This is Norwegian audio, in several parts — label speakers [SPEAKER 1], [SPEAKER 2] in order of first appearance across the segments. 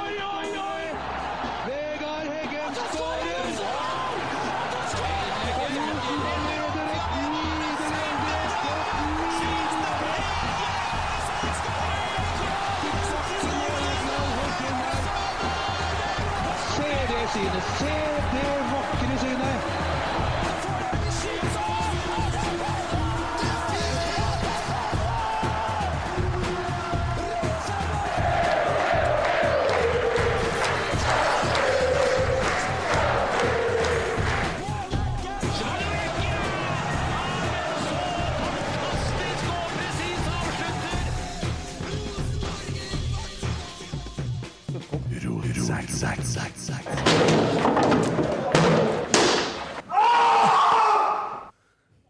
[SPEAKER 1] oi, oi, oi! Vegard Heggen skårer! Se det synet! Se det vakre synet!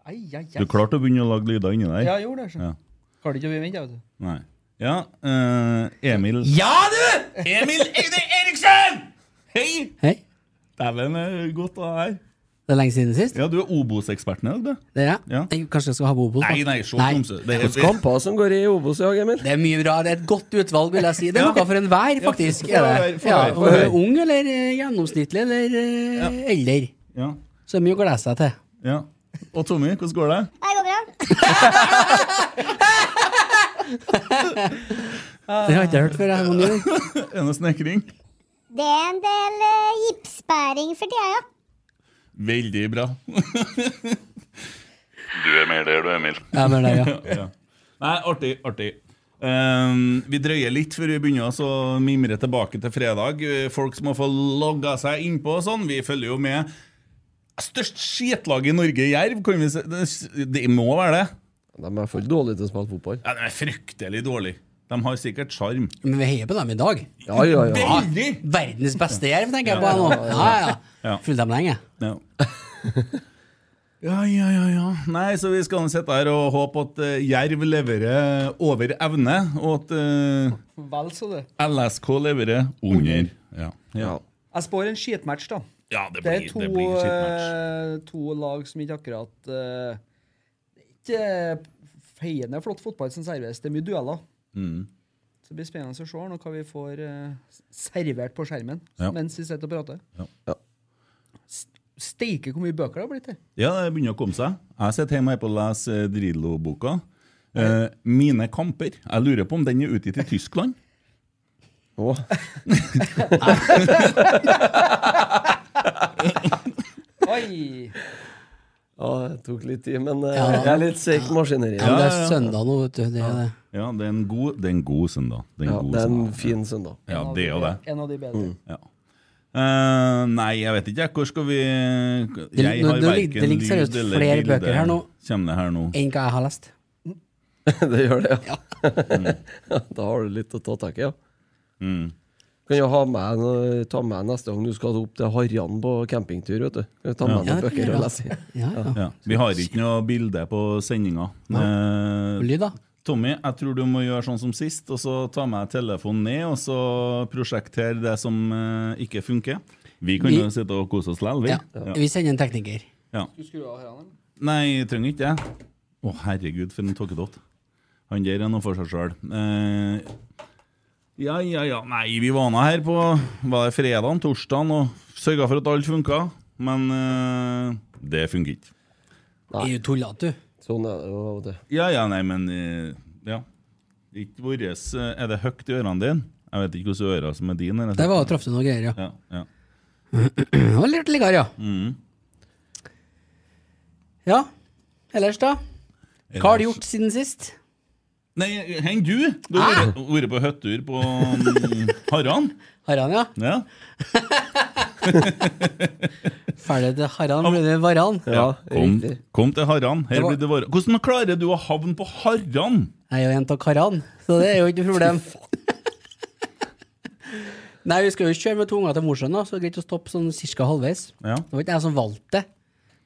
[SPEAKER 2] Ai, ai, ai.
[SPEAKER 3] Du klarte å begynne å lage lyder inni der?
[SPEAKER 2] Ja, jeg gjorde det. skjønner
[SPEAKER 3] Ja.
[SPEAKER 2] du. Klarte ikke å bli vent, jeg, vet du.
[SPEAKER 3] Nei. Ja, eh, Emil
[SPEAKER 4] Ja, du! Emil Eide Eriksen! Hei!
[SPEAKER 5] Hei.
[SPEAKER 3] Dæven, eh, godt å ha deg her.
[SPEAKER 5] Det er lenge siden sist.
[SPEAKER 3] Ja, du er Obos-eksperten i dag, du.
[SPEAKER 5] Det er jeg.
[SPEAKER 3] Ja.
[SPEAKER 5] Jeg- Kanskje jeg skal ha bobol?
[SPEAKER 3] Nei, nei, se
[SPEAKER 5] Nei.
[SPEAKER 3] Tromsø. Det
[SPEAKER 6] Hvilke kamper som går i Obos i dag, Emil?
[SPEAKER 5] Det er mye bra. Det er et godt utvalg, vil jeg si. Det er noe for enhver, faktisk.
[SPEAKER 3] Ja, for-
[SPEAKER 5] er det.
[SPEAKER 3] for- for-
[SPEAKER 5] ja,
[SPEAKER 3] for-
[SPEAKER 5] om du er
[SPEAKER 3] for-
[SPEAKER 5] ung eller eh, gjennomsnittlig eller eh, eldre,
[SPEAKER 3] Ja,
[SPEAKER 5] så er det mye å glede seg til.
[SPEAKER 3] ja. Og Tommy, hvordan går det?
[SPEAKER 7] Det går bra.
[SPEAKER 5] Det har jeg ikke hørt før. Jeg, noen gang.
[SPEAKER 3] Er det noe snekring?
[SPEAKER 7] Det er en del eh, gipsbæring for tida, ja.
[SPEAKER 3] Veldig bra.
[SPEAKER 4] Du er mer der, du, Emil.
[SPEAKER 5] Ja, men det, er ja.
[SPEAKER 3] ja. Nei, artig, artig. Ehm, vi drøyer litt før vi begynner oss å mimre tilbake til fredag. Eh, Folk som har fått logga seg innpå og sånn. Vi følger jo med. Størst skitlag i Norge, Jerv. Kan vi se? Det- Det må være det.
[SPEAKER 6] De er for dårlige til å spille fotball.
[SPEAKER 3] Ja, De er fryktelig dårlig De har sikkert sjarm.
[SPEAKER 5] men vi heier på dem i dag.
[SPEAKER 6] Ja, ja, ja.
[SPEAKER 3] Veldig!
[SPEAKER 5] Verdens beste jerv, tenker jeg på nå. Ja, ja.
[SPEAKER 3] Ja.
[SPEAKER 5] Fulgte dem lenge.
[SPEAKER 3] Ja. ja, ja, ja, ja. Nei, så vi skal nå sitte her og håpe at eh, Jerv leverer over evne, og at eh,
[SPEAKER 2] Vel så det.
[SPEAKER 3] LSK leverer under. Ja. Ja.
[SPEAKER 2] Jeg spår en skitmatch, da.
[SPEAKER 3] ja, det
[SPEAKER 2] Det
[SPEAKER 3] blir,
[SPEAKER 2] er to,
[SPEAKER 3] det blir skittmatch.
[SPEAKER 2] eh, to lag som ikke akkurat eh, Ikke feiende flott fotball som serveres. Det er mye dueller.
[SPEAKER 3] Mm.
[SPEAKER 2] Så det blir spennende å se nå hva vi får eh, servert på skjermen
[SPEAKER 3] Ja.
[SPEAKER 2] mens vi sitter og prater.
[SPEAKER 3] Ja.
[SPEAKER 6] Ja.
[SPEAKER 2] S- Steike hvor mye bøker det har blitt til.
[SPEAKER 3] Ja, det begynner å komme seg. Jeg sitter hjemme her på å lese eh, Drillo-boka. Eh, mine kamper. Jeg lurer på om den er utgitt i Tyskland?
[SPEAKER 6] Å,
[SPEAKER 2] Oi!
[SPEAKER 6] ja, det tok litt tid, men eh,
[SPEAKER 5] Ja.
[SPEAKER 6] jeg er litt seigt maskineri.
[SPEAKER 5] Ja, men det
[SPEAKER 3] ja,
[SPEAKER 5] er
[SPEAKER 3] ja.
[SPEAKER 5] søndag nå, vet du. Det er det.
[SPEAKER 3] Ja, det er en god, det er en god søndag. Det er en,
[SPEAKER 6] Ja,
[SPEAKER 3] god
[SPEAKER 6] det er en
[SPEAKER 3] søndag.
[SPEAKER 6] fin søndag. Mm.
[SPEAKER 3] Ja,
[SPEAKER 2] En av
[SPEAKER 3] det er
[SPEAKER 2] de-
[SPEAKER 3] jo det.
[SPEAKER 2] En av de bedre.
[SPEAKER 3] Ja. Eh, nei, jeg vet ikke. jeg. Hvor skal vi
[SPEAKER 5] Det-
[SPEAKER 3] Jeg
[SPEAKER 5] nå- nå
[SPEAKER 3] har
[SPEAKER 5] ligger- det
[SPEAKER 3] verken
[SPEAKER 5] ligger seriøst flere bøker her nå.
[SPEAKER 3] Kommer det her nå?
[SPEAKER 5] Enn hva jeg har lest.
[SPEAKER 6] det gjør det, ja. da har du litt å ta tak i, ja.
[SPEAKER 3] Mm.
[SPEAKER 6] Kan Kan jeg ha med, en- ta med neste gang du skal opp til Harjan på campingtur, vet du. Kan jeg ta med
[SPEAKER 3] Ja.
[SPEAKER 6] noen
[SPEAKER 3] Ja, det kan
[SPEAKER 6] bøker
[SPEAKER 3] jeg
[SPEAKER 6] og
[SPEAKER 3] gjøre.
[SPEAKER 6] lese i.
[SPEAKER 3] Ja. Vi har ikke noe bilde på sendinga. Eh, Tommy, jeg tror du må gjøre sånn som sist, og så ta med telefonen ned og så prosjektere det som eh, ikke funker. Vi kan
[SPEAKER 8] Vi-
[SPEAKER 3] jo sitte og kose oss likevel, vi.
[SPEAKER 8] Ja. Vi sender en tekniker.
[SPEAKER 3] Ja.
[SPEAKER 2] Du skru av her, eller?
[SPEAKER 3] Nei, jeg trenger ikke det. Å, herregud, for en tåkedott. Han der er noe for seg sjøl. Eh, ja, ja, ja. Nei, vi var nå her på Var det fredagen, torsdagen, og sørga for at alt funka. Men eh, det funker ikke.
[SPEAKER 8] Er du tullete, du?
[SPEAKER 6] Sånn er det jo av og til.
[SPEAKER 3] Ja, ja, nei, men eh, Ja. Ikke våres eh, Er det høyt i ørene dine? Jeg vet ikke hvordan øra som er dine.
[SPEAKER 8] Der var traff du noen greier, ja.
[SPEAKER 3] ja, ja.
[SPEAKER 8] Det var litt likere, ja.
[SPEAKER 3] Mm.
[SPEAKER 8] ja. Ellers, da? Hva har du gjort siden sist?
[SPEAKER 3] Nei, heng du! Du har
[SPEAKER 8] Ah!
[SPEAKER 3] vært- vært på hyttetur på mm, Harran.
[SPEAKER 8] Harran, ja.
[SPEAKER 3] ja.
[SPEAKER 8] Ferdig til Harran, ble det Varan?
[SPEAKER 3] Ja, kom, kom til Harran. Her
[SPEAKER 8] Det var-
[SPEAKER 3] blir det vare. Hvordan klarer du å havne på Harran?
[SPEAKER 8] Jeg er jo en av karene, så det er jo ikke noe problem. Nei, vi skal jo kjøre med to unger til Mosjøen, da, så det er greit å stoppe sånn cirka halvveis. Det var ikke jeg som valgte det.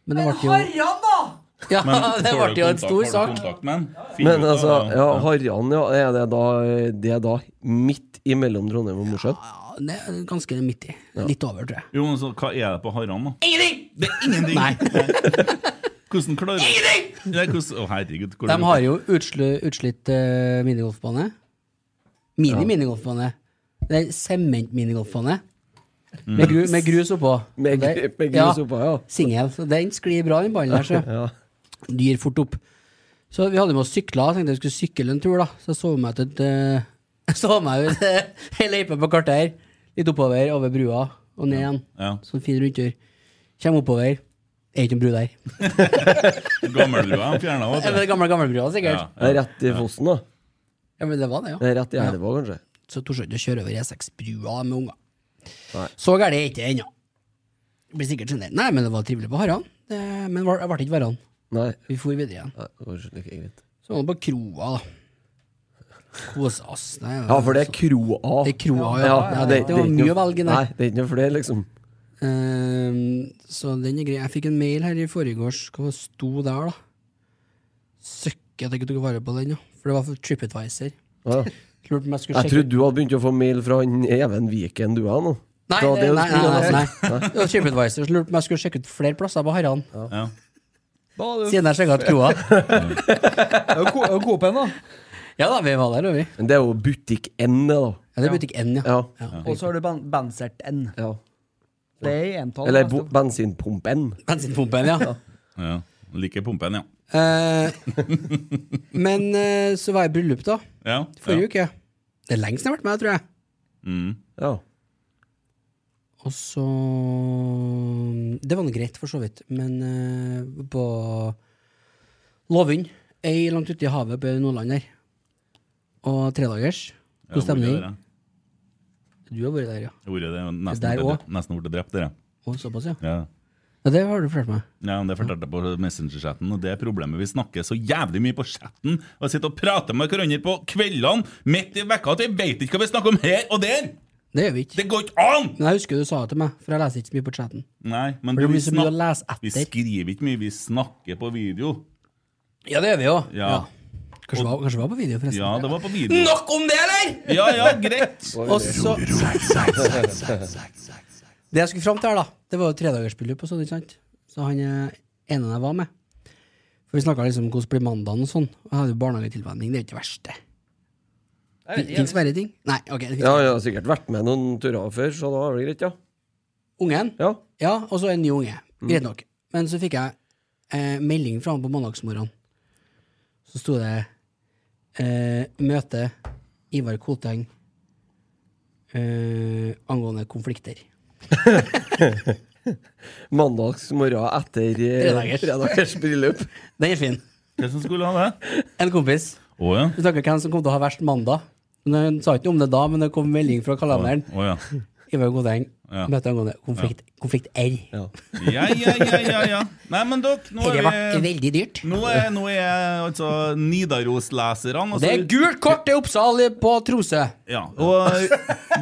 [SPEAKER 8] Men det ble jo
[SPEAKER 5] da!
[SPEAKER 8] Ja,
[SPEAKER 3] Men
[SPEAKER 8] det
[SPEAKER 3] får
[SPEAKER 8] ble
[SPEAKER 3] du
[SPEAKER 8] jo en
[SPEAKER 3] kontakt-
[SPEAKER 8] stor
[SPEAKER 3] får du
[SPEAKER 8] sak.
[SPEAKER 3] kontakt med han? Finn
[SPEAKER 6] Men
[SPEAKER 3] ut av
[SPEAKER 6] altså,
[SPEAKER 3] det.
[SPEAKER 6] ja, Harjan, ja. Er det da, det er da midt imellom Trondheim og Mosjøen?
[SPEAKER 8] Ja, Det er ganske midt i. Litt over, tror jeg.
[SPEAKER 3] Jo, men så hva er det på Harran, da?
[SPEAKER 8] Ingenting!
[SPEAKER 3] Det er ingenting! Hvordan klarer du Ingenting! Nei, hvordan, å, herregud.
[SPEAKER 8] De har jo utslu, utslitt eh, minigolfbane.
[SPEAKER 3] Ja.
[SPEAKER 8] Mini-minigolfbane. Det er sement-minigolfbane. Med, gru, med grus oppå.
[SPEAKER 6] Mm. Med
[SPEAKER 8] Det-
[SPEAKER 6] gru- med grus oppå, ja.
[SPEAKER 8] Singel. Så den sklir bra, den ballen der. Så.
[SPEAKER 6] Ja.
[SPEAKER 8] Du gir fort opp. Så vi hadde med oss sykler. Jeg tenkte jeg skulle sykle en tur, da. Så jeg så meg til et eh, Jeg så meg ut ei løype på kartet her. Litt oppover, over brua, og ned igjen.
[SPEAKER 3] Ja.
[SPEAKER 8] Sånn fin rundtur. Kjem oppover. Er ikke noen bru der.
[SPEAKER 3] Gammelbrua er fjernet, vet du.
[SPEAKER 8] Ja, men det Gamle, gamlebrua, sikkert.
[SPEAKER 3] Ja, ja.
[SPEAKER 6] Det er Rett i Fossen, da.
[SPEAKER 8] Ja, men det var det, ja.
[SPEAKER 6] Det er rett i elva, kanskje.
[SPEAKER 8] Så torde jeg ikke å kjøre over E6-brua med unger. Så gærent er det ikke ennå. Jeg Blir sikkert sjenert. Nei, men det var trivelig på Haran. Det, men var- jeg ble ikke Varan.
[SPEAKER 6] Nei.
[SPEAKER 8] Vi for videre igjen. Så var det på kroa, da. Kosa oss. Nei,
[SPEAKER 6] Ja, for det er kroa.
[SPEAKER 8] Det er kroa, ja. Ja, det- det var
[SPEAKER 6] ikke
[SPEAKER 8] mye
[SPEAKER 6] noe-
[SPEAKER 8] å velge, nei.
[SPEAKER 6] nei. Det er ikke noe flere, liksom.
[SPEAKER 8] Ehm, så den er grei. Jeg fikk en mail her i forgårs. Hva sto der, da? Søkke at jeg ikke tok vare på den, ja. For det var for TripAdvisor.
[SPEAKER 6] Ja.
[SPEAKER 8] Lurte på om jeg skulle
[SPEAKER 6] Jeg
[SPEAKER 8] sjekke
[SPEAKER 6] trodde du hadde begynt å få mail fra han Even Viken, du òg, nå.
[SPEAKER 8] Nei,
[SPEAKER 6] Da,
[SPEAKER 8] det,
[SPEAKER 6] det altså.
[SPEAKER 8] nei, nei,
[SPEAKER 6] skulle jeg
[SPEAKER 8] nei,
[SPEAKER 6] ha
[SPEAKER 8] nei.
[SPEAKER 6] sagt.
[SPEAKER 8] Det var TripAdvisor som lurte på om jeg skulle sjekke ut flere plasser på Harran.
[SPEAKER 3] Ja.
[SPEAKER 8] Siden jeg sjekka ut kroa.
[SPEAKER 2] Og Coop da.
[SPEAKER 8] Ja da, vi var der, og vi.
[SPEAKER 6] Men det er jo butikk N, det, da.
[SPEAKER 8] Ja, det er butikk N, ja.
[SPEAKER 2] Og så har du ban Bansert N.
[SPEAKER 6] Ja.
[SPEAKER 2] Det er altså. i entall.
[SPEAKER 6] Eller
[SPEAKER 2] neste
[SPEAKER 6] bo- bensinpumpen.
[SPEAKER 8] Bensinpumpen, ja.
[SPEAKER 3] Ja. Liker pumpen, ja.
[SPEAKER 8] Eh, men eh, så var jeg i bryllup, da.
[SPEAKER 3] Ja,
[SPEAKER 8] Forrige uke. Det er lenge siden jeg har vært med, tror jeg.
[SPEAKER 3] Mm.
[SPEAKER 6] Ja.
[SPEAKER 8] Og så mm, Det var nå greit, for så vidt. Men eh, på Lovund, ei langt ute i havet på Nordland der, og tredagers,
[SPEAKER 3] Ja,
[SPEAKER 8] god stemning.
[SPEAKER 3] hvor er det?
[SPEAKER 8] Du har vært der, ja.
[SPEAKER 3] Ordet det er jo
[SPEAKER 8] Der
[SPEAKER 3] nesten
[SPEAKER 8] også?
[SPEAKER 3] blitt- nesten blitt drept, dere.
[SPEAKER 8] Å, såpass, ja.
[SPEAKER 3] Ja.
[SPEAKER 8] ja. Det har du fortalt meg.
[SPEAKER 3] Ja, men Det fortalte jeg på Messenger-chatten, og det er problemet. Vi snakker så jævlig mye på chatten og sitter og prater med hverandre på kveldene midt i vekka at vi veit ikke hva vi snakker om her og der!
[SPEAKER 8] Det gjør vi ikke.
[SPEAKER 3] Det går ikke an!
[SPEAKER 8] Men jeg husker du sa det til meg, for jeg leser ikke så mye på chatten.
[SPEAKER 3] Nei, men
[SPEAKER 8] For det
[SPEAKER 3] vi
[SPEAKER 8] blir så mye
[SPEAKER 3] snak-
[SPEAKER 8] å lese etter.
[SPEAKER 3] Vi skriver ikke mye, vi snakker på video.
[SPEAKER 8] Ja, det gjør vi jo.
[SPEAKER 3] Ja,
[SPEAKER 8] Kanskje det var, kanskje det var på video, forresten.
[SPEAKER 3] ja det var på video.
[SPEAKER 8] Nok om det, eller?!
[SPEAKER 3] Ja, ja, greit.
[SPEAKER 8] Og så Det jeg skulle fram til her, da, det var jo tredagersbryllup og sånn, ikke sant? Så han eh, ene jeg var med For vi snakka liksom om hvordan blir mandagen og sånn. Og jeg hadde jo barnehagetilvenning, det er jo ikke det verste. Fins verre ting? Nei, ok. det finnes
[SPEAKER 6] Ja,
[SPEAKER 8] verre.
[SPEAKER 6] jeg har sikkert vært med noen turer før, så da er det greit, ja.
[SPEAKER 8] Ungen?
[SPEAKER 6] Ja.
[SPEAKER 8] og så en ny unge.
[SPEAKER 6] Mm.
[SPEAKER 8] Greit nok. Men så fikk jeg eh, melding fra han på mandagsmorgenen. Så sto det eh, 'Møte Ivar Koteng eh, angående konflikter'.
[SPEAKER 6] Mandagsmorgen etter eh,
[SPEAKER 8] Tredagers.
[SPEAKER 6] tredagers bryllup.
[SPEAKER 8] Den er fin.
[SPEAKER 3] Hvem som skulle ha det?
[SPEAKER 8] En kompis.
[SPEAKER 3] Å ja.
[SPEAKER 8] eh, Vi snakka om hvem som kom til å ha verst mandag. Men Han sa ikke noe om det da, men det kom melding fra kalenderen.
[SPEAKER 3] Å ja.
[SPEAKER 8] Ivar Godeng.
[SPEAKER 3] Ja.
[SPEAKER 8] Møteangående konflikt, konflikt R.
[SPEAKER 3] Ja, ja, ja, ja, ja. Nei, men dere, nå
[SPEAKER 8] Dette
[SPEAKER 3] er
[SPEAKER 8] ble
[SPEAKER 3] vi
[SPEAKER 8] veldig dyrt.
[SPEAKER 3] Nå er, nå er altså Nidaros-leserne altså-
[SPEAKER 8] Det er gult kort til Oppsal på Tromsø!
[SPEAKER 3] Ja, og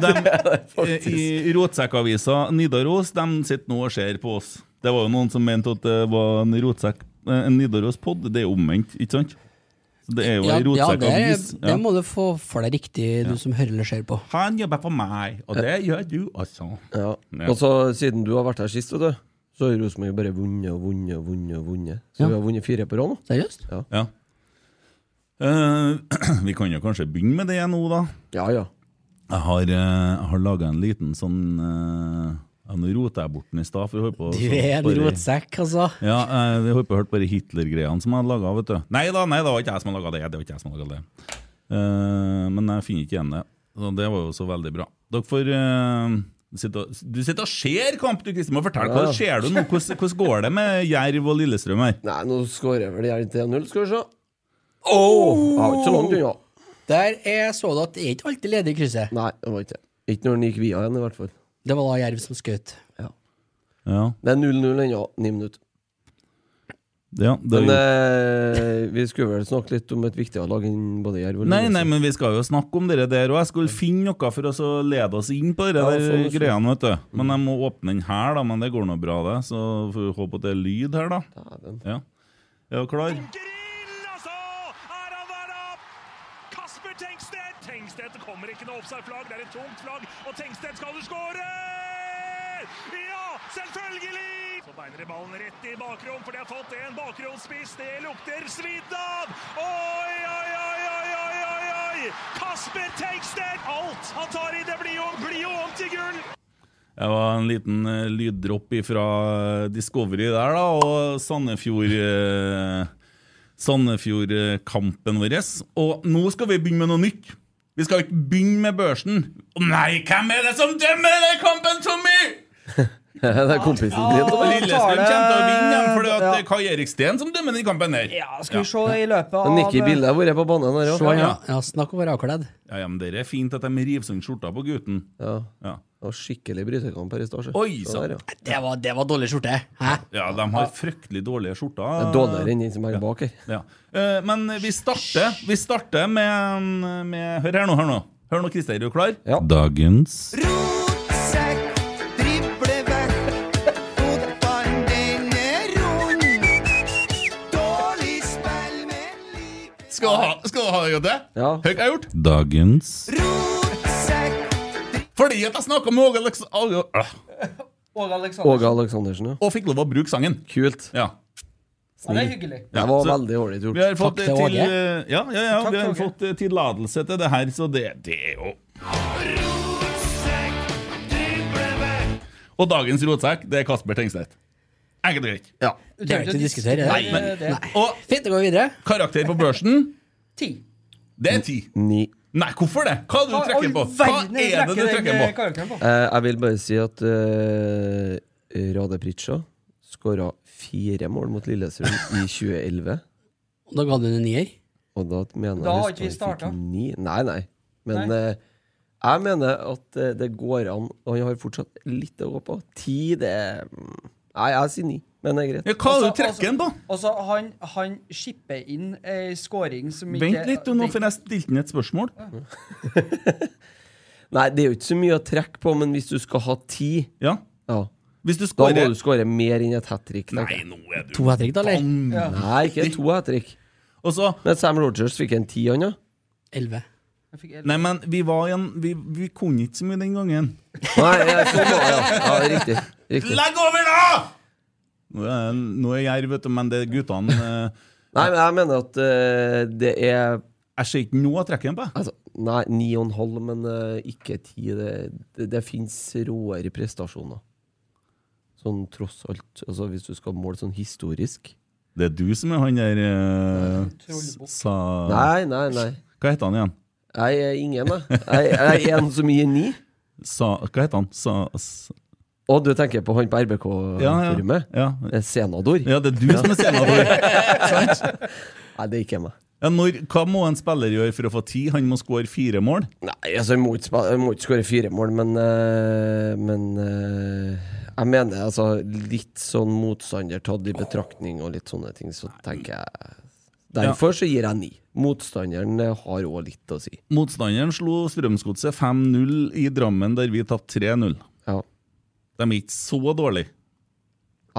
[SPEAKER 3] de, i Rotsekkavisa Nidaros de sitter nå og ser på oss. Det var jo noen som mente at det var en, rotsekk- eh, en Nidaros-pod. Det er jo omvendt, ikke sant? Så det er jo
[SPEAKER 8] Ja,
[SPEAKER 3] en
[SPEAKER 8] ja det,
[SPEAKER 3] Rotsekkavis.
[SPEAKER 8] det må du få for deg riktig, du som hører eller ser på.
[SPEAKER 3] Han jobber for meg, og det gjør du altså. også.
[SPEAKER 6] Ja.
[SPEAKER 3] Ja.
[SPEAKER 6] Og så siden du har vært her sist, vet du, så har Rosenborg bare vunnet og vunnet og vunnet. og vunnet Så
[SPEAKER 3] Ja.
[SPEAKER 6] vi har vunnet fire på rad nå.
[SPEAKER 8] Seriøst?
[SPEAKER 6] Ja.
[SPEAKER 3] Ja. Eh, vi kan jo kanskje begynne med det nå, da.
[SPEAKER 6] Ja, ja.
[SPEAKER 3] Jeg har, uh, har laga en liten sånn eh, ja, Nå rota jeg bort den i stad. for jeg holdt på å-
[SPEAKER 8] Du er en
[SPEAKER 3] bare-
[SPEAKER 8] rotsekk, altså.
[SPEAKER 3] Ja, eh, vi holdt på å høre på de Hitler-greiene som jeg hadde laga, vet du. Nei da, nei, det var ikke jeg som hadde laga det. det, var ikke jeg som hadde laget det. Eh, men jeg finner ikke igjen det. Så det var jo så veldig bra. Dere får eh, sitte og, Du sitter og ser kamp, du, Kristin. Må fortelle
[SPEAKER 6] Ja,
[SPEAKER 3] hva
[SPEAKER 6] ja.
[SPEAKER 3] ser du nå? Hvordan, hvordan går det med Jerv og Lillestrøm her?
[SPEAKER 6] Nei, nå skårer vel Jerv 3-0, skal vi se. Oh! Ja, ikke så langt unna.
[SPEAKER 8] Der er så du at det er ikke alltid ledig i krysset.
[SPEAKER 6] Nei, det var ikke det. Ikke når den gikk via igjen, i hvert fall.
[SPEAKER 8] Det var da Jerv som skjøt.
[SPEAKER 3] Ja.
[SPEAKER 6] Det er 0-0 ennå, ni minutter.
[SPEAKER 3] Ja, det er jo-
[SPEAKER 6] Men eh, vi skulle vel snakke litt om et viktigere lag enn både Jerv og
[SPEAKER 3] Nei, nei, men vi skal jo snakke om det der, og jeg skulle finne noe for oss å lede oss inn på det
[SPEAKER 6] Ja,
[SPEAKER 3] der
[SPEAKER 6] sånn, sånn.
[SPEAKER 3] greiene, vet du. Men jeg må åpne den her, da, men det går nå bra, det. Så får vi håpe at det er lyd her, da. Ja. Er dere klar?
[SPEAKER 9] Kasper Tengsted! Tengsted det kommer ikke noe offside-flagg. Det er et tungt flagg, og Tengsted skal skåre! Ja, selvfølgelig! Så beiner de ballen rett i bakrom, for de har fått en bakromspiss. Det lukter svidd av! Oi, oi, oi, oi, oi, oi, oi! Kasper Tengsted! Alt han tar i, det blir jo, blir jo om til gull!
[SPEAKER 3] Det var en liten eh, lyddropp fra Discovery der, da, og Sandefjord eh, Sandefjordkampen vår. Og nå skal vi begynne med noe nytt. Vi skal ikke begynne med børsen. Å Nei, hvem er det som dømmer den kampen, Tommy?!
[SPEAKER 6] Det er kompisen din.
[SPEAKER 3] Og Lillestrøm
[SPEAKER 2] tar
[SPEAKER 3] kommer
[SPEAKER 2] det-
[SPEAKER 3] til å vinne, for det
[SPEAKER 2] ja.
[SPEAKER 3] er Kai Erik Steen som dømmer den kampen der. Ja,
[SPEAKER 2] Skal vi se i løpet av
[SPEAKER 6] Men Nikki
[SPEAKER 8] eh,
[SPEAKER 6] Bille har vært på banen her
[SPEAKER 3] Se,
[SPEAKER 6] òg.
[SPEAKER 3] ja.
[SPEAKER 8] snakk om å være avkledd.
[SPEAKER 3] Ja, ja, men det er fint at de river sånn skjorta på gutten.
[SPEAKER 6] Ja.
[SPEAKER 3] Ja.
[SPEAKER 6] Det var skikkelig brytekamp her i stad. så.
[SPEAKER 3] Oi,
[SPEAKER 6] Så
[SPEAKER 3] sant.
[SPEAKER 6] der, ja.
[SPEAKER 8] Det var, det var dårlig skjorte. Hæ?
[SPEAKER 3] Ja, de har fryktelig dårlige skjorter.
[SPEAKER 6] Det er dårligere enn den som er bak her.
[SPEAKER 3] Ja. Eh, Men vi starter, vi starter med, med Hør her nå, hør nå. Hør nå, Christer, er du klar? Ja. Dagens
[SPEAKER 1] Sekk, drible vekk, fotballen den er rund. Dårlig spill med
[SPEAKER 3] Skal du ha, skal du ha det, Jodde?
[SPEAKER 6] Ja.
[SPEAKER 3] Hva har jeg gjort? Dagens Fordi at jeg snakka med Åge Aleks- Åge- øh,
[SPEAKER 2] Åge
[SPEAKER 6] Åge
[SPEAKER 2] Aleksandersen.
[SPEAKER 6] Aleksandersen, ja.
[SPEAKER 3] Og fikk lov å bruke sangen.
[SPEAKER 6] Kult.
[SPEAKER 3] Ja.
[SPEAKER 2] Ja, det er hyggelig.
[SPEAKER 6] Det
[SPEAKER 3] Ja,
[SPEAKER 6] var
[SPEAKER 3] så-
[SPEAKER 6] veldig ålreit gjort.
[SPEAKER 3] Vi har fått,
[SPEAKER 6] Takk
[SPEAKER 3] eh,
[SPEAKER 6] til
[SPEAKER 3] til,
[SPEAKER 6] Åge.
[SPEAKER 3] eh, ja, ja, ja,
[SPEAKER 6] Takk
[SPEAKER 3] vi
[SPEAKER 6] til
[SPEAKER 3] har
[SPEAKER 6] Åge.
[SPEAKER 3] fått eh, tillatelse til det her, så det, det er jo Og dagens rotsekk, det er Kasper Tengstedt. Enkelt og greit.
[SPEAKER 8] Det er ikke å diskutere. det.
[SPEAKER 3] Nei, men,
[SPEAKER 8] Det- Nei.
[SPEAKER 3] Og
[SPEAKER 8] Fint, da går vi videre.
[SPEAKER 3] karakter på børsen,
[SPEAKER 2] Ti.
[SPEAKER 3] det er ti.
[SPEAKER 6] Ni.
[SPEAKER 3] Nei, hvorfor det? Hva er det du trekker på? Hva er det du trekker på?
[SPEAKER 2] på?
[SPEAKER 6] Eh, jeg vil bare si at eh, Rade Pritcha skåra fire mål mot Lillestrøm i 2011.
[SPEAKER 8] Da ga du den en nier.
[SPEAKER 6] Og da mener
[SPEAKER 2] Da har ikke vi
[SPEAKER 6] jeg Rosenborg fikk
[SPEAKER 2] startet.
[SPEAKER 6] ni. Nei, nei. Men eh, jeg mener at eh, det går an, og han har fortsatt litt å gå på. Ti, det mm, Nei, jeg sier ni, men det er greit.
[SPEAKER 3] Hva er det du
[SPEAKER 2] Altså,
[SPEAKER 3] trekker den på?
[SPEAKER 2] Altså, han, han skipper inn ei scoring som ikke
[SPEAKER 3] Vent litt, du, nå får jeg stilt den et spørsmål.
[SPEAKER 6] Nei, det er jo ikke så mye å trekke på, men hvis du skal ha ti
[SPEAKER 3] Ja. Hvis du
[SPEAKER 6] Da
[SPEAKER 3] scorer-
[SPEAKER 6] må du skåre mer enn et hat trick.
[SPEAKER 3] Nei, nå er du
[SPEAKER 8] To hat trick, da, eller?
[SPEAKER 6] Nei, ikke to hat trick.
[SPEAKER 3] Og så
[SPEAKER 6] Men Sam Rogers fikk en ti, han, ja.
[SPEAKER 8] Elleve.
[SPEAKER 3] Nei, men vi var igjen Vi, vi kunne ikke så mye den gangen.
[SPEAKER 6] Nei, ja, sånn var det, ja. ja riktig. riktig.
[SPEAKER 3] Legg over, da! Nå er, nå er jeg, vet du, men det er guttene eh,
[SPEAKER 6] Nei, men jeg mener at eh, det er
[SPEAKER 3] Jeg ser ikke noe å trekke den på.
[SPEAKER 6] Altså, nei, ni og en halv, men eh, ikke ti. Det, det, det fins råere prestasjoner. Sånn tross alt. Altså, hvis du skal måle sånn historisk.
[SPEAKER 3] Det er du som er han der eh,
[SPEAKER 6] Trollbukk.
[SPEAKER 3] sa
[SPEAKER 6] Nei, nei, nei.
[SPEAKER 3] Hva heter han igjen?
[SPEAKER 6] Jeg er ingen, jeg. Jeg, jeg er en som gir ni.
[SPEAKER 3] Sa, hva heter han? Sa, s-
[SPEAKER 6] Og du tenker på han på
[SPEAKER 3] Ja, ja.
[SPEAKER 6] RBK-forumet?
[SPEAKER 3] Ja.
[SPEAKER 6] Eh, Senador.
[SPEAKER 3] Ja, det er du som er senador. Sant?
[SPEAKER 6] Nei, det er ikke meg.
[SPEAKER 3] Ja, når, hva må en spiller gjøre for å få ti? Han må skåre fire mål?
[SPEAKER 6] Nei, altså, jeg må ikke spa- jeg må ikke skåre fire mål, men eh, Men eh, jeg mener altså litt sånn motstander tatt i betraktning og litt sånne ting, så tenker jeg Derfor så gir jeg ni. Motstanderen eh, har òg litt å si.
[SPEAKER 3] Motstanderen slo Strømsgodset 5-0 i Drammen, der vi tapte 3-0. De er ikke så dårlige.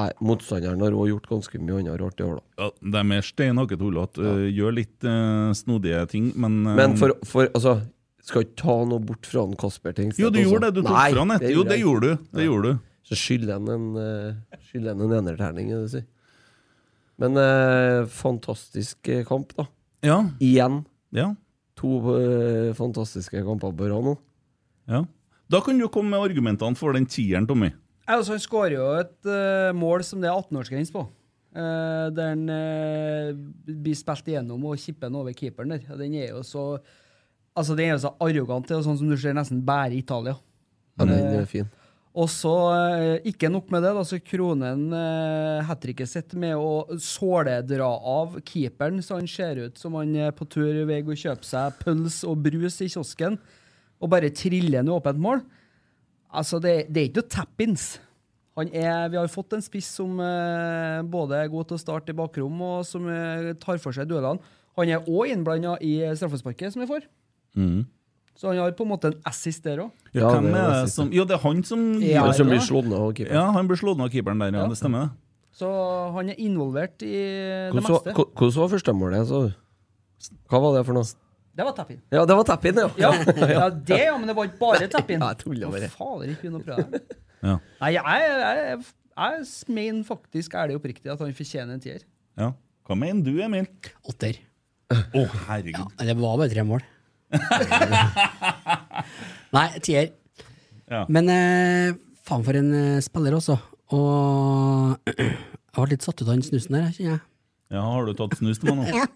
[SPEAKER 6] Nei, motstanderen har òg gjort ganske mye annet rart i år, da.
[SPEAKER 3] Ja, de er steinhakket hullete. øh, Gjør litt øh, snodige ting, men øh,
[SPEAKER 6] Men for, for altså Skal ikke ta noe bort fra han Kasper Tengstedt.
[SPEAKER 3] Jo, du
[SPEAKER 6] også.
[SPEAKER 3] gjorde det, du tok
[SPEAKER 6] Nei,
[SPEAKER 3] fra han et- jo, det
[SPEAKER 6] jeg
[SPEAKER 3] gjorde du,
[SPEAKER 6] ikke.
[SPEAKER 3] det gjorde du.
[SPEAKER 6] Så skylder han en, eh, skylder han en enerterning, er det du sier. Men eh, fantastisk eh, kamp, da.
[SPEAKER 3] Ja.
[SPEAKER 6] Igjen.
[SPEAKER 3] Ja.
[SPEAKER 6] To eh, fantastiske kamper på rad nå.
[SPEAKER 3] Ja. Da kan du komme med argumentene for den tieren, Tommy.
[SPEAKER 2] Ja, altså, han skårer jo et eh, mål som det er 18-årsgrense på. Eh, der han eh, blir spilt igjennom og kipper den over keeperen der. Og Den er jo så Altså, den er jo så arrogant, det er jo sånn som du ser nesten bare i Italia.
[SPEAKER 6] Ja, den
[SPEAKER 2] Eh,
[SPEAKER 6] er fin.
[SPEAKER 2] Og så, eh, ikke nok med det, da, så kronen eh, hat tricket sitt med å såledra av keeperen, så han ser ut som han er på tur i vei å kjøpe seg pøls og brus i kiosken, og bare triller ned åpent mål. Altså, det, det er ikke noe tappins. Han er, vi har fått en spiss som eh, både er god til å starte i bakrom, og som eh, tar for seg duellene. Han er òg innblanda i straffesparket som vi får, så han har på en måte en assist der òg.
[SPEAKER 3] Ja, hvem er det som Jo, det er han som
[SPEAKER 2] Ja, Han som blir ja.
[SPEAKER 6] slått ned av keeperen.
[SPEAKER 3] Ja, han blir slått ned av keeperen der, ja.
[SPEAKER 2] Ja.
[SPEAKER 3] Det stemmer, det.
[SPEAKER 2] Så han er involvert i det
[SPEAKER 6] Hvordan var-
[SPEAKER 2] meste.
[SPEAKER 6] hvor- hvordan var første målet? Så? Hva var det for noe?
[SPEAKER 2] Det var tappin.
[SPEAKER 6] Ja, det var tapp-in, ja.
[SPEAKER 2] Ja, ja, det, ja, men det var ikke bare tappin.
[SPEAKER 6] Ja, jeg tuller bare.
[SPEAKER 2] Fader, ikke begynn å prøve deg.
[SPEAKER 3] Ja.
[SPEAKER 2] Nei, jeg, jeg, jeg, jeg mener faktisk ærlig oppriktig at han fortjener en tier.
[SPEAKER 3] Ja. Hva mener du, Emil?
[SPEAKER 8] Åtter.
[SPEAKER 3] Å, herregud.
[SPEAKER 8] Ja, det var bare tre mål. Nei, tier.
[SPEAKER 3] Ja.
[SPEAKER 8] Men eh, faen for en eh, spiller også. Og jeg ble litt satt ut av den snusen der, kjenner jeg.
[SPEAKER 3] Ja, har du tatt snus til meg nå?
[SPEAKER 7] Ja.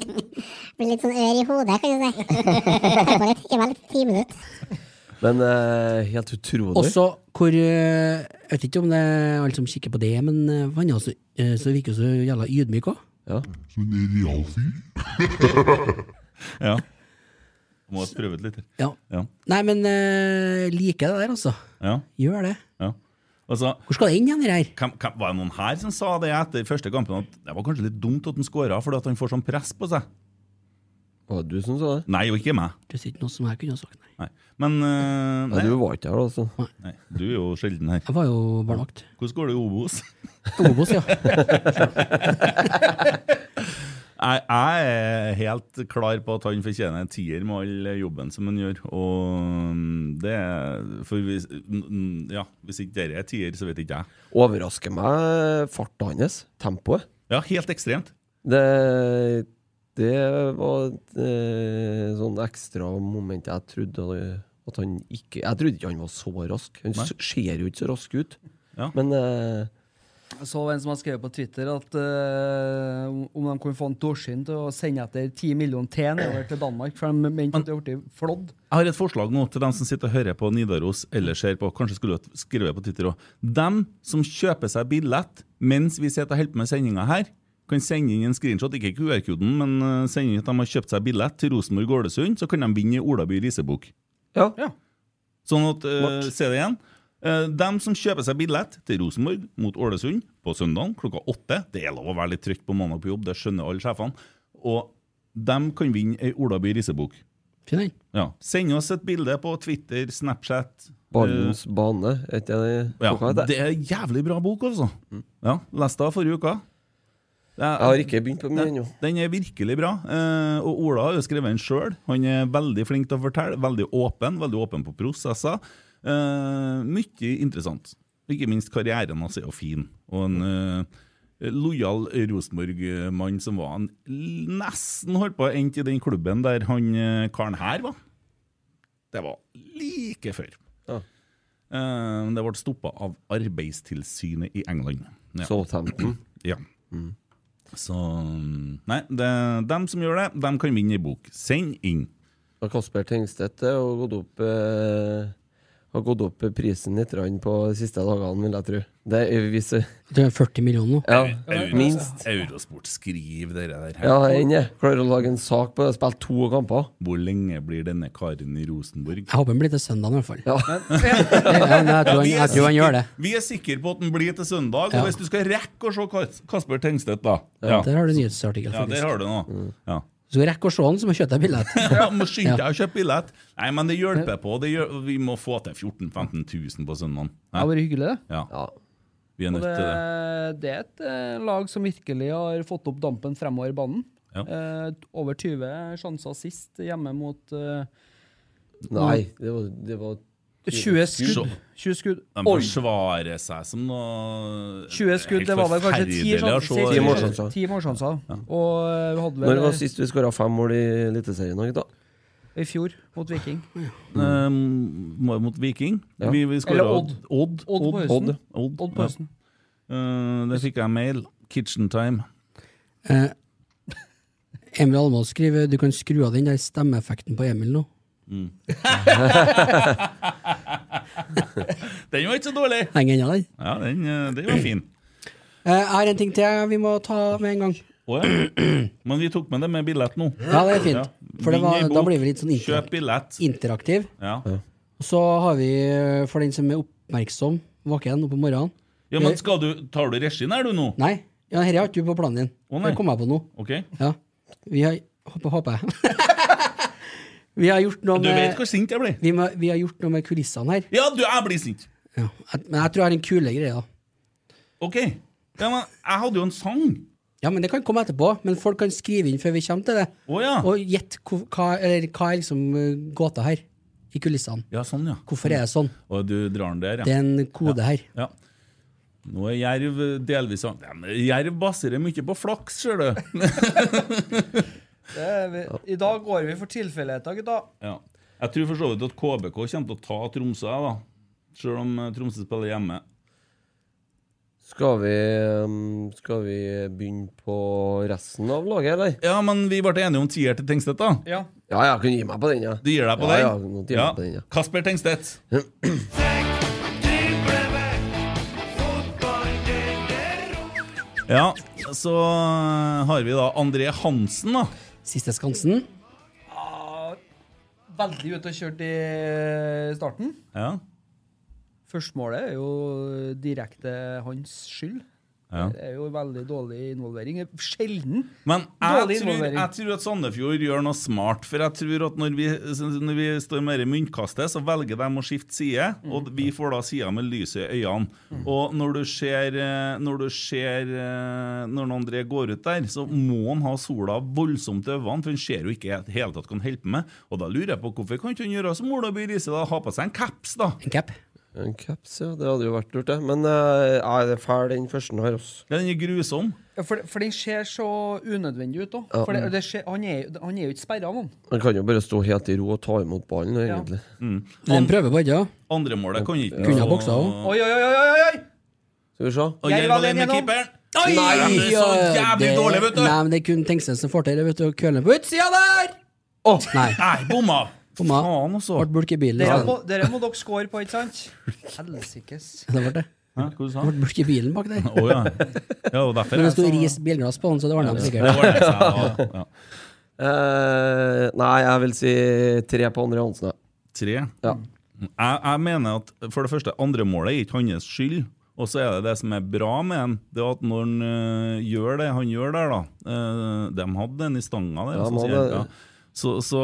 [SPEAKER 7] Blir litt sånn ør i hodet, kan du si. Etterpå litt. Gi meg litt ti minutter.
[SPEAKER 6] Men eh, helt utrolig.
[SPEAKER 8] Også hvor eh, Jeg vet ikke om det er alle som kikker på det, men eh, han er også, eh, så virker jo så jævla ydmyk òg.
[SPEAKER 6] Ja.
[SPEAKER 10] Som en realfyr.
[SPEAKER 3] ja. Må ha prøvd litt.
[SPEAKER 8] Ja.
[SPEAKER 3] Ja.
[SPEAKER 8] Nei, men eh, liker det der, altså.
[SPEAKER 3] ja.
[SPEAKER 8] Gjør det.
[SPEAKER 3] ja. Altså,
[SPEAKER 8] Hvor skal det inn igjen, det her?
[SPEAKER 3] Hvem, hvem, var det noen her som sa det etter første kampen, at det var kanskje litt dumt at han skåra fordi at han får sånn press på seg?
[SPEAKER 6] Var det du som sa det?
[SPEAKER 3] Nei, jo ikke meg.
[SPEAKER 8] Det er ikke noe som jeg kunne ha sagt. Nei.
[SPEAKER 3] Nei. Men eh,
[SPEAKER 6] Nei, du var ikke her, altså. da. Så.
[SPEAKER 3] nei, du er jo sjelden her.
[SPEAKER 8] Jeg var jo barnevakt.
[SPEAKER 3] Hvordan går det i Obos?
[SPEAKER 8] Obos, ja.
[SPEAKER 3] Jeg, jeg er helt klar på at han fortjener en tier med all jobben som han gjør. Og det er- For hvis, n- n- ja, hvis ikke dere er tier, så vet ikke jeg.
[SPEAKER 6] Overrasker meg farta hans. Tempoet.
[SPEAKER 3] Ja, helt ekstremt.
[SPEAKER 6] Det, det var et eh, sånn ekstra moment jeg trodde eh, at han ikke Jeg trodde ikke han var så rask. Han
[SPEAKER 2] Nei.
[SPEAKER 6] s- ser jo ikke så rask ut.
[SPEAKER 3] Ja.
[SPEAKER 6] Men eh,
[SPEAKER 2] Jeg så en som har skrevet på Twitter at eh, om de kunne få en Dorsin til å sende etter 10 millioner til nedover til Danmark, for de mente at det ble flådd.
[SPEAKER 3] Jeg har et forslag nå til dem som sitter og hører på Nidaros eller ser på, kanskje skulle jeg skrive på Twitter òg. Dem som kjøper seg billett mens vi sitter og holder på med sendinga her, kan sende inn en screenshot, ikke QR-koden, men eh, sende inn at de har kjøpt seg billett til Rosenborg-Ålesund, så kan de vinne i Olaby Risebukk.
[SPEAKER 6] Ja.
[SPEAKER 3] Sånn at, eh, se det igjen. Eh, dem som kjøper seg billett til Rosenborg mot Ålesund på søndag klokka åtte Det er lov å være litt trøtt på mandag på jobb, det skjønner alle sjefene. Og dem kan vinne ei Olaby Risebukk.
[SPEAKER 8] Fin den.
[SPEAKER 3] Ja. Send oss et bilde på Twitter, Snapchat
[SPEAKER 6] Ballens bane, er ikke det
[SPEAKER 3] Eh, ja,
[SPEAKER 6] hva heter
[SPEAKER 3] Det er en jævlig bra bok, altså. Ja, Leste den forrige uka.
[SPEAKER 6] Mm. Jeg har ikke begynt på den
[SPEAKER 3] den
[SPEAKER 6] ennå.
[SPEAKER 3] Den er virkelig bra. Eh, og Ola har jo skrevet den sjøl. Han er veldig flink til å fortelle, veldig åpen, veldig åpen på prosesser. Eh, mye interessant. Ikke minst karrieren hans er jo fin. Og en eh, lojal Rosenborg-mann som var en nesten holdt på å endte i den klubben der han eh, karen her var. Det var like før. Eh, men det ble stoppa av Arbeidstilsynet i England.
[SPEAKER 6] Southampton.
[SPEAKER 3] Ja.
[SPEAKER 6] Mm.
[SPEAKER 3] Så mm, Nei, det, dem som gjør det, dem kan vinne i bok. Send inn.
[SPEAKER 6] Og Kasper Tengstedt har gått opp eh, har gått opp prisen litt grann på de siste dagene, vil jeg tro. Det er, hvis, eh,
[SPEAKER 8] Det er 40 millioner nå.
[SPEAKER 6] ja,
[SPEAKER 3] Euro-
[SPEAKER 6] minst.
[SPEAKER 3] Eurosport, skriv det der. her.
[SPEAKER 6] Ja, jeg er inne. Klarer å lage en sak på det. Spilt to kamper.
[SPEAKER 3] Hvor lenge blir denne karen i Rosenborg?
[SPEAKER 8] Jeg håper den blir til søndag i hvert fall.
[SPEAKER 3] Ja,
[SPEAKER 8] Ja, nei, jeg tror han-
[SPEAKER 3] vi er
[SPEAKER 8] jeg tror han
[SPEAKER 3] sikker-
[SPEAKER 8] gjør det.
[SPEAKER 3] Vi er sikre på at den blir til søndag.
[SPEAKER 8] Ja.
[SPEAKER 3] Og hvis du skal rekke å se Kas- Kasper Tengstedt, da
[SPEAKER 8] Ja, der har du en nyhetsartikkel,
[SPEAKER 3] Ja, der
[SPEAKER 8] faktisk. Mm.
[SPEAKER 3] har du noe. Ja.
[SPEAKER 8] Så skal jeg rekke å se den, så må jeg kjøpe deg billett.
[SPEAKER 3] Ja, må skynde deg å kjøpe billett! Nei, men det hjelper på. Det gjør, vi må få til 14 000-15 000 på søndagen.
[SPEAKER 2] Det har vært hyggelig, det.
[SPEAKER 3] Ja. Vi er
[SPEAKER 2] Og
[SPEAKER 3] nødt
[SPEAKER 2] det,
[SPEAKER 3] til det.
[SPEAKER 2] det er et eh, lag som virkelig har fått opp dampen fremover i banen.
[SPEAKER 3] Ja.
[SPEAKER 2] Eh, over 20 sjanser sist hjemme mot eh,
[SPEAKER 6] Nei, det var, det var
[SPEAKER 2] 20 skudd. 20 skudd.
[SPEAKER 3] De
[SPEAKER 2] Oi.
[SPEAKER 3] forsvarer seg som noe
[SPEAKER 2] 20 skudd,
[SPEAKER 3] Helt
[SPEAKER 2] det var vel kanskje 10
[SPEAKER 3] forferdelig å se.
[SPEAKER 2] sjanser.
[SPEAKER 6] Ti
[SPEAKER 8] sånn,
[SPEAKER 6] målsjanser.
[SPEAKER 2] Ti målsjanser. Og eh, vi hadde
[SPEAKER 6] Når
[SPEAKER 2] vel
[SPEAKER 6] var sist vi skåra fem mål i Eliteserien, da, gutta?
[SPEAKER 2] i fjor mot Viking.
[SPEAKER 3] Um, må- mot Viking.
[SPEAKER 6] Ja.
[SPEAKER 3] Vi, vi skåra
[SPEAKER 2] Eller
[SPEAKER 3] Odd.
[SPEAKER 2] Odd.
[SPEAKER 3] Odd.
[SPEAKER 2] Odd på
[SPEAKER 3] Odd.
[SPEAKER 2] høsten.
[SPEAKER 3] Odd. Odd.
[SPEAKER 2] Odd på høsten.
[SPEAKER 3] Ja. Uh, der fikk jeg mail. Kitchen time.
[SPEAKER 8] Eh, Emil Almås skriver du kan skru av den der stemmeeffekten på Emil nå.
[SPEAKER 3] Mm. den var ikke så dårlig!
[SPEAKER 8] Henger ennå den?
[SPEAKER 3] Ja, den, eh, den var fin.
[SPEAKER 8] Eh, jeg har en ting til vi må ta med en gang.
[SPEAKER 3] Å, ja. Men vi tok med det med billett nå.
[SPEAKER 8] Ja, det er fint. For det
[SPEAKER 3] Vinn
[SPEAKER 8] var,
[SPEAKER 3] ei
[SPEAKER 8] da
[SPEAKER 3] bok.
[SPEAKER 8] blir vi litt sånn inter
[SPEAKER 3] Kjøp billett.
[SPEAKER 8] interaktiv.
[SPEAKER 3] Ja.
[SPEAKER 8] Og så har vi, eh, for den som er oppmerksom, våken oppe om morgenen
[SPEAKER 3] ja, men skal du, Tar du regien her, du, nå?
[SPEAKER 8] Nei, ja, dette har ikke du på planen din.
[SPEAKER 3] nei.
[SPEAKER 8] det kom jeg på nå.
[SPEAKER 3] Ok.
[SPEAKER 8] Ja. Vi har Håper, håper jeg. vi har gjort noe
[SPEAKER 3] Du
[SPEAKER 8] med
[SPEAKER 3] vet hvor sint jeg blir.
[SPEAKER 8] Vi, må, vi har gjort noe med kulissene her.
[SPEAKER 3] Ja, du, jeg blir sint!
[SPEAKER 8] Jeg- Men jeg tror jeg har en kule greie, da.
[SPEAKER 3] OK. Ja, men jeg hadde jo en sang.
[SPEAKER 8] Ja, men Det kan komme etterpå, men folk kan skrive inn før vi kommer til det. Og gjett hvor- hva, eller, hva er liksom eh, gåta her, i kulissene.
[SPEAKER 3] Ja, sånn, ja.
[SPEAKER 8] Hvorfor er det sånn?
[SPEAKER 3] Og du drar den der, ja.
[SPEAKER 8] Det er en kode her.
[SPEAKER 3] Ja. Nå er jerv eh, delvis an- Ja, men Jerv baserer mye på flaks, ser du.
[SPEAKER 2] Det er vi, I dag går vi for tilfeldigheter, gutta.
[SPEAKER 3] Ja. Jeg tror for så vidt at KBK kommer til å ta Tromsø, jeg, da. Selv om eh, Tromsø spiller hjemme.
[SPEAKER 6] Skal vi, um, skal vi begynne på resten av laget, eller?
[SPEAKER 3] Ja, men vi ble enige om tier til Tengstedt, da.
[SPEAKER 2] Ja.
[SPEAKER 6] Ja, jeg kan gi meg på den, ja.
[SPEAKER 3] Du gir deg på
[SPEAKER 6] ja,
[SPEAKER 3] den?
[SPEAKER 6] Ja, nå gir jeg meg på den, ja.
[SPEAKER 3] Kasper Tengstedt. Ja, så eh, har vi da André Hansen, da.
[SPEAKER 8] Siste skansen.
[SPEAKER 2] Veldig ute og kjørt i eh, starten.
[SPEAKER 3] Ja.
[SPEAKER 2] Førstemålet er jo direkte hans skyld.
[SPEAKER 3] Ja.
[SPEAKER 2] Det er jo veldig dårlig involvering. Sjelden
[SPEAKER 3] Men
[SPEAKER 2] dårlig
[SPEAKER 3] jeg tror,
[SPEAKER 2] involvering.
[SPEAKER 3] jeg tror at Sandefjord gjør noe smart. For jeg tror at når vi, når vi står med det myntkastet, så velger de å skifte side.
[SPEAKER 2] Mm.
[SPEAKER 3] Og vi får da sida med lyset i øynene. Og når du ser eh, Når du ser eh, Når André går ut der, så må han ha sola voldsomt i øynene, for han ser jo ikke i det hele tatt hva han holder på med. Og da lurer jeg på hvorfor kan ikke han gjøre som Ola By Riise, da? Ha på seg en caps, da.
[SPEAKER 8] En cap.
[SPEAKER 6] En caps, ja. Det hadde jo vært lurt, det. Men eh, nei, det er fæl, den første her, altså.
[SPEAKER 3] Ja, den er grusom.
[SPEAKER 2] Ja, For, for den ser så unødvendig ut, da.
[SPEAKER 6] Ja.
[SPEAKER 2] For det, det skjer, han, er, jo- han er jo ikke sperra av noen.
[SPEAKER 6] Han kan jo bare stå helt i ro og ta imot ballen, egentlig.
[SPEAKER 3] Mm.
[SPEAKER 8] Den prøver på ikke, ja.
[SPEAKER 3] Andremålet kan ikke
[SPEAKER 8] Kunne ha boksa også.
[SPEAKER 2] Oi, oi, oi! oi, oi, oi.
[SPEAKER 6] Skal vi se.
[SPEAKER 3] Og Jerv alene med keeperen.
[SPEAKER 8] Oi,
[SPEAKER 3] Nei, det er så
[SPEAKER 8] ja,
[SPEAKER 3] jævlig dårlig, vet du.
[SPEAKER 8] Nei, men det er kun Tengstedt som får til det, vet du. og Kølen på utsida der! Å, nei.
[SPEAKER 3] Nei, bomma!
[SPEAKER 8] Bomma.
[SPEAKER 3] Faen, altså.
[SPEAKER 8] Ble bulk i bilen.
[SPEAKER 2] Dere
[SPEAKER 8] isteden.
[SPEAKER 2] må, dere må dere score på, ikke sant? Helsikes.
[SPEAKER 8] Det ble det.
[SPEAKER 3] Hæ, hva du sa
[SPEAKER 8] Det ble bulk i bilen bak der.
[SPEAKER 3] Å ja. ja. og derfor
[SPEAKER 8] Men det
[SPEAKER 3] er
[SPEAKER 8] sto ris bilglass på den, så det ordna de
[SPEAKER 3] Det
[SPEAKER 8] sikkert.
[SPEAKER 3] var det jeg sa. ja, Ja.
[SPEAKER 6] Eh, nei, jeg vil si tre på André Hansen, ja.
[SPEAKER 3] Tre.
[SPEAKER 6] Ja.
[SPEAKER 3] Jeg, jeg mener at for det første, andre målet er ikke hans skyld. Og så er det det som er bra med han, det er at når han øh, gjør det han gjør der, da øh, De hadde den i stanga der.
[SPEAKER 6] Ja,
[SPEAKER 3] så,
[SPEAKER 6] man
[SPEAKER 3] sier jeg,
[SPEAKER 6] hadde-
[SPEAKER 3] ja. så, så,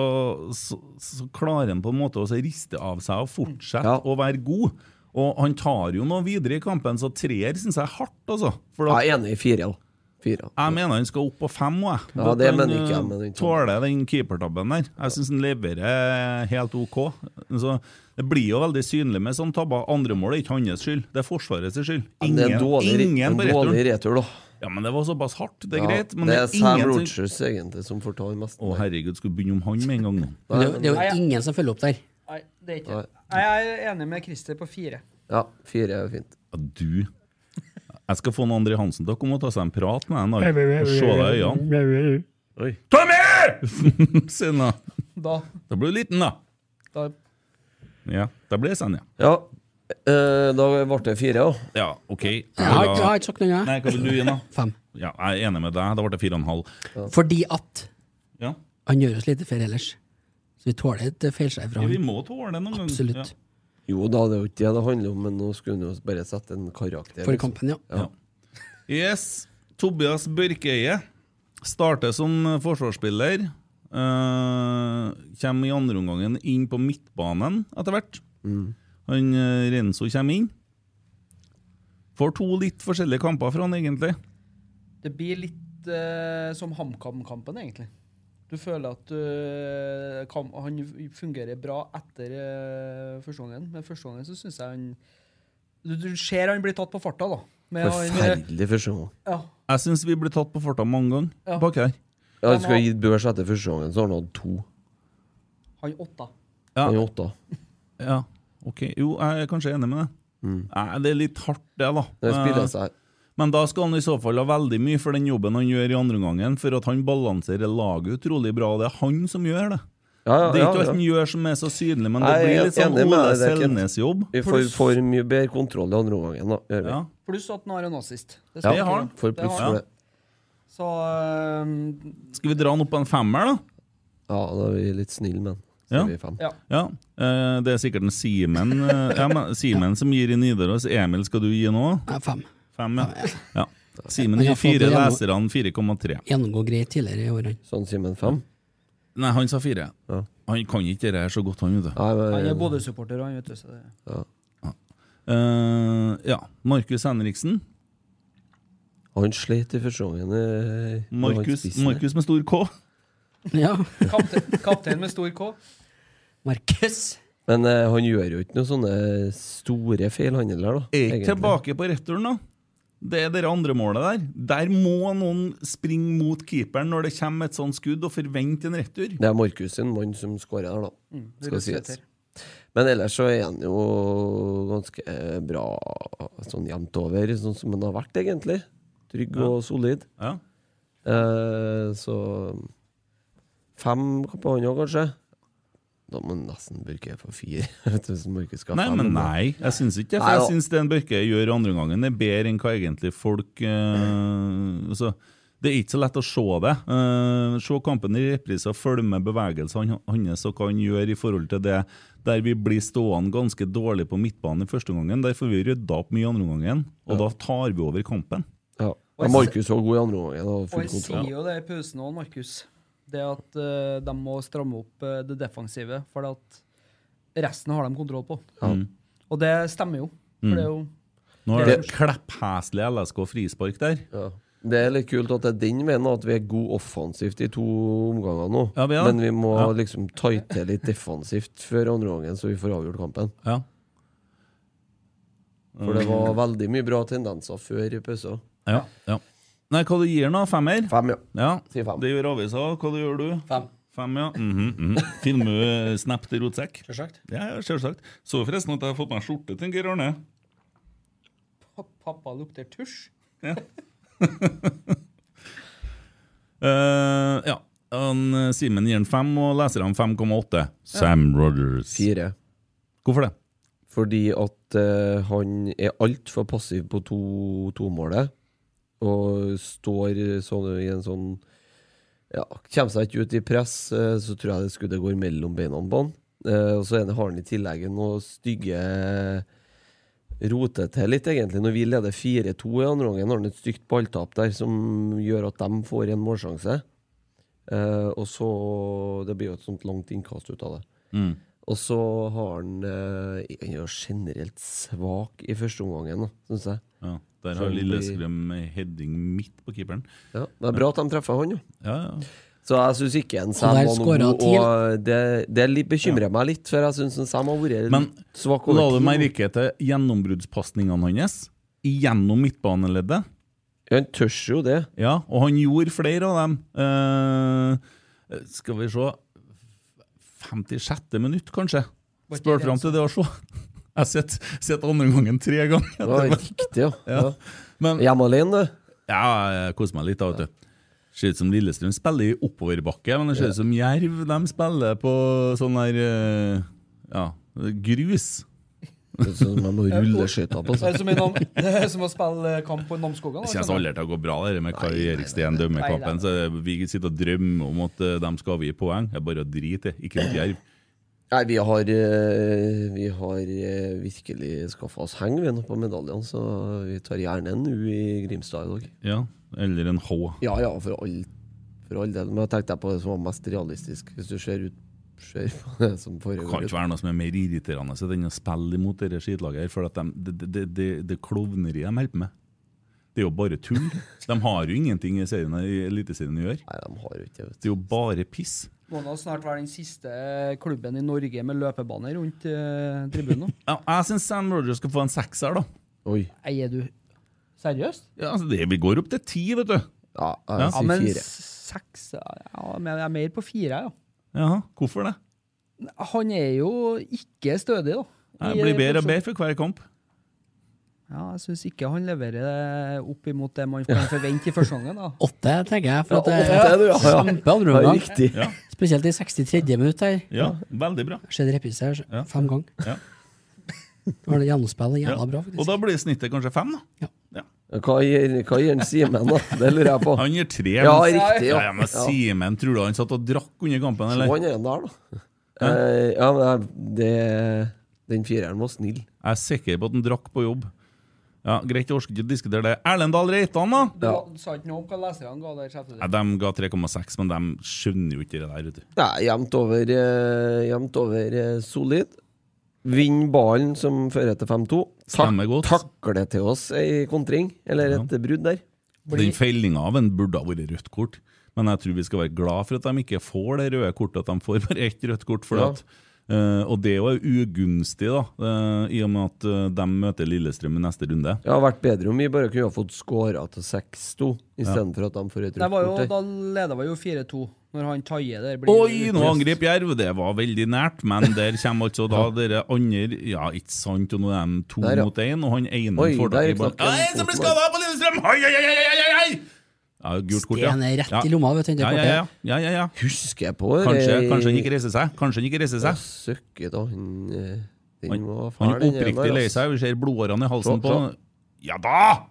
[SPEAKER 3] så, så klarer han på en måte å så riste av seg og fortsette
[SPEAKER 6] Ja.
[SPEAKER 3] å være god. Og han tar jo noe videre i kampen, så treer syns jeg er hardt, altså. For at,
[SPEAKER 6] Jeg er enig i fire, ja. Fire.
[SPEAKER 3] Jeg mener han skal opp på fem òg, jeg.
[SPEAKER 6] Ja, det
[SPEAKER 3] At han,
[SPEAKER 6] mener ikke jeg,
[SPEAKER 3] eh,
[SPEAKER 6] men den-
[SPEAKER 3] Tåler den keepertabben der. Jeg syns han leverer eh, helt OK. Så det blir jo veldig synlig med sånn sånne tabber. Andremålet er ikke hans skyld, det er Forsvarets skyld.
[SPEAKER 6] Men det er en dårlig,
[SPEAKER 3] ingen
[SPEAKER 6] en
[SPEAKER 3] på
[SPEAKER 6] dårlig
[SPEAKER 3] returen.
[SPEAKER 6] retur, da.
[SPEAKER 3] Ja, men det var såpass hardt, det er
[SPEAKER 6] Ja,
[SPEAKER 3] greit. Men
[SPEAKER 6] det er Sam
[SPEAKER 3] ingen som-
[SPEAKER 6] Rogers egentlig som får ta i mest.
[SPEAKER 3] Å herregud, skulle begynne om han med en gang nå.
[SPEAKER 8] Men Det, det er jo ingen som følger opp der.
[SPEAKER 2] Nei, det er ikke Nei, Jeg er enig med Christer på fire.
[SPEAKER 6] Ja, fire er fint.
[SPEAKER 3] Ja, du Jeg skal få en André Hansen til å komme og ta seg en prat med deg en dag. Og se deg i øynene. Oi. Tommy! Sinna.
[SPEAKER 2] Da,
[SPEAKER 3] Da blir du liten, da.
[SPEAKER 2] da
[SPEAKER 3] Ja, Da blir det Senja.
[SPEAKER 6] Ja. eh, da ble det fire, ja.
[SPEAKER 3] Ja, OK.
[SPEAKER 8] Jeg har ikke- jeg har ikke sagt noe, jeg.
[SPEAKER 3] Nei, hva vil du gi, da?
[SPEAKER 8] Fem.
[SPEAKER 3] Ja, jeg er enig med deg. Da ble det fire og en halv.
[SPEAKER 8] Fordi at
[SPEAKER 3] Ja.
[SPEAKER 8] han gjør oss lite feil ellers. Så vi tåler et feilskjær fra
[SPEAKER 3] Ja,
[SPEAKER 8] han.
[SPEAKER 3] vi må tåle det noen ganger.
[SPEAKER 8] Absolutt.
[SPEAKER 3] Ja.
[SPEAKER 6] Jo da, det er jo ikke det det handler om, men nå skulle hun jo bare sette en karakter.
[SPEAKER 8] For
[SPEAKER 6] liksom.
[SPEAKER 8] kampen, ja.
[SPEAKER 6] ja.
[SPEAKER 3] Yes. Tobias Børkeie starter som forsvarsspiller. eh, kommer i andre omgangen inn på midtbanen etter hvert.
[SPEAKER 6] Mm.
[SPEAKER 3] Han eh, Renzo kommer inn. Får to litt forskjellige kamper fra han, egentlig.
[SPEAKER 2] Det blir litt eh, som HamKam-kampen, egentlig. Du føler at eh, kam, han fungerer bra etter eh, første gangen, men første gangen så syns jeg han du, du ser han blir tatt på farta, da. Men han-
[SPEAKER 6] Forferdelig første gang.
[SPEAKER 2] Ja.
[SPEAKER 3] Jeg syns vi blir tatt på farta mange ganger
[SPEAKER 2] Ja.
[SPEAKER 3] bak her.
[SPEAKER 6] Ja, du skulle ha gitt børs etter første gangen, så har han hatt to.
[SPEAKER 2] Han åtta.
[SPEAKER 3] Ja.
[SPEAKER 6] Han er åtta.
[SPEAKER 3] Ja, ok. Jo, jeg er kanskje enig med det. Nei, det er litt hardt, det, da.
[SPEAKER 6] Mm. Det altså. spiller
[SPEAKER 3] Eh,
[SPEAKER 6] seg.
[SPEAKER 3] Men da skal han i så fall ha veldig mye for den jobben han gjør i andre omgangen, for at han balanserer laget utrolig bra. og Det er han som gjør det.
[SPEAKER 6] Ja, ja,
[SPEAKER 3] det er ikke
[SPEAKER 6] ja,
[SPEAKER 3] alt
[SPEAKER 6] ja.
[SPEAKER 3] han gjør som er så synlig, men det
[SPEAKER 6] Nei, jeg
[SPEAKER 3] blir
[SPEAKER 6] er
[SPEAKER 3] litt sånn
[SPEAKER 6] enig med
[SPEAKER 3] Ole
[SPEAKER 6] deg, det er ikke-
[SPEAKER 3] Selnes-jobb.
[SPEAKER 6] Vi får for mye bedre kontroll i andre omgangen, da. Gjør vi.
[SPEAKER 3] Ja.
[SPEAKER 2] Pluss at han har en assist.
[SPEAKER 6] Ja,
[SPEAKER 2] vi ikke
[SPEAKER 6] har han.
[SPEAKER 2] glemme.
[SPEAKER 6] For
[SPEAKER 2] Det har
[SPEAKER 6] pluss
[SPEAKER 2] han.
[SPEAKER 6] for det.
[SPEAKER 2] Så eh,
[SPEAKER 3] Skal vi dra han opp på en femmer, da?
[SPEAKER 6] Ja, da er vi litt snille, men så
[SPEAKER 3] Ja.
[SPEAKER 6] er vi fem.
[SPEAKER 2] Ja.
[SPEAKER 3] Eh, det er sikkert en Simen eh, ja, men Simen som gir i Nidaros. Emil, skal du gi nå?
[SPEAKER 8] Ja, fem.
[SPEAKER 3] Fem, ja. ja. Simen
[SPEAKER 8] Men jeg
[SPEAKER 3] gir
[SPEAKER 8] har fått
[SPEAKER 3] fire,
[SPEAKER 8] det gjennom-
[SPEAKER 3] leserne 4,3.
[SPEAKER 8] Gjennomgå greit tidligere i år, han.
[SPEAKER 6] Sånn Simen fem?
[SPEAKER 3] Nei, han sa fire. Han kan ikke det her så godt, han, vet du.
[SPEAKER 2] Han er både supporter og han, vet du. Så det,
[SPEAKER 3] Eh, ja. Markus Henriksen.
[SPEAKER 6] Han slet i første gangen. eh, når han
[SPEAKER 3] Markus
[SPEAKER 6] spissen
[SPEAKER 3] Markus med stor K.
[SPEAKER 8] Ja.
[SPEAKER 2] Kaptein, kaptein med stor K.
[SPEAKER 8] Markus.
[SPEAKER 6] Men eh, han gjør jo ikke noen sånne store feil, han heller, da.
[SPEAKER 3] Er ikke
[SPEAKER 6] egentlig.
[SPEAKER 3] tilbake på returen, da. Det er det andre målet der. Der må noen springe mot keeperen når det kommer et sånt skudd, og forvente en retur.
[SPEAKER 6] Det er Markus sin mann som skårer der, da.
[SPEAKER 3] Mm, det
[SPEAKER 6] skal
[SPEAKER 3] er rett
[SPEAKER 6] sies.
[SPEAKER 3] etter.
[SPEAKER 6] Men ellers så er han jo ganske eh, bra sånn jevnt over, sånn som han har vært, egentlig. Trygg
[SPEAKER 3] Ja.
[SPEAKER 6] og solid.
[SPEAKER 3] Ja.
[SPEAKER 6] Eh, så Fem kamper han òg, kanskje. Da må han nesten Børke få fire. Hvis Markus skal ha
[SPEAKER 3] Nei,
[SPEAKER 6] fem,
[SPEAKER 3] men
[SPEAKER 6] da.
[SPEAKER 3] nei, jeg syns ikke det.
[SPEAKER 6] Nei
[SPEAKER 3] For
[SPEAKER 6] da.
[SPEAKER 3] jeg syns Sten Børke gjør andre gangen. Det er bedre enn hva egentlig folk eh, altså, Det er ikke så lett å se det. Eh, se kampen i reprise og følge med bevegelsene hans og hva han gjør i forhold til det der vi blir stående ganske dårlig på midtbanen i første omgangen. Der får vi rydda opp mye i andre omgangen, og da tar vi over kampen.
[SPEAKER 6] Ja.
[SPEAKER 2] jeg
[SPEAKER 6] Ja, Markus var god i andre omgang. og
[SPEAKER 2] Og
[SPEAKER 6] Full
[SPEAKER 2] jeg sier
[SPEAKER 6] kontroll.
[SPEAKER 2] jo det i pausen òg, Markus. Det at eh, de må stramme opp eh, det defensive, for at resten har de kontroll på.
[SPEAKER 6] Ja. Mm.
[SPEAKER 2] Og det stemmer jo. For
[SPEAKER 3] Mm.
[SPEAKER 2] det er jo
[SPEAKER 3] Nå er
[SPEAKER 2] det
[SPEAKER 3] det kleppheslig LSK frispark der.
[SPEAKER 6] Ja. Det er litt kult at det er den veien at vi er gode offensivt i to omganger nå.
[SPEAKER 3] Ja, vi er det.
[SPEAKER 6] Men vi må
[SPEAKER 3] Ja.
[SPEAKER 6] liksom tighte litt defensivt før andre gangen, så vi får avgjort kampen.
[SPEAKER 3] Ja.
[SPEAKER 6] For det var veldig mye bra tendenser før i pausen.
[SPEAKER 3] Ja, ja. Nei, hva du gir nå? Femmer?
[SPEAKER 6] Fem, ja. fem.
[SPEAKER 3] Det gjør avisa. Hva du gjør du?
[SPEAKER 8] Fem.
[SPEAKER 3] Fem, ja. Mhm, mhm. Filmer du eh, snap til rotsekk?
[SPEAKER 8] Selvsagt.
[SPEAKER 3] Ja, ja, selvsagt. Så forresten at jeg har fått meg skjorte til Geir Arne.
[SPEAKER 2] pa- Pappa lukter tusj.
[SPEAKER 3] Eh, ja. Han, eh, Simen gir den fem, og leserne 5,8. Sam Rogers.
[SPEAKER 6] Fire.
[SPEAKER 3] Hvorfor det?
[SPEAKER 6] Fordi at eh, han er altfor passiv på to, tomålet. Og står sånn i en sånn Ja, kommer seg ikke ut i press, eh, så tror jeg det skuddet går mellom beina på han. Eh, og så er det- har han i tillegg noe stygge Roter til litt, egentlig. Når vi leder 4-2 i andre omgang, har han et stygt balltap der som gjør at de får en målsjanse. Eh, og så Det blir jo et sånt langt innkast ut av det.
[SPEAKER 3] Mm.
[SPEAKER 6] Og så har han eh, Han er jo generelt svak i første omgangen, syns jeg.
[SPEAKER 3] Ja, der
[SPEAKER 6] Så
[SPEAKER 3] har
[SPEAKER 6] han blir-
[SPEAKER 3] Lillestrøm heading midt på keeperen.
[SPEAKER 6] Ja, det er bra at de treffer han, jo.
[SPEAKER 3] Ja, ja.
[SPEAKER 6] Så jeg syns ikke en
[SPEAKER 8] Og
[SPEAKER 6] Sam
[SPEAKER 8] der
[SPEAKER 6] var noe
[SPEAKER 8] skåret
[SPEAKER 6] god, og det, det litt- bekymrer meg litt, for jeg syns Sam har vært
[SPEAKER 3] Men
[SPEAKER 6] litt svak
[SPEAKER 3] La
[SPEAKER 6] over
[SPEAKER 3] du
[SPEAKER 6] tid.
[SPEAKER 3] merke til gjennombruddspasningene hans gjennom midtbaneleddet?
[SPEAKER 6] Han tør jo det.
[SPEAKER 3] Ja, og han gjorde flere av dem. Eh, skal vi se 56. minutt, kanskje?
[SPEAKER 2] Var ikke
[SPEAKER 3] Spør
[SPEAKER 2] det
[SPEAKER 3] fram til det å se. Jeg har sett, sett andre gangen tre ganger.
[SPEAKER 6] Det var helt riktig, ja.
[SPEAKER 3] Ja.
[SPEAKER 6] ja.
[SPEAKER 3] Men,
[SPEAKER 6] Hjemme alene, du.
[SPEAKER 3] ja, jeg koser meg litt, da. vet du. Ser ut som Lillestrøm spiller i oppoverbakke, men det ser ut som Jerv de spiller på sånn der eh, Ja, Grus.
[SPEAKER 6] Det er sånn man må rulle altså. skøyta på.
[SPEAKER 2] Det er som, i Nam- det er som å spille eh, kamp på Namsskogan.
[SPEAKER 3] Det
[SPEAKER 2] da,
[SPEAKER 3] kommer aldri til å gå bra, det med Kari Eriksten
[SPEAKER 2] Nei, nei,
[SPEAKER 3] dømmekampen. Så vi sitter og drømmer om at eh, de skal avgi poeng. Det er bare å drite i. Ikke mot Jerv.
[SPEAKER 6] Nei, vi har, eh, vi har eh, virkelig skaffa oss heng vi nå på medaljene, så vi tar gjerne en U i Grimstad i dag.
[SPEAKER 3] Ja, eller en H.
[SPEAKER 6] Ja, ja, for all, for all del. Men jeg tenkte på det som var mest realistisk, hvis du ser, ut, ser på det som
[SPEAKER 3] Det kan
[SPEAKER 6] foregår.
[SPEAKER 3] ikke være noe som er mer irriterende enn å spille imot dette skitlaget her, for at de, det, det, det, det, det klovneriet de holder på med. Det er jo bare tull. De har jo ingenting i, serien, i Eliteserien å gjøre.
[SPEAKER 6] Nei, de har jo ikke det.
[SPEAKER 3] Det er jo bare piss.
[SPEAKER 2] Må da snart være den siste eh, klubben i Norge med løpebane rundt eh, tribunen. nå.
[SPEAKER 3] Ja, jeg syns Sam Rogers skal få en sekser, da.
[SPEAKER 2] Nei, er du seriøst?
[SPEAKER 3] Ja, altså det, Vi går opp til ti, vet du.
[SPEAKER 6] Ja,
[SPEAKER 2] Ja, men seks ja, men Jeg er mer på fire, ja.
[SPEAKER 3] Jaha, hvorfor det?
[SPEAKER 2] Han er jo ikke stødig, da.
[SPEAKER 3] Nei,
[SPEAKER 2] I-
[SPEAKER 3] Det blir bedre og bedre for hver kamp.
[SPEAKER 2] Ja, jeg syns ikke han leverer eh, opp imot det man kan forvente i første gangen. da.
[SPEAKER 8] Åtte, tenker jeg. For at det
[SPEAKER 2] Ja, åtte er
[SPEAKER 8] er
[SPEAKER 2] det, ja.
[SPEAKER 8] kjempe andre
[SPEAKER 2] Ja,
[SPEAKER 8] omgang.
[SPEAKER 2] riktig. Ja.
[SPEAKER 8] Spesielt i 63. minutt her.
[SPEAKER 3] Ja, veldig bra.
[SPEAKER 8] Skjedde reprise her fem ganger.
[SPEAKER 3] Ja.
[SPEAKER 8] Det var det gjennomspillet jævla bra. faktisk.
[SPEAKER 3] Og da blir snittet kanskje fem, da.
[SPEAKER 6] Hva gir, hva gir en Simen, da? Det lurer jeg på.
[SPEAKER 3] Han gir tre.
[SPEAKER 6] Ja,
[SPEAKER 3] men-
[SPEAKER 6] riktig. Ja.
[SPEAKER 3] Ja, men Simen, tror du han satt og drakk under kampen,
[SPEAKER 6] Så
[SPEAKER 3] eller?
[SPEAKER 6] han er en der, da. Eh, ja, men jeg- det, den fireren var snill.
[SPEAKER 3] Jeg er sikker på at han drakk på jobb. Ja, Greit, jeg orker ikke å diskutere det. Erlendal Reitan,
[SPEAKER 2] Du
[SPEAKER 3] da?
[SPEAKER 2] sa ikke noe om hva leserne ga der, sjefet
[SPEAKER 3] Nei,
[SPEAKER 2] ditt.
[SPEAKER 3] De ga 3,6, men de skjønner jo ikke det der, vet du.
[SPEAKER 6] Nei, jevnt over, eh, jevnt over eh, solid. Vinn ballen som fører til 5-2. Tak Takle til oss ei kontring, eller et brudd der.
[SPEAKER 3] Den feilinga av en burde ha vært rødt kort, men jeg tror vi skal være glad for at de ikke får det røde kortet, at de får bare ett rødt kort. For
[SPEAKER 6] Ja.
[SPEAKER 3] at, eh, og det er jo ugunstig, da, eh, i og med at eh, de møter Lillestrøm i neste runde.
[SPEAKER 6] Det hadde vært bedre om vi bare kunne ha fått skåra til 6-2, istedenfor at de får et
[SPEAKER 2] Det
[SPEAKER 6] rødt
[SPEAKER 2] var jo,
[SPEAKER 6] kort der.
[SPEAKER 2] da leda vi jo 4-2, når han Taie der blir
[SPEAKER 3] Oi, nå angrep Jerv! Det var veldig nært, men der kommer altså da dere andre Ja, ikke sant, og nå er de to
[SPEAKER 6] Der, ja.
[SPEAKER 3] mot én, og han ene
[SPEAKER 6] Oi,
[SPEAKER 3] får
[SPEAKER 6] der
[SPEAKER 3] tak i
[SPEAKER 6] knakk
[SPEAKER 3] ballen.
[SPEAKER 6] jeg
[SPEAKER 3] Ei, som blir
[SPEAKER 6] foten.
[SPEAKER 3] skada på Lillestrøm! Oi, oi, oi, oi, oi, oi! Ja, gult kort, ja.
[SPEAKER 8] Sten er rett
[SPEAKER 3] Ja.
[SPEAKER 8] i lomma, vet du, det
[SPEAKER 3] Ja, ja,
[SPEAKER 8] kortet.
[SPEAKER 3] ja. ja, ja, ja.
[SPEAKER 6] Husker jeg på
[SPEAKER 3] Kanskje,
[SPEAKER 6] eh,
[SPEAKER 3] kanskje han ikke reiser seg. Kanskje han ikke reiser seg.
[SPEAKER 6] Søkke, da. Han, eh, den var
[SPEAKER 3] Han
[SPEAKER 6] fæl,
[SPEAKER 3] er
[SPEAKER 6] den der, altså.
[SPEAKER 3] oppriktig
[SPEAKER 6] ass.
[SPEAKER 3] lei seg. Vi ser blodårene i halsen
[SPEAKER 6] Klart,
[SPEAKER 3] på
[SPEAKER 6] klart.
[SPEAKER 3] Ja da!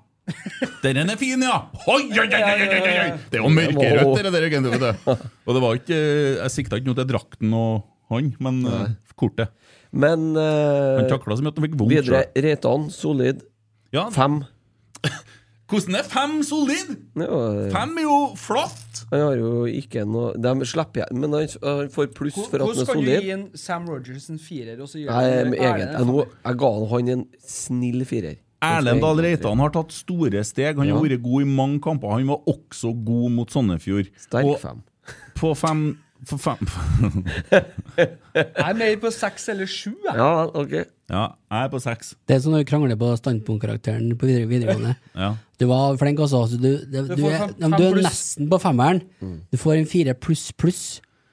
[SPEAKER 3] Den er fin, ja! Oi, oi, oi, oi, oi, oi, oi! Det er jo mørkerødt, det der. Gunnar, vet du. Og det var ikke eh, Jeg sikta ikke noe til drakten og han, men eh, kortet.
[SPEAKER 6] Men eh,
[SPEAKER 3] Han takla så mye at han fikk vondt
[SPEAKER 6] Videre,
[SPEAKER 3] selv.
[SPEAKER 6] Reitan, solid. Fem.
[SPEAKER 3] Hvordan er fem solid?
[SPEAKER 6] Ja, eh,
[SPEAKER 3] Fem er jo flott!
[SPEAKER 6] Han har jo ikke noe De slipper jeg, men han, han får pluss for at han
[SPEAKER 2] Hvordan
[SPEAKER 6] er
[SPEAKER 2] kan du gi
[SPEAKER 6] solid.
[SPEAKER 2] en Sam Rogers en firer, og så gjør
[SPEAKER 6] Nei,
[SPEAKER 2] han
[SPEAKER 6] men
[SPEAKER 2] Erlend
[SPEAKER 6] egentlig,
[SPEAKER 2] en
[SPEAKER 6] jeg, nå, jeg ga han en snill firer.
[SPEAKER 3] Erlend Dahl Reitan har tatt store steg. Han
[SPEAKER 6] Ja.
[SPEAKER 3] har vært god i mange kamper. Han var også god mot Sandefjord.
[SPEAKER 6] Sterk
[SPEAKER 3] Og
[SPEAKER 6] fem.
[SPEAKER 3] På fem På fem
[SPEAKER 2] Jeg er mer på seks eller sju. jeg.
[SPEAKER 6] Ja, ok.
[SPEAKER 3] Ja, jeg er på seks.
[SPEAKER 8] Det er sånn når du krangler på standpunktkarakteren på videre- videregående.
[SPEAKER 3] Ja.
[SPEAKER 8] Du var flink, altså. altså, Du, det-
[SPEAKER 2] Du
[SPEAKER 8] du,
[SPEAKER 2] får
[SPEAKER 8] er,
[SPEAKER 2] fem-
[SPEAKER 8] ja, men
[SPEAKER 2] fem
[SPEAKER 8] du er
[SPEAKER 2] pluss.
[SPEAKER 8] nesten på femmeren.
[SPEAKER 2] Mm.
[SPEAKER 8] Du får en fire pluss pluss.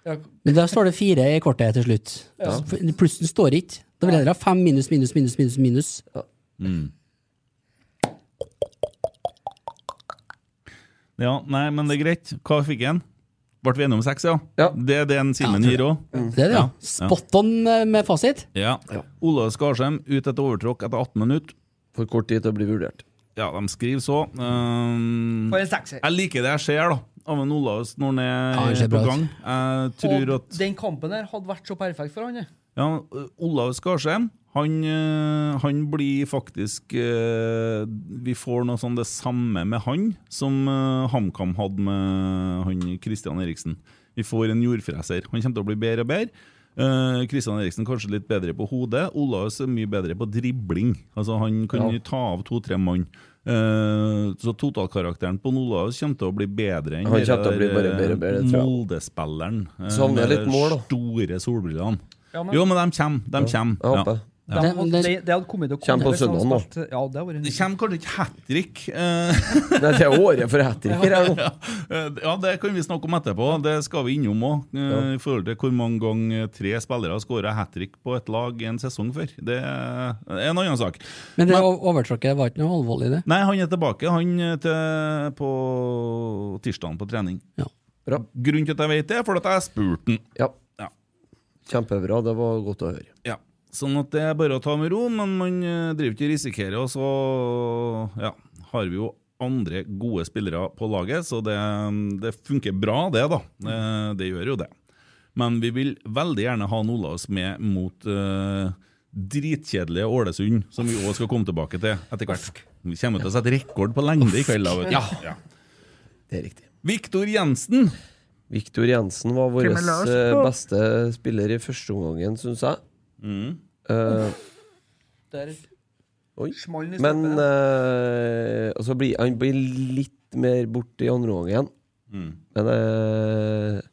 [SPEAKER 2] Ja.
[SPEAKER 8] Men da står det fire i kortet til slutt.
[SPEAKER 2] Ja.
[SPEAKER 8] Så f- Plussen står ikke. Da vil jeg heller ha fem minus, minus, minus, minus. minus.
[SPEAKER 3] Ja, nei, men det er greit. Hva fikk han? Ble vi enige om seks, ja? Det er det en Simen gir òg?
[SPEAKER 8] Det er det, ja. Spot on eh, med fasit.
[SPEAKER 3] Ja. ja. Olav Skarsheim ut etter overtråkk etter 18 minutter.
[SPEAKER 6] For kort tid til å bli vurdert.
[SPEAKER 3] Ja, de skriver så. Ehm,
[SPEAKER 2] For en sekser.
[SPEAKER 3] jeg liker det jeg ser da av en Olav når han
[SPEAKER 8] Ja, han
[SPEAKER 3] er
[SPEAKER 8] ser
[SPEAKER 3] på
[SPEAKER 8] bra ut.
[SPEAKER 3] gang. Jeg tror
[SPEAKER 2] Og
[SPEAKER 3] at
[SPEAKER 2] den kampen der hadde vært så perfekt for han. jeg.
[SPEAKER 3] ja, Olav Skarsheim han, eh, han blir faktisk eh, Vi får noe sånn det samme med han som eh, HamKam hadde med han Christian Eriksen. Vi får en jordfreser. Han kommer til å bli bedre og bedre. Eh, Christian Eriksen kanskje litt bedre på hodet. Olaus er mye bedre på dribling. Altså Han kan
[SPEAKER 6] Ja.
[SPEAKER 3] ta av to-tre mann. Eh, så totalkarakteren på Olaus kommer til å bli bedre enn
[SPEAKER 6] Han
[SPEAKER 3] det
[SPEAKER 6] kommer til å bli
[SPEAKER 3] der,
[SPEAKER 6] bare bedre og bedre,
[SPEAKER 3] eh,
[SPEAKER 6] tror jeg.
[SPEAKER 3] Molde-spilleren. eh, med
[SPEAKER 6] Savner litt mål, da.
[SPEAKER 3] Store solbrillene.
[SPEAKER 2] Ja, men-
[SPEAKER 3] Jo, men de kommer. De kommer.
[SPEAKER 6] jeg håper.
[SPEAKER 3] Ja.
[SPEAKER 2] De hadde- det, det hadde kommet til å
[SPEAKER 6] Kjem på
[SPEAKER 2] hvis de hadde
[SPEAKER 6] søndagen nå.
[SPEAKER 2] spilt- Ja, det hadde vært en
[SPEAKER 3] Det kommer kanskje ikke eh, hat trick.
[SPEAKER 6] Nei, det er året for hat-tricker her nå.
[SPEAKER 3] ja, det kan vi snakke om etterpå. Det skal vi innom òg. I forhold til hvor mange ganger tre spillere har skåra hat trick på et lag en sesong før. Det er en annen sak.
[SPEAKER 8] Men det o- overtråkket var ikke noe alvorlig, det.
[SPEAKER 3] Nei, han er tilbake han er til, på tirsdagen på trening. Grunnen til at jeg vet det, er fordi at jeg spurte han.
[SPEAKER 6] Kjempebra, det var godt å høre.
[SPEAKER 3] Ja. Sånn at det er bare å ta med ro, men man eh, driver ikke og risikerer. Og så ja, har vi jo andre gode spillere på laget, så det, det funker bra, det, da. Eh, Det gjør jo det. Men vi vil veldig gjerne ha en Olaus med mot eh, dritkjedelige Ålesund, som vi òg skal komme tilbake til etter hvert. Vi kommer til å sette rekord på lengde i kveld. da, vet du.
[SPEAKER 6] Ja. Det er riktig.
[SPEAKER 3] Viktor Jensen.
[SPEAKER 6] Viktor Jensen var vår
[SPEAKER 3] Kim Larsen.
[SPEAKER 6] eh, beste spiller i første omgangen, syns jeg.
[SPEAKER 3] Mm.
[SPEAKER 6] Eh,
[SPEAKER 2] Der.
[SPEAKER 6] Oi.
[SPEAKER 2] Smallen i
[SPEAKER 6] Men
[SPEAKER 2] stolpen,
[SPEAKER 6] eh, altså blir, han blir litt mer borte i andre omgang.
[SPEAKER 3] Mm.
[SPEAKER 6] Men jeg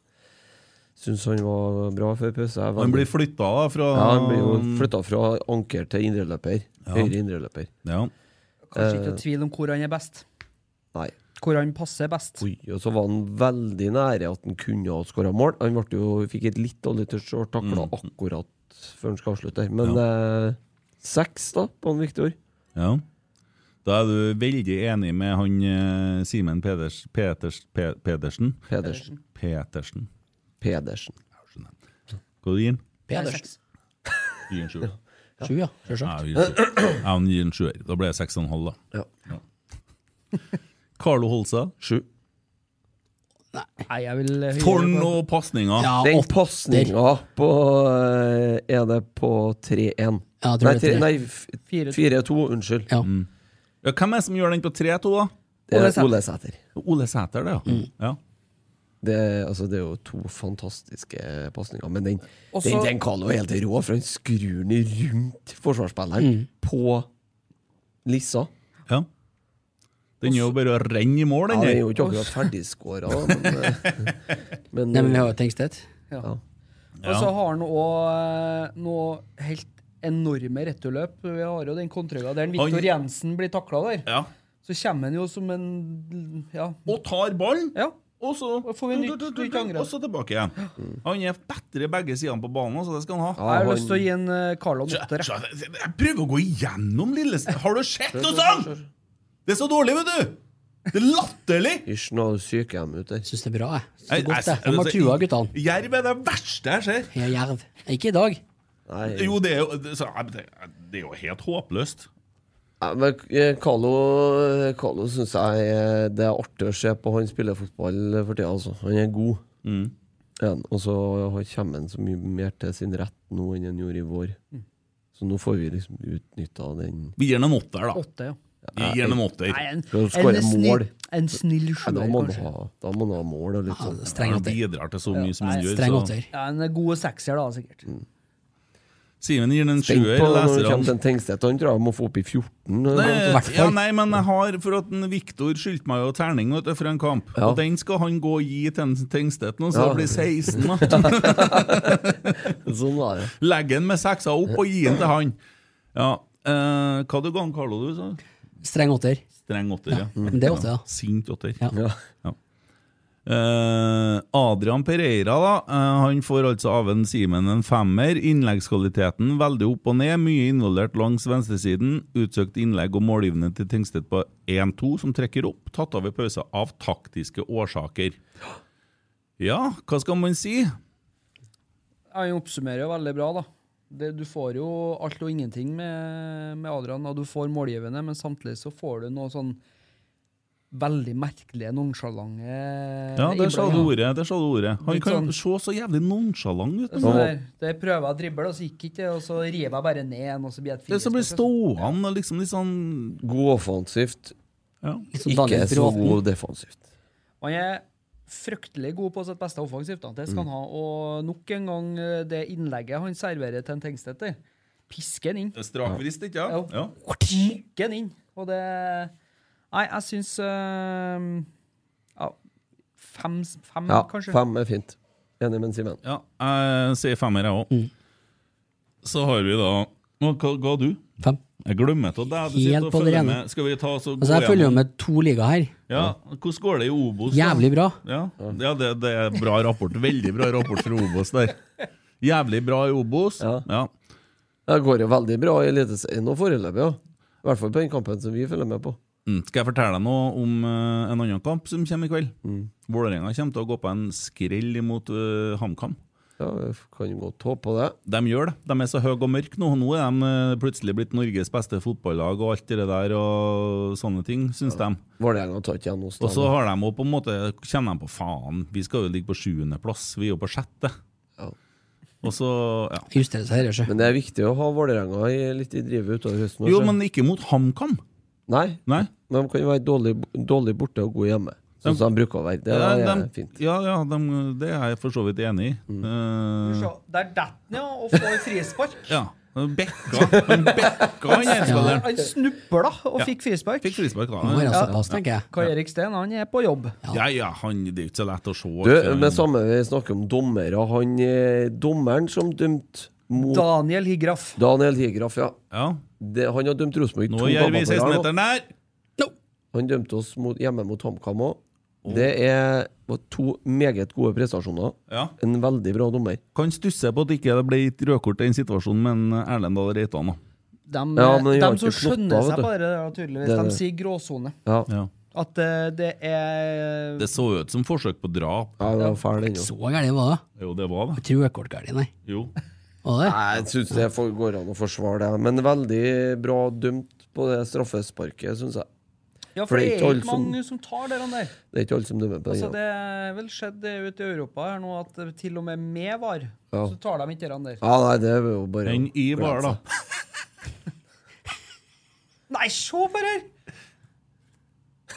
[SPEAKER 6] syns han var bra før pause. Jeg er
[SPEAKER 3] Han
[SPEAKER 6] veldig-
[SPEAKER 3] blir flytta fra-
[SPEAKER 6] Ja, han blir jo flytta fra anker til indreløper.
[SPEAKER 3] Ja.
[SPEAKER 6] Høyre indreløper.
[SPEAKER 2] Kanskje ikke
[SPEAKER 6] Eh,
[SPEAKER 2] noe tvil om hvor han er best.
[SPEAKER 6] Nei.
[SPEAKER 2] Hvor han passer best.
[SPEAKER 6] Oi, og så var han veldig nære at han kunne ha skåra mål. Han ble jo, fikk et litt dårlig touch
[SPEAKER 3] Mm.
[SPEAKER 6] og takla akkurat før han skal avslutte. her. Men eh, seks, da, på han Viktor.
[SPEAKER 3] Ja. Da er du veldig enig med han eh, Simen Peders, Peters, Pe, Pedersen.
[SPEAKER 6] Pedersen.
[SPEAKER 3] Petersen.
[SPEAKER 6] Pedersen.
[SPEAKER 3] Hva gir han?
[SPEAKER 5] Pedersen.
[SPEAKER 3] Gir han sju?
[SPEAKER 5] Sju, ja.
[SPEAKER 3] Ja,
[SPEAKER 5] Selvsagt.
[SPEAKER 3] vi gir sju. Ja, han gir en sjuer. Da ble det seks og en halv, da. Carlo Holsa.
[SPEAKER 6] Sju.
[SPEAKER 2] Nei, jeg vil høyere
[SPEAKER 3] Torn
[SPEAKER 2] på-
[SPEAKER 3] og pasninger.
[SPEAKER 6] Den pasninga på eh, Er det på 3-1?
[SPEAKER 3] Ja, jeg tror det
[SPEAKER 6] nei,
[SPEAKER 3] er
[SPEAKER 6] tre-
[SPEAKER 3] tre.
[SPEAKER 6] nei, f- 4-2. Unnskyld.
[SPEAKER 3] Mm. Ja, hvem er det som gjør den på 3-2, da?
[SPEAKER 6] Det er Ole Sæter. Ole Sæter.
[SPEAKER 3] Ole Sæter, det, ja. ja.
[SPEAKER 6] Det, altså, det er jo to fantastiske pasninger, men den,
[SPEAKER 5] Også-
[SPEAKER 6] den, den Carlo er helt rå, for han skrur den rundt forsvarsspilleren
[SPEAKER 3] Mm.
[SPEAKER 6] på lissa.
[SPEAKER 3] Ja. Den er jo bare å renne i mål,
[SPEAKER 6] Ja,
[SPEAKER 3] den
[SPEAKER 6] den
[SPEAKER 3] her.
[SPEAKER 6] er jo ikke akkurat ferdigskåra, men, eh, men
[SPEAKER 8] Nei, men vi har jo Tengstedt.
[SPEAKER 2] Ja.
[SPEAKER 6] Ja.
[SPEAKER 2] Og så har han òg noe helt enorme returløp. Vi har jo den kontrøga der
[SPEAKER 3] Han-
[SPEAKER 2] Viktor Jensen blir takla der.
[SPEAKER 3] Ja.
[SPEAKER 2] Så kommer han jo som en ja.
[SPEAKER 3] Og tar ballen!
[SPEAKER 2] Ja.
[SPEAKER 3] Og så
[SPEAKER 2] får vi nytt, nytt
[SPEAKER 3] Og
[SPEAKER 2] angrep.
[SPEAKER 3] så tilbake igjen. Han er bedre begge sidene på banen, så det skal han ha.
[SPEAKER 2] Jeg har lyst til å gi en eh, Carlo en åtter. jeg.
[SPEAKER 3] Jeg prøver å gå igjennom Lillestrøm. Har du sett noe sånt?! Det er så dårlig, vet du! Det er latterlig!
[SPEAKER 6] Hysj, nå er det sykehjem ute her.
[SPEAKER 8] Syns det er bra, jeg. Synes det
[SPEAKER 3] Jeg-
[SPEAKER 8] er godt,
[SPEAKER 3] jeg-
[SPEAKER 8] jeg. De har
[SPEAKER 3] altså,
[SPEAKER 8] trua guttene.
[SPEAKER 3] Jerv er det verste jeg ser.
[SPEAKER 8] Ja, jerv. Ikke i dag.
[SPEAKER 3] Jo, det er jo, det, så, det er jo helt håpløst.
[SPEAKER 6] Ja, men eh, Carlo, Carlo syns jeg eh, det er artig å se på han spiller fotball for tida, altså. Han er god.
[SPEAKER 3] Mm.
[SPEAKER 6] Ja, og så har- kommer han så mye mer til sin rett nå enn han gjorde i vår. Så nå får vi liksom utnytta den
[SPEAKER 3] Mm. Vi gir ham en åtter, da.
[SPEAKER 2] Åtte, ja.
[SPEAKER 3] Vi gir ham en åtter.
[SPEAKER 2] Nei, en,
[SPEAKER 6] Skal skåre
[SPEAKER 2] en, snill,
[SPEAKER 6] mål.
[SPEAKER 2] en snill
[SPEAKER 6] Ja, da,
[SPEAKER 2] sjuer,
[SPEAKER 6] må han
[SPEAKER 2] kanskje.
[SPEAKER 6] ha, da må han ha mål og litt sånn.
[SPEAKER 8] streng
[SPEAKER 3] Han bidrar til så mye som han gjør.
[SPEAKER 8] streng
[SPEAKER 3] så-
[SPEAKER 8] åtter.
[SPEAKER 2] Ja, en god sekser, da, sikkert.
[SPEAKER 3] Simen gir den en
[SPEAKER 6] Tenk
[SPEAKER 3] sjuer.
[SPEAKER 6] på når det
[SPEAKER 3] leser han-
[SPEAKER 6] kommer til en Tengstedt, han tror jeg må få opp i 14.
[SPEAKER 3] Nei,
[SPEAKER 6] I hvert
[SPEAKER 3] ja,
[SPEAKER 6] fall.
[SPEAKER 3] nei, men jeg har For at en Viktor skyldte meg jo terning vet du, for en kamp.
[SPEAKER 6] Ja.
[SPEAKER 3] Og den skal han gå og gi til en Tengstedt nå, så
[SPEAKER 6] Ja.
[SPEAKER 3] det blir 16. da.
[SPEAKER 6] sånn var det.
[SPEAKER 3] Legg den med seksa opp og gi den til han. Ja, eh, Hva du ga han Carlo, du? sa?
[SPEAKER 8] Streng åtter.
[SPEAKER 3] Streng åtter, ja.
[SPEAKER 8] Ja, men det er åtter, ja.
[SPEAKER 3] Sint åtter.
[SPEAKER 6] Ja.
[SPEAKER 3] Ja. Eh, Adrian Pereira da eh, Han får altså av en Simen en femmer. Innleggskvaliteten veldig opp og ned. Mye involvert langs venstresiden. Utsøkt innlegg og målgivende til Tingstedt på 1-2, som trekker opp. Tatt av i pausen av taktiske årsaker. Ja, hva skal man si?
[SPEAKER 2] Ja, Han oppsummerer jo veldig bra, da. Det, du får jo alt og ingenting med, med Adrian, og du får målgivende, men samtidig så får du noe sånn veldig merkelige, nonsjalante
[SPEAKER 3] Ja, Der sa du
[SPEAKER 2] innblandinger.
[SPEAKER 3] ordet. Der sa du ordet. Han
[SPEAKER 2] Eh, Litt
[SPEAKER 3] kan
[SPEAKER 2] sånn-
[SPEAKER 3] se så jævlig nonsjalant ut. altså.
[SPEAKER 2] Sånn der, der prøver jeg å drible, og så gikk ikke, og så river jeg bare ned en, og så blir jeg et
[SPEAKER 3] Det som blir stående og liksom litt sånn
[SPEAKER 6] God offensivt.
[SPEAKER 3] Ja.
[SPEAKER 2] sånn
[SPEAKER 6] Ikke så god defensivt.
[SPEAKER 2] Og Han er fryktelig god på sitt beste offensivt. da. Det
[SPEAKER 6] Mm.
[SPEAKER 2] skal han ha. Og nok en gang eh, det innlegget han serverer til en Tengstedt der, pisker han inn.
[SPEAKER 3] Det er Strakvrist, ikke
[SPEAKER 2] Ja.
[SPEAKER 3] Ja.
[SPEAKER 2] Pisker han inn. Og det Nei, jeg syns eh, ja, Fem, fem
[SPEAKER 6] Ja,
[SPEAKER 2] kanskje?
[SPEAKER 6] fem er fint. Enig med Simen.
[SPEAKER 3] Ja, jeg sier femmer, jeg òg.
[SPEAKER 8] Mm.
[SPEAKER 3] Så har vi da Hva hva ga du?
[SPEAKER 8] Fem.
[SPEAKER 3] Jeg glemmer til deg. Du
[SPEAKER 8] Helt
[SPEAKER 3] sitter og
[SPEAKER 8] på det
[SPEAKER 3] følger
[SPEAKER 8] rene.
[SPEAKER 3] med. Skal vi ta oss og
[SPEAKER 8] Altså, jeg følger jo
[SPEAKER 3] gjennom-
[SPEAKER 8] med to ligaer her.
[SPEAKER 3] Ja, Hvordan går det i Obos? da?
[SPEAKER 8] Jævlig bra.
[SPEAKER 3] Ja, ja det, det er bra rapport. Veldig bra rapport fra Obos der. Jævlig bra i Obos. Ja.
[SPEAKER 6] Det går jo veldig bra i Eliteserien nå foreløpig, ja. I hvert fall på den kampen som vi følger med på.
[SPEAKER 3] Mm. Skal jeg fortelle deg noe om eh,
[SPEAKER 6] Mm.
[SPEAKER 3] en annen kamp som kommer i kveld? Vålerenga kommer til å gå på en skrell imot eh, HamKam.
[SPEAKER 6] Ja, vi kan jo godt håpe på det.
[SPEAKER 3] De gjør det. De er så høye og mørke nå. Nå er de eh, plutselig blitt Norges beste fotballag og alt det der og sånne ting, syns de.
[SPEAKER 6] Vålerenga tar ikke igjen oss. da.
[SPEAKER 3] Og så har de også på en måte Kjenner de på faen, vi skal jo ligge på sjuendeplass, vi er jo på sjette. Og så, ja.
[SPEAKER 6] Men det er viktig å ha Vålerenga i- litt i drivet utover høsten.
[SPEAKER 3] Jo,
[SPEAKER 6] også.
[SPEAKER 3] men ikke mot HamKam.
[SPEAKER 6] Nei. Men de kan jo være dårlig, dårlig borte og gode hjemme, sånn som de bruker å være. Det
[SPEAKER 3] Ja,
[SPEAKER 6] er
[SPEAKER 3] dem-
[SPEAKER 6] fint.
[SPEAKER 3] Ja, ja dem- det er jeg for så vidt enig i.
[SPEAKER 6] Mm.
[SPEAKER 3] Eh,
[SPEAKER 2] Der detter han, ja, og får frispark.
[SPEAKER 3] ja. Bekka. Han bekka, han elskeren.
[SPEAKER 2] Han snubla og
[SPEAKER 3] Ja.
[SPEAKER 2] fikk frispark.
[SPEAKER 3] Fikk frispark, da.
[SPEAKER 2] Kai Erik Steen han er på jobb.
[SPEAKER 3] Ja, ja, han, det er jo ikke så lett å se.
[SPEAKER 6] Du, med samme vi snakker om dommere, han eh, dommeren som dømte mot
[SPEAKER 2] Daniel Higraff.
[SPEAKER 6] Daniel Higraff, ja.
[SPEAKER 3] Ja.
[SPEAKER 6] Det, han har dømt Rosenborg
[SPEAKER 3] Nå
[SPEAKER 6] to
[SPEAKER 3] gjør vi
[SPEAKER 6] ganger på rad nå.
[SPEAKER 3] 16-meteren der!
[SPEAKER 6] Han dømte oss mot, hjemme mot HamKam òg. Det er, var to meget gode prestasjoner.
[SPEAKER 3] Ja.
[SPEAKER 6] En veldig bra dommer.
[SPEAKER 3] Kan stusse på at ikke det ble gitt rødkort i den situasjonen, men eh, Erlend Dahl Reitan, da.
[SPEAKER 2] De,
[SPEAKER 3] Ja, men vi har
[SPEAKER 2] de eh, som
[SPEAKER 3] ikke knotta,
[SPEAKER 2] skjønner
[SPEAKER 3] vet
[SPEAKER 2] seg
[SPEAKER 3] du.
[SPEAKER 2] på det, der, tydeligvis,
[SPEAKER 3] Det er
[SPEAKER 2] de
[SPEAKER 3] det.
[SPEAKER 2] sier gråsone.
[SPEAKER 6] Ja.
[SPEAKER 2] At eh, det er
[SPEAKER 3] Det så jo ut som forsøk på drap.
[SPEAKER 6] Ja, det var fæl, den, jo.
[SPEAKER 8] Så gærent var det.
[SPEAKER 3] Jo, det var det.
[SPEAKER 8] Ikke rødkortgærent, nei.
[SPEAKER 3] Jo.
[SPEAKER 8] Var det?
[SPEAKER 6] Nei, Jeg syns det får- går an å forsvare det, men veldig bra dømt på det straffesparket, syns jeg.
[SPEAKER 2] Ja, for det er
[SPEAKER 6] alle
[SPEAKER 2] ikke
[SPEAKER 6] som,
[SPEAKER 2] mange som tar det, den der.
[SPEAKER 6] det er ikke alle som dømmer på den.
[SPEAKER 2] Altså,
[SPEAKER 6] ja.
[SPEAKER 2] det er vel skjedd eh, ute i Europa her nå at eh, til og med med var,
[SPEAKER 6] Ja.
[SPEAKER 2] så tar de ikke den der.
[SPEAKER 6] Ja, nei, det er jo bare
[SPEAKER 3] Den i var, da.
[SPEAKER 2] Nei, se på det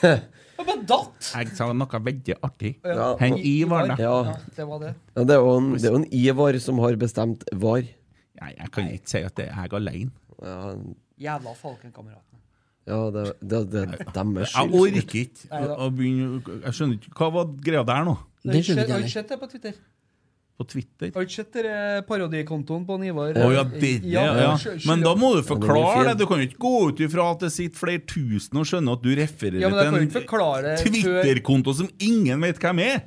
[SPEAKER 2] her! Det bare datt!
[SPEAKER 3] Jeg sa noe veldig artig.
[SPEAKER 2] Ja.
[SPEAKER 3] Han i var, da.
[SPEAKER 6] Ja.
[SPEAKER 2] det var det.
[SPEAKER 6] Ja, det er jo en, det er jo en Ivar som har bestemt var.
[SPEAKER 3] Nei, jeg kan ikke si at det er jeg alene.
[SPEAKER 6] Ja,
[SPEAKER 2] Jævla Falkenkameratene.
[SPEAKER 6] ja det, det, det er deres
[SPEAKER 3] Jeg
[SPEAKER 6] skyld.
[SPEAKER 3] orker ikke
[SPEAKER 2] Neida.
[SPEAKER 3] å begynne Jeg skjønner ikke Hva var greia der nå?
[SPEAKER 2] Har du sett- har du sett det på Twitter?
[SPEAKER 3] På Twitter?
[SPEAKER 2] Har du ikke sett dere parodikontoen på Ivar?
[SPEAKER 3] Å ja, det, ja, ja. Men da må du forklare det. Du kan jo ikke gå ut ifra at det sitter flere tusen og skjønner at du refererer
[SPEAKER 2] Ja, men jeg kan jo ikke
[SPEAKER 3] til
[SPEAKER 2] forklare
[SPEAKER 3] en
[SPEAKER 2] det før
[SPEAKER 3] Twitter-konto som ingen vet hvem er!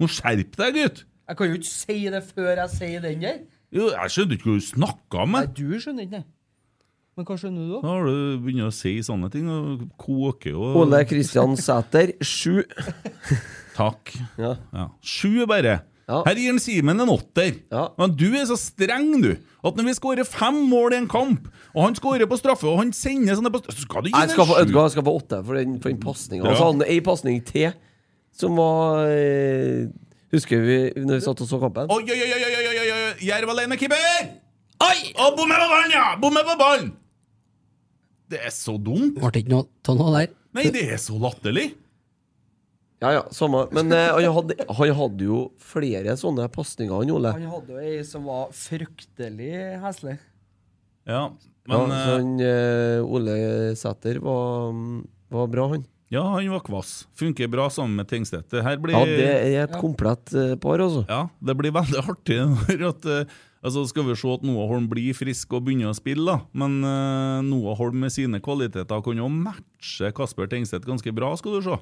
[SPEAKER 3] Må skjerpe deg, gutt!
[SPEAKER 2] Jeg kan jo ikke si det før jeg sier den der.
[SPEAKER 3] Jo, jeg skjønner ikke hva du snakker om. jeg.
[SPEAKER 2] Du skjønner ikke det. Men hva skjønner du, da?
[SPEAKER 3] Nå har du begynt å si sånne ting. Og koker og
[SPEAKER 6] Ole Kristian Sæter, sju.
[SPEAKER 3] Takk. Ja. Sju, bare. Her gir han Simen en åtter. Men du er så streng, du, at når vi skårer fem mål i en kamp, og han skårer på straffe, og han sender sånne på straffe, så skal du gi
[SPEAKER 6] Jeg skal få,
[SPEAKER 3] ham
[SPEAKER 6] vet du hva, jeg skal få åtte for den,
[SPEAKER 3] Mm.
[SPEAKER 6] for den pasninga.
[SPEAKER 3] Ja.
[SPEAKER 6] Altså, han ei pasning til som var eh, Husker vi når vi satt og så kampen?
[SPEAKER 3] Oi, oi, oi, oi, oi, oi, oi, oi. Jerv alene keeper! Oi! Og bomme på ballen, ja! Bomme på ballen! Det er så dumt.
[SPEAKER 8] Ble det ikke noe av noe der?
[SPEAKER 3] Nei, det er så latterlig.
[SPEAKER 6] Ja ja, samme. Men eh, han, hadde, han hadde jo flere sånne pasninger, han Ole.
[SPEAKER 2] Han hadde jo ei som var fryktelig heslig.
[SPEAKER 3] Ja,
[SPEAKER 6] ja,
[SPEAKER 3] men
[SPEAKER 6] så
[SPEAKER 3] eh,
[SPEAKER 6] han eh, Ole Sæter var, mm, var bra, han.
[SPEAKER 3] Ja, han var kvass. Funker bra sammen med Tengstedt. Det her blir
[SPEAKER 6] Ja, det er et
[SPEAKER 3] Ja.
[SPEAKER 6] komplett eh, par, altså.
[SPEAKER 3] Ja, det blir veldig artig når at eh, Altså Skal vi se at Noah Holm blir frisk og begynner å spille, da. Men eh, Noah Holm med sine kvaliteter kan jo matche Kasper Tengstedt ganske bra, skal du se.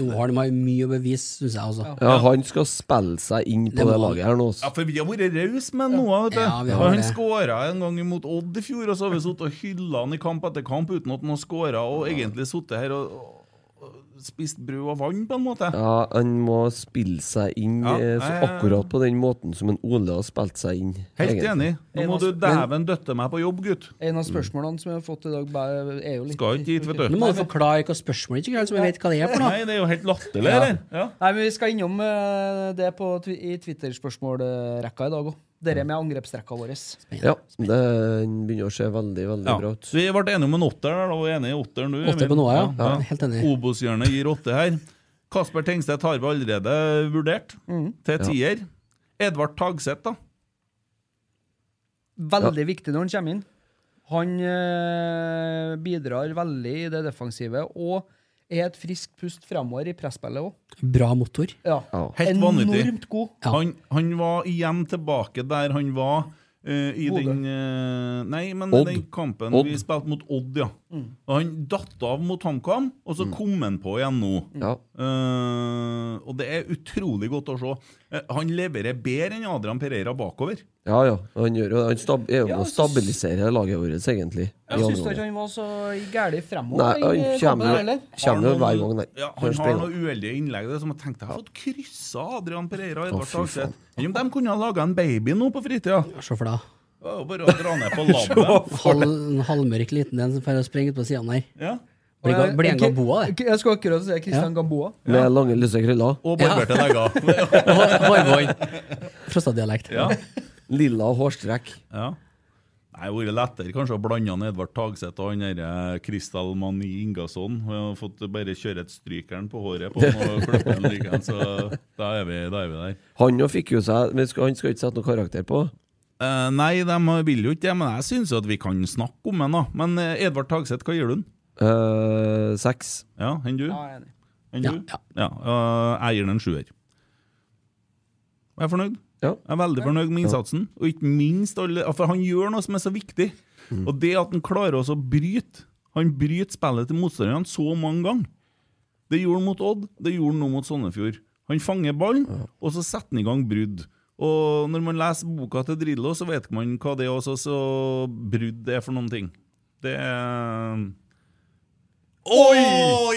[SPEAKER 8] Nå har de mye å bevise, syns jeg altså. også.
[SPEAKER 6] Ja, han skal spille seg inn på
[SPEAKER 8] Det
[SPEAKER 6] det,
[SPEAKER 8] må han.
[SPEAKER 6] laget her nå. altså.
[SPEAKER 3] Ja, for vi har vært rause med Noah. vet du.
[SPEAKER 8] Ja, vi har
[SPEAKER 3] Og han
[SPEAKER 8] det.
[SPEAKER 3] skåra en gang mot Odd i fjor, og så har vi sittet og hylla han i kamp etter kamp uten at han har skåra, og egentlig sittet her og, og spist brød og vann, på en måte.
[SPEAKER 6] Ja, han må spille seg inn
[SPEAKER 3] Ja,
[SPEAKER 6] eh,
[SPEAKER 3] ja,
[SPEAKER 6] så
[SPEAKER 3] ja, ja.
[SPEAKER 6] akkurat på den måten som en Ole har spilt seg inn.
[SPEAKER 3] Helt
[SPEAKER 6] egentlig.
[SPEAKER 3] enig. Nå må du dæven døtte meg på jobb, gutt.
[SPEAKER 2] En av spørsmålene som jeg har fått i dag, bæ- er jo litt
[SPEAKER 3] Skal ikke dit, vet du.
[SPEAKER 8] Nå må du forklare hva spørsmålet ikke er, så vi vet hva det er for noe.
[SPEAKER 3] Nei, det er jo helt latterlig,
[SPEAKER 8] Ja.
[SPEAKER 3] eller? Ja.
[SPEAKER 2] Nei, men Vi skal innom eh, det på, twi- i Twitter-spørsmålrekka i dag òg. Dette med angrepsrekka vår.
[SPEAKER 6] Ja, det den begynner å se veldig, veldig
[SPEAKER 3] Ja.
[SPEAKER 6] bra ut.
[SPEAKER 3] Så vi ble enige om en åtter. der, da var vi enige i åtteren nå.
[SPEAKER 6] Åtter på Noah, ja. Ja, helt enig.
[SPEAKER 3] Obos-hjørnet gir åtte her. Kasper Tengstedt har vi allerede vurdert
[SPEAKER 2] Mhm.
[SPEAKER 3] til
[SPEAKER 6] Ja.
[SPEAKER 3] tier. Edvard Tagseth, da.
[SPEAKER 2] Veldig viktig når han kommer inn. Han eh, bidrar veldig i det defensive og er et friskt pust fremover i presspillet òg.
[SPEAKER 8] Bra motor.
[SPEAKER 2] Ja.
[SPEAKER 3] Helt
[SPEAKER 2] Enormt
[SPEAKER 3] vanvittig.
[SPEAKER 2] god.
[SPEAKER 3] Han, han var igjen tilbake der han var eh, i
[SPEAKER 2] Bodø.
[SPEAKER 3] den eh, Nei, men
[SPEAKER 6] Odd.
[SPEAKER 3] den kampen
[SPEAKER 6] Odd.
[SPEAKER 3] vi spilte mot Odd, ja. Og han datt av mot HamKam, og
[SPEAKER 6] Mm.
[SPEAKER 3] så kom han på igjen nå. Eh, og det er utrolig godt å se. Eh, han leverer bedre enn Adrian Pereira bakover.
[SPEAKER 6] Ja, ja. Han, gjør, jo- han stab, er jo med
[SPEAKER 2] Ja,
[SPEAKER 6] å stabilisere laget vårt, egentlig. i
[SPEAKER 2] Jeg syns
[SPEAKER 6] andre
[SPEAKER 2] ikke han var så gæren
[SPEAKER 6] Nei,
[SPEAKER 2] fremover. i
[SPEAKER 6] han
[SPEAKER 2] kampen
[SPEAKER 6] kommer jo-
[SPEAKER 2] her, eller?
[SPEAKER 6] kommer jo
[SPEAKER 3] Har
[SPEAKER 6] hver
[SPEAKER 3] noen-
[SPEAKER 6] gang, nei.
[SPEAKER 3] Ja,
[SPEAKER 6] Han
[SPEAKER 3] han har
[SPEAKER 6] springer.
[SPEAKER 3] noen uheldige innlegg der som jeg tenkte jeg hadde kryssa Adrian Pereira.
[SPEAKER 6] Å,
[SPEAKER 3] Edvard
[SPEAKER 6] fy
[SPEAKER 3] Hagseth. Eller om de kunne ha laga en baby nå på fritida.
[SPEAKER 8] Se for deg.
[SPEAKER 3] Det var jo Bare å dra ned på labben.
[SPEAKER 8] Halv, en halvmørk liten en som får sprenge ut på siden her.
[SPEAKER 3] Ja.
[SPEAKER 8] Blir ga- blir en Gamboa, det.
[SPEAKER 2] Jeg skulle akkurat si Kristian Gamboa.
[SPEAKER 6] omganger. Med lange, lyse krøller.
[SPEAKER 3] Og barberte
[SPEAKER 8] Ja.
[SPEAKER 3] legger.
[SPEAKER 8] Frostadialekt.
[SPEAKER 3] Ja.
[SPEAKER 6] Lilla hårstrekk.
[SPEAKER 3] Ja. Nei, Det hadde vært lettere kanskje å blande han Edvard Tagseth og han derre Kristal Mani Ingasson. Vi har fått bare kjøre et strykeren på håret på han og klippe han likeens, så da er vi, da er vi der.
[SPEAKER 6] Han jo fikk jo seg men skal, Han skal ikke sette noen karakter på.
[SPEAKER 3] Eh, nei, de vil jo ikke det, men jeg syns at vi kan snakke om den. da Men eh, Edvard Tagseth, hva gir du den?
[SPEAKER 6] Eh, seks.
[SPEAKER 3] Ja, enn du?
[SPEAKER 2] Ja, jeg er enig.
[SPEAKER 3] Enn
[SPEAKER 8] Ja,
[SPEAKER 3] du? Ja. eh, jeg gir den en sjuer. Jeg er fornøyd. Jeg er veldig fornøyd med innsatsen. Og ikke minst alle, For han gjør noe som er så viktig. Og det at han klarer også å bryte Han bryter spillet til motstanderne så mange ganger. Det gjorde han mot Odd, det gjorde han nå mot Sandefjord. Han fanger ballen, og så setter han i gang brudd. Og når man leser boka til Drillo, så vet man hva det er også, så brudd er for noen ting. Det er Oi!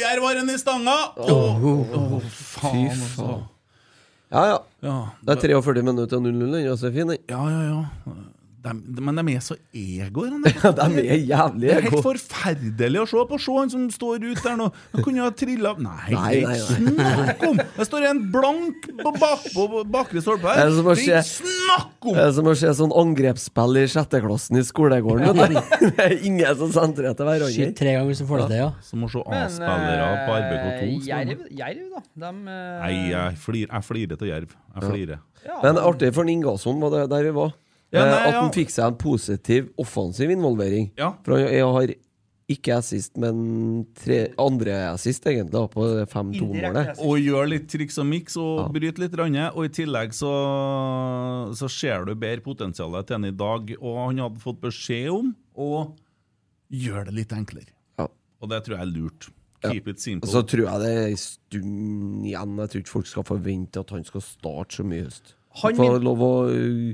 [SPEAKER 3] Der var den i stanga! Åh, åh, faen,
[SPEAKER 6] Fy
[SPEAKER 3] altså.
[SPEAKER 6] faen. Ja, ja.
[SPEAKER 3] Ja,
[SPEAKER 6] det er 43 minutter og 0-0, den. Altså, fin, den.
[SPEAKER 3] Ja, ja, ja. De, men de er så egoer. han
[SPEAKER 6] Ja, de er jævlig
[SPEAKER 3] Det er
[SPEAKER 6] ego.
[SPEAKER 3] helt forferdelig å se på. Se han som står ute der nå. Han kunne ha trilla Nei, det
[SPEAKER 6] Nei,
[SPEAKER 3] er
[SPEAKER 6] nei,
[SPEAKER 3] ikke snakk om! Det står en blank på, bak, på bakre stolpe
[SPEAKER 6] Det er
[SPEAKER 3] her.
[SPEAKER 6] som å se-
[SPEAKER 3] ikke snakk om!
[SPEAKER 6] Det er som å se sånn angrepsspill i sjetteklassen i skolegården. vet du. Det er ingen som sentrer til
[SPEAKER 8] Shit,
[SPEAKER 6] hverandre.
[SPEAKER 8] tre ganger så får du det, ja.
[SPEAKER 3] Som å se
[SPEAKER 2] Men,
[SPEAKER 3] A-spillere på RBK2.
[SPEAKER 2] eh,
[SPEAKER 3] står det.
[SPEAKER 2] Jerv, Jerv, da. Dem, eh,
[SPEAKER 3] Nei, jeg flir- jeg flirer til Jerv. Jeg flirer.
[SPEAKER 2] Ja.
[SPEAKER 6] Men artig for Ingasson var det der vi var.
[SPEAKER 3] Ja, nei,
[SPEAKER 6] Eh, At
[SPEAKER 3] ja.
[SPEAKER 6] han fikk seg en positiv offensiv involvering.
[SPEAKER 3] Ja.
[SPEAKER 6] For han jeg har ikke assist, men tre, andre assist, egentlig, da, på det 5-2-målet.
[SPEAKER 3] Og gjør litt triks og miks og bryt litt rande. Og i tillegg så, så ser du bedre potensialet til han i dag. Og han hadde fått beskjed om å gjøre det litt enklere.
[SPEAKER 6] Ja.
[SPEAKER 3] Og det tror jeg er lurt. Keep it
[SPEAKER 6] Og
[SPEAKER 3] simple.
[SPEAKER 6] så tror jeg det er en stund igjen. Jeg tror ikke folk skal forvente at han skal starte så mye i høst.
[SPEAKER 2] Han
[SPEAKER 6] Han får
[SPEAKER 2] min-
[SPEAKER 6] lov å ø,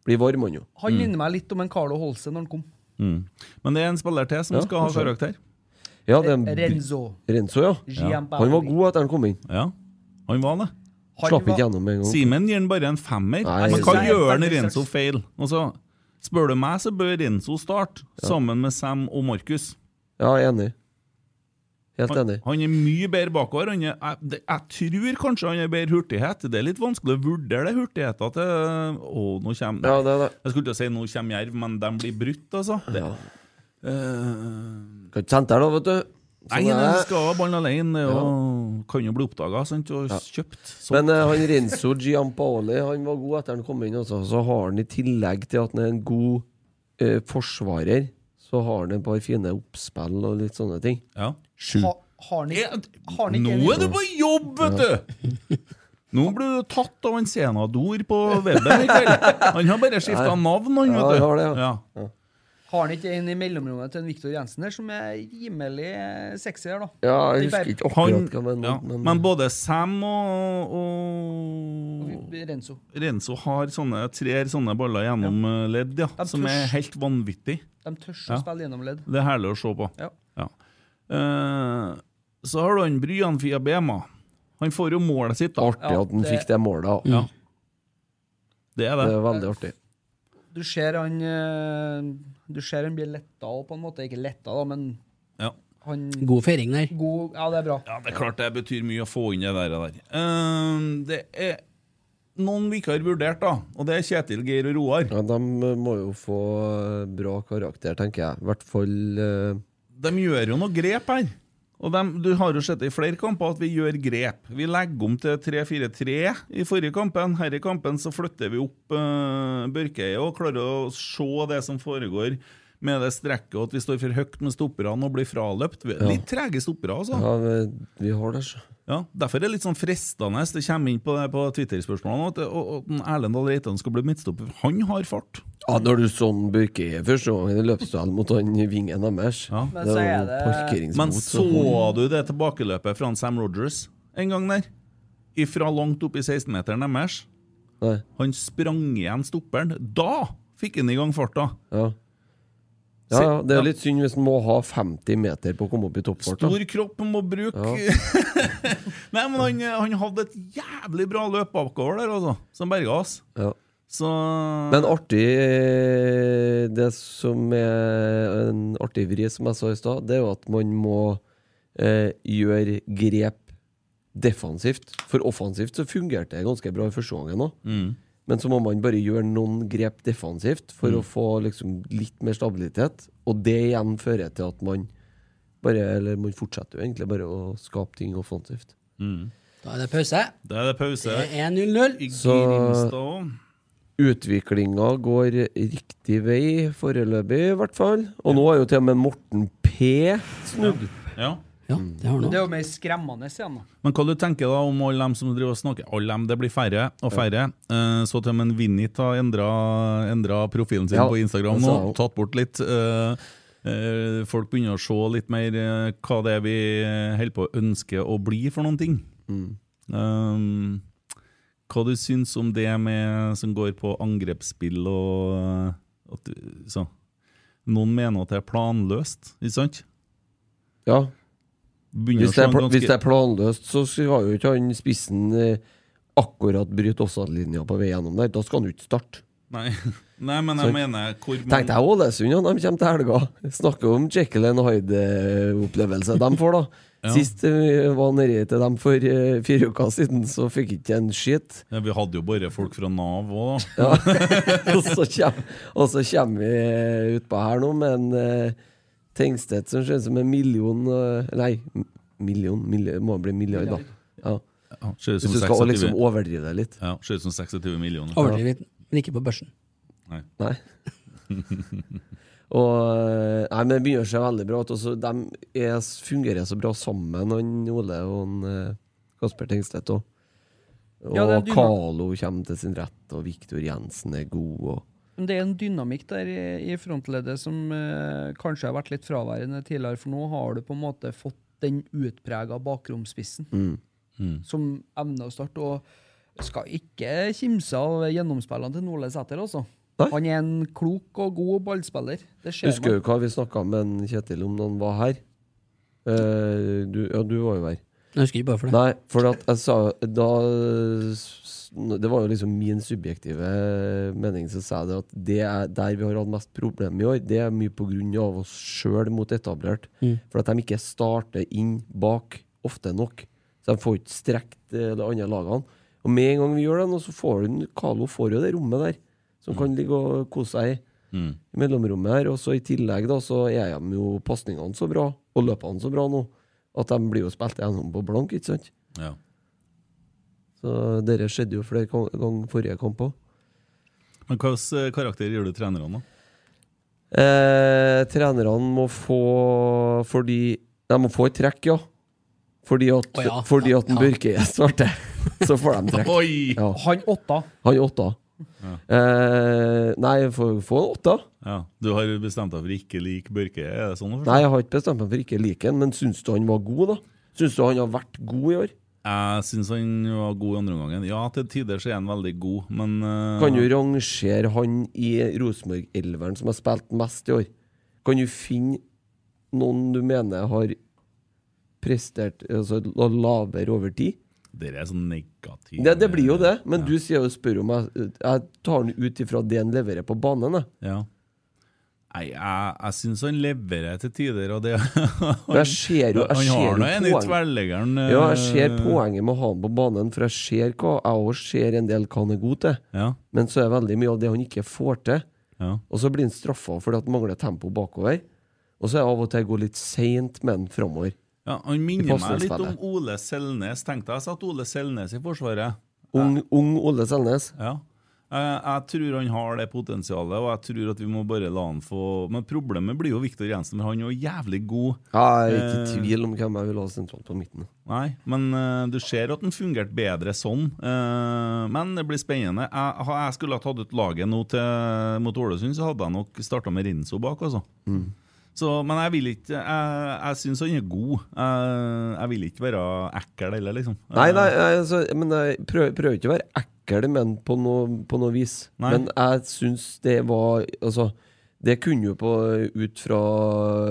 [SPEAKER 6] bli varm, han jo.
[SPEAKER 2] Han minner meg litt om en Carlo Holse når han kom.
[SPEAKER 3] Mm. Men det er en spiller til som
[SPEAKER 6] Ja,
[SPEAKER 3] skal ha
[SPEAKER 6] kanskje.
[SPEAKER 3] karakter.
[SPEAKER 6] Ja, det er en-
[SPEAKER 2] Renzo.
[SPEAKER 6] Renzo, ja.
[SPEAKER 2] Gianpaoli.
[SPEAKER 6] Han var god etter han kom inn.
[SPEAKER 3] Ja, han var det.
[SPEAKER 2] Han
[SPEAKER 6] Slapp
[SPEAKER 2] var-
[SPEAKER 6] ikke gjennom med en gang.
[SPEAKER 3] Simen gir han bare en femmer.
[SPEAKER 6] Nei,
[SPEAKER 3] Men
[SPEAKER 6] jeg
[SPEAKER 3] hva
[SPEAKER 6] synes det er
[SPEAKER 3] gjør han
[SPEAKER 2] veldig
[SPEAKER 3] Renzo
[SPEAKER 2] straks.
[SPEAKER 3] feil? Og så Spør du meg, så bør Renzo starte, sammen med Sam og Markus.
[SPEAKER 6] Ja, jeg er enig. Helt
[SPEAKER 3] Han,
[SPEAKER 6] enig.
[SPEAKER 3] han er mye bedre bakover. Han er, jeg, det- jeg tror kanskje han har bedre hurtighet. Det er litt vanskelig å vurdere det hurtigheten til Å, nå kommer
[SPEAKER 6] Ja, det er det.
[SPEAKER 3] Jeg skulle til å si 'nå kommer jerv', men de blir brutt, altså. Det,
[SPEAKER 6] Ja.
[SPEAKER 3] Eh,
[SPEAKER 6] Kan ikke sende der, da, vet du.
[SPEAKER 3] nei,
[SPEAKER 6] Sånn er
[SPEAKER 3] de
[SPEAKER 6] det.
[SPEAKER 3] skal ha ballen alene, og kan jo bli oppdaga og kjøpt. Så.
[SPEAKER 6] Men eh, han Renzo Giampaoli han var god etter han kom inn. Altså. Så har han i tillegg til at han er en god eh, forsvarer, så har han et par fine oppspill og litt sånne ting.
[SPEAKER 3] ja.
[SPEAKER 6] Sju.
[SPEAKER 2] Ha, har han ikke, har han ikke
[SPEAKER 3] Nå
[SPEAKER 2] en-
[SPEAKER 3] er du på jobb, vet du! Nå blir du tatt av en senador på webben i kveld. Han har bare skifta navn, han,
[SPEAKER 6] Ja,
[SPEAKER 3] vet du.
[SPEAKER 6] han har det, ja.
[SPEAKER 3] Ja.
[SPEAKER 2] Har han ikke en i mellomrommet til en Viktor Jensen der som er rimelig eh, sexy her, da?
[SPEAKER 6] Ja,
[SPEAKER 2] De
[SPEAKER 6] jeg
[SPEAKER 2] bare-
[SPEAKER 6] husker ikke
[SPEAKER 3] Han,
[SPEAKER 6] akkurat hva men,
[SPEAKER 3] ja,
[SPEAKER 6] men,
[SPEAKER 3] men både Sam og, og
[SPEAKER 2] Renzo.
[SPEAKER 3] Renzo har sånne, trer sånne baller gjennom eh, ledd, ja,
[SPEAKER 2] De
[SPEAKER 3] som er
[SPEAKER 2] tørs.
[SPEAKER 3] helt vanvittig.
[SPEAKER 2] De tør å
[SPEAKER 3] Ja.
[SPEAKER 2] spille gjennom ledd.
[SPEAKER 3] Det er herlig å se på.
[SPEAKER 2] Ja.
[SPEAKER 3] Ja. Eh, så har du han Bryan Fiabema. Han får jo målet sitt, da.
[SPEAKER 6] Artig at han
[SPEAKER 2] det-
[SPEAKER 6] fikk det målet.
[SPEAKER 3] Ja. Det er det.
[SPEAKER 6] Det er veldig artig.
[SPEAKER 2] Du ser han eh, Du ser han blir letta og på en måte Ikke letta, da, men
[SPEAKER 3] Ja.
[SPEAKER 2] han
[SPEAKER 8] God feiring der.
[SPEAKER 2] God, ja, det er bra.
[SPEAKER 3] Ja, det er klart det betyr mye å få inn det der. og der. Eh, det er noen vi ikke har vurdert, da. Og det er Kjetil, Geir og Roar.
[SPEAKER 6] Ja, de eh, må jo få eh, bra karakter, tenker jeg. I hvert fall eh,
[SPEAKER 3] de gjør jo noe grep her. Og dem- du har jo sett det i flere kamper at vi gjør grep. Vi legger om til 3-4-3 i forrige kampen. Her i eh, kampen så flytter vi opp uh, Børkeie og klarer å se det som foregår med det strekket og at vi står for høyt med stopperne og blir fraløpt. Vi er
[SPEAKER 6] Ja.
[SPEAKER 3] Litt trege stoppere, altså.
[SPEAKER 6] Ja, vi, vi har det, så.
[SPEAKER 3] Ja, Derfor er det litt sånn fristende Det kommer inn på, det på Twitter-spørsmålene at og, og, den Erlend Dahl Reitan skal bli midtstopper. Han har fart.
[SPEAKER 6] Ja, når du sånn Børke i første gangen i løpsduell mot han i vingen deres
[SPEAKER 3] Men
[SPEAKER 6] Det
[SPEAKER 3] så
[SPEAKER 6] er
[SPEAKER 3] er
[SPEAKER 6] jo
[SPEAKER 3] det-
[SPEAKER 6] parkeringsbot.
[SPEAKER 3] Men så du det tilbakeløpet fra Sam Rogers en gang der? Ifra langt opp i 16-meteren deres. Han sprang igjen stopperen. Da fikk han i gang farta!
[SPEAKER 6] Ja. Ja, ja, det er jo litt synd hvis en må ha 50 meter på å komme opp i toppfart. da.
[SPEAKER 3] Stor kropp må bruke
[SPEAKER 6] Ja.
[SPEAKER 3] Nei, men han, han hadde et jævlig bra løp bakover der, altså. Som berga oss.
[SPEAKER 6] Ja.
[SPEAKER 3] Så
[SPEAKER 6] Men artig eh, Det som er en artig vri, som jeg sa i stad, det er jo at man må eh, gjøre grep defensivt. For offensivt så fungerte det ganske bra i første gangen òg.
[SPEAKER 3] Mm.
[SPEAKER 6] Men så må man bare gjøre noen grep defensivt for
[SPEAKER 3] Mm.
[SPEAKER 6] å få liksom litt mer stabilitet. Og det igjen fører til at man bare Eller man fortsetter jo egentlig bare å skape ting offensivt.
[SPEAKER 3] Mm.
[SPEAKER 8] Da er det pause.
[SPEAKER 3] Da er det pause.
[SPEAKER 8] Det er 1-0-0.
[SPEAKER 6] Så utviklinga går riktig vei foreløpig, i hvert fall. Og nå er jo til og med Morten P snudd.
[SPEAKER 3] Ja.
[SPEAKER 2] Men det er jo mer skremmende igjen, da.
[SPEAKER 3] Men hva du tenker da om alle dem som driver og snakker Alle dem, det blir færre og færre. Eh, Så til og med Vinnit har endra, endra profilen sin
[SPEAKER 6] Ja,
[SPEAKER 3] på Instagram
[SPEAKER 6] det
[SPEAKER 3] nå.
[SPEAKER 6] sa hun.
[SPEAKER 3] Tatt bort litt. eh, eh, Folk begynner å se litt mer eh, hva det er vi holder på å ønske å bli for noen ting.
[SPEAKER 6] Mm.
[SPEAKER 3] Um, hva du syns om det med, som går på angrepsspill og eh, at, du- så. Noen mener at det er planløst, ikke sant?
[SPEAKER 6] Ja.
[SPEAKER 3] Begynner
[SPEAKER 6] Hvis
[SPEAKER 3] å
[SPEAKER 6] det, er
[SPEAKER 3] se
[SPEAKER 6] pla-
[SPEAKER 3] ganske-
[SPEAKER 6] hvis det er planløst, så skal jo ikke han spissen eh, akkurat bryte offside-linja på vei gjennom der. Da skal han jo ikke starte.
[SPEAKER 3] Nei. Nei, men jeg
[SPEAKER 6] Så-
[SPEAKER 3] mener hvor
[SPEAKER 6] Tenk deg Ålesund, ja, de kommer til helga. Snakker om Jekyll and Hyde-opplevelse de får, da.
[SPEAKER 3] Ja.
[SPEAKER 6] Sist eh, var nedi til dem for eh, fire uker siden, så fikk ikke en skitt.
[SPEAKER 3] Ja, vi hadde jo bare folk fra Nav òg, da.
[SPEAKER 6] Ja. og, så kjem, og så kommer vi utpå her nå med en eh, Tengstedt som ser ut som en million eh, Nei, m- million, million må bli milliard, da. Ja.
[SPEAKER 3] Ja, ser ut
[SPEAKER 6] Hvis
[SPEAKER 3] som
[SPEAKER 6] du skal
[SPEAKER 3] 26.
[SPEAKER 6] liksom overdrive det litt.
[SPEAKER 3] Ja, ser ut som 26 millioner.
[SPEAKER 8] Overdrevet, men ikke på børsen.
[SPEAKER 3] Nei.
[SPEAKER 6] Nei. og, eh, nei, men det begynner å se veldig bra ut. og så De er, fungerer så bra sammen, han Ole og han, eh, Kasper Tengstedt òg. Og
[SPEAKER 2] Ja, det er dyna-
[SPEAKER 6] Carlo kommer til sin rett, og Viktor Jensen er god. Og,
[SPEAKER 2] Men det er en dynamikk der i, i frontleddet som eh, kanskje har vært litt fraværende tidligere, for nå har du på en måte fått den utprega bakromspissen
[SPEAKER 6] Mm.
[SPEAKER 2] som evner å starte. Og skal ikke kimse av gjennomspillene til Nordle Sæter, altså. Han er en klok og god ballspiller. Det ser
[SPEAKER 6] Husker du
[SPEAKER 2] man.
[SPEAKER 6] hva vi snakka med en Kjetil om da han var her? Eh, du, ja, du var jo her.
[SPEAKER 8] Jeg husker ikke bare for det.
[SPEAKER 6] Nei, for at jeg sa da, s- Det var jo liksom min subjektive eh, mening som sa jeg det at det er der vi har hatt mest problemer i år, det er mye på grunn av oss sjøl mot etablert.
[SPEAKER 8] Mm.
[SPEAKER 6] For at de ikke starter inn bak ofte nok. Så de får ikke strekt eh, de andre lagene. Og med en gang vi gjør det, nå, så får du, Carlo får jo det rommet der, som kan ligge og kose seg i.
[SPEAKER 3] Mm.
[SPEAKER 6] I mellomrommet her. Og så i tillegg da, så er de jo pasningene så bra, og løpene så bra nå, at de blir jo spilt gjennom på blank, ikke sant?
[SPEAKER 3] Ja.
[SPEAKER 6] Så dere skjedde jo flere kan- ganger forrige kamp òg.
[SPEAKER 3] Men hvilken karakter gir du trenerne, da?
[SPEAKER 6] Eh, trenerne må få Fordi De må få et trekk, ja. Fordi at,
[SPEAKER 2] Å ja,
[SPEAKER 6] fordi
[SPEAKER 2] ja,
[SPEAKER 6] at en
[SPEAKER 2] ja.
[SPEAKER 6] Børke er svarte. Så får de trekk.
[SPEAKER 3] Oi!
[SPEAKER 6] Ja.
[SPEAKER 2] Han åtta.
[SPEAKER 6] Han er åtta. Eh, nei, får få en åtta.
[SPEAKER 3] Ja, Du har bestemt deg for ikke like Børke? Er det sånn å forstå?
[SPEAKER 6] Nei, jeg har ikke bestemt meg for ikke å like han, men syns du han var god, da? Syns du han har vært god i år?
[SPEAKER 3] Jeg syns han var god i andre omgangen. Ja, til tider så er han veldig god, men eh,
[SPEAKER 6] Kan du rangere han i Rosenborg-elveren som har spilt mest i år? Kan du finne noen du mener har prestert altså, la- lavere over tid?
[SPEAKER 3] Dere er sånn negative
[SPEAKER 6] Det, det blir jo
[SPEAKER 3] eh,
[SPEAKER 6] det, men du sier jo spør om jeg, jeg tar han ut ifra det han leverer på banen. jeg.
[SPEAKER 3] Ja. Nei, jeg, jeg syns han leverer til tider, og det
[SPEAKER 6] For jeg ser jo, jeg
[SPEAKER 3] Han
[SPEAKER 6] ser
[SPEAKER 3] har
[SPEAKER 6] jo
[SPEAKER 3] nå en i
[SPEAKER 6] poeng.
[SPEAKER 3] tverrleggeren. eh,
[SPEAKER 6] Ja, jeg ser poenget med å ha han på banen, for jeg ser hva jeg også ser en del hva han er god til.
[SPEAKER 3] Ja.
[SPEAKER 6] Men så er det veldig mye av det han ikke får til.
[SPEAKER 3] Ja.
[SPEAKER 6] Og så blir han straffa fordi at han mangler tempo bakover. Og så er det av og til går litt seint med han framover.
[SPEAKER 3] Ja, han
[SPEAKER 6] I
[SPEAKER 3] minner meg litt om
[SPEAKER 6] pasningsspillet.
[SPEAKER 3] Ole Selnes. Tenkte jeg satt Ole Selnes i Forsvaret.
[SPEAKER 6] Ung, ung Ole Selnes.
[SPEAKER 3] Ja. Eh, Jeg tror han har det potensialet, og jeg tror at vi må bare la han få Men problemet blir jo Viktor Jensen, men han er jo jævlig god.
[SPEAKER 6] Ja, jeg er ikke
[SPEAKER 3] Eh,
[SPEAKER 6] i tvil om hvem jeg vil ha sentralt på midten.
[SPEAKER 3] Nei, men eh, du ser at den fungerte bedre sånn. Eh, men det blir spennende. Jeg, ha- jeg skulle ha tatt ut laget nå til, mot Ålesund, så hadde jeg nok starta med Rinso bak, altså.
[SPEAKER 6] Mm.
[SPEAKER 3] Så, men jeg vil ikke Jeg, jeg syns han er god. Jeg, jeg vil ikke være ekkel heller, liksom.
[SPEAKER 6] Nei, nei, nei, altså, men jeg prøver, prøver ikke å være ekkel, men på noe, på noe vis.
[SPEAKER 3] Nei.
[SPEAKER 6] Men jeg syns det var Altså, det kunne jo på ut fra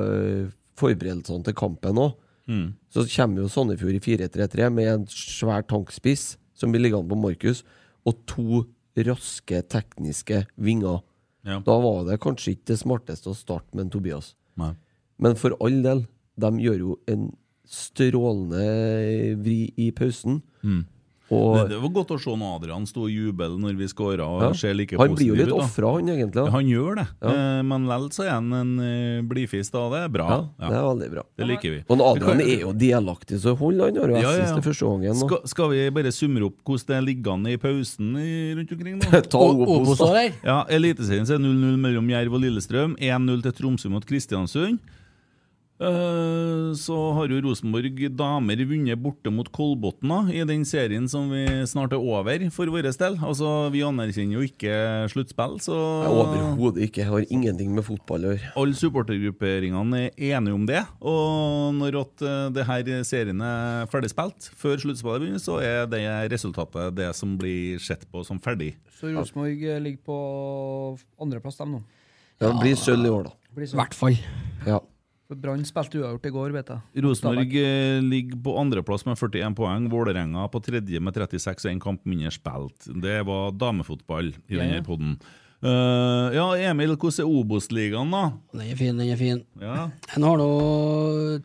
[SPEAKER 6] eh, forberedelsene til kampen òg.
[SPEAKER 3] Mm.
[SPEAKER 6] Så kommer jo Sandefjord i 4-3-3 med en svær tankspiss som blir liggende på Markus, og to raske tekniske vinger.
[SPEAKER 3] Ja.
[SPEAKER 6] Da var det kanskje ikke det smarteste å starte med en Tobias.
[SPEAKER 3] Nei.
[SPEAKER 6] Men for all del, de gjør jo en strålende vri i pausen.
[SPEAKER 3] Mm.
[SPEAKER 6] eh, Og
[SPEAKER 3] det, det var godt å se når Adrian sto og jubler når vi scora.
[SPEAKER 6] Ja.
[SPEAKER 3] Like
[SPEAKER 6] Han blir jo litt
[SPEAKER 3] ofra,
[SPEAKER 6] offra, han egentlig. da.
[SPEAKER 3] Han gjør det,
[SPEAKER 6] Ja.
[SPEAKER 3] Eh, men likevel så er han en eh, blidfis, da. Det er bra.
[SPEAKER 6] Ja, det er veldig bra.
[SPEAKER 3] Det liker vi.
[SPEAKER 6] Og når
[SPEAKER 3] Vi kan-
[SPEAKER 6] Adrian er jo delaktig, så hold han har jo
[SPEAKER 3] Ja, ja,
[SPEAKER 6] assist
[SPEAKER 3] ja.
[SPEAKER 6] til første gangen. nå.
[SPEAKER 3] Skal, skal vi bare summere opp hvordan det ligger an i pausen i- rundt omkring? da?
[SPEAKER 6] Ta O- Obos, da. Obos, eller?
[SPEAKER 3] Ja, Eliteserien så er 0-0 mellom Jerv og Lillestrøm. 1-0 til Tromsø mot Kristiansund. Eh, Så har jo Rosenborg damer vunnet borte mot Kolbotn da, i den serien som vi snart er over for vår del. Altså, Vi anerkjenner jo ikke sluttspill, så
[SPEAKER 6] Nei, Overhodet ikke. Jeg har ingenting med fotball å gjøre.
[SPEAKER 3] alle supportergrupperingene er enige om det. Og når at eh, det her serien er ferdigspilt før sluttspillet begynner, så er det resultatet det som blir sett på som ferdig.
[SPEAKER 2] Så Rosenborg eh, ligger på andreplass, dem nå.
[SPEAKER 6] Ja, det blir sølv i år, da.
[SPEAKER 2] Blir sølv.
[SPEAKER 6] Ja.
[SPEAKER 2] For Brann spilte uavgjort i går, vet jeg.
[SPEAKER 3] Rosenborg eh, ligger på andreplass med 41 poeng. Vålerenga på tredje med 36 og en kamp mindre spilt. Det var damefotball i
[SPEAKER 8] Ja, ja.
[SPEAKER 3] denne podden. Eh, ja, Emil, hvordan er Obos-ligaen, da?
[SPEAKER 8] Den er fin, den er fin.
[SPEAKER 3] Ja.
[SPEAKER 8] Jeg har nå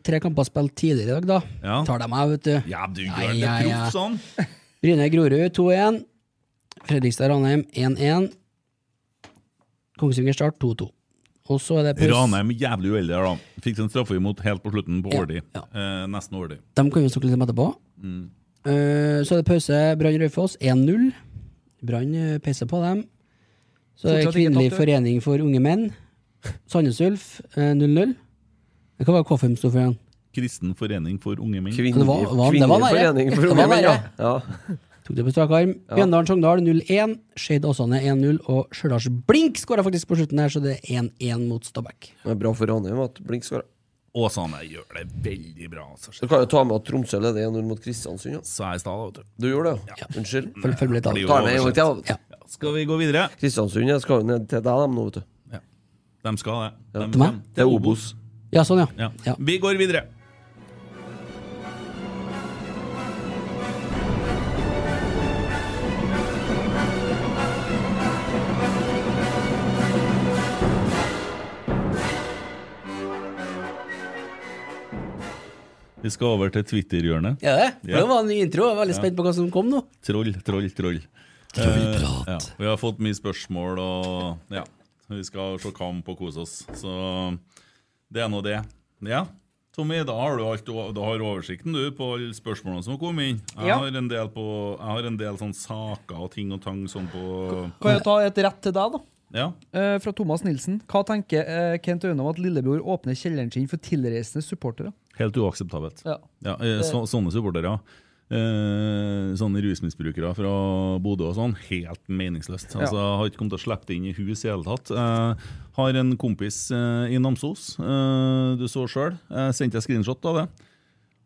[SPEAKER 8] tre kamper spilt tidligere i dag, da.
[SPEAKER 3] Ja.
[SPEAKER 8] Tar dem av, vet du.
[SPEAKER 3] Ja, du
[SPEAKER 8] Nei,
[SPEAKER 3] gjør det
[SPEAKER 8] ja, ja.
[SPEAKER 3] proff sånn!
[SPEAKER 8] Bryne Grorud 2-1. Fredrikstad-Ranheim 1-1. Kongsvinger Start 2-2. Og så er det pause.
[SPEAKER 3] Ranheim jævlig uheldig her, da. Fikk sin straffe imot helt på slutten på
[SPEAKER 8] Ja,
[SPEAKER 3] overtid. Eh, nesten overtid.
[SPEAKER 8] Dem kan vi snakke litt om etterpå.
[SPEAKER 3] Mm.
[SPEAKER 8] Eh, så er det pause. Brann Raufoss 1-0. Brann eh, peiser på dem. Så er det
[SPEAKER 2] Fortsatt ikke
[SPEAKER 8] Kvinnelig
[SPEAKER 2] tapt, du.
[SPEAKER 8] forening for unge menn. Sandnes Ulf eh, 0-0. Det kan være KFUM sto for igjen.
[SPEAKER 3] Kristen forening for unge menn.
[SPEAKER 8] Ja, det var- var- det var Kvinnelig nære. forening for Det unge var menn, nære. Tok det på strak arm.
[SPEAKER 6] Ja.
[SPEAKER 8] Mjøndalen Sogndal 0-1. Skeid Åsane 1-0. Og Stjørdals Blink skåra faktisk på slutten her, så det er 1-1 mot Stabæk.
[SPEAKER 6] Det er bra for Ranheim at Blink skårer.
[SPEAKER 3] Åsane gjør det veldig bra. Altså.
[SPEAKER 6] Du kan jo ta med at Tromsø leder 1-0 mot Kristiansund.
[SPEAKER 3] Sa jeg i stad, vet du.
[SPEAKER 6] Du gjorde det, ja? Unnskyld.
[SPEAKER 8] Følg- følg med litt av det.
[SPEAKER 6] Ta med en gang til. da.
[SPEAKER 3] Skal vi gå videre?
[SPEAKER 6] Kristiansund jeg skal jo ned til deg, dem nå, vet du.
[SPEAKER 3] De skal det. De,
[SPEAKER 6] Til meg?
[SPEAKER 3] Det er Obos.
[SPEAKER 8] Ja, sånn, ja.
[SPEAKER 3] Ja. Vi går videre. Vi skal over til Twitter-hjørnet.
[SPEAKER 8] Ja, det. For
[SPEAKER 3] Ja.
[SPEAKER 8] Det var en ny intro. Jeg var veldig
[SPEAKER 3] Ja.
[SPEAKER 8] spent på hva som kom nå.
[SPEAKER 3] Troll, troll, troll.
[SPEAKER 8] Trollprat.
[SPEAKER 3] Eh, ja. Vi har fått mye spørsmål, og ja, vi skal se kamp og kose oss. Så det er nå det. Ja, Tommy, da har du, alt, du har oversikten du på alle spørsmålene som kom inn. Jeg,
[SPEAKER 2] Ja.
[SPEAKER 3] har, en del på, jeg har en del sånne saker og ting og tang sånn på
[SPEAKER 2] Kan jeg ta et rett til deg, da?
[SPEAKER 3] Ja.
[SPEAKER 2] Eh, fra Thomas Nilsen. Hva tenker eh, Kent Aune om at lillebror åpner kjelleren sin for tilreisende supportere?
[SPEAKER 3] Helt uakseptabelt.
[SPEAKER 2] Ja.
[SPEAKER 3] eh,
[SPEAKER 2] Det-
[SPEAKER 3] så, sånne supportere. Eh, sånne rusmisbrukere fra Bodø og sånn. Helt meningsløst. Altså, Har ikke kommet til å slippe det inn i hus i hele tatt. Eh, har en kompis eh, i Namsos, eh, du så sjøl. Eh, sendte jeg screenshot av det.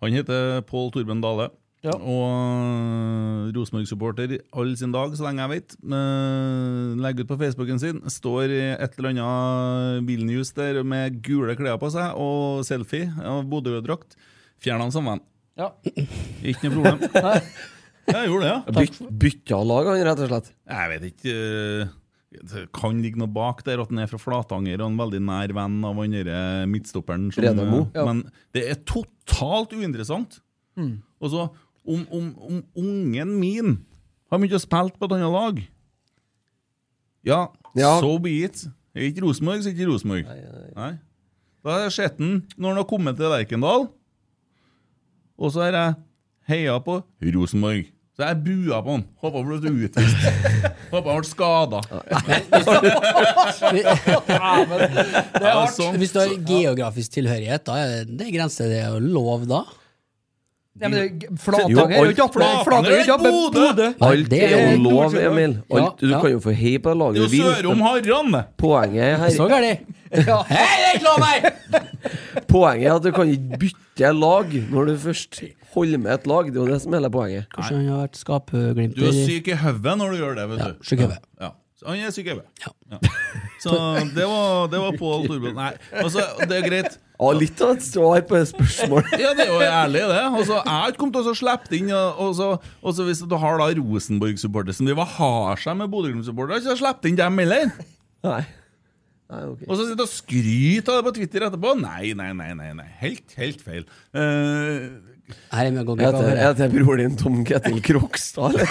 [SPEAKER 3] Han heter Pål Torben Dale. Og eh, Rosenborg-supporter all sin dag, så lenge jeg vet. Eh, Legger ut på Facebooken sin. Står i et eller annet Vilnius der med gule klær på seg og selfie av Bodø-drakt. Fjerna han som venn.
[SPEAKER 2] Ja.
[SPEAKER 3] Ikke noe problem. jeg gjorde det, ja.
[SPEAKER 6] Byt, bytta lag, han, rett og slett.
[SPEAKER 3] Jeg vet ikke eh, Det kan ligge noe bak der at han er fra Flatanger og en veldig nær venn av han derre midtstopperen. som-
[SPEAKER 6] Redan Mo.
[SPEAKER 3] eh, Men det er totalt uinteressant.
[SPEAKER 6] Mm.
[SPEAKER 3] Og så om, om, om ungen min har begynt å spille på et annet lag Ja,
[SPEAKER 6] Ja.
[SPEAKER 3] so be it. Er ikke Rosenborg, så er ikke Rosenborg. Nei. Da har jeg sett den når han har kommet til Lerkendal, og så har jeg heia på Rosenborg. Så jeg bua på han. Håpa han ble utvist. Håpa han ble skada.
[SPEAKER 8] Det er hardt. Hvis du har geografisk tilhørighet, da er det- det er grenser det er lov da.
[SPEAKER 2] Nei, men det- Flatanger er jo ikke oppe- Flatanger er jo ikke oppe Bodø!
[SPEAKER 6] Alt
[SPEAKER 8] det
[SPEAKER 6] er
[SPEAKER 8] er
[SPEAKER 6] jo lov,
[SPEAKER 8] Nord-Trøndelag.
[SPEAKER 6] Emil. Alt,
[SPEAKER 8] Ja,
[SPEAKER 6] du
[SPEAKER 8] ja.
[SPEAKER 6] kan jo få hei på laget du vil.
[SPEAKER 8] Sørom
[SPEAKER 3] Harran!
[SPEAKER 6] Poenget her
[SPEAKER 8] Så gærent! Hei, det er ikke lov, nei!
[SPEAKER 6] Poenget er at du kan ikke bytte lag når du først holder med et lag. Det er jo det som er hele poenget.
[SPEAKER 8] Kanskje han har vært skapglimt
[SPEAKER 3] Du er syk i hodet når du gjør det, vet du. Ja,
[SPEAKER 8] syk i hodet.
[SPEAKER 3] Ja. Så Han er syk i hodet. Ja. Så det var, det var Pål Torbjørn. Nei, altså, det er greit.
[SPEAKER 6] Ja, litt av et svar på et spørsmål.
[SPEAKER 3] Ja, det er jo ærlig, det. Altså, jeg har ikke kommet til å slippe det inn. Og og så, og så hvis du har da Rosenborg-supporter som driver og har seg med Bodø-Glimt-supportere, så har jeg sluppet inn dem heller.
[SPEAKER 6] Nei. Nei, ok.
[SPEAKER 3] Og så sitter og skryter av det på Twitter etterpå. Nei, nei, nei. nei, nei. Helt, helt feil. Eh,
[SPEAKER 8] Her er vi
[SPEAKER 6] Jeg heter, jeg heter broren din Tom Ketil Krokstad, eller?
[SPEAKER 3] ja,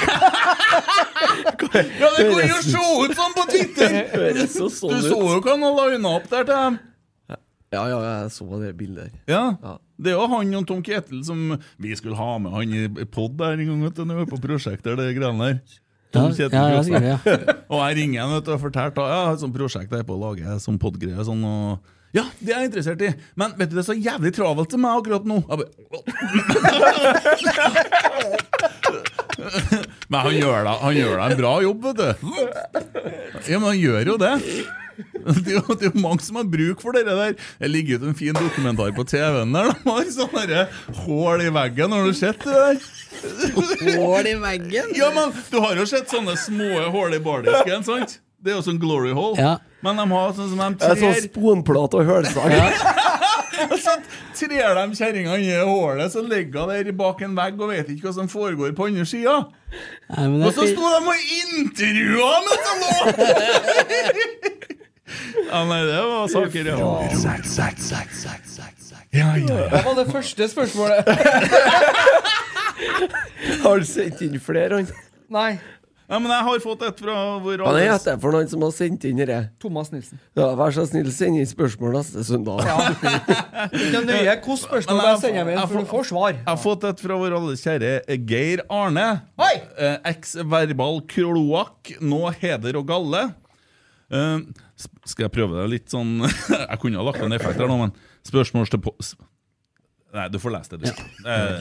[SPEAKER 3] det går jo å se ut sånn på Twitter!
[SPEAKER 6] Høres så sånn
[SPEAKER 3] du så
[SPEAKER 6] ut.
[SPEAKER 3] jo hva han lina opp der til dem.
[SPEAKER 6] Ja, ja, jeg så det bildet der.
[SPEAKER 3] Ja. Det er jo han og Tom Ketil som Vi skulle ha med han i pod der en gang, vet du, når vi var på prosjekter, det greiene der. Tom
[SPEAKER 8] Ja,
[SPEAKER 3] Kjetil
[SPEAKER 8] ja, ja,
[SPEAKER 3] Krokstad.
[SPEAKER 8] sikkert,
[SPEAKER 3] og jeg ringer han vet du, og fortalte at ja, sånn prosjekt jeg er på å lage, sånn podgreier sånn, og ja, det er jeg interessert i, men vet du, det er så jævlig travelt til meg akkurat nå. Jeg bare, men han gjør, da, han gjør da en bra jobb, vet du. Ja, men han gjør jo det. Det er jo, det er jo mange som har bruk for det der. Det ligger ut en fin dokumentar på TV-en der. De har sånne der hull i veggen. Har du sett det der?
[SPEAKER 8] Hull i veggen?
[SPEAKER 3] Ja, men du har jo sett sånne små hull i bardisken, sant? Det er jo sånn glory hole.
[SPEAKER 8] Ja.
[SPEAKER 3] Men de har sånn som de
[SPEAKER 6] Jeg så
[SPEAKER 3] trer
[SPEAKER 6] sponplate og hølsag.
[SPEAKER 3] så trer de kjerringa inn i hålet, så ligger hun der bak en vegg og vet ikke hva som foregår på andre sida.
[SPEAKER 8] Nei, men
[SPEAKER 3] Og
[SPEAKER 8] det
[SPEAKER 3] så
[SPEAKER 8] er
[SPEAKER 3] sto de og intervjua han etterpå! Ja, nei, det var saker, ja. Ja, ja,
[SPEAKER 2] Det var det første spørsmålet.
[SPEAKER 6] Har du sendt inn flere, han?
[SPEAKER 2] Nei.
[SPEAKER 3] Ja, men jeg har fått et fra vår
[SPEAKER 6] Han er etter for noen som har sendt inn det.
[SPEAKER 2] Thomas Nilsen.
[SPEAKER 6] Ja, vær så snill, send inn spørsmål neste søndag.
[SPEAKER 2] Ikke nøye hvilke spørsmål jeg sender med, for du får svar.
[SPEAKER 3] Jeg har fått et fra vår alles kjære eh, Geir Arne.
[SPEAKER 2] Hei!
[SPEAKER 3] Eh, Eks-verbal kloakk, nå heder og galle. Eh, s- skal jeg prøve det litt sånn Jeg kunne ha lagt en effekt her nå, men spørsmål til på... s- Nei, du får lese det, du. Eh,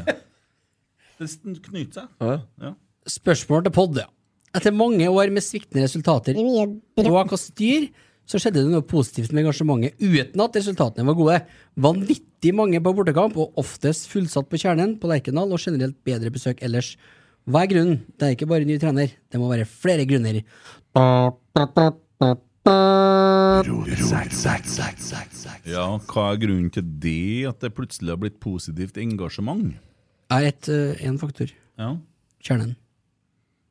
[SPEAKER 3] det s- knyter seg. Ja.
[SPEAKER 8] Spørsmål til podd, ja. Etter mange år med sviktende resultater, bråk og styr, så skjedde det noe positivt med engasjementet uten at resultatene var gode. Vanvittig mange på bortekamp, og oftest fullsatt på kjernen på Lerkendal, og generelt bedre besøk ellers. Hva er grunnen? Det er ikke bare ny trener, det må være flere grunner.
[SPEAKER 3] ja, hva er grunnen til det, at det plutselig har blitt positivt engasjement?
[SPEAKER 8] Er ett én faktor.
[SPEAKER 3] Ja.
[SPEAKER 8] Kjernen.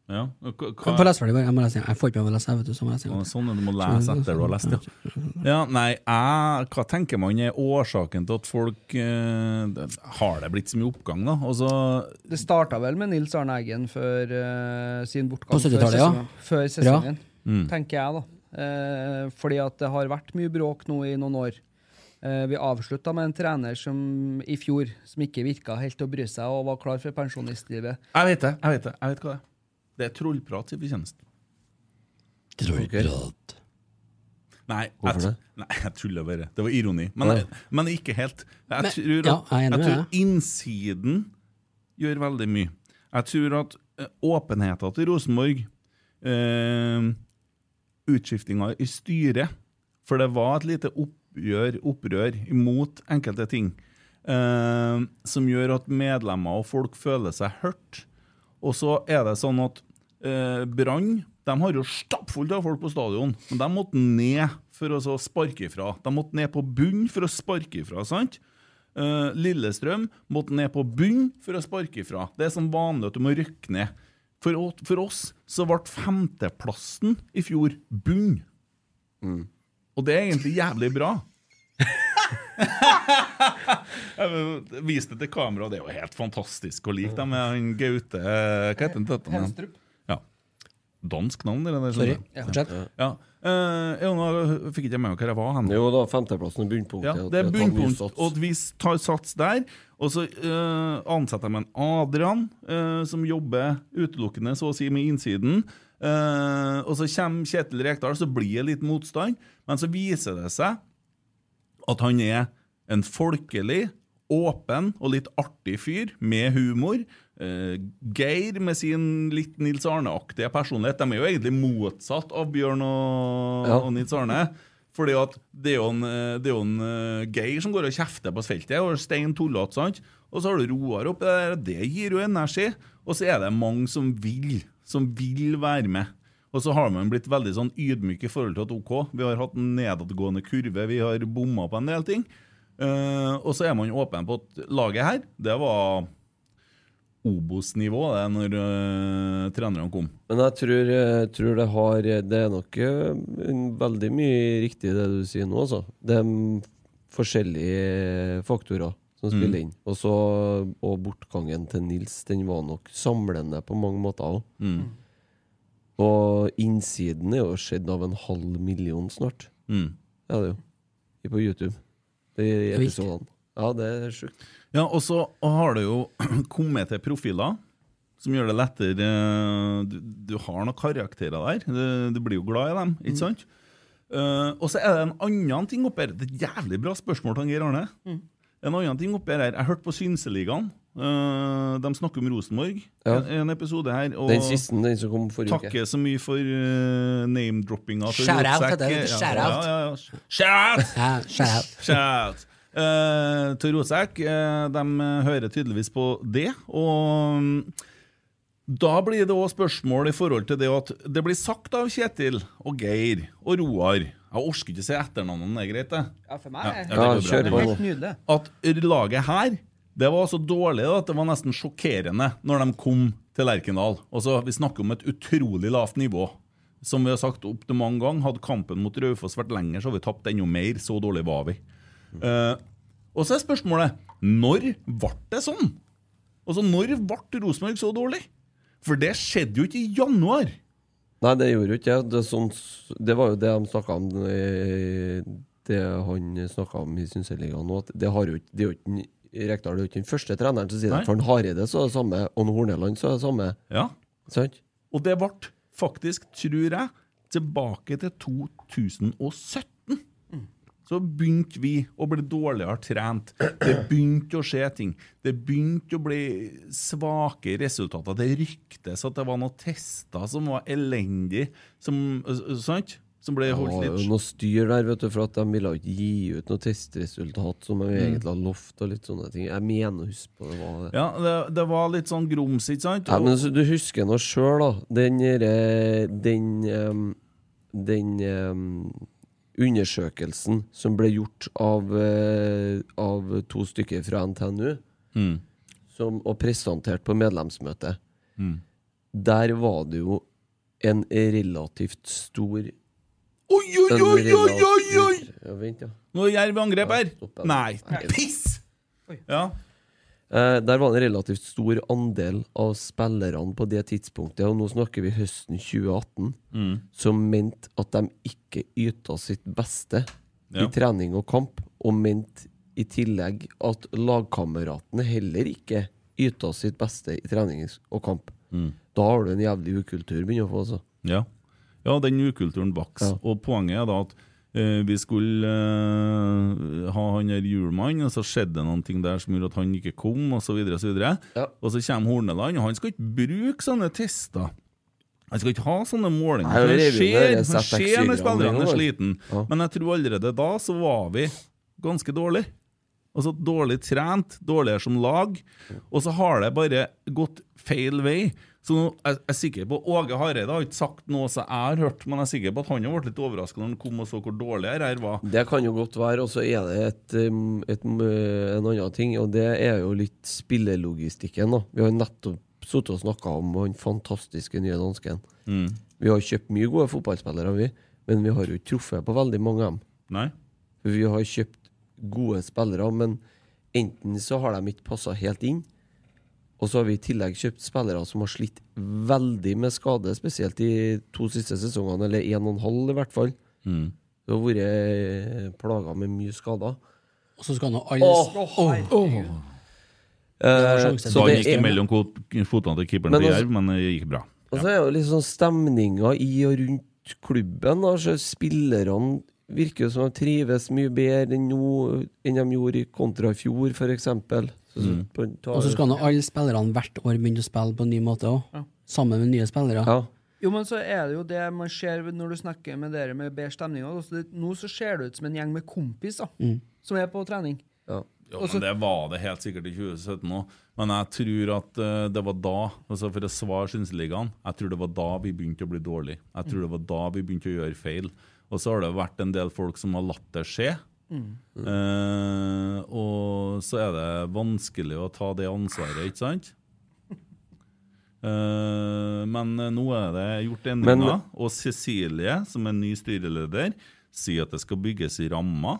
[SPEAKER 3] Ja, og hva-
[SPEAKER 8] Jeg
[SPEAKER 3] hva-
[SPEAKER 8] får lese ferdig, bare. Jeg, må lese. igjen. jeg får ikke med meg å lese, jeg vet du. Så må jeg lese.
[SPEAKER 3] Ja,
[SPEAKER 8] igjen.
[SPEAKER 3] Sånn er det, du må lese etter du har lest, ja. ja nei, jeg, hva tenker man er årsaken til at folk eh, det- Har det blitt så mye oppgang, da? Altså, Og så
[SPEAKER 2] Det starta vel med Nils Arne Eggen før eh, sin bortgang
[SPEAKER 8] På 70-tallet, ja.
[SPEAKER 2] sesongen- før sesongen, tenker jeg, da. Eh, fordi at det har vært mye bråk nå i noen år. Eh, vi avslutta med en trener som i fjor som ikke virka helt til å bry seg og var klar for pensjonistlivet.
[SPEAKER 3] Jeg vet det, jeg vet det, jeg vet hva det er. Det er trollprat i fortjenesten. Nei, jeg,
[SPEAKER 6] Hvorfor
[SPEAKER 3] tu-
[SPEAKER 6] det?
[SPEAKER 3] nei, jeg tuller bare. Det var ironi. Men,
[SPEAKER 6] Ja.
[SPEAKER 3] men ikke helt. Jeg
[SPEAKER 8] Men-
[SPEAKER 3] tror, at,
[SPEAKER 8] ja, jeg er enig
[SPEAKER 3] jeg
[SPEAKER 8] med
[SPEAKER 3] tror
[SPEAKER 8] deg.
[SPEAKER 3] innsiden gjør veldig mye. Jeg tror at eh, åpenheten til Rosenborg, eh, utskiftinga i styret For det var et lite oppgjør, opprør imot enkelte ting eh, som gjør at medlemmer og folk føler seg hørt. Og så er det sånn at eh, Brann de har jo stappfullt av folk på stadion, men de måtte ned for å så sparke ifra. De måtte ned på bunn for å sparke ifra, sant? Eh, Lillestrøm måtte ned på bunn for å sparke ifra. Det er som vanlig at du må rykke ned. For, å- for oss så ble femteplassen i fjor bunn. Og det er egentlig jævlig bra. Jeg viste det til kamera, og det er eh, jo helt fantastisk å like dem med han Gaute Hva heter han? Helstrup. Ja. dansk navn. Eller,
[SPEAKER 8] Sorry. Ja,
[SPEAKER 3] Ja.
[SPEAKER 8] fortsett.
[SPEAKER 3] Ja. Eh, ja, nå fikk ikke jeg med meg hvor jeg var hen.
[SPEAKER 6] Jo da, femteplassen er bunnpunktet.
[SPEAKER 3] Ja,
[SPEAKER 6] og
[SPEAKER 3] det er
[SPEAKER 6] tar mye
[SPEAKER 3] bunnpunkt,
[SPEAKER 6] sats.
[SPEAKER 3] og vi tar sats der. Og så eh, ansetter de en Adrian, eh, som jobber utelukkende så å si med innsiden. Eh, og så kommer Kjetil Rekdal, så blir det litt motstand. Men så viser det seg at han er en folkelig, åpen og litt artig fyr med humor. Eh, Geir med sin litt Nils Arne-aktige personlighet. De er jo egentlig motsatt av Bjørn og,
[SPEAKER 6] Ja.
[SPEAKER 3] og Nils Arne. Fordi at det er jo en, eh, det er jo en eh, Geir som går og kjefter på feltet, og Stein Tollåt, sant? Og så har du Roar oppi der, og det gir jo energi. Og så er det mange som vil, som vil være med. Og så har man blitt veldig sånn ydmyk i forhold til at OK, vi har hatt en nedadgående kurve, vi har bomma på en del ting. Eh, og så er man åpen på at laget her, det var Obos-nivå det er når eh, trenerne kom.
[SPEAKER 6] Men jeg tror, jeg tror det har Det er nok eh, veldig mye riktig det du sier nå, altså. Det er mm, forskjellige eh, faktorer som
[SPEAKER 3] Mm.
[SPEAKER 6] spiller inn. Og så Og bortgangen til Nils, den var nok samlende på mange måter òg.
[SPEAKER 3] Mm.
[SPEAKER 6] Og innsiden er jo skjedd av en halv million snart.
[SPEAKER 3] Mm.
[SPEAKER 6] Ja, det er jo. På YouTube. Det er i episodene. Ja, det er sjukt.
[SPEAKER 3] Ja, og så har det jo kommet til profiler som gjør det lettere eh, Du, du har noen karakterer der. Du, du blir jo glad i dem,
[SPEAKER 6] Mm.
[SPEAKER 3] ikke sant? Eh, og så er det en annen ting oppi her. Det er et jævlig bra spørsmål til Geir Arne.
[SPEAKER 10] Mm.
[SPEAKER 3] En annen ting oppi her. Jeg hørte på Synseligaen. Eh, de snakker om Rosenborg
[SPEAKER 6] Ja.
[SPEAKER 3] i en episode her. Og
[SPEAKER 6] Den siste, den som kom forrige uke.
[SPEAKER 3] takker så mye for eh, name-droppinga. til
[SPEAKER 6] Shout out,
[SPEAKER 3] Rotsekk.
[SPEAKER 6] det er det,
[SPEAKER 3] Ja,
[SPEAKER 6] shout
[SPEAKER 3] ja,
[SPEAKER 6] out.
[SPEAKER 3] ja, ja. Shout!
[SPEAKER 8] Ja, shout out.
[SPEAKER 3] Shout! Eh, til Rotsekk. eh, de hører tydeligvis på det. Og mm, da blir det òg spørsmål i forhold til det at det blir sagt av Kjetil og Geir og Roar Jeg orker ikke se etternavnene, det er greit, det?
[SPEAKER 2] Ja, for meg er-
[SPEAKER 3] det går
[SPEAKER 2] Ja, kjør
[SPEAKER 3] bra.
[SPEAKER 2] på. Det er helt nydelig.
[SPEAKER 3] At laget her det var så dårlig da, at det var nesten sjokkerende når de kom til Lerkendal. Altså, vi snakker om et utrolig lavt nivå. Som vi har sagt opp til mange ganger, hadde kampen mot Raufoss vært lenger, så hadde vi tapt enda mer. Så dårlig var vi. Eh, og så er spørsmålet når ble det sånn? Altså, Når ble Rosenborg så dårlig? For det skjedde jo ikke i januar.
[SPEAKER 6] Nei, det gjorde jo ikke jeg. det. er Sånn, det var jo det de snakka om eh, Det han snakka om i Synseligaen nå, at det har jo ikke det er jo ikke den- Rekdal er jo ikke den første treneren som sier
[SPEAKER 3] Nei.
[SPEAKER 6] det. For han Hareide så er det samme, og han Horneland så er det samme.
[SPEAKER 3] Ja.
[SPEAKER 6] Sant?
[SPEAKER 3] Og det ble faktisk, tror jeg, tilbake til 2017. Så begynte vi å bli dårligere trent. Det begynte å skje ting. Det begynte å bli svake resultater. Det ryktes at det var noen tester som var elendige, som, øh, sant? som ble
[SPEAKER 6] Det var
[SPEAKER 3] holdt litt
[SPEAKER 6] jo noe styr der, vet du, for at de ville jo ikke gi ut noe testresultat som de
[SPEAKER 3] Mm.
[SPEAKER 6] egentlig hadde lovt, og litt sånne ting. Jeg mener å huske på det var det.
[SPEAKER 3] Ja, det, det var litt sånn grums, ikke sant?
[SPEAKER 6] Nei, men så du husker nå sjøl, da. Den derre- Den, ehm, den ehm, undersøkelsen som ble gjort av, eh, av to stykker fra NTNU,
[SPEAKER 3] Mm.
[SPEAKER 6] som, og presentert på medlemsmøtet.
[SPEAKER 3] Mm.
[SPEAKER 6] Der var det jo en relativt stor
[SPEAKER 3] Oi, oi, oi, oi, oi, oi!
[SPEAKER 6] Ja, vent, ja.
[SPEAKER 3] Nå er Jerv i angrep her! Nei, piss! Ja.
[SPEAKER 6] Eh, der var det en relativt stor andel av spillerne på det tidspunktet, og nå snakker vi høsten 2018,
[SPEAKER 3] Mm.
[SPEAKER 6] som mente at de ikke yta sitt beste
[SPEAKER 3] Ja.
[SPEAKER 6] i trening og kamp, og mente i tillegg at lagkameratene heller ikke yta sitt beste i trening og kamp.
[SPEAKER 3] Mm.
[SPEAKER 6] Da har du en jævlig ukultur begynner å få, altså.
[SPEAKER 3] Ja, ja den ukulturen vokste. Og poenget er da at eh, vi skulle eh, ha han der Hjulmann, og så skjedde det noen ting der som gjorde at han ikke kom, og så videre og så videre. Og så kommer Horneland, og han skal ikke bruke sånne tester. Han skal ikke ha sånne målinger.
[SPEAKER 6] Nei, og
[SPEAKER 3] for Det
[SPEAKER 6] revyen der er
[SPEAKER 3] skjer, det
[SPEAKER 6] ZX7
[SPEAKER 3] skjer når
[SPEAKER 6] -ene
[SPEAKER 3] spillerne er
[SPEAKER 6] går.
[SPEAKER 3] sliten. Men jeg tror allerede da så var vi ganske dårlig. Altså dårlig trent, dårligere som lag. Og så har det bare gått feil vei. Så nå er jeg er sikker på Åge Hareide har ikke sagt noe som jeg har hørt, men jeg er sikker på at han har vært litt overraska når han kom og så hvor dårlig det her var.
[SPEAKER 6] Det kan jo godt være, og så er det et, um, et, um, en annen ting, og det er jo litt spillelogistikken. da. Vi har jo nettopp sittet og snakka om han fantastiske nye dansken.
[SPEAKER 3] Mm.
[SPEAKER 6] Vi har kjøpt mye gode fotballspillere, vi, men vi har jo ikke truffet på veldig mange av dem.
[SPEAKER 3] Nei.
[SPEAKER 6] Vi har kjøpt gode spillere, men enten så har de ikke passa helt inn, Og så har vi i tillegg kjøpt spillere som har slitt veldig med skade, spesielt de to siste sesongene, eller én og en halv i hvert fall.
[SPEAKER 3] Mm.
[SPEAKER 6] Det har vært plaga med mye skader.
[SPEAKER 8] Og så skal nå alle
[SPEAKER 6] Eh,
[SPEAKER 3] Ballen
[SPEAKER 6] så det
[SPEAKER 3] gikk
[SPEAKER 6] er-
[SPEAKER 3] mellom kot- fotene til keeperen
[SPEAKER 6] Men
[SPEAKER 3] til
[SPEAKER 6] altså-
[SPEAKER 3] Jerv, men det gikk bra.
[SPEAKER 6] Og så er jo liksom stemninga i og rundt klubben. da. Så Spillerne virker jo som de trives mye bedre enn nå enn de gjorde i kontra i fjor, f.eks.
[SPEAKER 8] Mm. Og så skal nå alle spillerne hvert år begynne å spille på en ny måte òg. Sammen med nye spillere.
[SPEAKER 2] Jo, men så er det jo det man ser når du snakker med dere med bedre stemning. også. Det- Nå så ser det ut som en gjeng med kompiser
[SPEAKER 3] Mm.
[SPEAKER 2] som er på trening.
[SPEAKER 3] Jo,
[SPEAKER 2] Og så-
[SPEAKER 3] men Det var det helt sikkert i 2017 òg, men jeg tror at eh, det var da altså For å svare Synseligaen, jeg tror det var da vi begynte å bli dårlige. Jeg tror det var da vi begynte å gjøre feil. Og så har det vært en del folk som har latt det skje.
[SPEAKER 10] Mm.
[SPEAKER 3] Eh, og så er det vanskelig å ta det ansvaret, ikke sant? Eh, men eh, nå er det gjort endringer.
[SPEAKER 6] Men-
[SPEAKER 3] og Cecilie, som er ny styreleder, sier at det skal bygges rammer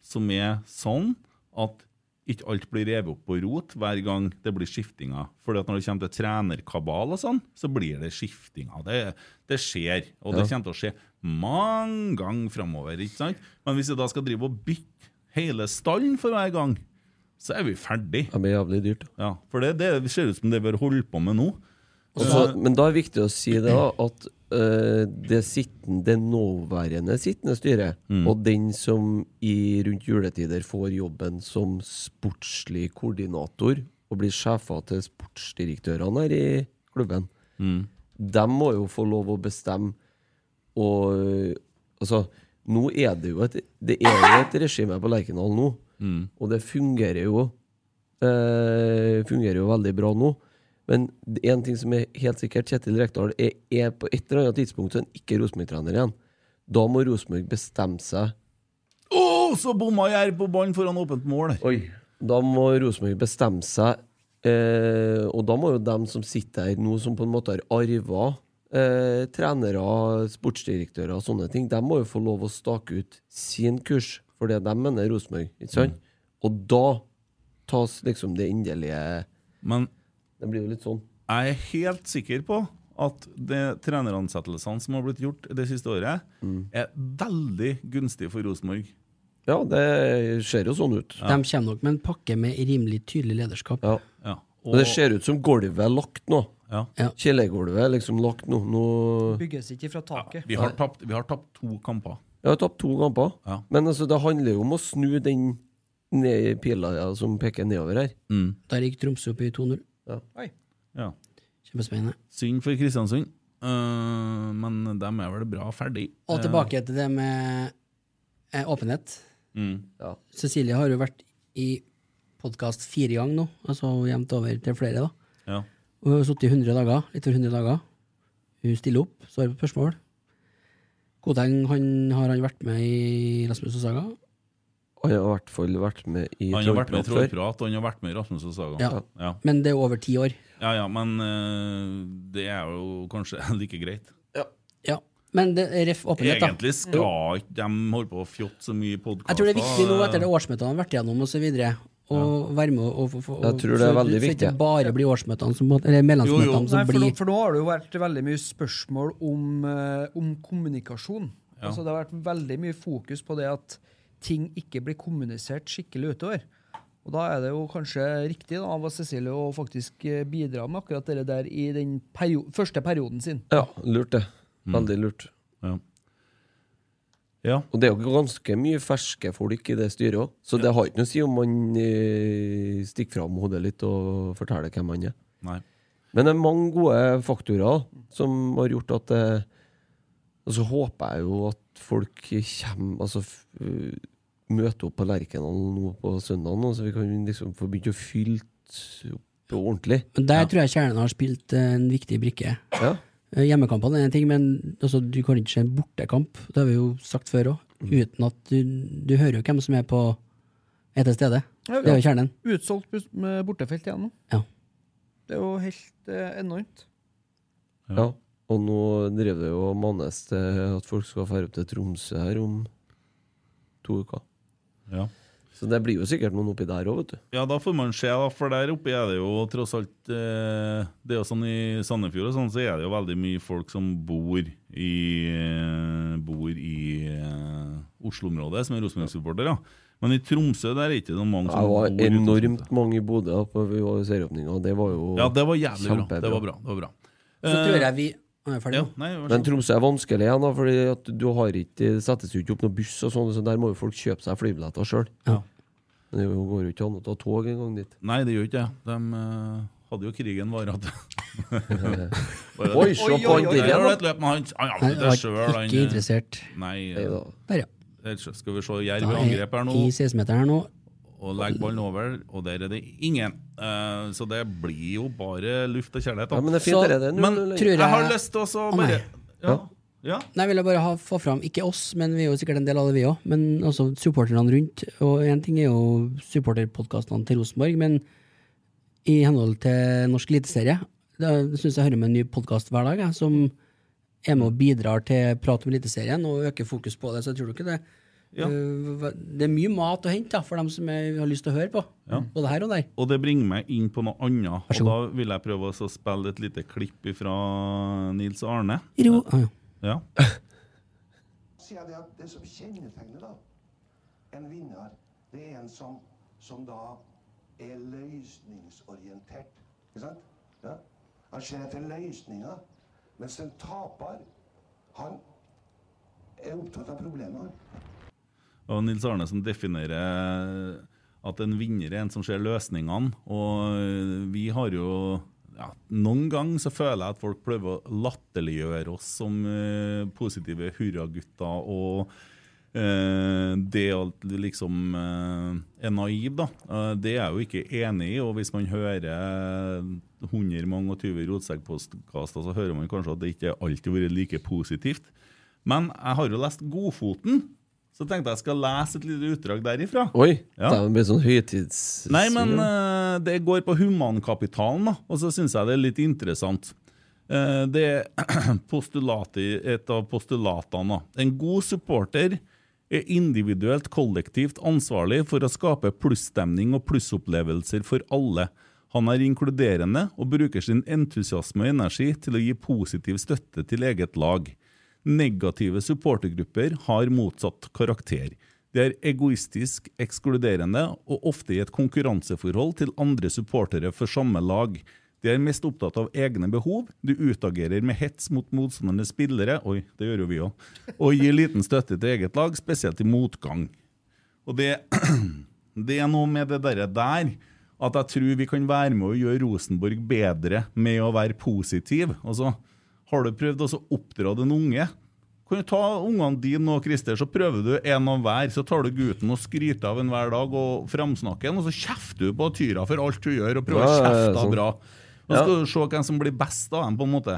[SPEAKER 3] som er sånn at ikke alt blir revet opp på rot hver gang det blir skiftinger. Fordi at når det kommer til trenerkabal og sånn, så blir det skiftinger. Det, det skjer, og det
[SPEAKER 6] Ja.
[SPEAKER 3] kommer til å skje mange ganger framover. Ikke sant? Men hvis vi da skal drive og bytte hele stallen for hver gang, så er vi ferdig.
[SPEAKER 6] Det blir jævlig dyrt.
[SPEAKER 3] Ja, for det, det ser ut som det vi har holdt på med nå.
[SPEAKER 6] Og så- Altså, men da er det viktig å si det da, at eh, det, sitten, det nåværende sittende styret,
[SPEAKER 3] Mm.
[SPEAKER 6] og den som i rundt juletider får jobben som sportslig koordinator og blir sjefer til sportsdirektørene her i klubben,
[SPEAKER 3] Mm.
[SPEAKER 6] de må jo få lov å bestemme og eh, Altså, nå er det jo et, det er jo et regime på Lerkendal nå,
[SPEAKER 3] Mm.
[SPEAKER 6] og det fungerer jo eh, fungerer jo veldig bra nå. Men en ting som er helt sikkert, Kjetil Rekdal er, er på et eller annet tidspunkt så er han ikke Rosenborg-trener igjen. Da må Rosenborg bestemme seg
[SPEAKER 3] Å, så bomma Jerv på ballen foran åpent mål!
[SPEAKER 6] Oi. Da må Rosenborg bestemme seg, eh, og da må jo dem som sitter her nå, som på en måte har arva eh, trenere, sportsdirektører og sånne ting, de må jo få lov å stake ut sin kurs for det de mener er Rosenborg, ikke sant?
[SPEAKER 3] Mm.
[SPEAKER 6] Og da tas liksom det endelige
[SPEAKER 3] Men
[SPEAKER 6] Det blir jo litt sånn.
[SPEAKER 3] Jeg er helt sikker på at de treneransettelsene som har blitt gjort det siste året, er veldig gunstig for Rosenborg.
[SPEAKER 6] Mm. Ja, det ser jo sånn ut.
[SPEAKER 8] De kommer nok med en pakke med rimelig tydelig lederskap.
[SPEAKER 3] Ja.
[SPEAKER 6] Og det ser ut som gulvet er lagt nå.
[SPEAKER 3] Ja.
[SPEAKER 6] Kjellergulvet er liksom lagt nå. nå
[SPEAKER 2] Bygges ikke fra taket.
[SPEAKER 3] Vi har tapt, vi har tapt to kamper.
[SPEAKER 6] Jeg har tapt to kamper, men altså, det handler jo om å snu den ned pila ja, som peker nedover her.
[SPEAKER 8] Der gikk Tromsø opp i 2-0.
[SPEAKER 2] Oi.
[SPEAKER 3] Ja.
[SPEAKER 8] Kjempespennende.
[SPEAKER 3] Synd for Kristiansund, eh, men de er vel bra ferdig.
[SPEAKER 8] Og tilbake til det med eh, åpenhet.
[SPEAKER 3] Mm.
[SPEAKER 8] Cecilie har jo vært i podkast fire ganger nå, altså jevnt over til flere. da.
[SPEAKER 3] Ja.
[SPEAKER 8] Og Hun har sittet i 100 dager, litt over 100 dager. Hun stiller opp, svarer på spørsmål. Koteng han, har han vært med i Rasmus og Saga.
[SPEAKER 6] Og jeg har i hvert fall vært med i
[SPEAKER 3] Eh, Han har vært med i
[SPEAKER 6] Trollprat før.
[SPEAKER 3] Trollprat, og han har vært med i Rasmus og Saga.
[SPEAKER 8] Ja.
[SPEAKER 3] Ja.
[SPEAKER 8] Men det er over ti år.
[SPEAKER 3] ja, ja, men eh, det er jo kanskje like greit.
[SPEAKER 8] Ja. Men det er ref åpenhet, da.
[SPEAKER 3] Egentlig skal ikke de holde på å fjotte så mye i podkaster.
[SPEAKER 8] Jeg tror det er
[SPEAKER 6] Altså,
[SPEAKER 8] viktig nå etter det
[SPEAKER 6] eh,
[SPEAKER 8] årsmøtene har vært gjennom osv. Å være med og, og, og
[SPEAKER 6] Jeg tror det er
[SPEAKER 8] så-
[SPEAKER 6] veldig
[SPEAKER 8] så ikke
[SPEAKER 6] viktig.
[SPEAKER 8] bare blir årsmøtene som, eller mellomsmøtene som
[SPEAKER 2] Nei, for,
[SPEAKER 8] blir
[SPEAKER 2] nå, for nå har det jo vært veldig mye spørsmål om, eh, om kommunikasjon.
[SPEAKER 8] Ja.
[SPEAKER 2] Altså, det har vært veldig mye fokus på det at ting ikke blir kommunisert skikkelig utover. Og da er det jo kanskje riktig da, av Cecilie å faktisk eh, bidra med akkurat det der i den perio første perioden sin.
[SPEAKER 6] Ja, lurt det. Veldig lurt.
[SPEAKER 3] Ja.
[SPEAKER 6] Og det er jo ganske mye ferske folk i det styret òg, så det har ikke noe å si om man eh, stikker fram hodet litt og forteller hvem man er.
[SPEAKER 3] Nei.
[SPEAKER 6] Men det er mange gode faktorer som har gjort at det Og så håper jeg jo at folk kommer Altså f- øh, møter opp på Lerkendal nå på søndagen, så vi kan liksom få begynt å fylle opp ordentlig.
[SPEAKER 8] Men Der tror jeg kjernen har spilt eh, en viktig brikke.
[SPEAKER 6] Ja.
[SPEAKER 8] Eh, Hjemmekampene er en ting, men altså, du kan ikke se en bortekamp, det har vi jo sagt før òg,
[SPEAKER 6] Mm.
[SPEAKER 8] uten at du, du hører jo hvem som er på er til stede. Det er jo kjernen.
[SPEAKER 2] Utsolgt bus- med bortefelt igjen nå.
[SPEAKER 8] Ja.
[SPEAKER 2] Det er jo helt eh, enormt.
[SPEAKER 6] Ja. Og nå driver det jo og manes til at folk skal dra opp til Tromsø her om to uker.
[SPEAKER 3] Ja.
[SPEAKER 6] Så det blir jo sikkert noen oppi der òg, vet du.
[SPEAKER 3] Ja, da får man se, da, for der oppe er det jo tross alt eh, Det er jo sånn i Sandefjord og sånn, så er det jo veldig mye folk som bor i eh, Bor i eh, Oslo-området, som er Rosenborg-supportere. Men i Tromsø der er ikke noe mange
[SPEAKER 6] Det
[SPEAKER 3] som
[SPEAKER 6] var
[SPEAKER 3] i Tromsø.
[SPEAKER 6] enormt mange i Bodø da på serieåpninga, og det var jo
[SPEAKER 3] Ja, det var jævlig bra.
[SPEAKER 6] kjempebra.
[SPEAKER 3] Det var bra. Det var bra.
[SPEAKER 8] Så tror jeg vi Nå er jeg ferdig.
[SPEAKER 3] Eh, Ja, nei, vær så
[SPEAKER 6] Men
[SPEAKER 3] god.
[SPEAKER 6] Tromsø er vanskelig igjen, da, fordi at du har ikke, det settes jo ikke opp noen buss, og sånn, så der må jo folk kjøpe seg flybilletter sjøl. Men det går jo ikke an å ta tog en gang dit.
[SPEAKER 3] Nei, det gjør ikke det. De eh, hadde jo krigen varat. Bare-
[SPEAKER 6] Oi, se på
[SPEAKER 3] Der
[SPEAKER 6] han der,
[SPEAKER 3] har du
[SPEAKER 6] da.
[SPEAKER 3] et løp med han Han
[SPEAKER 8] Nei,
[SPEAKER 3] avslutter
[SPEAKER 8] jeg var
[SPEAKER 3] selv, han,
[SPEAKER 8] ikke
[SPEAKER 3] eh,
[SPEAKER 8] interessert.
[SPEAKER 3] Nei. eh,
[SPEAKER 8] Nei da. Der, ja.
[SPEAKER 3] helt sjø- Skal vi se Jerv i
[SPEAKER 8] Da er
[SPEAKER 3] angrep her
[SPEAKER 8] I
[SPEAKER 3] nå,
[SPEAKER 8] 16-meteren her nå.
[SPEAKER 3] og legger ballen over, og der er det ingen. Eh, så det blir jo bare luft og kjærlighet. da.
[SPEAKER 6] Ja, men det er fint,
[SPEAKER 3] Så-
[SPEAKER 6] det er det. Null,
[SPEAKER 3] men
[SPEAKER 6] null, null.
[SPEAKER 3] jeg, har lyst til å
[SPEAKER 8] Å,
[SPEAKER 3] så
[SPEAKER 8] nei.
[SPEAKER 3] bare ja. Ja.
[SPEAKER 8] Nei, vil jeg bare ha, få fram, ikke oss, men vi er jo sikkert en del av det, vi òg. Men også supporterne rundt. Og én ting er jo supporterpodkastene til Rosenborg, men i henhold til norsk eliteserie syns jeg hører med en ny podkast hver dag, jeg, som er med og bidrar til prat om eliteserien og øker fokus på det. Så jeg tror ikke det
[SPEAKER 3] Ja.
[SPEAKER 8] Eh, Det er mye mat å hente da, for dem som er, har lyst til å høre på.
[SPEAKER 3] Ja.
[SPEAKER 8] Både her og der.
[SPEAKER 3] Og det bringer meg inn på noe annet. Og da vil jeg prøve også å spille et lite klipp fra Nils Arne.
[SPEAKER 8] Ro. Ah, ja.
[SPEAKER 3] Ja.
[SPEAKER 10] sier jeg det at det som kjennetegner da, en vinner, det er en som, som da er løsningsorientert. Ikke sant? Ja? Han ser etter løsninger, mens en taper, han er opptatt av problemer.
[SPEAKER 3] Og Nils Arne som definerer at en vinner er en som ser løsningene. Og eh, vi har jo ja, Noen ganger så føler jeg at folk prøver å latterliggjøre oss som eh, positive hurragutter. og eh, det at du liksom eh, er naiv, da. Eh, det er jeg jo ikke enig i. Og hvis man hører 100 mange og 20 rotsekkpostkaster, så hører man kanskje at det ikke alltid har vært like positivt. Men jeg har jo lest Godfoten, så tenkte jeg skal lese et lite utdrag derifra.
[SPEAKER 6] Oi!
[SPEAKER 3] Ja.
[SPEAKER 6] Det blir sånn høytids...
[SPEAKER 3] Nei, men eh, det går på humankapitalen, da. Og så syns jeg det er litt interessant. Eh, det er postulati- et av postulatene. da. En god supporter er individuelt, kollektivt ansvarlig for å skape plusstemning og plussopplevelser for alle. Han er inkluderende og bruker sin entusiasme og energi til å gi positiv støtte til eget lag. Negative supportergrupper har motsatt karakter. Det er egoistisk, ekskluderende og ofte i et konkurranseforhold til andre supportere for samme lag. De er mest opptatt av egne behov, de utagerer med hets mot motstandernes spillere Oi, det gjør jo vi òg. Og gir liten støtte til eget lag, spesielt i motgang. Og det, det er noe med det derre der at jeg tror vi kan være med å gjøre Rosenborg bedre med å være positiv. Altså, har du prøvd også å oppdra den unge? Kan du ta ungene dine og Christer, så prøver du en av hver. Så tar du gutten og skryter av en hver dag og framsnakker han, og så kjefter du på Tyra for alt du gjør, og prøver å
[SPEAKER 6] Ja, ja, ja,
[SPEAKER 3] kjefte
[SPEAKER 6] sånn.
[SPEAKER 3] bra. Nå skal du se hvem som blir best av dem, på en måte.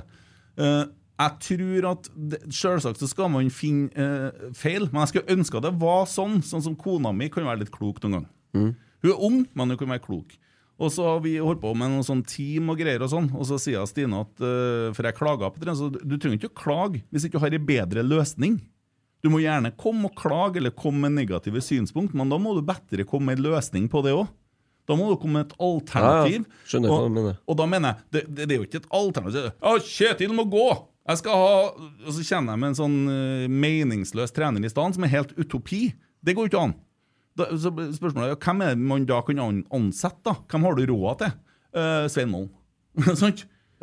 [SPEAKER 3] Eh, jeg tror at det- Selvsagt så skal man finne eh, feil, men jeg skulle ønske at det var sånn. Sånn som kona mi kan være litt klok noen gang. Hun er ung, men hun kan være klok. Og så har vi holdt på med noen sånn team og greier, og sånn, og så sier jeg Stine at eh, For jeg klaga på det, så du du trenger ikke å klage hvis ikke du har en bedre løsning. Du må gjerne komme og klage eller komme med negative synspunkt, men da må du bedre komme med en løsning på det òg. Da må du komme med et alternativ.
[SPEAKER 6] Ja, ja. Skjønner hva
[SPEAKER 3] og,
[SPEAKER 6] du mener.
[SPEAKER 3] og da mener jeg det, det, det er jo ikke et alternativ. Å, Kjetil må gå! Jeg skal ha Og så kjenner jeg med en sånn eh, meningsløs trener i stedet, som er helt utopi. Det går jo ikke an. Da, så blir spørsmålet er jo, hvem er det man da kan an- ansette? da? Hvem har du råd til? Eh, Svein Målen. Sant?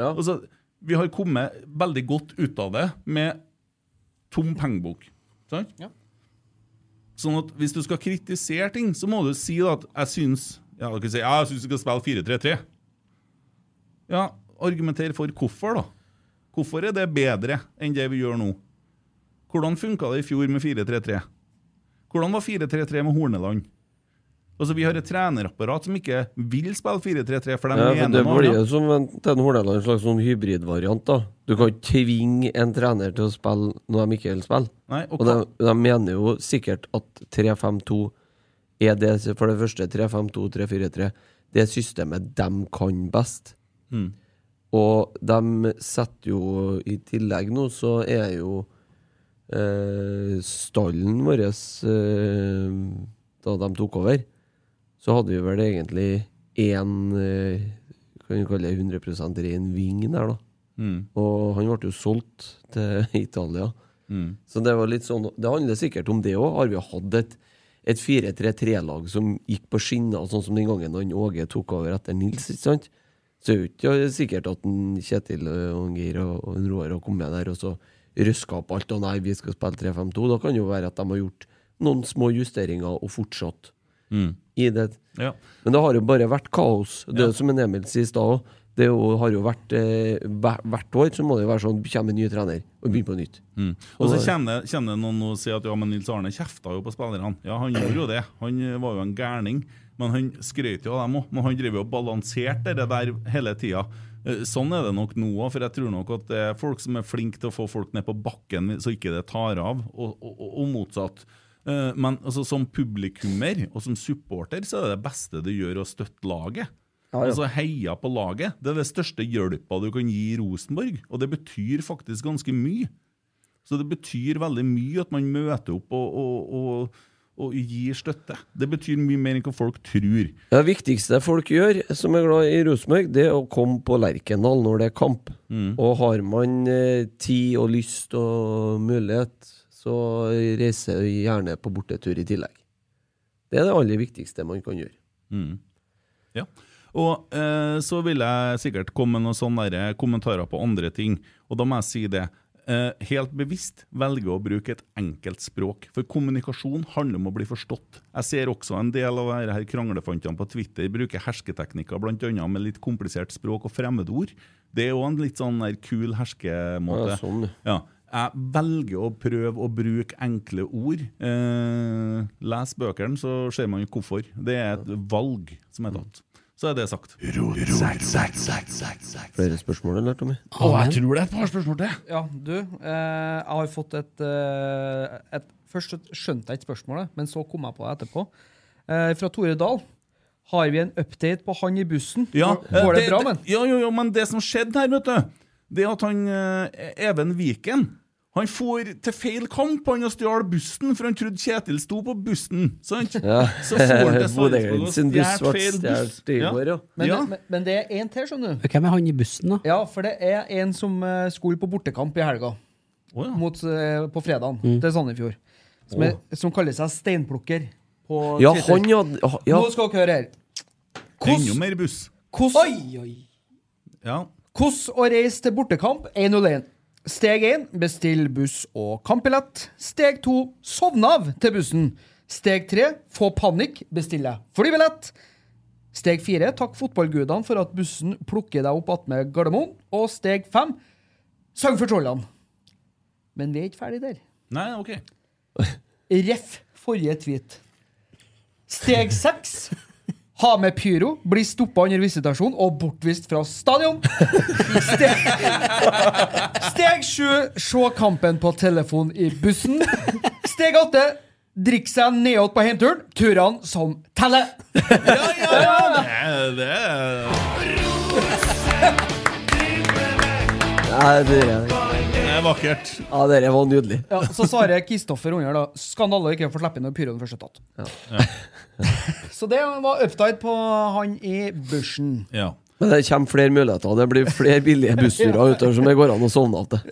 [SPEAKER 3] Og så, vi har kommet veldig godt ut av det med tom pengebok. Sant? Sånn at hvis du skal kritisere ting, så må du si da at jeg syns ja, dere sier, ja, jeg syns du skal spille 4-3-3. Ja, argumenter for hvorfor, da. Hvorfor er det bedre enn det vi gjør nå? Hvordan funka det i fjor med 4-3-3? Hvordan var 4-3-3 med Horneland? Altså, Vi har et trenerapparat som ikke vil spille 4-3-3, for de
[SPEAKER 6] Ja, for
[SPEAKER 3] mener
[SPEAKER 6] det
[SPEAKER 3] noe
[SPEAKER 6] blir jo
[SPEAKER 3] annet.
[SPEAKER 6] som en, til en Hordaland en slags sånn hybridvariant. da Du kan ikke tvinge en trener til å spille noe de ikke vil spille.
[SPEAKER 3] Nei, og
[SPEAKER 6] og de, de mener jo sikkert at 3-5-2 er det For det første, 3-5-2-3-4-3 Det er systemet de kan best.
[SPEAKER 3] Mm.
[SPEAKER 6] Og de setter jo I tillegg nå så er jo eh, stallen vår eh, da de tok over, så hadde vi vel egentlig én eh, Kan vi kalle det 100 ren ving der, da.
[SPEAKER 3] Mm.
[SPEAKER 6] Og han ble jo solgt til Italia.
[SPEAKER 3] Mm.
[SPEAKER 6] Så det var litt sånn Det handler sikkert om det òg. Har vi hatt et, et 4-3-3-lag som gikk på skinner, sånn som den gangen han Åge tok over etter Nils, ikke sant? Så er det jo ikke sikkert at en Kjetil eh, og en Geir og og en Roar har kommet der og så røska opp alt. Og nei, vi skal spille 3-5-2. Da kan det jo være at de har gjort noen små justeringer og fortsatt
[SPEAKER 3] Mm.
[SPEAKER 6] i det.
[SPEAKER 3] Ja.
[SPEAKER 6] Men det har jo bare vært kaos. Det er jo som en Emil sier i stad òg. Det er jo, har jo vært eh, hver- Hvert år så må det jo være sånn kommer en ny trener og begynner på nytt.
[SPEAKER 3] Mm. Og så kommer det, kommer det noen og sier at ja, men Nils Arne kjefta jo på spillerne. Ja, han gjorde jo det. Han eh, var jo en gærning. Men han skrøt jo av dem òg. Men han driver jo og balanserte det der hele tida. Eh, Sånn er det nok nå òg, for jeg tror nok at det er folk som er flinke til å få folk ned på bakken så ikke det tar av, og, og, og- og motsatt. Eh, Men altså, som publikummer og som supporter så er det beste du gjør å støtte laget.
[SPEAKER 6] Ja, ja.
[SPEAKER 3] Altså heia på laget. Det er det største hjelpa du kan gi Rosenborg, og det betyr faktisk ganske mye. Så det betyr veldig mye at man møter opp og, og, og, og gir støtte. Det betyr mye mer enn hva folk tror.
[SPEAKER 6] Ja, Det viktigste folk gjør, som er glad i Rosenborg, det er å komme på Lerkendal når det er kamp.
[SPEAKER 3] Mm.
[SPEAKER 6] Og har man eh, tid og lyst og mulighet, så reiser jeg gjerne på bortetur i tillegg. Det er det aller viktigste man kan gjøre.
[SPEAKER 3] Mm. Ja. Og eh, så vil jeg sikkert komme med noen sånne der eh, kommentarer på andre ting, og da må jeg si det. Eh, helt bevisst velger å bruke et enkelt språk, for kommunikasjon handler om å bli forstått. Jeg ser også en del av disse her kranglefantene på Twitter bruker hersketeknikker, bl.a. med litt komplisert språk og fremmedord. Det er jo en litt sånn der kul herskemåte.
[SPEAKER 6] Ja, sånn, ja.
[SPEAKER 3] Ja. Jeg velger å prøve å bruke enkle ord. Eh, les bøkene, så ser man jo hvorfor. Det er et valg som er tatt. Så er det sagt.
[SPEAKER 6] Flere spørsmål, eller, Tommy?
[SPEAKER 3] Å, jeg tror det er et par spørsmål til.
[SPEAKER 2] Ja, du. Eh, jeg har fått et, eh, et Først skjønte jeg ikke spørsmålet, men så kom jeg på det etterpå. Eh, fra Tore Dahl. Har vi en update på han i bussen?
[SPEAKER 3] Ja, eh,
[SPEAKER 2] Går det bra, men?
[SPEAKER 3] Ja, jo, jo, men det som skjedde her, vet du, det at han eh, Even Viken han for til feil kamp han og stjal bussen, for han trodde Kjetil sto på bussen. Sant?
[SPEAKER 6] Ja.
[SPEAKER 3] Så for han til
[SPEAKER 6] Bodø
[SPEAKER 3] Sarpsborg og
[SPEAKER 6] sin buss
[SPEAKER 3] stjal
[SPEAKER 6] ble
[SPEAKER 3] feil buss.
[SPEAKER 6] stjålet i går, ja.
[SPEAKER 2] Men, det- men, men det er én til, skjønner du.
[SPEAKER 8] Hvem er han i bussen, da?
[SPEAKER 2] Ja, for det er en som eh, skulle på bortekamp i helga. Mot, eh, på fredagen
[SPEAKER 6] Mm.
[SPEAKER 2] til Sandefjord. Som, er, som kaller seg steinplukker. På
[SPEAKER 6] Ja,
[SPEAKER 2] Twitter.
[SPEAKER 6] han hadde ha- ja.
[SPEAKER 2] Nå skal dere høre her.
[SPEAKER 3] Enda mer buss.
[SPEAKER 2] Hvordan
[SPEAKER 3] Ja.
[SPEAKER 2] Hvordan å reise til bortekamp 101. Steg 1 bestill buss og kampbillett. Steg 2 sovne av til bussen. Steg 3 få panikk, bestille flybillett. Steg 4 takk fotballgudene for at bussen plukker deg opp attmed Gardermoen. Og steg 5 sang for trollene. Men vi er ikke ferdig der.
[SPEAKER 3] Nei, OK.
[SPEAKER 2] Ref forrige tweet. Steg seks. Ha med pyro, bli stoppa under visitasjon og bortvist fra stadion. Steg, steg sju. Se kampen på telefon i bussen. Steg åtte. Drikk seg nedåt på heimturen. Turene som teller.
[SPEAKER 3] Det
[SPEAKER 6] Nei, det er,
[SPEAKER 3] er vakkert.
[SPEAKER 6] ja, det der var nydelig.
[SPEAKER 2] Ja, så svarer Kristoffer under da Skandale ikke å få slippe inn når pyroen først er tatt. Så det var uptide på han i bushen.
[SPEAKER 6] Men det kommer flere muligheter. Det blir flere billige bussturer utover som det går an å sovne av til.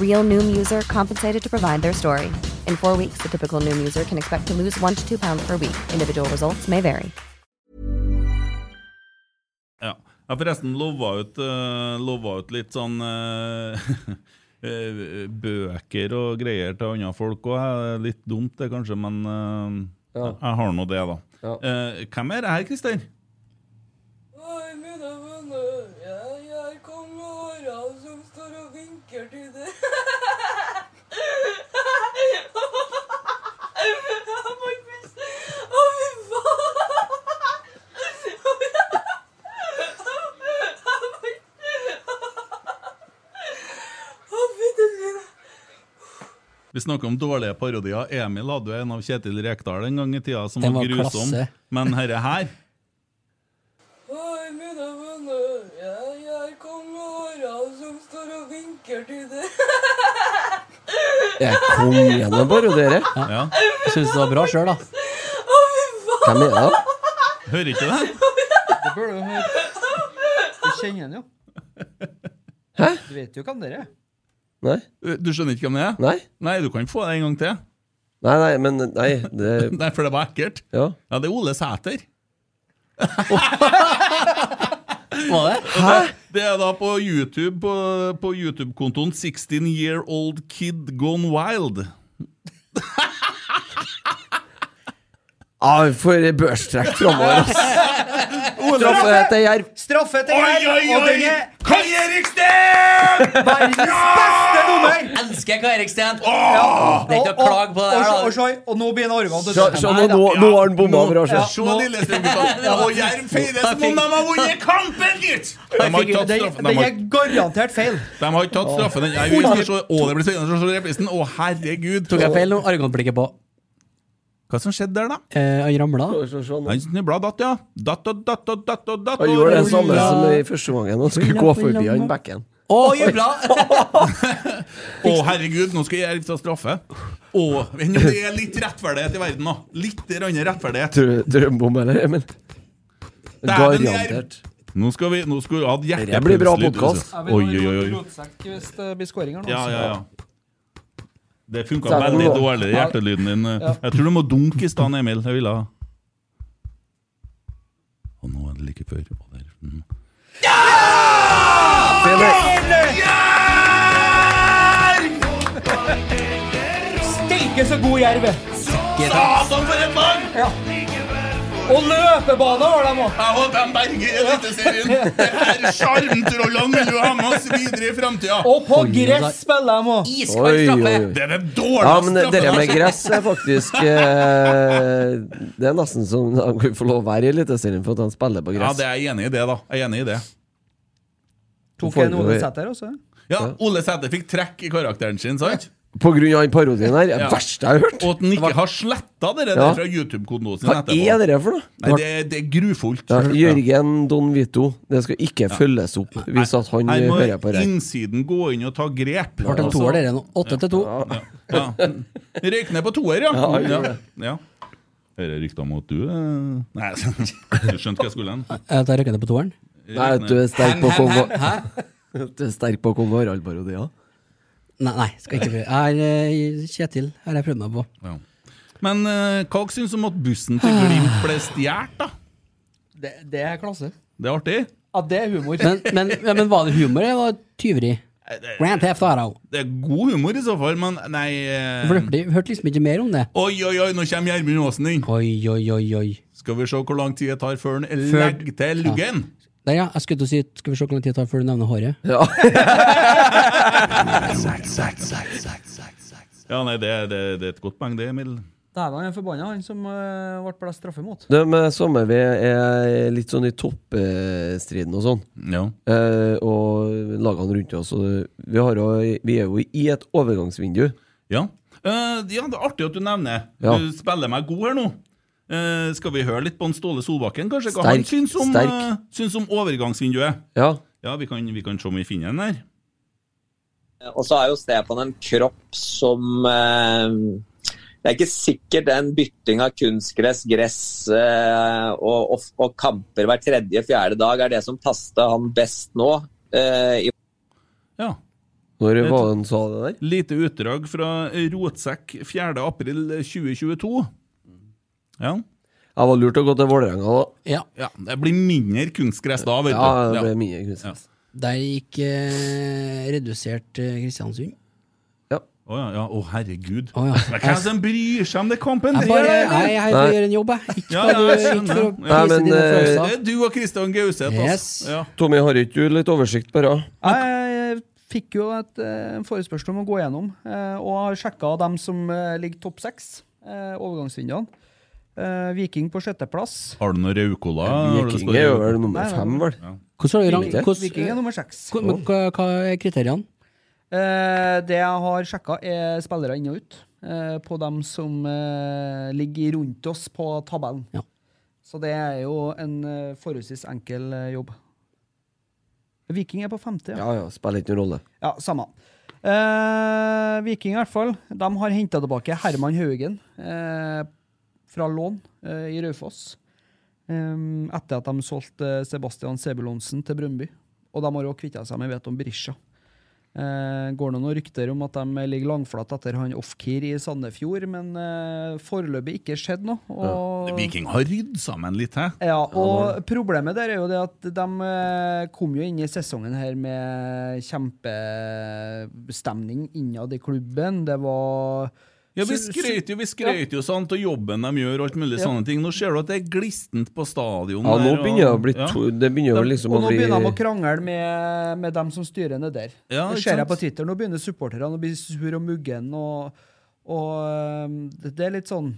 [SPEAKER 11] Real Noom user compensated to provide their story. In four weeks, the typical Noom user can expect to lose one to two pounds per week. Individual results may vary.
[SPEAKER 3] Ja. Jeg forresten lova ut, eh, lova ut litt sånn eh, eh, bøker og greier til andre folk òg. Litt dumt det, kanskje, men eh,
[SPEAKER 6] Ja.
[SPEAKER 3] jeg- jeg har nå det, da.
[SPEAKER 6] Ja.
[SPEAKER 3] Eh, hvem er det her, Christer?
[SPEAKER 12] Oi, mine venner, jeg er kongehåra som står og vinker til deg. Jeg må ikke- Å, fy faen!
[SPEAKER 3] Vi snakker om dårlige parodier. Emil hadde jo en av Kjetil Rekdal en gang i tida som
[SPEAKER 8] Den
[SPEAKER 3] var
[SPEAKER 8] var
[SPEAKER 3] grusom.
[SPEAKER 8] klasse.
[SPEAKER 3] Men herre her
[SPEAKER 12] Oi, mine venner, jeg er kongehåra som står og vinker til deg.
[SPEAKER 6] Jeg kom gjennom bare dere.
[SPEAKER 3] Ja.
[SPEAKER 8] Jeg syns det var bra sjøl, da.
[SPEAKER 6] Hvem er det?
[SPEAKER 3] Hører ikke det?
[SPEAKER 2] Det bør du høre. Du kjenner han jo. Hæ? Du vet jo hvem det er.
[SPEAKER 6] Nei?
[SPEAKER 3] Eh, Du skjønner ikke hvem det er?
[SPEAKER 6] Nei,
[SPEAKER 3] Nei, du kan få det en gang til.
[SPEAKER 6] nei, nei men nei, det
[SPEAKER 3] Nei, for det var ekkelt.
[SPEAKER 6] Ja.
[SPEAKER 3] Ja, det er Ole Sæter.
[SPEAKER 8] Var det?
[SPEAKER 3] Det er da på YouTube, på, på YouTube-kontoen 16 Year Old Kid Gone Wild.
[SPEAKER 6] Ah, for børstrekk framover, ass. Straffe etter jerv.
[SPEAKER 2] Straffe til jerv!
[SPEAKER 4] oi,
[SPEAKER 2] Og den
[SPEAKER 4] oi!
[SPEAKER 2] er
[SPEAKER 4] Kai Erik Steen!
[SPEAKER 2] verdens beste nummer!
[SPEAKER 5] Elsker jeg Kai Erik Steen! Det er ikke noe å klage på det
[SPEAKER 2] Og, og,
[SPEAKER 5] her, da.
[SPEAKER 2] og, se- og nå blir han arrogant.
[SPEAKER 6] Se, se, nå, nå, nå har han altså. bomma fra
[SPEAKER 2] Ja.
[SPEAKER 6] seg.
[SPEAKER 3] Se Lillestrøm-gutta. Og Jerv feirer som om de har vunnet kampen, gitt! De har ikke tatt straffen. De
[SPEAKER 2] Den
[SPEAKER 3] har,
[SPEAKER 2] er garantert feil.
[SPEAKER 3] de har ikke tatt straffen. Nei, vi skal se. Å, det blir spennende å se reprisen. Å, herregud.
[SPEAKER 8] Tok jeg feil nå? Arrogantblikket på.
[SPEAKER 3] Hva som skjedde der, da?
[SPEAKER 8] Eh, han ramla.
[SPEAKER 3] Han snubla og datt, ja. Datt og datt og datt og datt.
[SPEAKER 6] Han gjorde det samme som i første gangen han skulle gå forbi han bekken.
[SPEAKER 3] Å, Å, herregud, nå skal Jerv ta straffe. Å, men det er litt rettferdighet i verden, da. Litt grann rettferdighet.
[SPEAKER 6] Drø- Drømbom, eller, Emil?
[SPEAKER 3] Dæven,
[SPEAKER 6] Garantert.
[SPEAKER 3] Nå skal vi nå skal vi ha et hjerte
[SPEAKER 6] Det blir bra podcast.
[SPEAKER 2] Jeg
[SPEAKER 3] Oi, oi, oi.
[SPEAKER 2] vil ha en
[SPEAKER 3] oi.
[SPEAKER 2] rotsekk hvis det blir skåringer nå. altså.
[SPEAKER 3] Ja, ja, ja. Det funka
[SPEAKER 6] Sett den
[SPEAKER 3] veldig
[SPEAKER 6] nå.
[SPEAKER 3] dårlig, hjertelyden din.
[SPEAKER 2] Ja.
[SPEAKER 3] Jeg tror du må dunke i stedet, Emil. Jeg ville ha Og nå er det like før. Og der. Mm.
[SPEAKER 2] Steike så god jerv!
[SPEAKER 3] Satan, for et lag!
[SPEAKER 2] Ja. Og løpebane har de òg!
[SPEAKER 3] Jeg håper de berger Eliteserien. Det her sjarmtrollene vil jo ha med oss videre i framtida.
[SPEAKER 2] Og på gress spiller de òg!
[SPEAKER 6] Oi, oi, oi.
[SPEAKER 3] Det er den
[SPEAKER 6] Ja,
[SPEAKER 3] dårligste
[SPEAKER 6] men det det
[SPEAKER 3] straffen jeg
[SPEAKER 6] med
[SPEAKER 3] har sett.
[SPEAKER 6] gress er faktisk eh, Det er nesten som de kan få lov å være i Eliteserien for at han spiller på
[SPEAKER 3] Ja,
[SPEAKER 6] gress.
[SPEAKER 3] det er jeg enig i det, da. Jeg er enig i det.
[SPEAKER 2] Tok en Ole Sæter også.
[SPEAKER 3] Ja, Ole Sæther fikk trekk i karakteren sin, sant?
[SPEAKER 6] På grunn av den parodien her.
[SPEAKER 3] Ja.
[SPEAKER 6] Det verste jeg har hørt.
[SPEAKER 3] Og at han ikke har sletta det der
[SPEAKER 6] Ja.
[SPEAKER 3] fra YouTube-kontoen sin
[SPEAKER 6] Hva er det der for noe?
[SPEAKER 3] Nei, det, er- det er grufullt.
[SPEAKER 6] Ja, Jørgen Don Vito, det skal ikke
[SPEAKER 3] Ja.
[SPEAKER 6] følges opp hvis at han
[SPEAKER 3] Her må
[SPEAKER 6] hører på det.
[SPEAKER 3] innsiden gå inn og ta grep. Altså,
[SPEAKER 8] Ble en toer, dere nå. Åtte til to.
[SPEAKER 3] Ja. Røyk ned på toer, ja.
[SPEAKER 6] Ja, jeg
[SPEAKER 3] ja.
[SPEAKER 6] gjorde det.
[SPEAKER 3] ja. Her er rykter om at du eh, Nei, du skjønte hva jeg skulle hen.
[SPEAKER 8] Eh, Jeg tar røkene på toeren.
[SPEAKER 6] Nei, du er sterk på
[SPEAKER 8] Hæ,
[SPEAKER 6] kong
[SPEAKER 8] hæ, hæ,
[SPEAKER 6] Du er sterk på kong Harald-parodier.
[SPEAKER 8] Nei, nei, skal ikke prøve. Jeg er eh, Kjetil. Her har jeg prøvd meg på.
[SPEAKER 3] Men eh, hva dere syns om at bussen til Glimt ble stjålet, da?
[SPEAKER 2] Det, det er klasse.
[SPEAKER 3] Det er artig.
[SPEAKER 2] Ja, det er humor.
[SPEAKER 8] Men, men, ja, men var det humor, eller var det tyveri?
[SPEAKER 3] det-
[SPEAKER 8] Grand Theft Auto.
[SPEAKER 3] Det er god humor i så fall, men nei eh,
[SPEAKER 8] For dere hørte liksom ikke mer om det.
[SPEAKER 3] Oi, oi, oi, nå kommer Gjermund Aasen inn!
[SPEAKER 8] Oi, oi, oi, oi.
[SPEAKER 3] Skal vi se hvor lang tid det tar før han
[SPEAKER 8] Før-
[SPEAKER 3] legger til luggen?
[SPEAKER 8] Der, ja. Jeg skulle til å si Skal vi se hvor lang tid det tar før du nevner håret?
[SPEAKER 6] Ja.
[SPEAKER 3] Ja, nei, det, det, det er et godt poeng, det, Emil.
[SPEAKER 2] Dæven, han er forbanna, han som eh, ble blåst straffe mot.
[SPEAKER 6] De eh, sommer vi er litt sånn i toppstriden og sånn.
[SPEAKER 3] Ja.
[SPEAKER 6] Eh, og lagene rundt oss. Og vi, har, jo- vi er jo i et overgangsvindu.
[SPEAKER 3] Ja. Eh, ja, det er artig at du nevner.
[SPEAKER 6] Ja.
[SPEAKER 3] Du spiller meg god her nå. Eh, skal vi høre litt på en Ståle Solbakken, kanskje? Hva han
[SPEAKER 6] Sterk,
[SPEAKER 3] syns om,
[SPEAKER 6] sterk.
[SPEAKER 3] eh, syns om overgangsvinduet?
[SPEAKER 6] Ja.
[SPEAKER 3] vi, kan, vi kan se om vi finner en der.
[SPEAKER 13] Eh, Og så er jo Stefan en kropp som eh, Det er ikke sikkert den bytting av kunstgress, gress eh, og, og, og kamper hver tredje-fjerde dag er det som taster han best nå. Eh, i
[SPEAKER 6] Når var det han sa det der?
[SPEAKER 3] Lite utdrag fra Rotsekk 4. april 2022. Ja.
[SPEAKER 6] Jeg var lurt å gå til Vålerenga, da.
[SPEAKER 8] Ja.
[SPEAKER 3] det blir mindre kunstgress da, vet du.
[SPEAKER 6] Ja, det blir mye kunstgress.
[SPEAKER 8] Der gikk eh, redusert eh, Kristiansund.
[SPEAKER 3] Å ja, ja. Å, herregud.
[SPEAKER 8] Å, ja.
[SPEAKER 3] Men Hvem som bryr seg om det
[SPEAKER 8] Jeg
[SPEAKER 3] kompentrerer?
[SPEAKER 8] bare jeg er her for å gjøre en jobb, jeg. Ikke for, å- ikke for å
[SPEAKER 3] skjønner.
[SPEAKER 8] please
[SPEAKER 6] Nei, men,
[SPEAKER 8] dine
[SPEAKER 6] eh,
[SPEAKER 8] følelser.
[SPEAKER 3] Det er du og Kristian Gauseth, altså. Ja.
[SPEAKER 6] Tommy, har ikke du litt oversikt bare?
[SPEAKER 2] Jeg fikk jo et, eh, en forespørsel om å gå gjennom, eh, og har sjekka dem som eh, ligger topp seks, eh, overgangsvinduene. Eh, Viking på sjetteplass.
[SPEAKER 3] Har du noe Raukola?
[SPEAKER 6] Viking er jo vel nummer
[SPEAKER 2] Nei, nei.
[SPEAKER 6] fem, vel?
[SPEAKER 8] Hvordan har du rang-
[SPEAKER 2] Viking-
[SPEAKER 8] hvordan-
[SPEAKER 2] Viking er nummer seks.
[SPEAKER 8] Hvor- men Hva, hva er kriteriene?
[SPEAKER 2] Eh, det jeg har sjekka, er spillere inn og ut. eh, på dem som eh, ligger rundt oss på tabellen. Så det er jo en eh, forholdsvis enkel eh, jobb. Viking er på femte, ja.
[SPEAKER 6] Ja ja, spiller ikke noen rolle.
[SPEAKER 2] Ja, samme. Eh, Viking i hvert fall. De har henta tilbake Herman Haugen eh, fra lån eh, i Raufoss. eh, etter at de solgte eh, Sebastian Sebulonsen til Brøndby. Og de har òg kvitta seg med Veton Berisha. Eh, går det noen rykter om at de ligger langflat etter han Ofkir i Sandefjord, men eh, foreløpig ikke skjedd noe. Og
[SPEAKER 3] Viking har rydd sammen litt, hæ?
[SPEAKER 2] ja, og problemet der er jo det at de eh, kom jo inn i sesongen her med kjempestemning innad i klubben. Det var
[SPEAKER 3] Ja, vi
[SPEAKER 2] Så-
[SPEAKER 3] skrøt jo, vi
[SPEAKER 2] så-
[SPEAKER 3] skrøt jo sant, og jobben de gjør, og alt mulig
[SPEAKER 2] Ja.
[SPEAKER 3] sånne ting. Nå ser du at det er glistent på stadion.
[SPEAKER 6] Ja, nå
[SPEAKER 3] der, og-
[SPEAKER 6] begynner det å bli to, Det begynner jo
[SPEAKER 2] Ja.
[SPEAKER 6] liksom
[SPEAKER 2] og
[SPEAKER 6] å
[SPEAKER 2] nå
[SPEAKER 6] bli
[SPEAKER 2] begynner de å krangle med, med dem som styrer ned der.
[SPEAKER 3] Ja,
[SPEAKER 2] det
[SPEAKER 3] ikke
[SPEAKER 2] ser jeg
[SPEAKER 3] sant?
[SPEAKER 2] på Twitter. Nå begynner supporterne å bli sur og muggen, og, og eh, det- det er litt sånn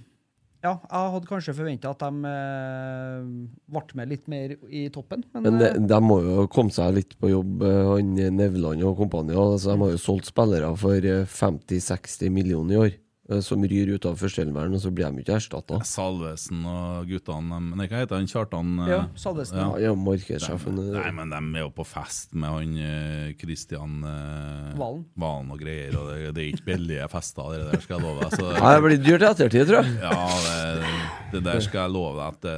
[SPEAKER 2] ja, jeg hadde kanskje forventa at de eh, ble med litt mer i toppen, men,
[SPEAKER 6] Men de,
[SPEAKER 2] eh,
[SPEAKER 6] de må jo komme seg litt på jobb, eh, han Nevland og kompani. Altså, de har jo solgt spillere for eh, 50-60 millioner i år, eh, som ryr ut av førsteelveren, og så blir de jo ikke erstatta.
[SPEAKER 3] Salvesen og guttene de- Nei, hva heter han? Kjartan? eh,
[SPEAKER 2] Ja, Salvesen, ja.
[SPEAKER 6] Ja, eh. ja, markedssjefen,
[SPEAKER 3] Dem- Nei, men de er jo på fest med han eh, Christian eh,
[SPEAKER 2] Valen.
[SPEAKER 3] og greier, og det, det er ikke billige fester, det der skal jeg love deg. så-
[SPEAKER 6] Nei, det blir dyrt i ettertid, tror jeg.
[SPEAKER 3] Ja, det, det der skal jeg love deg at det,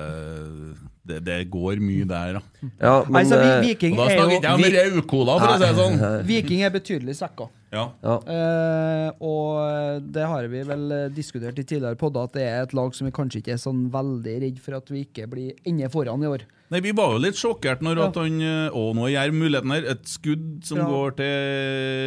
[SPEAKER 3] det, det går mye der, da.
[SPEAKER 6] Ja, men, Altså, vi- eh, Viking
[SPEAKER 3] og da
[SPEAKER 6] er
[SPEAKER 3] snakker
[SPEAKER 6] jo-
[SPEAKER 3] ikke jeg om
[SPEAKER 6] vi-
[SPEAKER 3] Raukola, for å si det sånn.
[SPEAKER 2] Viking er betydelig svekka.
[SPEAKER 3] Ja.
[SPEAKER 2] Eh, og det har vi vel eh, diskutert i tidligere podder, at det er et lag som vi kanskje ikke er sånn veldig redd for at vi ikke blir ende foran i år.
[SPEAKER 3] Nei, Vi var jo litt sjokkert når
[SPEAKER 2] Ja.
[SPEAKER 3] at han eh, Å, nå gir muligheten her. Et skudd som
[SPEAKER 2] Ja.
[SPEAKER 3] går til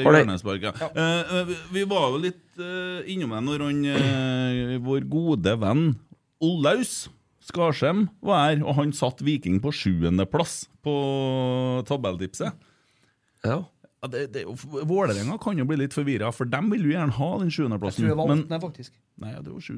[SPEAKER 6] Var det-
[SPEAKER 3] hjørnespark. Ja. Eh, eh, vi- vi var jo litt eh, innom det når han eh, Vår gode venn Olaus Skarsheim var her, og han satt Viking på sjuendeplass på tabelltipset.
[SPEAKER 6] Ja.
[SPEAKER 3] det, det, Vålerenga kan jo bli litt forvirra, for dem vil jo gjerne ha den
[SPEAKER 2] Jeg
[SPEAKER 3] sjuendeplassen.
[SPEAKER 2] tror det var
[SPEAKER 3] Men,
[SPEAKER 2] åttende, faktisk.
[SPEAKER 3] nei, det var sju.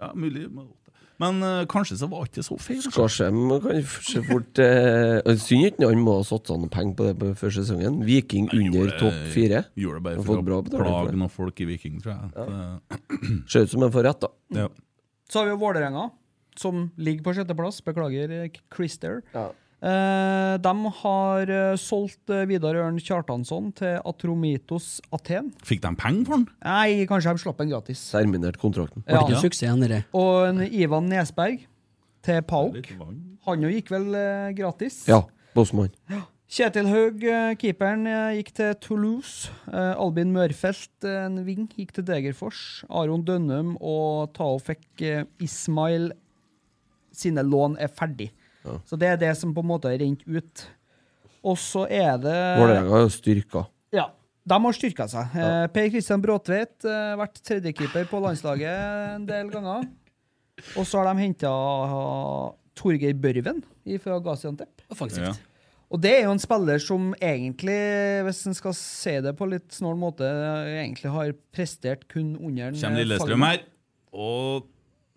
[SPEAKER 3] Ja, mulig. det var åtte. Men eh, kanskje så var det ikke så feil.
[SPEAKER 6] Skarsheim kan jo f- se fort eh, Synd ikke han må ha satsa noen penger på det på første sesongen. Viking under topp fire.
[SPEAKER 3] Gjorde det bare
[SPEAKER 6] Har
[SPEAKER 3] for
[SPEAKER 6] fått
[SPEAKER 3] å
[SPEAKER 6] bra betaling for
[SPEAKER 3] plage
[SPEAKER 6] det.
[SPEAKER 3] noen folk i Viking, tror jeg. At,
[SPEAKER 6] Ser ut som en får rett, da.
[SPEAKER 3] eh, ja.
[SPEAKER 2] Så har vi jo Vålerenga, som ligger på sjetteplass. Beklager, eh, Christer.
[SPEAKER 6] Ja.
[SPEAKER 2] Eh, de har eh, solgt eh, Vidar Ørn Kjartansson til Atromitos Aten.
[SPEAKER 3] Fikk de penger for den?
[SPEAKER 2] Nei, kanskje de slapp en gratis.
[SPEAKER 6] Terminert kontrakten.
[SPEAKER 2] Ja.
[SPEAKER 8] Ble ikke suksessen, dere.
[SPEAKER 2] Og en Ivan Nesberg til Pauk. Han jo gikk vel eh, gratis.
[SPEAKER 6] Ja, Bosman.
[SPEAKER 2] Kjetil Haug, eh, keeperen, eh, gikk til Toulouse. Eh, Albin Mørfelt, eh, en ving, gikk til Degerfors. Aron Dønnum og Tao fikk eh, Ismail sine lån er ferdig. Så det er det som på en måte har rent ut. Og så er det
[SPEAKER 6] Vålerenga er jo styrka.
[SPEAKER 2] Ja. De har styrka seg. Eh, Per Kristian Bråtveit eh, vært tredjekeeper på landslaget en del ganger. Og så har de henta Torgeir Børven fra Gaziantep.
[SPEAKER 8] Offensivt.
[SPEAKER 3] Ja.
[SPEAKER 2] Og det er jo en spiller som egentlig, hvis en skal si det på litt snål måte, egentlig har prestert kun under eh, en-
[SPEAKER 3] Kommer Lillestrøm her, og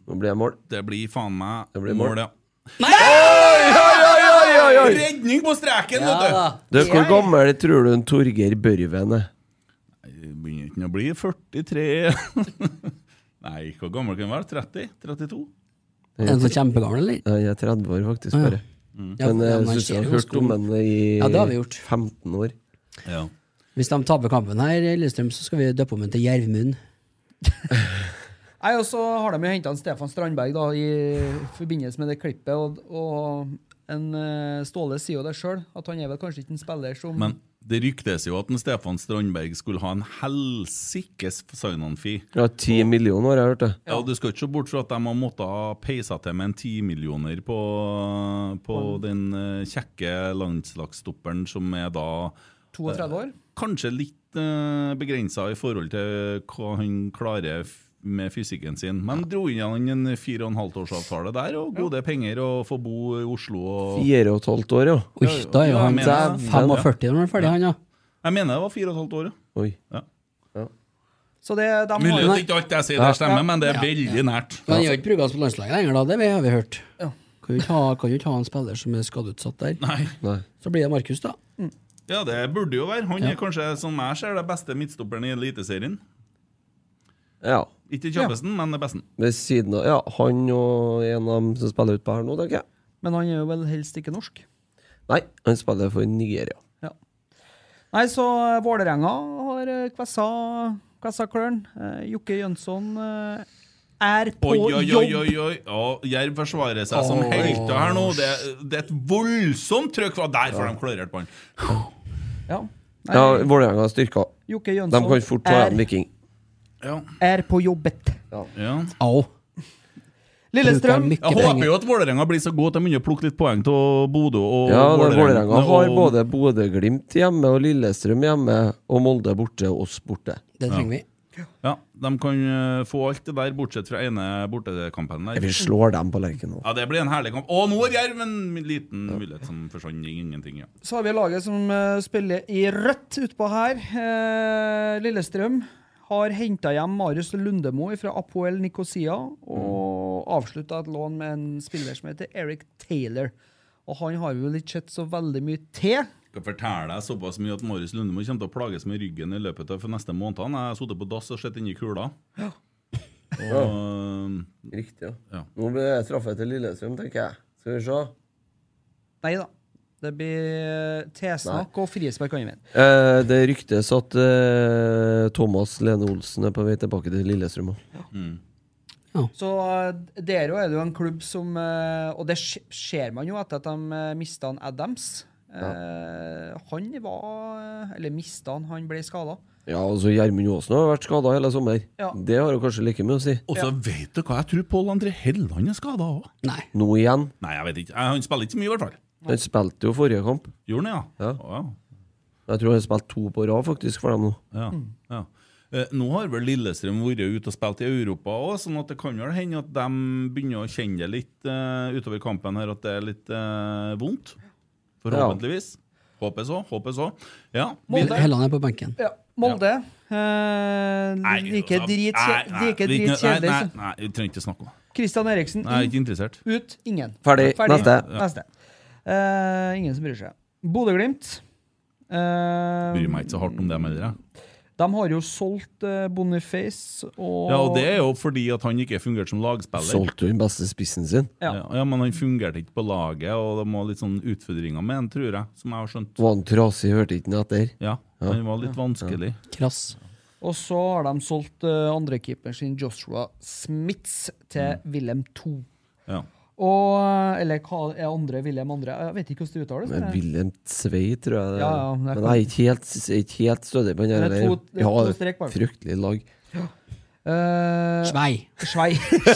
[SPEAKER 6] Nå blir det mål.
[SPEAKER 3] Det blir faen meg
[SPEAKER 6] blir mål.
[SPEAKER 3] mål, ja.
[SPEAKER 6] oi, oi, oi!
[SPEAKER 3] Redning på streken, vet du!
[SPEAKER 6] Du, hvor gammel tror du en Torgeir Børven er?
[SPEAKER 3] Det Begynner ikke å bli 43 Nei, hvor gammel kan han være? 30? 32?
[SPEAKER 8] Er den så kjempegammel, eller?
[SPEAKER 6] Nei, Jeg er 30 år, faktisk,
[SPEAKER 8] Ah, ja.
[SPEAKER 6] bare.
[SPEAKER 8] Mm. Ja,
[SPEAKER 6] Men eh,
[SPEAKER 8] ja,
[SPEAKER 6] jeg
[SPEAKER 8] men
[SPEAKER 6] syns
[SPEAKER 8] ser
[SPEAKER 6] jeg
[SPEAKER 8] jo
[SPEAKER 6] har hørt
[SPEAKER 8] ganske
[SPEAKER 6] om
[SPEAKER 8] ung.
[SPEAKER 6] den i
[SPEAKER 8] Ja, det har vi gjort.
[SPEAKER 6] 15 år.
[SPEAKER 3] Ja.
[SPEAKER 8] Hvis de taper kampen her, i Lillestrøm, så skal vi døpe om den til Jervmund.
[SPEAKER 2] Nei, og så har de jo henta Stefan Strandberg da, i forbindelse med det klippet. Og, og en eh, Ståle sier jo det sjøl, at han er vel kanskje ikke en spiller som
[SPEAKER 3] Men det ryktes jo at en Stefan Strandberg skulle ha en helsikes sign-on-fee.
[SPEAKER 6] Ja, 10 millioner har jeg hørt det.
[SPEAKER 3] Ja. og Du skal ikke se bort fra at de har måttet ha peisa til med en 10 millioner på, på
[SPEAKER 2] Mm.
[SPEAKER 3] den eh, kjekke landslagsstopperen som er da eh,
[SPEAKER 2] 32 år.
[SPEAKER 3] Kanskje litt eh, begrensa i forhold til hva han klarer f- med fysikken sin. Men dro inn han en fire og en halvt årsavtale der, og gode penger, og få bo i Oslo og
[SPEAKER 6] Fire og et halvt år, ja.
[SPEAKER 3] Oi, da er jo Ja, han jeg mener det. 45
[SPEAKER 8] når han er ferdig, han, ja.
[SPEAKER 3] Jeg mener det var fire og et halvt år, ja.
[SPEAKER 6] Oi.
[SPEAKER 3] ja.
[SPEAKER 2] Så det, de har
[SPEAKER 3] Mulig
[SPEAKER 2] jo-
[SPEAKER 3] at ikke alt jeg sier der stemmer, men det er veldig nært.
[SPEAKER 8] Men han gjør ikke brukes på landslaget lenger, da. Det har vi hørt. Kan jo ikke ha, kan jo ikke ha en spiller som er skadeutsatt der. Så blir det Markus, da.
[SPEAKER 2] Mm.
[SPEAKER 3] Ja, det burde jo være. Han
[SPEAKER 8] Ja.
[SPEAKER 3] er kanskje, som jeg ser, det beste midtstopperen i Eliteserien.
[SPEAKER 6] Ja.
[SPEAKER 3] Ikke kjappesten, men det beste.
[SPEAKER 6] Ved siden av Ja, han og en av dem som spiller utpå her nå, tenker jeg.
[SPEAKER 2] Men han er jo vel helst ikke norsk.
[SPEAKER 6] Nei, han spiller for Nigeria.
[SPEAKER 2] Nei, så eh, Vålerenga har eh, Kvessa, Kvessa Klørn. Eh, Jokke Jønsson eh, er på
[SPEAKER 3] Oi, oi, oi,
[SPEAKER 2] jobb.
[SPEAKER 3] oi, oi. Ja, Jerv forsvarer seg som
[SPEAKER 2] Åh.
[SPEAKER 3] helter her nå. Det, det er et voldsomt trøkk fra der, får de klarert på han.
[SPEAKER 2] Nei.
[SPEAKER 6] Ja, Vålerenga har styrker.
[SPEAKER 2] Jokke
[SPEAKER 6] De
[SPEAKER 2] Jønsson
[SPEAKER 6] kan fort ta
[SPEAKER 2] er-
[SPEAKER 6] igjen Viking.
[SPEAKER 2] Er på jobbet.
[SPEAKER 3] Ja.
[SPEAKER 8] Au.
[SPEAKER 2] Lillestrøm.
[SPEAKER 3] Jeg håper jo at Vålerenga blir så god at de begynner å plukke litt poeng av Bodø og
[SPEAKER 6] Ja, da, Vålerenga har
[SPEAKER 3] og-
[SPEAKER 6] både Bodø-Glimt hjemme og Lillestrøm hjemme, og Molde borte og oss borte.
[SPEAKER 8] Det
[SPEAKER 3] trenger
[SPEAKER 8] vi.
[SPEAKER 3] Ja, De kan eh, få alt det der, bortsett fra ene bortekampen der.
[SPEAKER 6] Vi slår dem på Lerkendal.
[SPEAKER 3] Ja, det blir en herlig kamp. Og nå er Jerv en liten mulighet som forsvant i ingenting. Ja.
[SPEAKER 2] Så har vi laget som eh, spiller i rødt utpå her. Eh, Lillestrøm har henta hjem Marius Lundemo fra Apoel Nikosia og avslutta et lån med en spiller som heter Eric Taylor. Og han har vi vel ikke sett så veldig mye til.
[SPEAKER 3] skal fortelle deg såpass mye at Marius Lundemo kommer til å plages med ryggen i løpet av for neste måned. Han har sittet på dass og sett inni kula.
[SPEAKER 2] Ja.
[SPEAKER 3] Og, um,
[SPEAKER 6] Riktig, ja.
[SPEAKER 3] Ja.
[SPEAKER 6] Nå blir det straffe til Lillestrøm, tenker jeg. Skal vi se.
[SPEAKER 2] Nei da. Det blir tilsnakk og frispark andre veien.
[SPEAKER 6] Eh, det ryktes at eh, Thomas Lene Olsen er på vei tilbake til Lillestrøm òg.
[SPEAKER 3] Mm.
[SPEAKER 2] Så eh, dere er jo en klubb som eh, Og det sk- ser man jo etter at de mista Adams. Eh, Han var eh, Eller mista han, han ble skada.
[SPEAKER 6] Ja, altså Gjermund Aasen har vært skada hele sommer.
[SPEAKER 2] Ja.
[SPEAKER 6] Det har jo kanskje like mye å si.
[SPEAKER 3] og så vet du hva, jeg tror Pål André Helland er skada òg.
[SPEAKER 6] Nå igjen.
[SPEAKER 3] Nei, jeg vet ikke. Eh, Han spiller ikke så mye, i hvert fall.
[SPEAKER 6] Han spilte jo forrige kamp.
[SPEAKER 3] Gjorde han, ja?
[SPEAKER 6] Ja.
[SPEAKER 3] Å, ja.
[SPEAKER 6] Jeg tror han spilte to på rad faktisk for dem nå.
[SPEAKER 3] Ja,
[SPEAKER 2] Mm.
[SPEAKER 3] ja. Eh, Nå har vel Lillestrøm vært ute og spilt i Europa òg, sånn at det kan vel hende at de begynner å kjenne det litt eh, utover kampen her, at det er litt eh, vondt. Forhåpentligvis. Håper så, håper så. Ja. vi-
[SPEAKER 8] Hel- Helland er på benken.
[SPEAKER 2] Ja, Molde. Eh, like dritkje- like dritkjedelig
[SPEAKER 3] sånn. Nei, nei,
[SPEAKER 2] som
[SPEAKER 3] nei, vi trenger ikke snakke om det.
[SPEAKER 2] Kristian Eriksen.
[SPEAKER 3] Nei, jeg er ikke
[SPEAKER 2] inn.
[SPEAKER 3] interessert.
[SPEAKER 2] Ut. Ingen.
[SPEAKER 3] Ferdig. Neste. Ja.
[SPEAKER 2] Neste. Eh, ingen som bryr seg. Bodø-Glimt. Eh,
[SPEAKER 3] Bryr meg ikke så hardt om dem heller. jeg.
[SPEAKER 2] De har jo solgt eh, Boniface og
[SPEAKER 3] Ja, og det er jo fordi at han ikke fungerte som lagspiller.
[SPEAKER 6] Solgte jo den beste spissen sin.
[SPEAKER 3] Ja. ja, Men han fungerte ikke på laget, og det må litt sånn utfordringer med han, tror jeg. Som jeg har skjønt.
[SPEAKER 6] Var han trasig, hørte ikke han etter.
[SPEAKER 3] Ja, han var litt vanskelig.
[SPEAKER 8] Krass.
[SPEAKER 2] Og så har de solgt uh, andrekeeperen sin Joshua Smiths til Wilhelm 2.
[SPEAKER 3] Mm. Ja.
[SPEAKER 2] Og, eh, eller hva er andre Wilhelm andre? Jeg vet ikke hvordan det uttales.
[SPEAKER 6] Men
[SPEAKER 2] men-
[SPEAKER 6] Wilhelm Tvei, tror jeg. det er.
[SPEAKER 2] Ja, ja, det er
[SPEAKER 6] Men jeg er ikke helt, jeg er ikke helt stødig på den
[SPEAKER 2] Det er
[SPEAKER 6] der.
[SPEAKER 2] to- det er
[SPEAKER 6] ja,
[SPEAKER 2] to
[SPEAKER 6] det er
[SPEAKER 2] strek bak.
[SPEAKER 6] fryktelig lag.
[SPEAKER 2] Eh,
[SPEAKER 8] Svei.
[SPEAKER 2] Svei.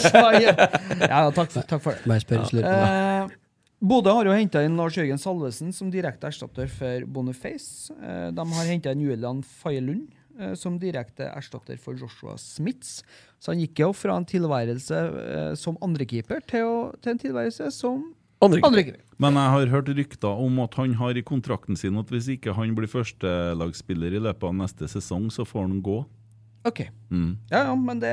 [SPEAKER 2] Svei. Ja, ja takk, for- takk for det.
[SPEAKER 8] Bare spør, slutt på
[SPEAKER 2] Eh, Bodø har jo henta inn Lars Jørgen Salvesen som direkte erstatter for Boniface. Eh, de har henta inn Julian Faye Lund eh, som direkte erstatter for Joshua Smiths. Så han gikk jo fra en tilværelse eh, som andrekeeper til, å- til en tilværelse som andrekeeper.
[SPEAKER 3] Men jeg har hørt rykter om at han har i kontrakten sin at hvis ikke han blir førstelagsspiller i løpet av neste sesong, så får han gå.
[SPEAKER 2] OK.
[SPEAKER 3] Mm.
[SPEAKER 2] Ja, ja, men det,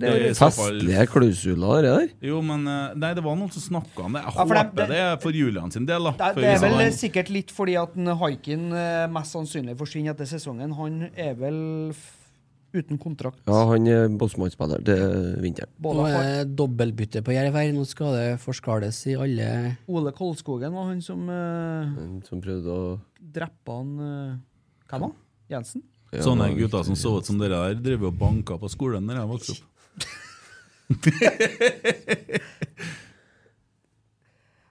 [SPEAKER 2] det,
[SPEAKER 3] Det er i så fall-
[SPEAKER 6] Festlige klausuler, det der.
[SPEAKER 3] Jo, men eh, Nei, det var noen som snakka om det. Jeg
[SPEAKER 2] Ja, for
[SPEAKER 3] håper
[SPEAKER 2] dem-
[SPEAKER 3] det, er for Julian sin del, da.
[SPEAKER 2] Det,
[SPEAKER 3] for
[SPEAKER 2] det er
[SPEAKER 3] hvis
[SPEAKER 2] vel
[SPEAKER 3] han-
[SPEAKER 2] sikkert litt fordi at en Haikin eh, mest sannsynlig forsvinner etter sesongen. Han er vel f- uten kontrakt.
[SPEAKER 6] Ja, han er Bosman-spiller til vinteren.
[SPEAKER 8] Nå er det dobbeltbytte på Jerv her. Nå skal det forskales i alle
[SPEAKER 2] Ole Kolskogen var han som uh,
[SPEAKER 6] Som prøvde å
[SPEAKER 2] dreppa han eh, Hvem var han? Jensen?
[SPEAKER 3] Sånne gutter som så ut som dere der, driver og banker på skolen når jeg vokste opp.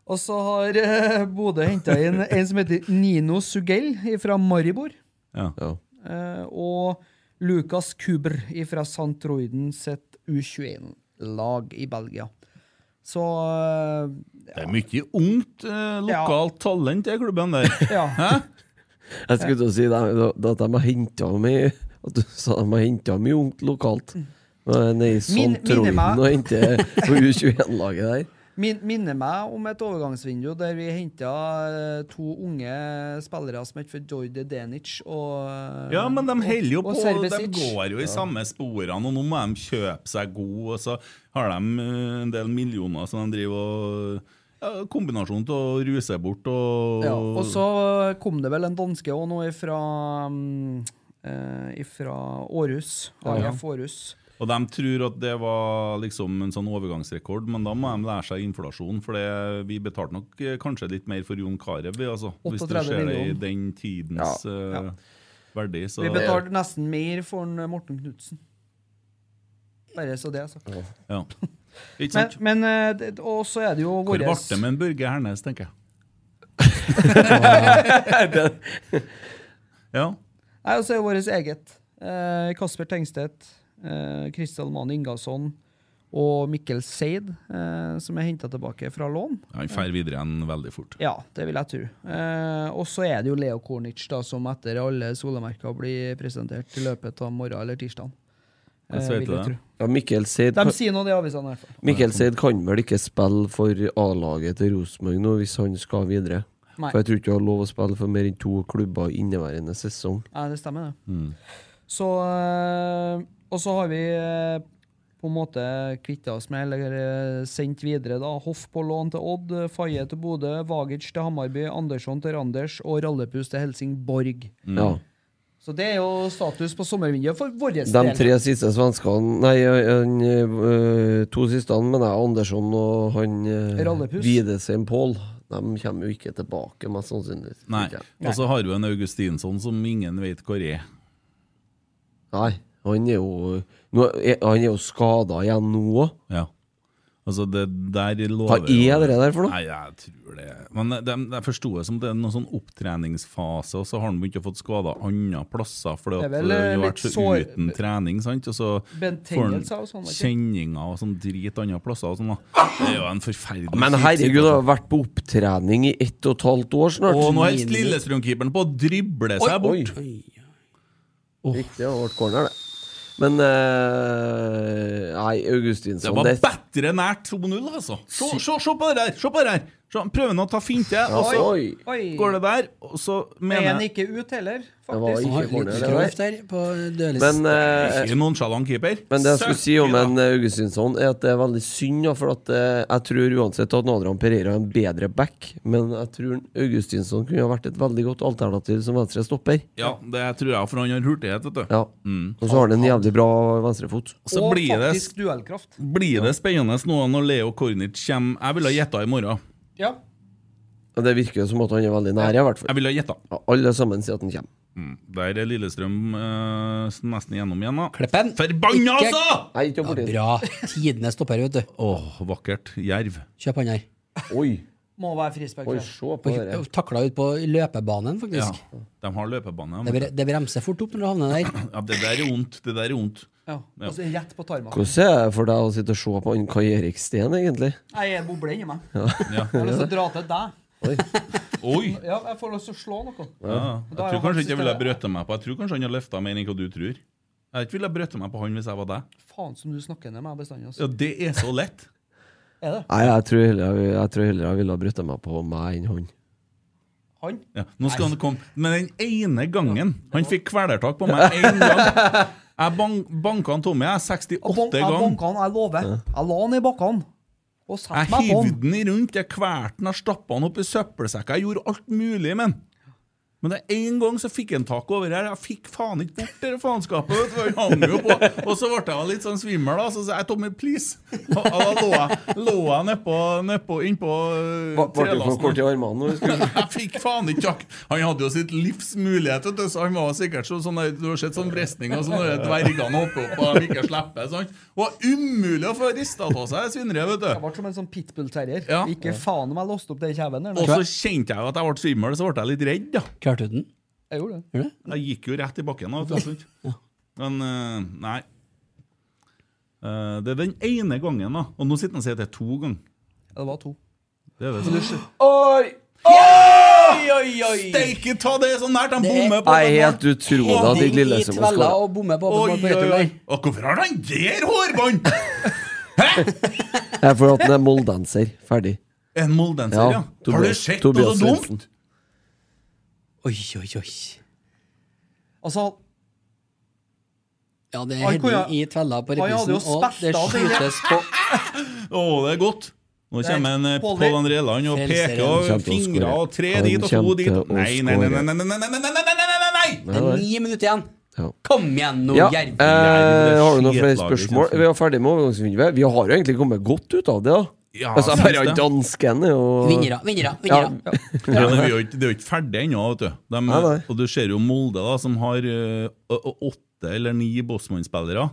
[SPEAKER 2] Og så har eh, Bodø henta inn en som heter Nino Sugell fra Maribor.
[SPEAKER 3] Ja.
[SPEAKER 2] Eh, og Lukas Kuber fra Santroiden sitt U21-lag i Belgia. Så eh,
[SPEAKER 3] Det er mye ungt eh, lokalt talent i klubben der. Hæ?
[SPEAKER 6] Jeg skulle til å si det, at de har henta meg At du sa de har henta meg ungt lokalt. Nei,
[SPEAKER 2] Mm.
[SPEAKER 6] sånn
[SPEAKER 2] Min- minner
[SPEAKER 6] Troiden
[SPEAKER 2] meg-
[SPEAKER 6] og hente på U21-laget der.
[SPEAKER 2] Min, minner meg om et overgangsvindu der vi henta eh, to unge spillere som het for Jordi Denic og eh,
[SPEAKER 3] Ja, men de holder jo
[SPEAKER 2] og-
[SPEAKER 3] på.
[SPEAKER 2] og
[SPEAKER 3] De
[SPEAKER 2] Serbesic.
[SPEAKER 3] går jo i
[SPEAKER 2] Ja.
[SPEAKER 3] samme sporene, og nå må de kjøpe seg god, og så har de eh, en del millioner som de driver og ja, Kombinasjonen til å ruse seg bort og
[SPEAKER 2] Ja, og så kom det vel en danske òg nå ifra mm, eh, Ifra Århus.
[SPEAKER 3] Ja.
[SPEAKER 2] AIF Århus.
[SPEAKER 3] Og de tror at det var liksom en sånn overgangsrekord, men da må de lære seg inflasjon. For det, vi betalte nok eh, kanskje litt mer for Jon Carew, vi, altså, hvis du
[SPEAKER 2] 38
[SPEAKER 3] ser det i
[SPEAKER 2] millioner.
[SPEAKER 3] den tidens eh,
[SPEAKER 2] Ja.
[SPEAKER 3] verdi. Så
[SPEAKER 2] Vi betalte nesten mer for en eh, Morten Knutsen. Bare så det er sagt.
[SPEAKER 3] Ja. Ikke
[SPEAKER 2] Men,
[SPEAKER 3] sant?
[SPEAKER 2] men eh, det- og så er det jo
[SPEAKER 3] Hvor
[SPEAKER 2] vår
[SPEAKER 3] ble det med en Børge Hernes, tenker jeg. ja.
[SPEAKER 2] Nei, og så er det vårt eget. Eh, Kasper Tengstedt, eh, Kristian Mann Ingasson og Mikkel Seid, eh, som er henta tilbake fra lån.
[SPEAKER 3] Ja, Han drar videre igjen veldig fort.
[SPEAKER 2] Ja, det vil jeg tro. Eh, og så er det jo Leo Kornic, da, som etter alle solemerker blir presentert i løpet av morgen eller tirsdag. Eh,
[SPEAKER 6] Ja, Mikkel Seid
[SPEAKER 2] De sier nå det i avisene, i hvert fall.
[SPEAKER 6] Mikkel Seid kan vel ikke spille for A-laget til Rosenborg nå, hvis han skal videre?
[SPEAKER 2] Nei.
[SPEAKER 6] For jeg tror ikke han har lov å spille for mer enn to klubber inneværende sesong.
[SPEAKER 2] Ja, det stemmer, det. Så, eh, og så har vi eh, på en måte kvitta oss med, eller eh, sendt videre, da. Hoff på lån til Odd, eh, Faye til Bodø, Vagic til Hammarby, Andersson til Randers og Rallepus til Helsingborg.
[SPEAKER 6] Ja.
[SPEAKER 2] Så det er jo status på sommervinduet for vår del.
[SPEAKER 6] De tre siste svenskene Nei, han, øh, to siste, mener jeg, Andersson og han øh,
[SPEAKER 2] Rallepus.
[SPEAKER 6] Videsheim Pål, de kommer jo ikke tilbake, mest sannsynlig.
[SPEAKER 3] Nei.
[SPEAKER 6] Ikke.
[SPEAKER 3] Og så har du en Augustinsson som ingen vet hvor er.
[SPEAKER 6] Nei, han er jo nå, er- Han er jo skada igjen nå òg.
[SPEAKER 3] Altså, det der
[SPEAKER 6] Hva
[SPEAKER 3] lover
[SPEAKER 6] er det der for noe?
[SPEAKER 3] Nei, jeg tror det Men de, jeg forsto det som det er noen sånn opptreningsfase, og så har han begynt å få skader andre plasser fordi
[SPEAKER 2] Det
[SPEAKER 3] at
[SPEAKER 2] er vel,
[SPEAKER 3] han har
[SPEAKER 2] eh,
[SPEAKER 3] vært så
[SPEAKER 2] litt sår-
[SPEAKER 3] uten trening, sant? Og så
[SPEAKER 2] Bent
[SPEAKER 3] får han
[SPEAKER 2] Tengelsa og sånn, var det ikke?
[SPEAKER 3] kjenninger og sånn drit andre plasser og sånn, da. Det er jo en forferdelig
[SPEAKER 6] Ah! Men
[SPEAKER 3] kjip
[SPEAKER 6] herregud,
[SPEAKER 3] situasjon.
[SPEAKER 6] han har vært på opptrening i ett og et halvt år snart.
[SPEAKER 3] Og nå holder Lillestrøm-keeperen på å drible seg
[SPEAKER 6] Oi,
[SPEAKER 3] bort.
[SPEAKER 6] Riktig, det ble corner, det. Men eh, Nei,
[SPEAKER 3] Det
[SPEAKER 6] Augustinsson
[SPEAKER 3] var
[SPEAKER 6] det,
[SPEAKER 3] bedre nær 2-0, altså. Se, se, se på det der! Se på det der. Se, han prøver nå å ta finte, og så
[SPEAKER 6] Oi.
[SPEAKER 2] Oi.
[SPEAKER 3] går det der, og så
[SPEAKER 2] Er han
[SPEAKER 3] mener jeg
[SPEAKER 2] ikke ut heller,
[SPEAKER 6] Det var
[SPEAKER 2] faktisk?
[SPEAKER 6] ikke corner, det der.
[SPEAKER 8] Kraft der på dørlisten.
[SPEAKER 6] Men, eh,
[SPEAKER 3] Ikke nonsjalant keeper.
[SPEAKER 6] men det jeg skulle si om en eh, Augustinsson, er at det er veldig synd. da, For at, eh, jeg tror uansett at Adrian Pereira er en bedre back, men jeg tror Augustinsson kunne ha vært et veldig godt alternativ som venstre stopper.
[SPEAKER 3] Ja, det tror jeg, for han har hurtighet, vet du.
[SPEAKER 6] Ja.
[SPEAKER 3] Mm. Altså-
[SPEAKER 6] Og så har han en jævlig bra venstrefot.
[SPEAKER 3] Så
[SPEAKER 2] Og
[SPEAKER 3] blir det,
[SPEAKER 2] faktisk duellkraft.
[SPEAKER 3] blir det spennende nå når Leo Kornic kommer. Jeg ville ha gjetta i morgen.
[SPEAKER 2] Ja.
[SPEAKER 6] Og Det virker jo som at han er veldig nær, i hvert fall.
[SPEAKER 3] Jeg ville ha gjetta.
[SPEAKER 6] Ja, Alle sammen sier at han kommer.
[SPEAKER 3] Mm. Der er Lillestrøm eh, nesten igjennom igjen, da. Kleppen! Forbanna,
[SPEAKER 8] Ikke-
[SPEAKER 3] altså!
[SPEAKER 8] Ja, bra. Tidene stopper, vet du.
[SPEAKER 3] Åh, vakkert. Jerv.
[SPEAKER 8] Kjøp han her.
[SPEAKER 6] Oi.
[SPEAKER 2] Må være frispark. tror jeg.
[SPEAKER 8] Takla ut på løpebanen,
[SPEAKER 3] Ja.
[SPEAKER 8] faktisk.
[SPEAKER 3] De har løpebane.
[SPEAKER 8] Det, bre- det bremser fort opp når du havner der.
[SPEAKER 3] Ja, det der er vondt. Det der er vondt.
[SPEAKER 2] Ja. Og så rett på tarmen.
[SPEAKER 6] Hvordan er det for deg å sitte og se på han Kai Erik Steen, egentlig?
[SPEAKER 2] Nei, Jeg bobler inni meg.
[SPEAKER 6] Ja.
[SPEAKER 2] Jeg har lyst til å dra til deg.
[SPEAKER 3] Oi!
[SPEAKER 2] Ja, jeg får lyst til å slå noe.
[SPEAKER 3] Ja.
[SPEAKER 2] Da er
[SPEAKER 3] Jeg tror kanskje
[SPEAKER 2] han
[SPEAKER 3] ikke jeg ville
[SPEAKER 2] systemet-
[SPEAKER 3] ha brøtet meg på Jeg tror kanskje han har løfta mer enn hva du tror. Jeg tror ikke ville ha brøtet meg på han hvis jeg var deg.
[SPEAKER 2] Faen som du snakker ned meg bestandig.
[SPEAKER 3] Ja,
[SPEAKER 2] Altså.
[SPEAKER 3] Det er så lett.
[SPEAKER 2] Er det?
[SPEAKER 6] Nei, jeg tror heller jeg, jeg, tror heller jeg ville ha brøtta meg på meg enn han.
[SPEAKER 2] Han?
[SPEAKER 3] Ja, nå skal han komme. Men den ene gangen Han fikk kvelertak på meg én gang. Jeg bang, banka han Tommy jeg 68
[SPEAKER 2] Jeg
[SPEAKER 3] ganger.
[SPEAKER 2] banka han, jeg lover. Jeg la han i bakken. Og
[SPEAKER 3] Jeg
[SPEAKER 2] satte meg på
[SPEAKER 3] hivde
[SPEAKER 2] han.
[SPEAKER 3] den i rundt, jeg kvelte den, jeg stappa den opp i søppelsekker. Jeg gjorde alt mulig med den. Men det er en gang så fikk jeg en tak over her. Jeg fikk faen ikke bort det faenskapet. vet du, for jeg hang jo på. Og så ble jeg litt sånn svimmel, da. Så sa jeg 'Tommy, please'. Og da lå jeg, lå jeg nedpå, nedpå innpå eh,
[SPEAKER 6] Ble du for kort i armene nå? husker du?
[SPEAKER 3] jeg fikk faen ikke jakk. Han hadde jo sitt livs mulighet. vet du, så Han var sikkert så, sånn der- Du har sett sånn vresninger som når dvergene hopper opp og de ikke slipper. sant? Det var umulig å få rista av seg svinneriet, vet du.
[SPEAKER 2] Jeg ble som en sånn pitbull-terrier.
[SPEAKER 3] Ja.
[SPEAKER 2] Ikke faen om jeg låste opp den kjeven. der nå.
[SPEAKER 3] Og så kjente jeg jo at jeg ble svimmel, så ble jeg litt redd. da.
[SPEAKER 8] Klarte du den?
[SPEAKER 2] Jeg gjorde det.
[SPEAKER 3] Jeg gikk jo rett i bakken. da, vet du, sant? Men eh, nei. Eh, det er den ene gangen, da. Og nå sitter han og sier at det er to ganger.
[SPEAKER 2] Ja, det var to.
[SPEAKER 3] Det er det
[SPEAKER 2] Men du
[SPEAKER 3] som-
[SPEAKER 2] skjø-
[SPEAKER 3] Oi!
[SPEAKER 2] Oi, oi, oi!
[SPEAKER 3] Steike ta det så nært! Han bommer på
[SPEAKER 6] Jeg
[SPEAKER 3] den
[SPEAKER 6] er
[SPEAKER 3] der.
[SPEAKER 6] helt utrolig at ikke Lillestrøm har skåret.
[SPEAKER 3] Oi,
[SPEAKER 8] på retur
[SPEAKER 3] oi, oi.
[SPEAKER 8] der.
[SPEAKER 3] Og hvorfor har han der hårbånd?!
[SPEAKER 6] Jeg får at han er moldenser. Ferdig.
[SPEAKER 3] En moldenser, ja. Har du sett noe så dumt?
[SPEAKER 8] Oi, oi, oi.
[SPEAKER 2] Altså
[SPEAKER 8] Ja, det er
[SPEAKER 2] Han
[SPEAKER 8] Henning
[SPEAKER 2] kunne-
[SPEAKER 8] i tvella på
[SPEAKER 2] han hadde jo
[SPEAKER 8] reprisen, og det
[SPEAKER 2] spett av den.
[SPEAKER 8] skytes på
[SPEAKER 3] Å, det er godt. Nå
[SPEAKER 8] Det er
[SPEAKER 3] kommer en eh,
[SPEAKER 8] Pål
[SPEAKER 3] Pål André Land og
[SPEAKER 8] Frelser
[SPEAKER 3] peker
[SPEAKER 8] igjen.
[SPEAKER 3] og fingrer og tre
[SPEAKER 6] Han
[SPEAKER 3] dit og to
[SPEAKER 6] kommer
[SPEAKER 3] dit.
[SPEAKER 6] til å
[SPEAKER 3] Nei, nei, nei,
[SPEAKER 6] skåre.
[SPEAKER 3] nei, nei, nei, nei, nei, nei, nei, nei, nei, nei.
[SPEAKER 8] Det er ni minutter igjen.
[SPEAKER 6] Ja.
[SPEAKER 8] Kom igjen nå,
[SPEAKER 6] Ja,
[SPEAKER 8] Jerv.
[SPEAKER 6] eh, har du noen flere
[SPEAKER 8] skitlaget,
[SPEAKER 6] spørsmål? Vi er ferdig med overgangsvinduet. Vi har jo egentlig kommet godt ut av det, da.
[SPEAKER 3] Ja,
[SPEAKER 6] altså,
[SPEAKER 3] synes
[SPEAKER 6] bare
[SPEAKER 3] det.
[SPEAKER 6] dansken er jo
[SPEAKER 8] Vinnere, vinnere, vinnere.
[SPEAKER 6] Ja.
[SPEAKER 3] Ja, men vi er jo ikke, det er jo ikke ferdig ennå. vet du. De,
[SPEAKER 6] Nei, nei.
[SPEAKER 3] Og du ser jo Molde, da, som har eh, å- å- åtte eller ni Bosman-spillere.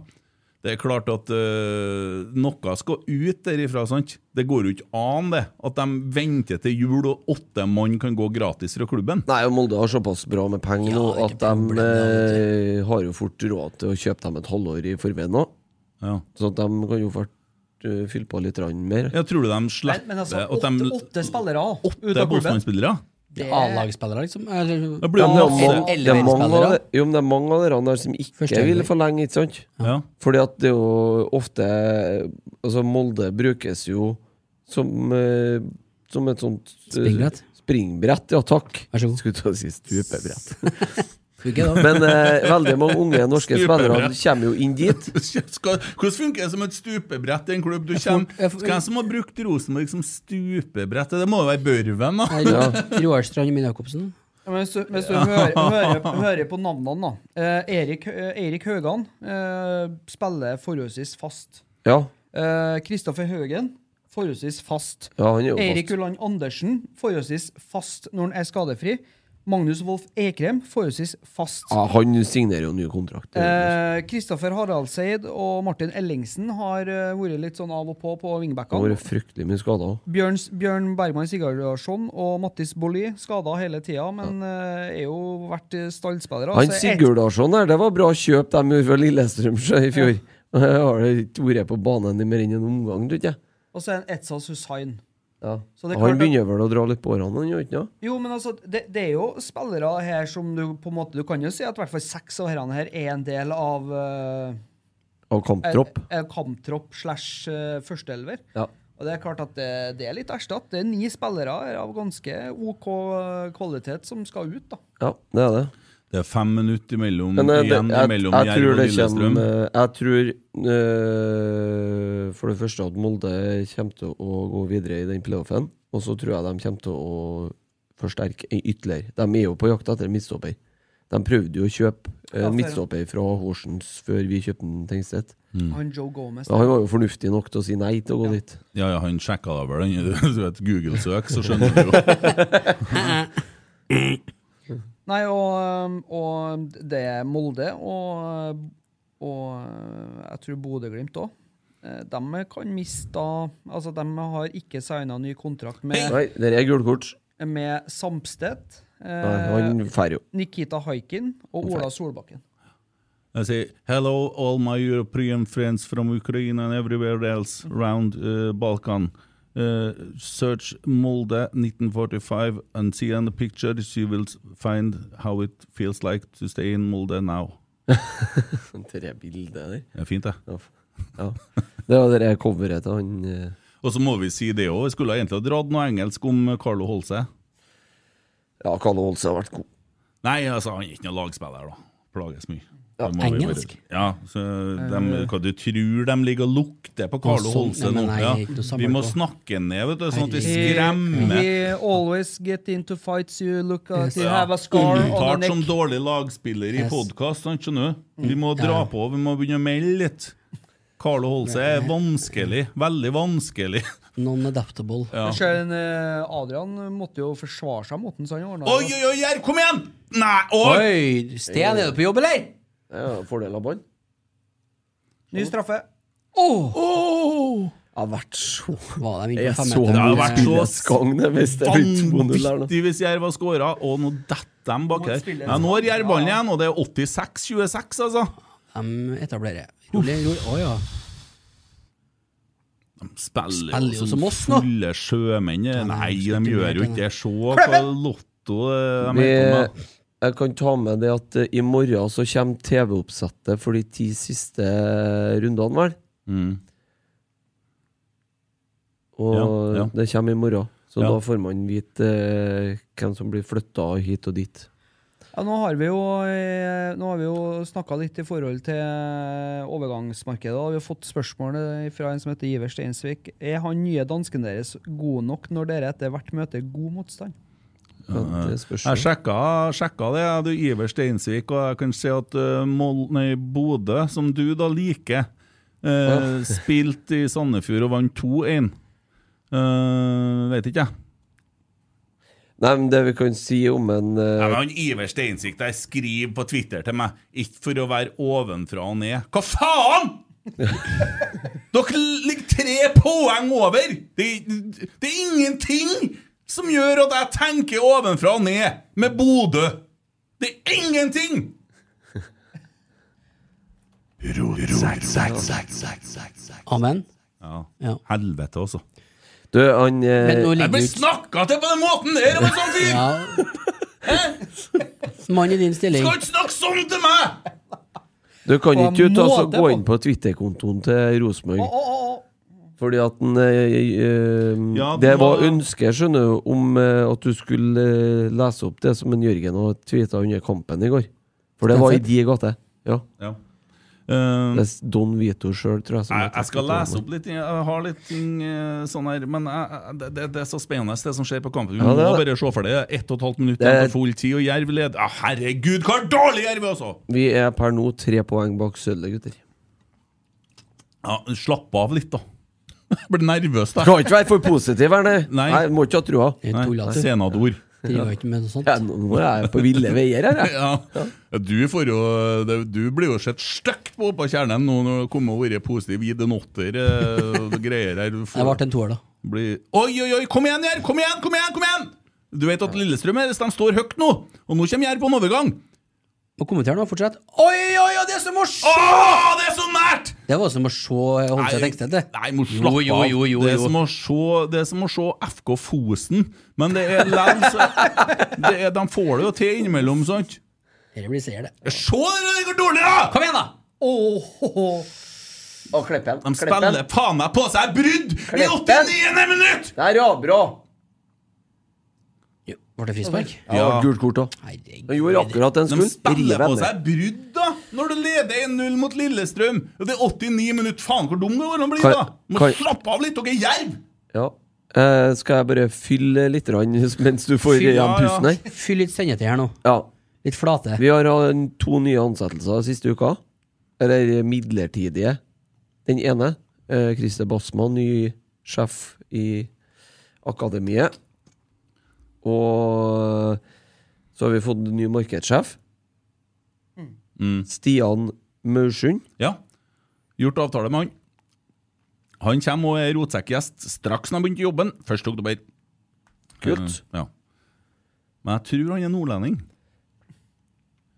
[SPEAKER 3] Det er klart at eh, noe skal ut derifra. sant? Det går jo ikke an det, at de venter til jul og åtte mann kan gå gratis fra klubben.
[SPEAKER 6] Nei, og Molde har såpass bra med penger nå at de eh, har jo fort råd til å kjøpe dem et halvår i forveien nå. Så at de kan jo fort eh, fylle på litt rann mer.
[SPEAKER 3] Jeg tror du de
[SPEAKER 2] Men, men altså, åtte, åtte spillere
[SPEAKER 6] Det
[SPEAKER 2] åtte
[SPEAKER 6] er Bosman-spillere?
[SPEAKER 8] Det er A-lagsspillere, liksom. Eller-
[SPEAKER 6] Ja, men det er mange- det er mange av
[SPEAKER 8] Elverspillere.
[SPEAKER 6] de- Jo, men det er mange av dere der som ikke
[SPEAKER 8] Førsteelver.
[SPEAKER 6] vil forlenge, ikke sant?
[SPEAKER 3] Ja.
[SPEAKER 6] Fordi at det er jo ofte Altså, Molde brukes jo som eh, Som et sånt eh,
[SPEAKER 8] Springbrett.
[SPEAKER 6] Springbrett, ja takk. Vær så god. Skulle til å si stupebrett.
[SPEAKER 8] Funker det da?
[SPEAKER 6] Men eh, veldig mange unge norske spillere
[SPEAKER 3] Stupebrett.
[SPEAKER 6] kommer jo inn dit.
[SPEAKER 3] Skal, hvordan funker det som et stupebrett i en klubb? Du kommer, Hvem som har brukt Rosenborg som stupebrett? Det må jo være Børven, da.
[SPEAKER 8] Roar Strand og Min Jacobsen.
[SPEAKER 2] Ja, men Hvis du, hvis du hører, hører, hører på navnene, da. Eh, Erik, eh, Erik Høgan eh, spiller forholdsvis fast.
[SPEAKER 6] Ja.
[SPEAKER 2] Eh, Kristoffer Høgen forholdsvis fast.
[SPEAKER 6] Ja, han er jo
[SPEAKER 2] Erik
[SPEAKER 6] fast.
[SPEAKER 2] Ulland Andersen forholdsvis fast når han er skadefri. Magnus Wolff Ekrem forholdsvis fast.
[SPEAKER 6] Ja, han signerer jo ny kontrakt.
[SPEAKER 2] Eh, Kristoffer Haraldseid og Martin Ellingsen har eh, vært litt sånn av og på på
[SPEAKER 6] Han
[SPEAKER 2] wingbackene.
[SPEAKER 6] har vært fryktelig mye skada òg.
[SPEAKER 2] Bjørn, Bjørn Bergman Sigurdarsson og Mattis Bolli skada hele tida, men eh, er jo vært eh, stallspillere.
[SPEAKER 6] Han
[SPEAKER 2] Så jeg-
[SPEAKER 6] Sigurdarsson her, det var bra kjøp de gjorde fra Lillestrøm sjø i fjor. Jeg har det ikke vært på banen i mer enn en omgang, tror jeg.
[SPEAKER 2] Og så er en Etzaz Hussain.
[SPEAKER 6] Ja.
[SPEAKER 2] Så det er klart
[SPEAKER 6] Han
[SPEAKER 2] at-
[SPEAKER 6] begynner vel å dra litt på årene, han gjør ikke det?
[SPEAKER 2] Jo, men altså, det, det er jo spillere her som du på en måte Du kan jo si at i hvert fall seks av herrene her er en del av eh,
[SPEAKER 6] Av kamptropp.
[SPEAKER 2] en- en Kamptropp slash eh, førsteelver.
[SPEAKER 6] Ja.
[SPEAKER 2] Og det er klart at det, det er litt erstatt. Det er ni spillere her av ganske OK eh, kvalitet som skal ut, da.
[SPEAKER 6] Ja, det er det.
[SPEAKER 3] Det er fem minutter imellom,
[SPEAKER 6] Men eh, det,
[SPEAKER 3] igjen
[SPEAKER 6] jeg,
[SPEAKER 3] Mm, mellom
[SPEAKER 6] jeg
[SPEAKER 3] Jerv
[SPEAKER 6] tror
[SPEAKER 3] og
[SPEAKER 6] det
[SPEAKER 3] Lillestrøm.
[SPEAKER 6] kommer eh, Jeg tror eh, for det første at Molde kommer til å gå videre i den playoffen. Og så tror jeg de kommer til å forsterke i- ytterligere. De er jo på jakt etter midtstopper. De prøvde jo å kjøpe eh,
[SPEAKER 2] Ja, for-
[SPEAKER 6] midtstopper fra Horsens før vi kjøpte den Tengstedt.
[SPEAKER 3] Mm.
[SPEAKER 2] Han Joe Gomez.
[SPEAKER 6] Ja, han var jo fornuftig nok til å si nei til å gå dit.
[SPEAKER 3] Ja, ja, han sjekka da vel den. Du vet, Google-søk, så skjønner du jo.
[SPEAKER 2] Nei, og, eh, og det er Molde og, eh, og eh, jeg tror Bodø-Glimt òg. De kan miste da- Altså, de har ikke signa ny kontrakt
[SPEAKER 6] Nei,
[SPEAKER 2] med,
[SPEAKER 6] det er gult kort.
[SPEAKER 2] med Samstedt,
[SPEAKER 6] Nei,
[SPEAKER 2] eh,
[SPEAKER 6] han drar jo.
[SPEAKER 2] Nikita Haikin og Ola Solbakken.
[SPEAKER 3] Jeg sier hello all my European friends from Ukraine and everywhere else round uh, Balkan. Uh, search Molde 1945 and see on the pictures you will find how it feels like to stay in Molde now.
[SPEAKER 6] Tre bilder der.
[SPEAKER 3] Det er fint, det.
[SPEAKER 6] Ja. ja. Det var det der coveret til han eh,
[SPEAKER 3] Og så må vi si det òg. Jeg skulle egentlig ha dratt noe engelsk om Carlo Holse.
[SPEAKER 6] Ja, Kalle Holse har vært god.
[SPEAKER 3] Nei, altså, han er ikke noen lagspiller, da. Plages mye. Det må vi bare-
[SPEAKER 8] Engelsk? Eh.
[SPEAKER 3] Ja, så de, hva du tror de ligger og lukter på Carlo
[SPEAKER 8] Å, sånn.
[SPEAKER 3] Holse nå.
[SPEAKER 8] Nei, men nei,
[SPEAKER 3] Ja.
[SPEAKER 8] jeg er ikke noe
[SPEAKER 3] Vi må
[SPEAKER 8] samarbeider.
[SPEAKER 3] snakke ned, vet du, sånn at vi
[SPEAKER 2] He-
[SPEAKER 3] skremmer.
[SPEAKER 2] He always get into fights you look at. He
[SPEAKER 3] Ja.
[SPEAKER 2] have a scar on
[SPEAKER 3] Omtalt
[SPEAKER 2] the
[SPEAKER 3] som
[SPEAKER 2] neck.
[SPEAKER 3] dårlig lagspiller i
[SPEAKER 2] Yes.
[SPEAKER 3] podkast, skjønner du. Vi må
[SPEAKER 2] Mm.
[SPEAKER 3] dra
[SPEAKER 2] Ja.
[SPEAKER 3] på, vi må begynne å melde litt. Carlo Holse er vanskelig. Veldig vanskelig.
[SPEAKER 8] Non-adaptable.
[SPEAKER 3] Ja.
[SPEAKER 2] Selv en, eh, Adrian måtte jo forsvare seg mot den, så han ordna
[SPEAKER 3] Oi, oi, oi, her, kom igjen! Nei, oi!
[SPEAKER 8] Oi, Sten, er du på jobb, eller?
[SPEAKER 6] Ja, fordel av bånd.
[SPEAKER 2] Ny straffe.
[SPEAKER 6] Det har vært så
[SPEAKER 8] Var
[SPEAKER 6] Jeg så mye spilleskang det hvis det blir 2-0 her nå.
[SPEAKER 3] vanvittig hvis Jerv har skåra, og nå detter de bak her.
[SPEAKER 8] spille en
[SPEAKER 3] Ja, nå har
[SPEAKER 8] skam,
[SPEAKER 3] Jerv ballen igjen, og det er 86-26, altså.
[SPEAKER 8] De etablerer. Rolig, rolig. Å ja.
[SPEAKER 3] De spiller,
[SPEAKER 8] Spiller jo som oss nå.
[SPEAKER 3] Fulle sjømenn. eh. Nei, de gjør jo ikke det. Se hva
[SPEAKER 8] Kløver!
[SPEAKER 3] Lotto eh, de
[SPEAKER 6] Vi,
[SPEAKER 3] holder på med.
[SPEAKER 6] jeg kan ta med det at eh, i morgen så kommer TV-oppsettet for de ti siste eh, rundene, vel?
[SPEAKER 3] Mm.
[SPEAKER 6] Og
[SPEAKER 3] Ja, ja.
[SPEAKER 6] det kommer i morgen. Så
[SPEAKER 3] Ja.
[SPEAKER 6] da får man vite eh, hvem som blir flytta hit og dit.
[SPEAKER 2] Ja, nå har vi jo, eh, nå har vi jo snakka litt i forhold til eh, overgangsmarkedet. og Vi har fått spørsmål eh, fra en som heter Iver Steinsvik. Er han nye dansken deres god nok når dere etter hvert møter god motstand?
[SPEAKER 6] Ja, det spørs jo.
[SPEAKER 3] eh, Jeg sjekka, sjekka det, jeg, du Iver Steinsvik, og jeg kan si at eh, Mol- nei, Bodø, som du da liker, uh,
[SPEAKER 6] Ja.
[SPEAKER 3] spilte i Sandefjord og vant 2-1. Eh, vet ikke, jeg.
[SPEAKER 6] Nei, men det vi kan si om en eh,
[SPEAKER 3] Ja, men han Iver Steinsvik der skriver på Twitter til meg Ikke for å være ovenfra og ned Hva faen?! Dere ligger tre poeng over! Det, det er ingenting som gjør at jeg tenker ovenfra og ned med Bodø! Det er ingenting!
[SPEAKER 8] Amen.
[SPEAKER 3] Ja. Helvete, altså.
[SPEAKER 6] Du, han eh,
[SPEAKER 8] Men nå ligger
[SPEAKER 3] Jeg blir
[SPEAKER 8] jo ikke-
[SPEAKER 3] snakka til på den måten der av en sånn fyr!
[SPEAKER 8] Mann i din stilling.
[SPEAKER 3] Skal ikke snakke sånn til meg!
[SPEAKER 6] Du kan
[SPEAKER 8] På en
[SPEAKER 6] ikke ut, altså,
[SPEAKER 8] måte,
[SPEAKER 6] gå
[SPEAKER 8] på-
[SPEAKER 6] inn på Twitter-kontoen til Rosenborg. Fordi at den, eh,
[SPEAKER 3] Ja,
[SPEAKER 6] Det
[SPEAKER 3] den
[SPEAKER 6] var
[SPEAKER 3] var-
[SPEAKER 6] ønsket, skjønner du, om eh, at du skulle eh, lese opp det som en Jørgen og tweeta under kampen i går. For det var i de gater. Ja.
[SPEAKER 3] Ja. Eh,
[SPEAKER 6] det er Don Vito sjøl, tror jeg. som
[SPEAKER 3] Jeg,
[SPEAKER 6] har
[SPEAKER 3] jeg skal
[SPEAKER 6] tweetet om
[SPEAKER 3] lese
[SPEAKER 6] det.
[SPEAKER 3] opp litt. Jeg har litt ting eh, sånn her Men jeg, jeg- det, det, det er så spennende, det som skjer på kampen. Vi
[SPEAKER 6] Ja, det
[SPEAKER 3] må
[SPEAKER 6] er
[SPEAKER 3] bare se for det. Det er Ett og et halvt minutt
[SPEAKER 6] Det er-
[SPEAKER 3] igjen på full tid, og Jerv leder. Ah, herregud, hva dårlig Jerv er, altså!
[SPEAKER 6] Vi er per nå tre poeng bak sølvet, gutter.
[SPEAKER 3] Ja, slapp av litt, da. Jeg blir nervøs, da.
[SPEAKER 6] Skal ikke være for positiv her, nei.
[SPEAKER 3] Nei.
[SPEAKER 6] Nei, Må ikke ha trua.
[SPEAKER 3] Nei, Senador.
[SPEAKER 8] Driver altså. ikke med noe sånt.
[SPEAKER 6] Ja, nå nå er jeg på ville veier her, jeg.
[SPEAKER 3] Ja. Ja, Du, får jo, det- du blir jo sett stygt på oppå kjernen nå når du kommer og vært positiv, gitt en åtter eh, og greier her. Du
[SPEAKER 8] Det
[SPEAKER 3] får-
[SPEAKER 8] ble en toer, da.
[SPEAKER 3] blir Oi, oi, oi, kom igjen, Jerv! Kom igjen, kom igjen! kom igjen Du vet at Lillestrøm er, de står høyt nå, og nå kommer Jerv på en overgang.
[SPEAKER 8] Og kommenter nå, fortsett. Oi, oi, oi, det er som å se!
[SPEAKER 3] Åh, det er så nært!
[SPEAKER 8] Det var som å se holde seg tekstet til.
[SPEAKER 3] Nei, må slappe av.
[SPEAKER 8] Jo, jo, jo,
[SPEAKER 3] Det, er
[SPEAKER 8] jo.
[SPEAKER 3] som å se, det er som å se FK Fosen, men det er likevel så det er, De får det jo til innimellom, sant?
[SPEAKER 8] Dette blir seier, det.
[SPEAKER 3] Se dere, det går dårlig, da!
[SPEAKER 8] Kom igjen, da!
[SPEAKER 6] Og Kleppen.
[SPEAKER 3] De spiller faen meg på seg brudd i 89. minutt!
[SPEAKER 6] Det er Rabra.
[SPEAKER 8] Ble det frispark?
[SPEAKER 6] Ja, gult kort òg. Han gjorde akkurat det han
[SPEAKER 3] De
[SPEAKER 6] skulle.
[SPEAKER 3] spiller
[SPEAKER 6] Rive
[SPEAKER 3] på
[SPEAKER 6] ned.
[SPEAKER 3] seg brudd, da! Når du leder 1-0 mot Lillestrøm. Og det er 89 minutter. Faen, hvor dum du går an å bli,
[SPEAKER 6] Kan-
[SPEAKER 3] da! Må
[SPEAKER 6] kan-
[SPEAKER 3] slappe av litt, dere er jerv!
[SPEAKER 6] Ja. Eh, skal jeg bare fylle litt rann, mens du får
[SPEAKER 8] Fyll-
[SPEAKER 6] ja,
[SPEAKER 8] ja, ja.
[SPEAKER 6] pusten her?
[SPEAKER 8] Fyll litt sendetid her nå.
[SPEAKER 6] Ja.
[SPEAKER 8] Litt flate.
[SPEAKER 6] Vi har hatt en- to nye ansettelser siste uka. Eller midlertidige. Den ene, eh, Christer Bassmann, ny sjef i Akademiet. Og så har vi fått ny markedssjef. Stian Maursund.
[SPEAKER 3] Ja. Gjort avtale med han. Han kommer og er rotsekkgjest straks når han begynte jobben. 1. oktober.
[SPEAKER 6] Kult.
[SPEAKER 3] Eh, ja. Men jeg tror han er nordlending.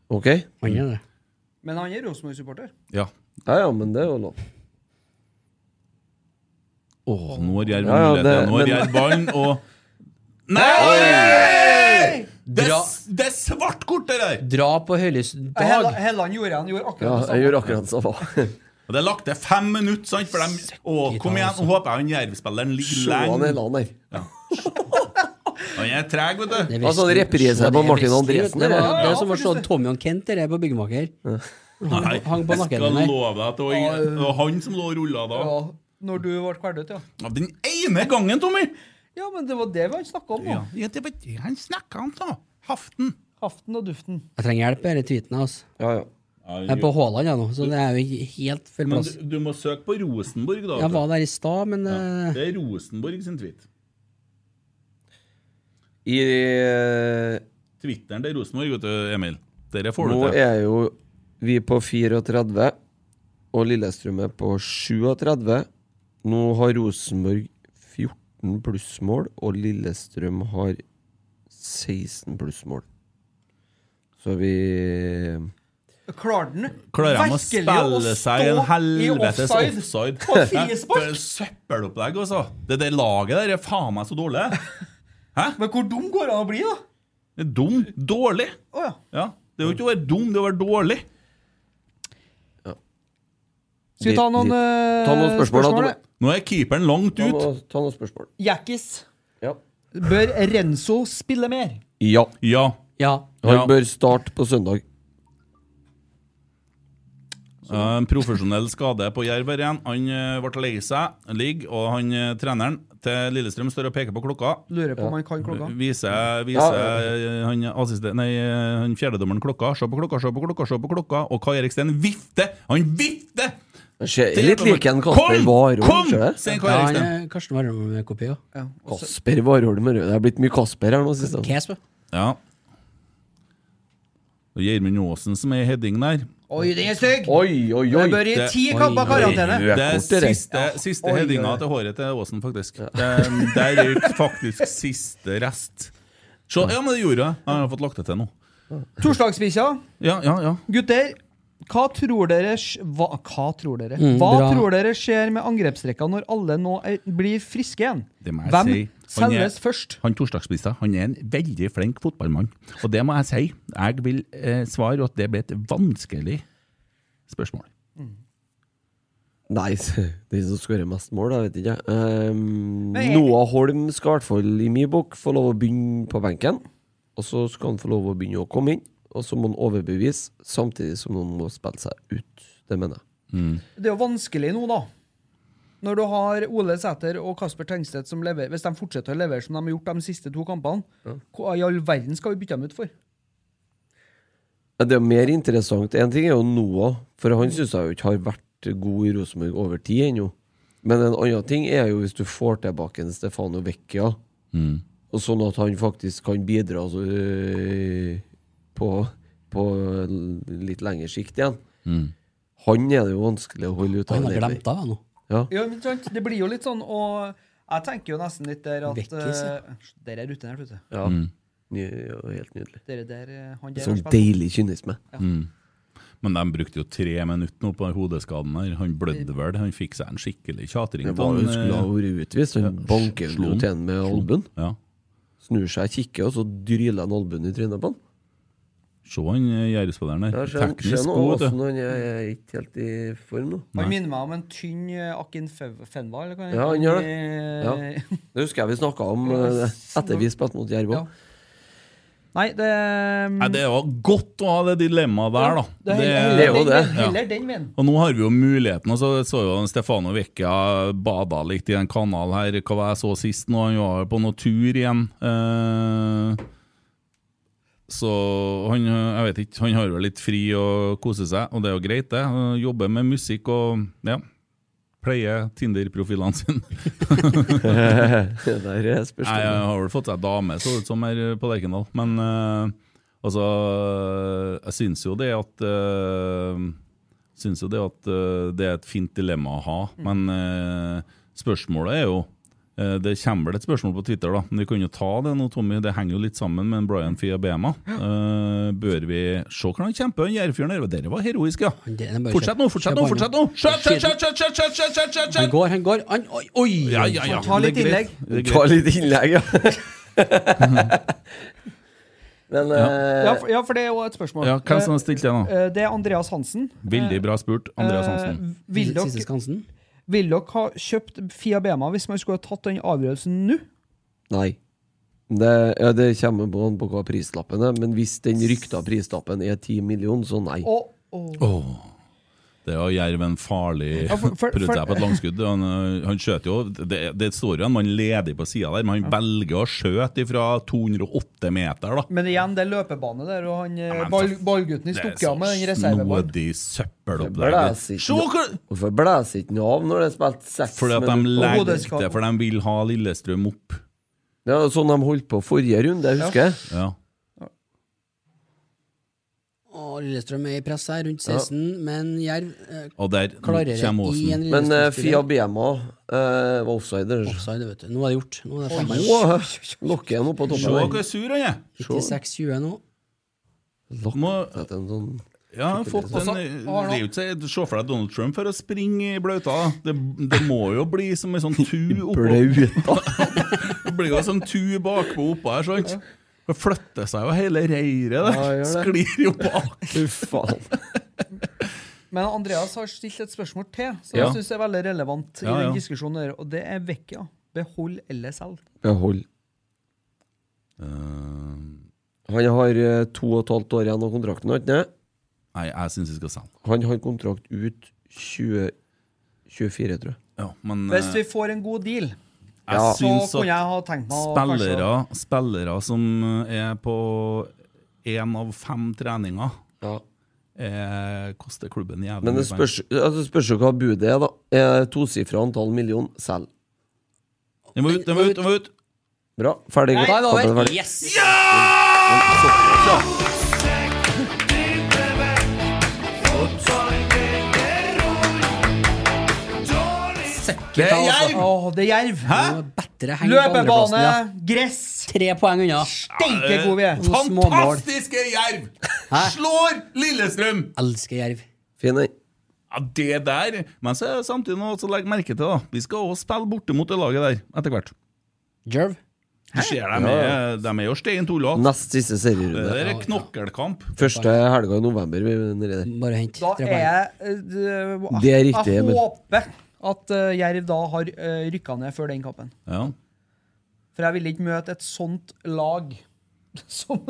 [SPEAKER 6] Ok?
[SPEAKER 8] Han er det.
[SPEAKER 2] Men han er Rosenborg-supporter.
[SPEAKER 3] Ja.
[SPEAKER 6] Ja, ja, men det er jo lov.
[SPEAKER 3] Åh, nå har Jerv
[SPEAKER 6] Ja,
[SPEAKER 3] mulighet.
[SPEAKER 6] ja, det-
[SPEAKER 3] Nå har
[SPEAKER 6] men-
[SPEAKER 3] Jerv ballen, og
[SPEAKER 2] Nei!
[SPEAKER 3] det,
[SPEAKER 8] Dra.
[SPEAKER 3] det er svart kort, det der!
[SPEAKER 8] Dra på høylys dag.
[SPEAKER 2] Helland Helland gjorde han gjorde akkurat
[SPEAKER 6] Ja,
[SPEAKER 2] det
[SPEAKER 6] jeg
[SPEAKER 2] samme.
[SPEAKER 6] gjør akkurat som jeg var.
[SPEAKER 3] Og Det er lagt til fem minutter, sant? For de, å, kom
[SPEAKER 8] altså.
[SPEAKER 3] igjen, nå håper jeg han Jerv-spilleren ligger
[SPEAKER 6] Se han er
[SPEAKER 3] lenge.
[SPEAKER 6] lan her.
[SPEAKER 3] Han er treg, vet du.
[SPEAKER 6] Altså, reprise på Martin Andresen.
[SPEAKER 8] Det, var,
[SPEAKER 6] eller?
[SPEAKER 8] det er som å se Tommy og Kent det er på byggmaker.
[SPEAKER 3] Nei,
[SPEAKER 8] hang på
[SPEAKER 3] jeg
[SPEAKER 8] nakken
[SPEAKER 3] skal
[SPEAKER 8] din her.
[SPEAKER 3] love deg at det var ingen- det var han som lå og rulla da.
[SPEAKER 2] Ja, når du ble kvalt ut, ja.
[SPEAKER 3] Av Den ene gangen, Tommy!
[SPEAKER 2] Ja, men det var det vi snakka om, da.
[SPEAKER 3] Ja, det var det han snakka om, da. Haften.
[SPEAKER 2] Haften og duften.
[SPEAKER 8] Jeg trenger hjelp i denne tweeten. Altså. Jeg er på Haaland jeg, nå, så det er jo ikke helt full
[SPEAKER 3] Men
[SPEAKER 8] plass.
[SPEAKER 3] du, du må søke på Rosenborg, da.
[SPEAKER 8] Jeg var der i stad, men
[SPEAKER 3] Ja,
[SPEAKER 8] eh,
[SPEAKER 3] Det er Rosenborg sin tweet.
[SPEAKER 6] I eh,
[SPEAKER 3] Twitteren til Rosenborg, vet du, Emil. Dere får
[SPEAKER 6] Nå
[SPEAKER 3] det til.
[SPEAKER 6] er jo vi på 34, og Lillestrøm er på 37. Nå har Rosenborg 14 plussmål, og Lillestrøm har 16 plussmål. Så vi
[SPEAKER 2] Klarer den
[SPEAKER 3] Klarer de å
[SPEAKER 2] virkelig
[SPEAKER 3] spille seg en
[SPEAKER 2] stå i
[SPEAKER 3] helvetes offside?
[SPEAKER 2] På frispark?
[SPEAKER 3] For et søppelopplegg, altså. Det der laget der er faen meg så dårlig. Hæ?
[SPEAKER 2] Men hvor dum går det an å bli, da?
[SPEAKER 3] Det er dum. Dårlig.
[SPEAKER 2] Å, ja.
[SPEAKER 3] Det er jo ikke å være dum, det er å være dårlig.
[SPEAKER 2] Skal vi ta noen, eh, Ta noen spørsmål, da, spørsmål, Tommy. eller?
[SPEAKER 3] Nå er keeperen langt
[SPEAKER 6] Ta
[SPEAKER 3] ut.
[SPEAKER 6] noen- ta noen spørsmål.
[SPEAKER 2] Jackis. Bør Renzo spille mer?
[SPEAKER 6] Ja.
[SPEAKER 3] Ja.
[SPEAKER 6] Han
[SPEAKER 3] Ja.
[SPEAKER 6] bør starte på søndag.
[SPEAKER 3] Ja, Eh, En profesjonell skade på Jerv her igjen. Han eh, ble lei seg, ligger, og han, eh, treneren til Lillestrøm står og peker på klokka.
[SPEAKER 2] Lurer på om han kan klokka.
[SPEAKER 3] Viser,
[SPEAKER 2] Ja,
[SPEAKER 3] viser
[SPEAKER 2] ja,
[SPEAKER 3] eh, han, assiste- nei, eh, han fjerdedommeren klokka. Se på klokka, se på klokka, se på klokka. Og Kai Erik Steen vifter! Han vifter!
[SPEAKER 6] Han ser litt lik en Kasper Warholm,
[SPEAKER 3] Kom!
[SPEAKER 6] ser
[SPEAKER 3] Kom!
[SPEAKER 6] du?
[SPEAKER 3] Sier
[SPEAKER 8] ja,
[SPEAKER 3] Kai Erik
[SPEAKER 8] han
[SPEAKER 3] Steen.
[SPEAKER 8] er eh, Karsten Warholm-kopi òg. Ja.
[SPEAKER 6] Kasper Warholm Rød. Det er blitt mye Kasper her nå sist.
[SPEAKER 8] Kasper.
[SPEAKER 3] Ja. Og Gjermund Aasen som er i heading der.
[SPEAKER 2] Oi, den er stygg!
[SPEAKER 6] Oi, oi, oi!
[SPEAKER 2] Den bør i ti kamper karantene.
[SPEAKER 3] Det er siste,
[SPEAKER 2] Ja.
[SPEAKER 3] siste
[SPEAKER 2] Oi, oi,
[SPEAKER 3] headinga
[SPEAKER 2] oi.
[SPEAKER 3] til håret til Aasen, faktisk. Det, der er jo faktisk siste rest. Se, ja, men det gjorde jeg. Jeg har fått lagt det til nå.
[SPEAKER 2] Torsdagsbikkja.
[SPEAKER 3] Ja, ja, ja.
[SPEAKER 2] Gutter, hva tror dere sk- Hva, hva tror dere?
[SPEAKER 3] Mm,
[SPEAKER 2] hva
[SPEAKER 3] bra.
[SPEAKER 2] tror dere skjer med angrepsrekka når alle nå er, blir friske igjen?
[SPEAKER 3] Det må jeg
[SPEAKER 2] Hvem
[SPEAKER 3] si. Han er-
[SPEAKER 2] selges først?
[SPEAKER 3] Han torsdagsspisa han er en veldig flink fotballmann. Og det må jeg si. Jeg vil eh, svare at det ble et vanskelig spørsmål.
[SPEAKER 6] Nei, den som skårer mest mål, da, vet ikke jeg. Ehm,
[SPEAKER 3] Men jeg-
[SPEAKER 6] Noah Holm skal i hvert fall i min bok få lov å begynne på benken. Og så skal han få lov å begynne å komme inn, og så må han overbevise, samtidig som han må spille seg ut. Det mener jeg.
[SPEAKER 2] Det er jo vanskelig nå, da. Når du har Ole Sæter og Kasper Tengstedt som leverer Hvis de fortsetter å levere som de har gjort de siste to kampene, hva i all verden skal vi bytte dem ut for?
[SPEAKER 6] Men det er jo mer interessant En ting er jo Noah, for han syns jeg jo ikke har vært god i Rosenborg over tid ennå. Men en annen ting er jo hvis du får tilbake en Stefano Vecchia,
[SPEAKER 3] Mm.
[SPEAKER 6] og sånn at han faktisk kan bidra altså, øh, på, på litt lengre sikt igjen.
[SPEAKER 3] Mm.
[SPEAKER 6] Han er det jo vanskelig å holde ut
[SPEAKER 8] Han har glemt av, han nå.
[SPEAKER 6] Ja.
[SPEAKER 3] Mm.
[SPEAKER 2] Ja, men sant? Det blir jo litt sånn, og jeg tenker jo nesten litt der at
[SPEAKER 8] Vekkes, ja.
[SPEAKER 2] eh, Der er rutinert, vet du.
[SPEAKER 6] Ja.
[SPEAKER 3] Mm.
[SPEAKER 6] Ny, ja, helt nydelig.
[SPEAKER 2] Dere der, eh, han der
[SPEAKER 6] Sånn
[SPEAKER 2] har spilt.
[SPEAKER 6] deilig kynisme.
[SPEAKER 3] Mm. Men de brukte jo tre minutter nå på hodeskaden her. Han blødde vel. Han fikk seg en skikkelig tjatring.
[SPEAKER 6] Det var jo
[SPEAKER 3] Han, eh,
[SPEAKER 6] skulle ha vært utvist. Han banker
[SPEAKER 3] slo
[SPEAKER 6] jo
[SPEAKER 3] han.
[SPEAKER 6] til han med
[SPEAKER 3] Slo han.
[SPEAKER 6] albuen.
[SPEAKER 3] Ja.
[SPEAKER 6] Snur seg, kikker, og så dryler han albuen i trynet på han.
[SPEAKER 3] Se han eh, Gjerdespilleren der. Teknisk
[SPEAKER 6] god,
[SPEAKER 3] god, vet du.
[SPEAKER 6] Han er er ikke helt i form nå.
[SPEAKER 2] Han minner meg om en tynn eh, Akin Fev- Fenva. Eller hva
[SPEAKER 6] Ja, han gjør det. Ja.
[SPEAKER 2] Eh,
[SPEAKER 6] Det husker jeg vi snakka om eh, etter vi spilte mot Jerv òg.
[SPEAKER 2] Nei, det eh,
[SPEAKER 3] Nei, det var godt å ha det dilemmaet der, da.
[SPEAKER 2] Ja, det er heller- heller den veien, heller den veien.
[SPEAKER 3] Og nå har vi jo muligheten. Og så så jo han Stefano Vecchia bada litt i den kanalen her, hva var jeg så sist nå? Han var på noe tur igjen. Eh, så han, jeg vet ikke, han har jo litt fri og koser seg, og det er jo greit, det. Han Jobber med musikk og ja. Pleier Tinder-profilene sine.
[SPEAKER 6] Der er spørsmålet.
[SPEAKER 3] Nei, jeg har vel fått seg dame, så ut som her på Lerkendal. Men eh, altså Jeg syns jo det at uh, Syns jo det at eh, det er et fint dilemma å ha, men eh, spørsmålet er jo eh, det kommer vel et spørsmål på Twitter, da. Men vi kan jo ta det nå, Tommy. Det henger jo litt sammen med Brian Fiabema. Eh, bør vi se hvordan han kjemper, han Jerv-fyren der? Dere var heroisk, ja.
[SPEAKER 8] bare
[SPEAKER 3] Fortsett nå, fortsett
[SPEAKER 8] kjøp-
[SPEAKER 3] nå!
[SPEAKER 8] kjøp
[SPEAKER 3] fortsett nå
[SPEAKER 8] han, ja.
[SPEAKER 3] Kjøp, kjøp, kjøp, kjøp, kjøp, kjøp, kjøp, kjøp, kjøp,
[SPEAKER 8] Han
[SPEAKER 3] kjøp!
[SPEAKER 8] går, han går. Han, oi, oi!
[SPEAKER 3] Ja, ja, ja.
[SPEAKER 8] Ta litt
[SPEAKER 3] Det er greit.
[SPEAKER 8] innlegg.
[SPEAKER 3] Det er greit.
[SPEAKER 6] Ta litt innlegg, ja. Men eh,
[SPEAKER 2] Ja, for, ja, for det er jo et spørsmål.
[SPEAKER 3] Ja, hvem som
[SPEAKER 2] Eh,
[SPEAKER 3] har stilt det nå?
[SPEAKER 2] eh, Det er Andreas Hansen.
[SPEAKER 3] Veldig bra spurt, Andreas Hansen.
[SPEAKER 2] Eh, vil dere-
[SPEAKER 3] Siste
[SPEAKER 2] Vil dere ha kjøpt Fiabema hvis man skulle ha tatt den avgjørelsen nå?
[SPEAKER 6] Nei. Det, ja, det kommer på, an på hva prislappen er, men hvis den rykta prislappen er 10 millioner, så nei.
[SPEAKER 2] Og
[SPEAKER 3] Åh. Det er jo jerven farlig
[SPEAKER 8] Ja, for- for-
[SPEAKER 3] prøvde seg
[SPEAKER 8] for-
[SPEAKER 3] på et langskudd. Han, øh, han skjøt jo Det, det står jo en mann ledig på sida der, men han velger å skjøte ifra 208 meter, da.
[SPEAKER 2] Men igjen, det er løpebane der, og han, eh,
[SPEAKER 3] men
[SPEAKER 2] ball,
[SPEAKER 3] for-
[SPEAKER 2] ballgutten
[SPEAKER 3] det er
[SPEAKER 2] stukk av med den reserveballen.
[SPEAKER 3] Snodig søppelopplegg.
[SPEAKER 6] Blæs ikke noe- Hvorfor blæser ikke noe av når det er spilt seks
[SPEAKER 3] Fordi at de
[SPEAKER 6] minutter?
[SPEAKER 3] legger det, for de vil ha Lillestrøm opp.
[SPEAKER 6] Ja, det er sånn de holdt på forrige runde, jeg husker.
[SPEAKER 3] Ja.
[SPEAKER 2] eh,
[SPEAKER 8] Og Lillestrøm er i press her, rundt 16, men Jerv eh,
[SPEAKER 6] Og der
[SPEAKER 8] klarer det
[SPEAKER 6] kommer
[SPEAKER 8] i en
[SPEAKER 6] Åsen. Men eh, Fia
[SPEAKER 8] Lillestrøm-spiller.
[SPEAKER 6] Bema eh, var offside.
[SPEAKER 8] Offside, vet du. Nå er det gjort. Nå er det faen meg gjort.
[SPEAKER 6] Lokker han opp på
[SPEAKER 3] Se
[SPEAKER 6] toppen.
[SPEAKER 3] hvor sur han er!
[SPEAKER 8] 96-20 nå.
[SPEAKER 6] sånn
[SPEAKER 3] Ja, han har fått
[SPEAKER 8] Og så-
[SPEAKER 3] en,
[SPEAKER 8] har han-
[SPEAKER 3] det er jo ikke, så- Se for deg Donald Trump for å springe i bløta. da. Det, det må jo bli som en sånn tu oppå Det blir jo som tu bakpå oppå her, sant? Det flytter seg jo hele reiret der.
[SPEAKER 6] Ja, gjør det.
[SPEAKER 3] Sklir jo bak.
[SPEAKER 6] Fy faen.
[SPEAKER 2] Men Andreas har stilt et spørsmål til, som
[SPEAKER 6] Ja.
[SPEAKER 2] jeg syns er veldig relevant.
[SPEAKER 6] Ja,
[SPEAKER 2] i
[SPEAKER 6] ja.
[SPEAKER 2] den diskusjonen der, Og det er Vekkia. Behold eller selg.
[SPEAKER 6] Behold. Eh, han har eh, to og et halvt år igjen av kontrakten, har han ikke det?
[SPEAKER 3] Nei, jeg syns vi skal selge.
[SPEAKER 6] Han har kontrakt ut 2024, tror jeg.
[SPEAKER 3] Ja, men
[SPEAKER 2] Hvis
[SPEAKER 3] eh,
[SPEAKER 2] vi får en god deal,
[SPEAKER 3] Jeg
[SPEAKER 2] så
[SPEAKER 3] syns at
[SPEAKER 2] kunne jeg ha tenkt meg å
[SPEAKER 3] spillere, spillere som er på én av fem treninger, eh, koster klubben jævlig
[SPEAKER 6] Men det
[SPEAKER 3] mye penger.
[SPEAKER 6] spørs, altså det spørs jo hva budet er, da. Eh, Tosifra antall million selv.
[SPEAKER 3] Den må ut, den må ut! Den må ut.
[SPEAKER 6] Bra. Ferdig.
[SPEAKER 3] Nei, da er det
[SPEAKER 6] Kampen er ferdig.
[SPEAKER 3] yes!
[SPEAKER 2] Det er jerv! altså. Åh, det er jerv. Løpebane, gress!
[SPEAKER 8] Tre poeng unna.
[SPEAKER 2] Steike gode vi er.
[SPEAKER 8] Noen små mål.
[SPEAKER 3] Fantastiske Jerv! Slår Lillestrøm!
[SPEAKER 8] Elsker Jerv.
[SPEAKER 6] Fin den.
[SPEAKER 3] Ja, det der Men så er det samtidig noe å legge merke til, da. Vi skal også spille borte mot det laget der, etter hvert.
[SPEAKER 8] Jerv?
[SPEAKER 3] Du ser dem
[SPEAKER 6] Ja.
[SPEAKER 3] er, dem er jo stein to lag.
[SPEAKER 6] Nest siste
[SPEAKER 3] Det
[SPEAKER 6] serierunde.
[SPEAKER 3] der er knokkelkamp.
[SPEAKER 6] Første helga i november. vi er nede der.
[SPEAKER 8] Bare hent.
[SPEAKER 2] Da er jeg eh,
[SPEAKER 6] Det er riktig,
[SPEAKER 2] Jeg
[SPEAKER 6] men-
[SPEAKER 2] håper at eh, Jerv da har uh, rykka ned før den kampen.
[SPEAKER 3] Ja.
[SPEAKER 2] For jeg ville ikke møte et sånt lag som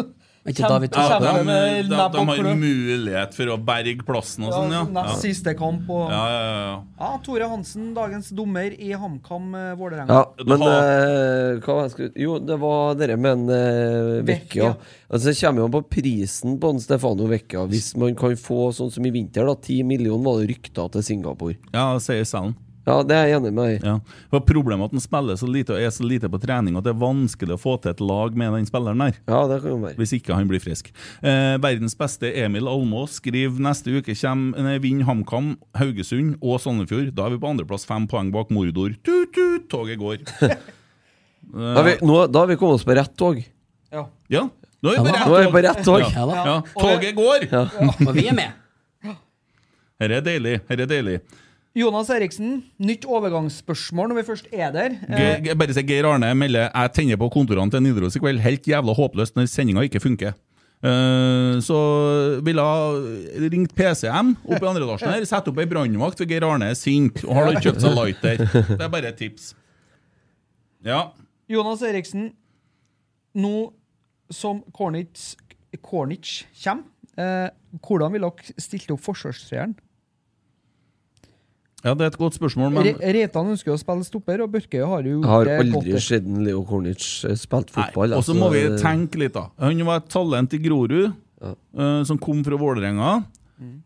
[SPEAKER 8] Ikke
[SPEAKER 2] kjemper-
[SPEAKER 8] David
[SPEAKER 3] Ja,
[SPEAKER 2] kjemper
[SPEAKER 3] de, de,
[SPEAKER 2] med
[SPEAKER 3] de
[SPEAKER 2] nebb og
[SPEAKER 3] har
[SPEAKER 2] klø.
[SPEAKER 3] mulighet for å berge plassen og sånn, ja.
[SPEAKER 2] Ja, nest siste kamp og-
[SPEAKER 3] ja, ja, ja, ja.
[SPEAKER 2] Ja, Tore Hansen, dagens dommer i HamKam eh, Vålerenga.
[SPEAKER 6] Ja, men eh, hva var jeg skulle Jo, det var dere med en eh, Vecchia. Altså, det kommer jo an på prisen på en Stefano Vecchia. Hvis man kan få sånn som i vinter, da. 10 millioner var det rykter til Singapore.
[SPEAKER 3] Ja, det sier Salen.
[SPEAKER 6] Ja, det er jeg enig med deg i.
[SPEAKER 3] Ja. For Problemet er at han spiller så lite og er så lite på trening at det er vanskelig å få til et lag med den spilleren der.
[SPEAKER 6] Ja, det kan jo være
[SPEAKER 3] Hvis ikke han blir frisk. Eh, verdens beste Emil Almås skriver neste uke kommer- nei, vinner HamKam, Haugesund og Sandefjord. Da er vi på andreplass, fem poeng bak Mordor. Tut-tut, toget går.
[SPEAKER 6] Da har vi, nå, da har vi kommet oss på rett tog.
[SPEAKER 3] Ja, nå er vi på rett
[SPEAKER 6] Nå er vi på
[SPEAKER 3] tog.
[SPEAKER 6] rett tog.
[SPEAKER 3] Ja, ja. Toget går!
[SPEAKER 8] Og vi er med.
[SPEAKER 3] Her er deilig. Her er deilig.
[SPEAKER 2] Jonas Eriksen, nytt overgangsspørsmål når vi først er der. Eh,
[SPEAKER 3] Geir, Ge- bare se Geir Arne melder Jeg tenner på kontorene til Nidaros i kveld. Helt jævla håpløst når sendinga ikke funker. Eh, så ville ha ringt PCM oppe i andre etasjen her, sette opp ei brannvakt, for Geir Arne er sint og har da kjøpt seg lighter. Det er bare et tips. Ja.
[SPEAKER 2] Jonas Eriksen, nå som Cornich, Cornich kommer, eh, hvordan ville dere stilt opp forsvarstreeren?
[SPEAKER 3] ja, det er et godt spørsmål, men
[SPEAKER 2] Re Reitan ønsker å spille stopper, og Børkøy har jo
[SPEAKER 6] Jeg har
[SPEAKER 2] det godt
[SPEAKER 6] aldri
[SPEAKER 2] der.
[SPEAKER 6] sett en Leo Cornic eh, spilt fotball. altså.
[SPEAKER 3] Og så må vi tenke litt, da. Han var et talent i Grorud, eh, som kom fra Vålerenga. Mm.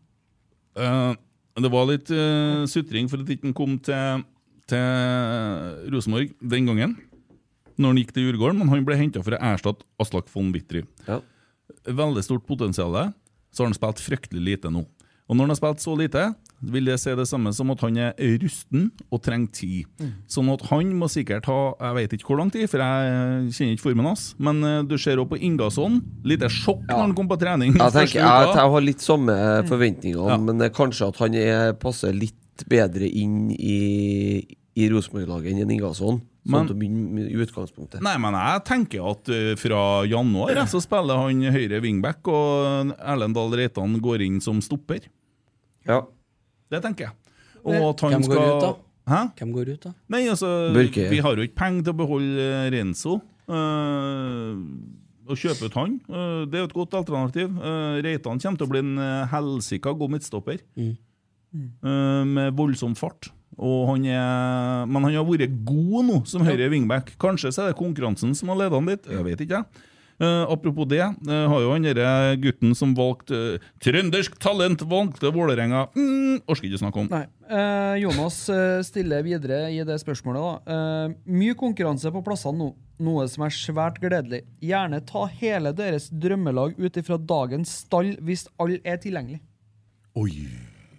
[SPEAKER 3] Eh, det var litt eh, sutring for at ikke han kom til, til Rosenborg den gangen, når han gikk til Djurgården, men han ble henta for å erstatte Aslak von Wittry. Veldig stort potensial. Så har han spilt fryktelig lite nå. Og når han har spilt så lite, vil det si det samme som at han er rusten og trenger tid.
[SPEAKER 6] Mm.
[SPEAKER 3] Sånn at han må sikkert ha jeg vet ikke hvor lang tid, for jeg eh, kjenner ikke formen hans. Men eh, du ser jo på Ingasson, lite sjokk når han kom på trening.
[SPEAKER 6] Jeg,
[SPEAKER 3] første
[SPEAKER 6] tenker, jeg,
[SPEAKER 3] uka.
[SPEAKER 6] jeg har litt samme
[SPEAKER 3] Mm.
[SPEAKER 6] forventninger, men det er kanskje at han er, passer litt bedre inn i, i Rosenborg-laget enn Ingasson.
[SPEAKER 3] Men-
[SPEAKER 6] Sånn til å begynne med i utgangspunktet.
[SPEAKER 3] Nei, men jeg tenker at eh, fra januar eh, så spiller han høyre wingback, og Erlend Dahl Reitan går inn som stopper.
[SPEAKER 6] Ja.
[SPEAKER 3] Det tenker jeg. Og at han
[SPEAKER 8] Hvem
[SPEAKER 3] skal
[SPEAKER 8] går ut, da?
[SPEAKER 3] Hæ?
[SPEAKER 8] Hvem går ut, da?
[SPEAKER 3] Nei, altså
[SPEAKER 6] Børke.
[SPEAKER 3] Vi har jo ikke penger til å beholde eh, Renzo. Eh, å kjøpe ut han. Eh, Det er jo et godt alternativ. Eh, Reitan kommer til å bli en eh, helsika god midtstopper. Eh, Med voldsom fart. Og han er, men han har vært god nå som høyre wingback. Kanskje så er det konkurransen som har ledet han dit. Jeg vet ikke. jeg. Eh, apropos det, eh, har jo han derre gutten som valgte eh, Trøndersk talent valgte Vålerenga. Mm, orker ikke snakke om.
[SPEAKER 2] Nei. Eh, Jonas eh, stiller videre i det spørsmålet. da. Eh, mye konkurranse på plassene nå, noe som er svært gledelig. Gjerne ta hele deres drømmelag ut ifra dagens stall hvis alle er tilgjengelig.
[SPEAKER 3] Oi.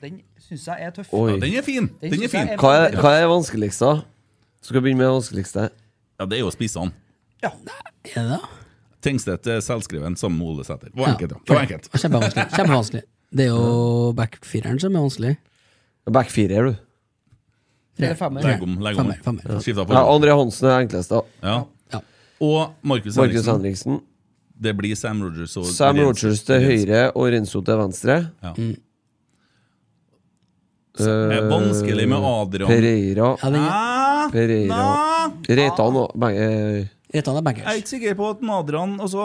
[SPEAKER 2] Den syns jeg er tøff.
[SPEAKER 6] Oi.
[SPEAKER 2] synes jeg
[SPEAKER 6] Hva er,
[SPEAKER 2] veldig
[SPEAKER 6] hva
[SPEAKER 2] tøff.
[SPEAKER 6] er vanskeligst, da? Skal vi begynne med det vanskeligste?
[SPEAKER 3] Ja, det er jo spissene.
[SPEAKER 8] Er det?
[SPEAKER 3] Tengstedt er selvskreven sammen med Ole Sæter. Det var enkelt, da. Det var enkelt.
[SPEAKER 8] Kjempevanskelig. kjempevanskelig. Det er jo backfireren som er vanskelig.
[SPEAKER 6] Backfirer, du.
[SPEAKER 8] Eller femmer.
[SPEAKER 3] Legg om. legg om.
[SPEAKER 8] Femmer, femmer.
[SPEAKER 6] Ja.
[SPEAKER 3] Skifta på.
[SPEAKER 6] Ja, André Hansen er enklest, da.
[SPEAKER 3] Ja. Og Markus
[SPEAKER 6] Markus
[SPEAKER 3] Henriksen.
[SPEAKER 6] Henriksen.
[SPEAKER 3] Det blir Sam Rogers og
[SPEAKER 6] Sam
[SPEAKER 3] Renzo.
[SPEAKER 6] Rogers til høyre og Renzo til venstre.
[SPEAKER 3] Ja.
[SPEAKER 6] Mm.
[SPEAKER 3] Det er vanskelig med Adrian.
[SPEAKER 6] eh, Pereira.
[SPEAKER 3] Ja, den- Ah,
[SPEAKER 6] Pereira. Reitan og eh, begge
[SPEAKER 8] Reitan er
[SPEAKER 3] Jeg er ikke sikker på at Adrian altså,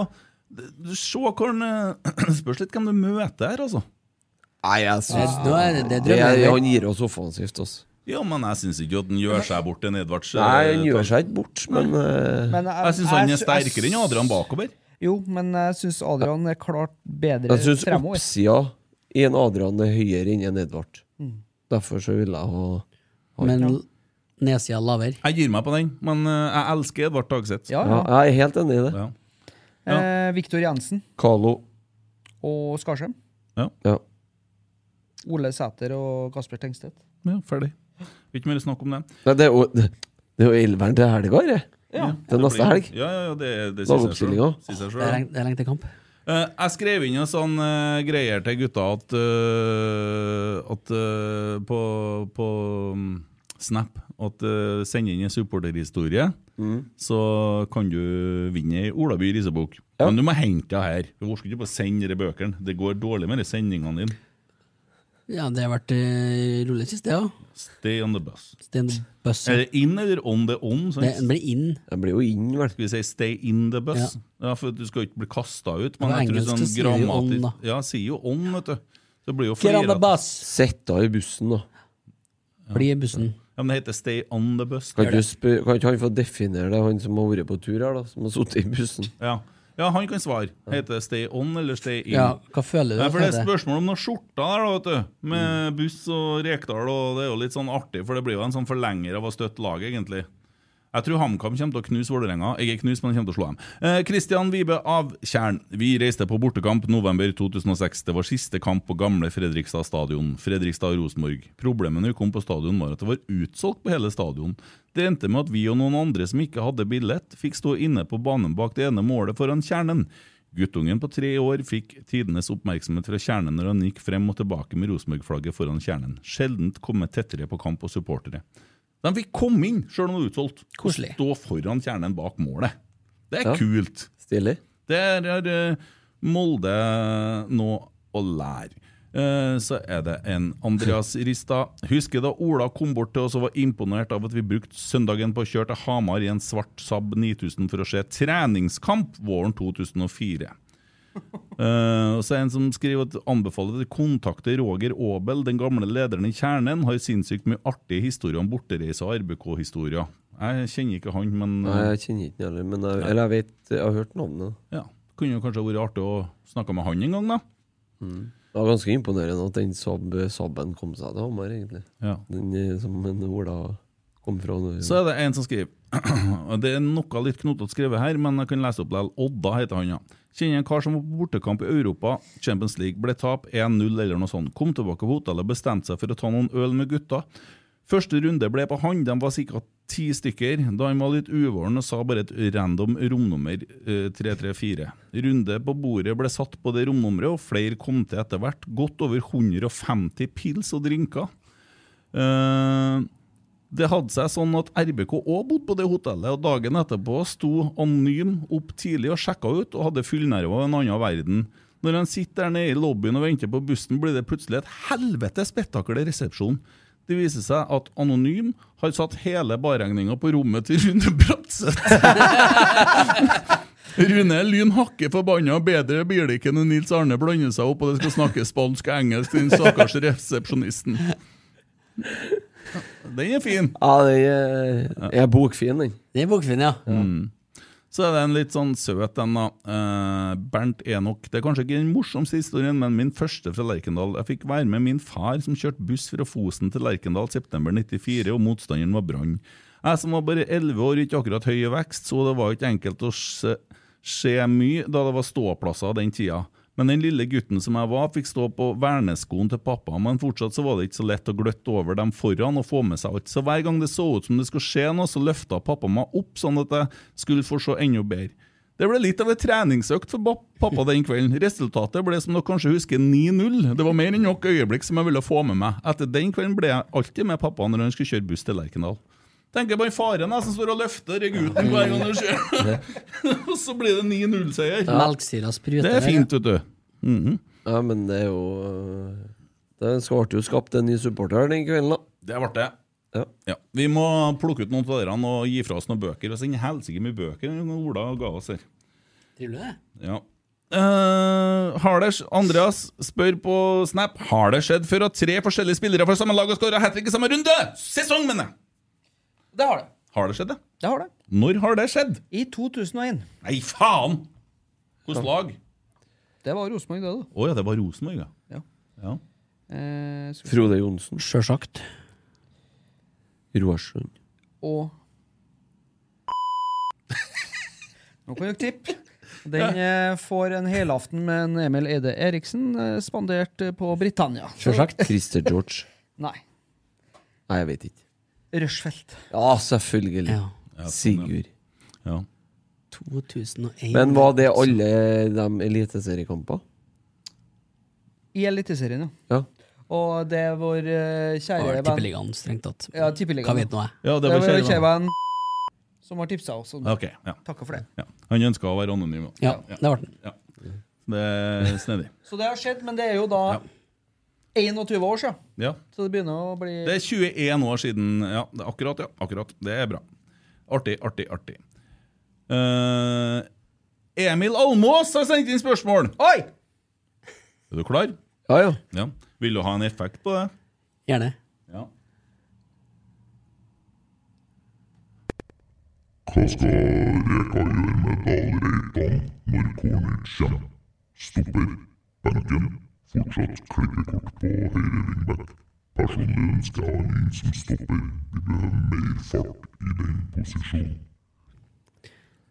[SPEAKER 3] du- Se hvor han eh, Spørs litt hvem du møter her, altså.
[SPEAKER 6] Nei, jeg
[SPEAKER 8] synes- Nå er det- det
[SPEAKER 6] Det
[SPEAKER 8] drømmer
[SPEAKER 6] er,
[SPEAKER 8] jeg.
[SPEAKER 6] han gir oss offensivt, altså.
[SPEAKER 3] Ja, men jeg syns ikke at han gjør seg bort til Edvards. eh,
[SPEAKER 6] Nei, han gjør seg ikke bort, men eh,
[SPEAKER 2] Men
[SPEAKER 3] Jeg syns han er
[SPEAKER 2] jeg- jeg-
[SPEAKER 3] sterkere enn Adrian bakover.
[SPEAKER 2] Jo, men jeg syns Adrian er klart bedre
[SPEAKER 6] Jeg syns
[SPEAKER 2] fremover.
[SPEAKER 6] oppsida i en Adrian er høyere enn en Edvard.
[SPEAKER 2] Mm.
[SPEAKER 6] Derfor så vil jeg ha ha-
[SPEAKER 8] Men
[SPEAKER 6] ja.
[SPEAKER 8] nedsida lavere.
[SPEAKER 3] Jeg gir meg på den, men eh, jeg elsker Edvard Tagseth.
[SPEAKER 2] ja.
[SPEAKER 6] Ja, Jeg er helt enig i det.
[SPEAKER 2] Eh, Viktor Jensen
[SPEAKER 6] Carlo.
[SPEAKER 2] og Skarsheim.
[SPEAKER 6] Ja.
[SPEAKER 2] Ole Sæter og Kasper Tengstedt.
[SPEAKER 3] Ja, ferdig. Vil ikke mer snakk om den.
[SPEAKER 6] Nei, det er jo Det er jo elveren til helga, det.
[SPEAKER 3] Ja.
[SPEAKER 6] Til neste helg.
[SPEAKER 3] Ja, ja, ja, det, det sier seg selv.
[SPEAKER 6] Lagoppstillinga.
[SPEAKER 3] Sier seg
[SPEAKER 8] Det er
[SPEAKER 3] selv.
[SPEAKER 8] lenge- det er lenge til kamp.
[SPEAKER 3] Eh, jeg skrev inn en sånn eh, greier til gutta at, eh, at eh, på, på mm, Snap at eh, send inn en supporterhistorie,
[SPEAKER 6] Mm.
[SPEAKER 3] så kan du vinne ei Olaby Risebok. Men du må hente det her. Du orker ikke bare sende de bøkene. Det går dårlig med de sendingene dine.
[SPEAKER 8] Ja, det har vært eh, rolig sist, det òg.
[SPEAKER 3] Stay on the bus.
[SPEAKER 8] Stay on the bus, ja.
[SPEAKER 3] Er det in eller on the on? sant?
[SPEAKER 8] Det- den blir in.
[SPEAKER 6] Den blir jo in, vel.
[SPEAKER 3] Skal vi si stay in the bus? Ja, for du skal jo ikke bli kasta ut.
[SPEAKER 8] På
[SPEAKER 3] Men jeg tror
[SPEAKER 8] engelsk
[SPEAKER 3] sånn
[SPEAKER 8] så sier de jo on,
[SPEAKER 3] grammatisk-
[SPEAKER 8] da.
[SPEAKER 3] Ja, sier jo on, vet du. Så blir jo
[SPEAKER 8] Get on the
[SPEAKER 3] flirete.
[SPEAKER 8] bus.
[SPEAKER 6] Sett deg i bussen, da.
[SPEAKER 8] Bli i bussen.
[SPEAKER 3] Ja, men det heter stay on the bus.
[SPEAKER 6] Kan ikke, du spør, kan ikke han få definere det, han som har vært på tur her, da? Som har sittet i bussen?
[SPEAKER 3] Ja. ja, han kan svare. Heter det stay on eller stay in?
[SPEAKER 6] Ja, hva føler du
[SPEAKER 3] Nei,
[SPEAKER 6] at
[SPEAKER 3] for det er
[SPEAKER 6] det er?
[SPEAKER 3] spørsmål om noen skjorter der, da, vet du. Med buss og Rekdal, og det er jo litt sånn artig, for det blir jo en sånn forlenger av å støtte laget, egentlig. Jeg tror HamKam kommer til å knuse Vålerenga. Jeg er knust, men kommer til å slå dem. Eh, Kristian Vibe Avtjern. Vi reiste på bortekamp november 2006. Det var siste kamp på gamle Fredrikstad stadion. Fredrikstad-Rosenborg. Problemet når vi kom på stadion, var at det var utsolgt på hele stadion. Det endte med at vi og noen andre som ikke hadde billett, fikk stå inne på banen bak det ene målet foran kjernen. Guttungen på tre år fikk tidenes oppmerksomhet fra kjernen når han gikk frem og tilbake med Rosenborg-flagget foran kjernen. Sjeldent kommet tettere på kamp og supportere. De fikk komme inn, sjøl om det var utsolgt. Koselig. Stå foran kjernen bak målet. Det er
[SPEAKER 6] Ja.
[SPEAKER 3] kult.
[SPEAKER 6] Stilig.
[SPEAKER 3] Det er, er eh, Molde nå å lære. Eh, Så er det en Andreas Rista. Husker da Ola kom bort til oss og var imponert av at vi brukte søndagen på å kjøre til Hamar i en svart Saab 9000 for å se treningskamp våren 2004. Eh, og så er det en som skriver at anbefaler at kontakte Roger Aabel, den gamle lederen i Kjernen. Har sinnssykt mye artige historier om bortereise og RBK-historier. Jeg kjenner ikke han, men eh,
[SPEAKER 6] Nei, jeg kjenner ikke han heller, men jeg, eller jeg vet Jeg har hørt navnet.
[SPEAKER 3] ja. Kunne jo kanskje vært artig å snakke med han en gang, da.
[SPEAKER 6] Det var ganske imponerende at den Saab, Saaben kom seg til Hamar, egentlig.
[SPEAKER 3] Ja.
[SPEAKER 6] Den eh, som en Ola kom fra. nå.
[SPEAKER 3] Så er det en som skriver og Det er noe litt knotete skrevet her, men jeg kan lese opp likevel. Odda heter han, ja. Kjenner en kar som var på bortekamp i Europa, Champions League, ble tap 1-0 eller noe sånt. Kom tilbake på hotellet og bestemte seg for å ta noen øl med gutta. Første runde ble på han, de var sikkert ti stykker. Da han var litt uvåren og sa bare et random romnummer, eh, 334. Runde på bordet ble satt på det romnummeret, og flere kom til etter hvert. Godt over 150 pils og drinker. Eh, det hadde seg sånn at RBK òg bodde på det hotellet, og dagen etterpå sto anonym opp tidlig og sjekka ut, og hadde fullnerver av en annen verden. Når han sitter der nede i lobbyen og venter på bussen, blir det plutselig et helvetes spetakkel i resepsjonen. Det viser seg at Anonym har satt hele barregninga på rommet til Rune Bratseth. Rune Lyn hakker forbanna. Bedre blir det ikke når Nils Arne blander seg opp og det skal snakkes spansk og engelsk til den stakkars resepsjonisten. Den er fin.
[SPEAKER 6] Ja, den er, er bokfin, den.
[SPEAKER 8] Den er bokfin, ja.
[SPEAKER 3] Mm. Så er det en litt sånn søt en, da. Eh, Bernt Enok. Det er kanskje ikke den morsomste historien, men min første fra Lerkendal. Jeg fikk være med min far, som kjørte buss fra Fosen til Lerkendal september 94, og motstanderen var Brann. Jeg som var bare 11 år, ikke akkurat høy i vekst, så det var ikke enkelt å se, se mye da det var ståplasser den tida. Men den lille gutten som jeg var, fikk stå på verneskoen til pappa, men fortsatt så var det ikke så lett å gløtte over dem foran og få med seg alt. Så hver gang det så ut som det skulle skje noe, så løfta pappa meg opp, sånn at jeg skulle få se enda bedre. Det ble litt av en treningsøkt for bap- pappa den kvelden. Resultatet ble som dere kanskje husker 9-0. Det var mer enn nok øyeblikk som jeg ville få med meg. Etter den kvelden ble jeg alltid med pappa når han skulle kjøre buss til Lerkendal. Tenker på den faren jeg som står og løfter gutten hver gang det skjer. Og så blir det 9-0-seier.
[SPEAKER 8] Melksyra spruter.
[SPEAKER 3] Det er fint, vet du. Mhm.
[SPEAKER 6] Ja, men det er jo eh, Det ble jo skapt en ny supporter den kvelden, da.
[SPEAKER 3] Det ble det.
[SPEAKER 6] Ja.
[SPEAKER 3] Vi må plukke ut noen av dere og gi fra oss noen bøker. Og sende helsike mye bøker Ola ga oss her.
[SPEAKER 8] Trivelig, det.
[SPEAKER 3] Ja. Eh, har det, Andreas spør på Snap Har det skjedd før at tre forskjellige spillere fra samme lag har skåra hat trick i samme runde? Sesong, mener jeg!
[SPEAKER 2] Det har det.
[SPEAKER 3] Har det skjedd, det?
[SPEAKER 2] Det har det.
[SPEAKER 3] Når har det skjedd?
[SPEAKER 2] I 2001.
[SPEAKER 3] Nei, faen! Hvilket lag?
[SPEAKER 2] Det var Rosenborg, det, da.
[SPEAKER 3] Å ja, det var Rosenborg, ja.
[SPEAKER 2] Ja.
[SPEAKER 3] ja.
[SPEAKER 2] Eh, skal vi se.
[SPEAKER 6] Frode Johnsen.
[SPEAKER 8] Sjølsagt.
[SPEAKER 6] Roarsund.
[SPEAKER 2] Og Nå kan dere tippe. Den eh, får en helaften med en Emil Eide Eriksen, eh, spandert eh, på Britannia.
[SPEAKER 6] Christer George.
[SPEAKER 2] Nei.
[SPEAKER 6] Nei, jeg vet ikke.
[SPEAKER 2] Rushfeldt.
[SPEAKER 6] Ja, selvfølgelig.
[SPEAKER 8] Ja.
[SPEAKER 3] sånn,
[SPEAKER 6] Sigurd.
[SPEAKER 8] 2001.
[SPEAKER 6] Men var det alle de eliteseriekampene?
[SPEAKER 2] I Eliteserien, ja.
[SPEAKER 6] Ja.
[SPEAKER 2] Og det er vår eh, kjære
[SPEAKER 8] Var
[SPEAKER 2] venn
[SPEAKER 8] Tippeligaen, strengt tatt.
[SPEAKER 2] Ja, tippeligaen.
[SPEAKER 8] Hva vet nå jeg?
[SPEAKER 3] Ja, det var
[SPEAKER 2] vår
[SPEAKER 3] kjære venn.
[SPEAKER 2] kjære venn som har tipsa oss. og
[SPEAKER 3] Ok, ja.
[SPEAKER 2] Takker for det.
[SPEAKER 3] Ja. Han ønska å være anonym.
[SPEAKER 8] Ja, det ble den.
[SPEAKER 3] Ja. Det er snedig.
[SPEAKER 2] Så det har skjedd, men det er jo da 21 år siden.
[SPEAKER 3] Ja.
[SPEAKER 2] Så det begynner å bli
[SPEAKER 3] Det er 21 år siden. Ja, det er akkurat, ja. Akkurat. Det er bra. Artig, artig, artig. Eh, Emil Almås har sendt inn spørsmål!
[SPEAKER 2] Oi!
[SPEAKER 3] Er du klar?
[SPEAKER 6] Ja, ja.
[SPEAKER 3] Vil du ha en effekt på det?
[SPEAKER 8] Gjerne.
[SPEAKER 3] Ja.
[SPEAKER 14] Hva skal Reka gjøre med Dahl Reitan når Cornich kommer? Stopper, benken, fortsatt klippekort på høyre wingback. Personlig ønsker jeg han inn som stopper. Vi behøver mer fart i den posisjonen.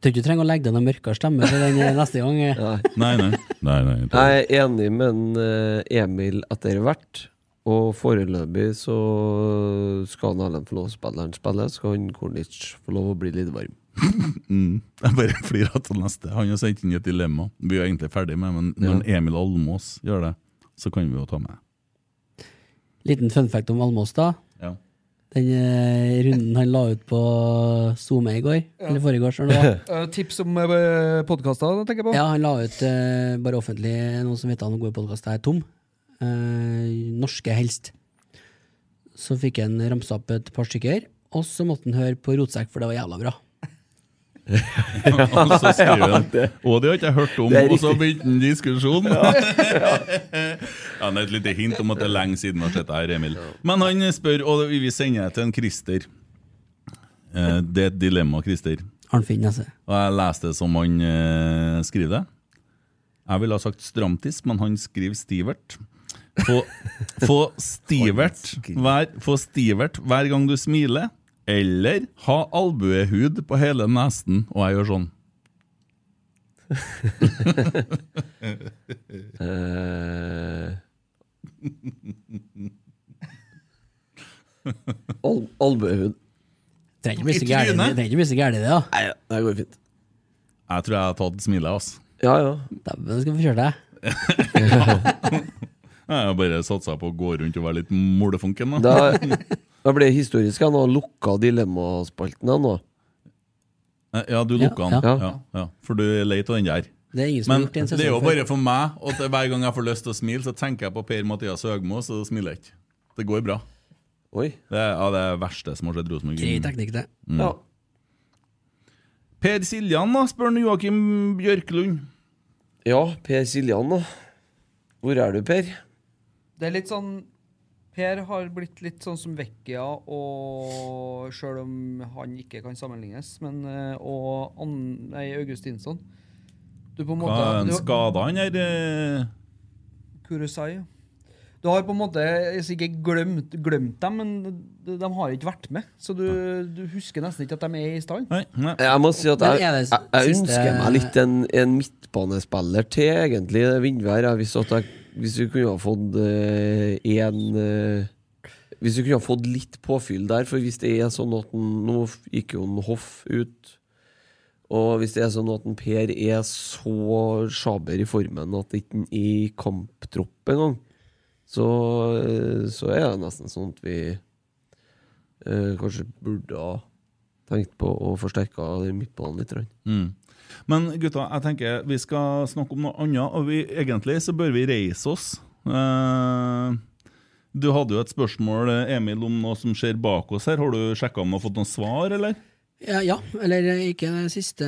[SPEAKER 8] Tror ikke du trenger å legge deg noen mørkere stemme for den eh, neste gang. eh.
[SPEAKER 3] Nei, nei. nei, nei jeg
[SPEAKER 6] Jeg er enig med en, eh, Emil etter hvert. Og foreløpig så skal han Erlend få lov å spille. Han spiller, skal han Kornic få lov å bli litt varm.
[SPEAKER 3] Mm. Jeg bare flirer av den neste. Han har sendt inn et dilemma. Vi er egentlig ferdig med men når Emil Almås gjør det, så kan vi jo ta med.
[SPEAKER 8] Liten fun fact om Almås, da.
[SPEAKER 3] Ja.
[SPEAKER 8] Den eh, runden han la ut på SoMe i går, eller foregårs, når det var.
[SPEAKER 2] Eh, tips om uh, podkaster, tenker jeg på.
[SPEAKER 8] Ja, han la ut eh, bare offentlig noen som vet han gode podkaster er tom. Eh, norske helst. Så fikk han ramsa opp et par stykker, og så måtte han høre på Rotsekk, for det var jævla bra.
[SPEAKER 3] Og så skriver
[SPEAKER 8] Ja,
[SPEAKER 3] han
[SPEAKER 8] det-
[SPEAKER 3] Og det har ikke jeg hørt om,
[SPEAKER 8] Det er
[SPEAKER 3] og så
[SPEAKER 8] riktig.
[SPEAKER 3] begynte han diskusjonen!
[SPEAKER 8] Ja.
[SPEAKER 3] ja, det er et lite hint om at det er lenge siden vi har sett det her, Emil. Men han spør, og vi vil sende det til en Christer. Eh, Det er et dilemma, Christer.
[SPEAKER 8] Arnfinn Nesse.
[SPEAKER 3] Og jeg leste det som han eh, skriver det. Jeg ville ha sagt stramtiss, men han skriver stivert. Få, få, stivert hver, få stivert hver gang du smiler, eller ha albuehud på hele nesen, og jeg gjør sånn.
[SPEAKER 6] Eh, Al Albuehud.
[SPEAKER 8] Trenger ikke bli så gæren i det, trenger ikke bli så gæren i det, da.
[SPEAKER 6] Nei, ja, det går fint.
[SPEAKER 3] Jeg tror jeg har tatt smilet, altså.
[SPEAKER 6] Ja, ja.
[SPEAKER 8] Dæven, skal vi få kjøre deg.
[SPEAKER 3] Jeg har bare satsa på å gå rundt og være litt molefonken, da.
[SPEAKER 6] Da, da ble det historisk. Han har lukka dilemmaspalten, han nå.
[SPEAKER 3] Eh, Ja, du lukka
[SPEAKER 6] Ja,
[SPEAKER 3] den.
[SPEAKER 6] ja.
[SPEAKER 3] Ja, ja. For du er lei av den der.
[SPEAKER 8] Det er ingen som har
[SPEAKER 3] Men
[SPEAKER 8] gjort det i en
[SPEAKER 3] det er jo
[SPEAKER 8] sesong før.
[SPEAKER 3] bare for meg at hver gang jeg får lyst til å smile, så tenker jeg på Per-Mathias Høgmo, så smiler jeg ikke. Det går bra.
[SPEAKER 6] Oi.
[SPEAKER 3] Det er Mm. ja, det er verste som har skjedd Rosenborg.
[SPEAKER 8] Grei teknikk, det.
[SPEAKER 3] Mm.
[SPEAKER 6] Ja.
[SPEAKER 3] Per Siljan, da, spør han Joakim Bjørklund.
[SPEAKER 6] Ja, Per Siljan, da. Hvor er du, Per?
[SPEAKER 2] Det er litt sånn Per har blitt litt sånn som Vecchia, og sjøl om han ikke kan sammenlignes, men eh, Og Ann, nei, Augustinsson. Du på
[SPEAKER 3] Hva
[SPEAKER 2] en måte
[SPEAKER 3] er han
[SPEAKER 2] du-
[SPEAKER 3] skada, han her? eh?
[SPEAKER 2] Kurosai. Du har på en måte jeg sier ikke glemt, glemt dem, men de, de har ikke vært med. Så du, du husker nesten ikke at de er i stand.
[SPEAKER 6] Jeg må si at
[SPEAKER 2] Men
[SPEAKER 6] jeg,
[SPEAKER 2] er det
[SPEAKER 6] jeg, jeg
[SPEAKER 2] siste-
[SPEAKER 6] ønsker meg litt en, en midtbanespiller til, egentlig. Vindvær. Jeg visste at jeg, hvis vi kunne ha fått eh, en eh, Hvis vi kunne ha fått litt påfyll der, for hvis det er sånn at en, Nå gikk jo en Hoff ut. Og hvis det er sånn at en Per er så sjaber i formen at det ikke er i kamptropp engang, så, eh, så er det nesten sånn at vi eh, kanskje burde ha tenkt på å forsterke midtbanen litt. grann.
[SPEAKER 3] Mm. Men gutta, jeg tenker vi skal snakke om noe annet, og vi, egentlig så bør vi reise oss. Eh, du hadde jo et spørsmål, eh, Emil, om noe som skjer bak oss her. Har du sjekka om du har fått noe svar, eller?
[SPEAKER 8] Ja, ja, eller eh, ikke den siste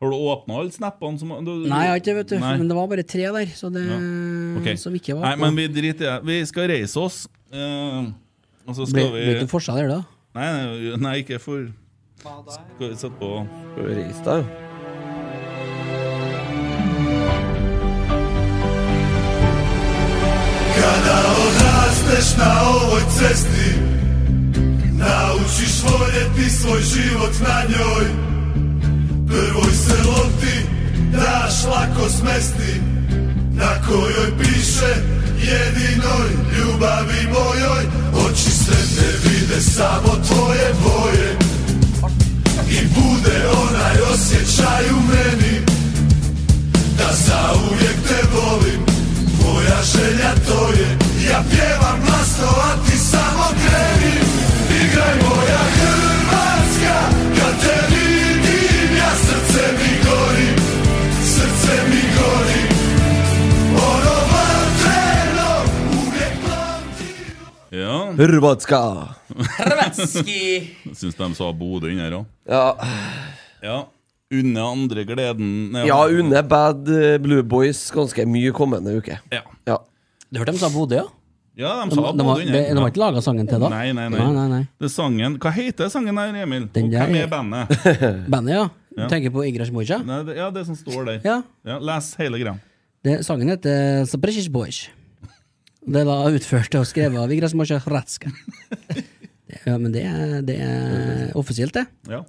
[SPEAKER 3] Har du åpna alle snappene som du,
[SPEAKER 8] Nei, jeg har ikke, vet du.
[SPEAKER 3] Nei.
[SPEAKER 8] Men det var bare tre der, så det
[SPEAKER 3] Ok.
[SPEAKER 8] som ikke var
[SPEAKER 3] Nei, men vi driter i det. Vi skal reise oss. eh, og så skal
[SPEAKER 8] Blir-
[SPEAKER 3] vi
[SPEAKER 8] blir ikke forskjell her, da?
[SPEAKER 3] Nei, nei, nei, ikke for Skal vi sette på
[SPEAKER 6] Skal vi reise deg, jo?
[SPEAKER 9] na ovoj cesti Naučiš voljeti svoj život na njoj Prvoj se lopti daš lako smesti Na kojoj piše jedinoj ljubavi mojoj Oči se ne vide samo tvoje boje I bude onaj osjećaj u meni Da zauvijek te volim Moja želja to je Ja pjevam glasno, a ti samo kreni Igraj moja Hrvatska Kad te vidim Ja srce mi gori Srce mi gori Ono vatreno Uvijek
[SPEAKER 3] Ja.
[SPEAKER 6] Hrvatska!
[SPEAKER 3] Hrvatski! Syns de sa Bodø inni her òg.
[SPEAKER 6] Ja.
[SPEAKER 3] ja. Unne andre gleden Nei,
[SPEAKER 6] Ja, Une Bad eh, Blue Boys ganske mye kommende uke.
[SPEAKER 3] Ja.
[SPEAKER 8] Du hørte de sa Bodø, ja?
[SPEAKER 3] Ja, de
[SPEAKER 8] De-
[SPEAKER 3] sa
[SPEAKER 8] de har-
[SPEAKER 3] Bodø inni her.
[SPEAKER 8] de- de har ikke laget sangen til da?
[SPEAKER 3] Nei, nei, nei.
[SPEAKER 8] Nei, nei, nei.
[SPEAKER 3] Det er sangen Hva heter sangen her, Emil?
[SPEAKER 8] Den
[SPEAKER 3] Og
[SPEAKER 8] der
[SPEAKER 3] hvem
[SPEAKER 8] er-
[SPEAKER 3] er bandet?
[SPEAKER 8] Bandet, ja. Du
[SPEAKER 3] Ja.
[SPEAKER 8] tenker på Igrash Moja?
[SPEAKER 3] Nei, det, ja, det som står der.
[SPEAKER 8] Ja.
[SPEAKER 3] les hele greia.
[SPEAKER 8] Det, sangen heter Sabrisish Boys. Det var utført og skrevet av Igrash Moja Hratska. Ja, men det er, det er offisielt, det.
[SPEAKER 3] Ja.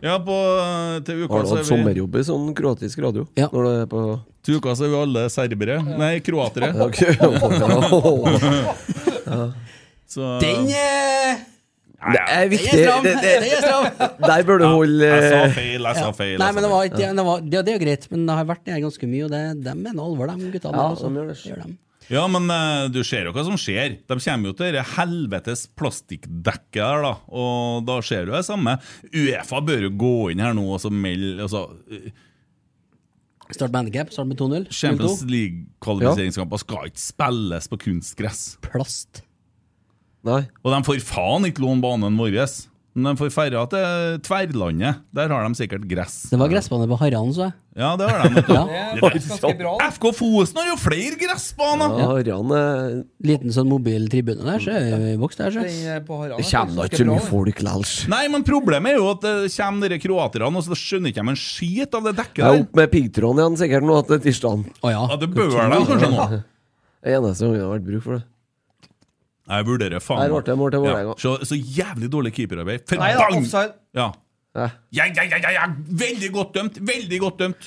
[SPEAKER 3] ja, på eh, til uka
[SPEAKER 6] Har du
[SPEAKER 3] så
[SPEAKER 6] hatt
[SPEAKER 3] er vi
[SPEAKER 6] sommerjobb i sånn kroatisk radio? Når du er på
[SPEAKER 3] Til uka så er vi alle serbere. Nei, kroatere.
[SPEAKER 6] Ok. Ja.
[SPEAKER 3] Så-
[SPEAKER 8] Den er
[SPEAKER 6] Det er viktig.
[SPEAKER 8] Den er stram.
[SPEAKER 6] Det- det-
[SPEAKER 8] Den er stram.
[SPEAKER 6] Der bør du holde eh,
[SPEAKER 3] Jeg sa feil, jeg sa feil. altså. jeg
[SPEAKER 8] Nei,
[SPEAKER 3] sa
[SPEAKER 8] men det, var,
[SPEAKER 3] feil.
[SPEAKER 8] ikke- det, var, det, det er jo greit, men det har vært nede ganske mye, og det, de mener alvor, de gutta.
[SPEAKER 6] Ja,
[SPEAKER 8] altså.
[SPEAKER 6] de gjør det.
[SPEAKER 8] dem.
[SPEAKER 3] Ja, men eh, du ser jo hva som skjer. De kommer jo til det helvetes plastikkdekket her, da. Og da skjer jo det samme. Uefa bør jo gå inn her nå og så melde altså, eh,
[SPEAKER 8] Start med handicap, start med 2-0.
[SPEAKER 3] Champions
[SPEAKER 8] 0-2.
[SPEAKER 3] League-kvalifiseringskamper skal ikke spilles på kunstgress.
[SPEAKER 8] Plast.
[SPEAKER 6] Nei.
[SPEAKER 3] Og de får faen ikke låne banen vår. Men de får ferja til Tverrlandet. Der har de sikkert gress.
[SPEAKER 8] Det var gressbane på Harran, så jeg.
[SPEAKER 3] Ja, det har de. vet du.
[SPEAKER 8] Ja.
[SPEAKER 3] Det er
[SPEAKER 8] Det er faktisk ganske
[SPEAKER 3] bra. FK Fosen har jo flere gressbaner!
[SPEAKER 6] Ja, Harran er
[SPEAKER 8] Liten sånn mobiltribune der, så er vi vokst der, så.
[SPEAKER 2] Den er på Harald.
[SPEAKER 6] Det kommer da ikke så mye folk likevel.
[SPEAKER 3] Nei, men problemet er jo at det kommer dere kroaterne, og så skjønner ikke de en skit av det dekket
[SPEAKER 6] Jeg er
[SPEAKER 3] der.
[SPEAKER 6] opp med piggtråden igjen sikkert nå til tirsdag.
[SPEAKER 8] Å ja.
[SPEAKER 3] Ja, det bør de kanskje nå.
[SPEAKER 6] Eneste gangen det har vært bruk for det.
[SPEAKER 3] Jeg vurderer faen
[SPEAKER 6] Der ble det mål til
[SPEAKER 3] Ja,
[SPEAKER 6] Vålerenga.
[SPEAKER 3] Så, så jævlig dårlig keeperarbeid.
[SPEAKER 6] Nei da, offside.
[SPEAKER 3] Ja. Ja, ja, ja, ja, ja. Veldig godt dømt! Veldig godt dømt!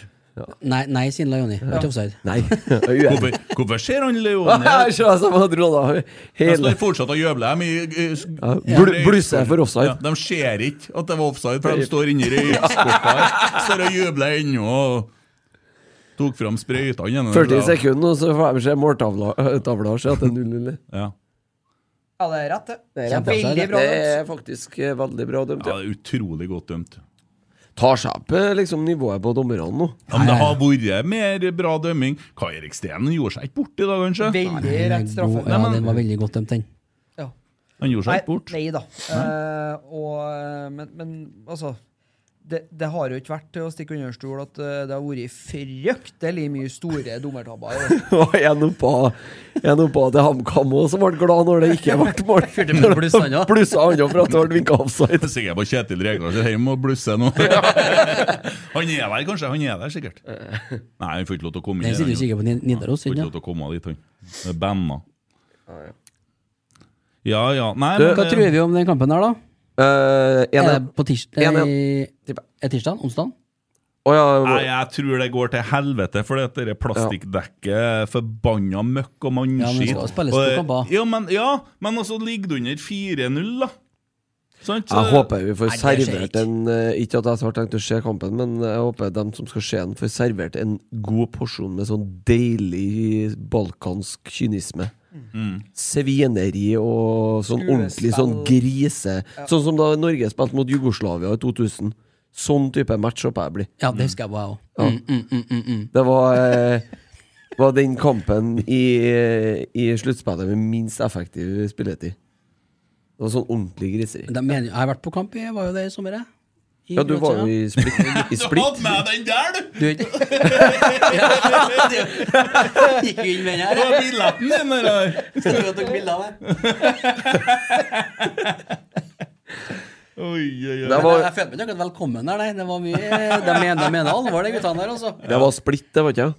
[SPEAKER 8] Nei, nei, sier Leoni. Det er ikke offside.
[SPEAKER 6] Nei.
[SPEAKER 3] Hvorfor, hvorfor ser han Leone?
[SPEAKER 6] Jeg ser altså på Drona.
[SPEAKER 3] Jeg
[SPEAKER 6] Hele
[SPEAKER 3] står fortsatt og jøvler dem i i- s-
[SPEAKER 6] Ja, bl- blusser jeg for offside.
[SPEAKER 3] Ja, de ser ikke at det var offside, for de står inni røykskuffa her. Står og jubler ennå og tok fram sprøytene. igjen.
[SPEAKER 6] 40 sekunder, og så får de se måltavla øh, tavla og se at det er 0-0.
[SPEAKER 3] Ja.
[SPEAKER 2] Ja, det er rett, det.
[SPEAKER 6] Det er
[SPEAKER 2] Så
[SPEAKER 6] rett, altså. det.
[SPEAKER 2] Veldig bra.
[SPEAKER 6] Det
[SPEAKER 2] dømt.
[SPEAKER 6] er faktisk eh, veldig bra dømt.
[SPEAKER 3] Ja, det er utrolig godt dømt.
[SPEAKER 6] Tar seg opp eh, liksom nivået på dommerne nå.
[SPEAKER 3] Ja, men det har vært mer bra dømming. Kai Erik Steen gjorde seg ikke bort i dag, kanskje?
[SPEAKER 2] Veldig rett straffe.
[SPEAKER 8] Ja, den var veldig godt dømt, den.
[SPEAKER 3] Han gjorde seg ikke bort.
[SPEAKER 2] Nei, nei da. Eh, og, eh, men, men altså det, det har jo ikke vært til å stikke under stol at eh, det har vært fryktelig mye store altså. dommertabber. i år.
[SPEAKER 6] Og en oppå en oppå til HamKam òg, som ble glad når det ikke ble mål.
[SPEAKER 3] Fyrte med blussa han også.
[SPEAKER 6] Blussa han også for at det ble vinka offside.
[SPEAKER 3] Sikkert på Kjetil Regdal sitt hjem og blusse nå. han er der, kanskje? Han er der, sikkert. Nei, han får ikke lov til å komme inn.
[SPEAKER 8] Den sitter
[SPEAKER 3] han,
[SPEAKER 8] jo sikkert på Nid- Nidaros,
[SPEAKER 3] Får
[SPEAKER 8] siden, ja.
[SPEAKER 3] ikke lov til å komme dit, han. Det er banna. Ja, ja. Nei,
[SPEAKER 8] Du,
[SPEAKER 3] men,
[SPEAKER 8] Hva
[SPEAKER 3] eh,
[SPEAKER 8] tror vi om den kampen her, da?
[SPEAKER 6] Eh, en-
[SPEAKER 8] er det på tirsdag?
[SPEAKER 6] en- en-
[SPEAKER 8] Er tirsdag? Onsdag?
[SPEAKER 3] Nei, jeg tror det går til helvete, for det der plastikkdekket er forbanna møkk og
[SPEAKER 8] Ja, men
[SPEAKER 3] mannskit.
[SPEAKER 8] det skal spilles
[SPEAKER 3] Og,
[SPEAKER 8] to
[SPEAKER 3] eh,
[SPEAKER 8] kamper.
[SPEAKER 3] Ja, men, ja, men altså ligger du under 4-0, da? Sant?
[SPEAKER 6] Jeg håper vi får
[SPEAKER 3] Nei, det skjer
[SPEAKER 6] servert en eh, Ikke at jeg har tenkt å se kampen, men jeg håper de som skal se den, får servert en god porsjon med sånn deilig balkansk kynisme.
[SPEAKER 3] Mm.
[SPEAKER 6] Svineri og sånn
[SPEAKER 3] Skuespill.
[SPEAKER 6] ordentlig sånn grise.
[SPEAKER 3] Ja.
[SPEAKER 6] Sånn som da Norge spilte mot Jugoslavia i 2000. Sånn type match håper jeg blir.
[SPEAKER 8] Ja, det husker jeg på, jeg òg.
[SPEAKER 6] Ja.
[SPEAKER 8] Mm, mm, mm, mm, mm.
[SPEAKER 6] Det var, eh, var den kampen i, i sluttspillet med minst effektiv spilletid. Det var sånn ordentlig griseri.
[SPEAKER 8] De mener, jeg har vært på kamp, jeg var jo det i sommer, jeg. I
[SPEAKER 6] Ja, du var
[SPEAKER 8] Kroatia.
[SPEAKER 6] jo i Split. I split.
[SPEAKER 3] med den der, du!
[SPEAKER 8] Du er ikke Ja, du- Gikk jo inn med den her.
[SPEAKER 3] Det var billetten din, det der.
[SPEAKER 8] Sto og tok bilde av det.
[SPEAKER 3] Oi, oi, oi.
[SPEAKER 6] Det
[SPEAKER 8] Men
[SPEAKER 6] var-
[SPEAKER 8] Jeg følte meg ikke akkurat velkommen der, nei. Det var mye De mener, de mener alvor, de guttene der, altså.
[SPEAKER 6] Det var Split, det var ikke det?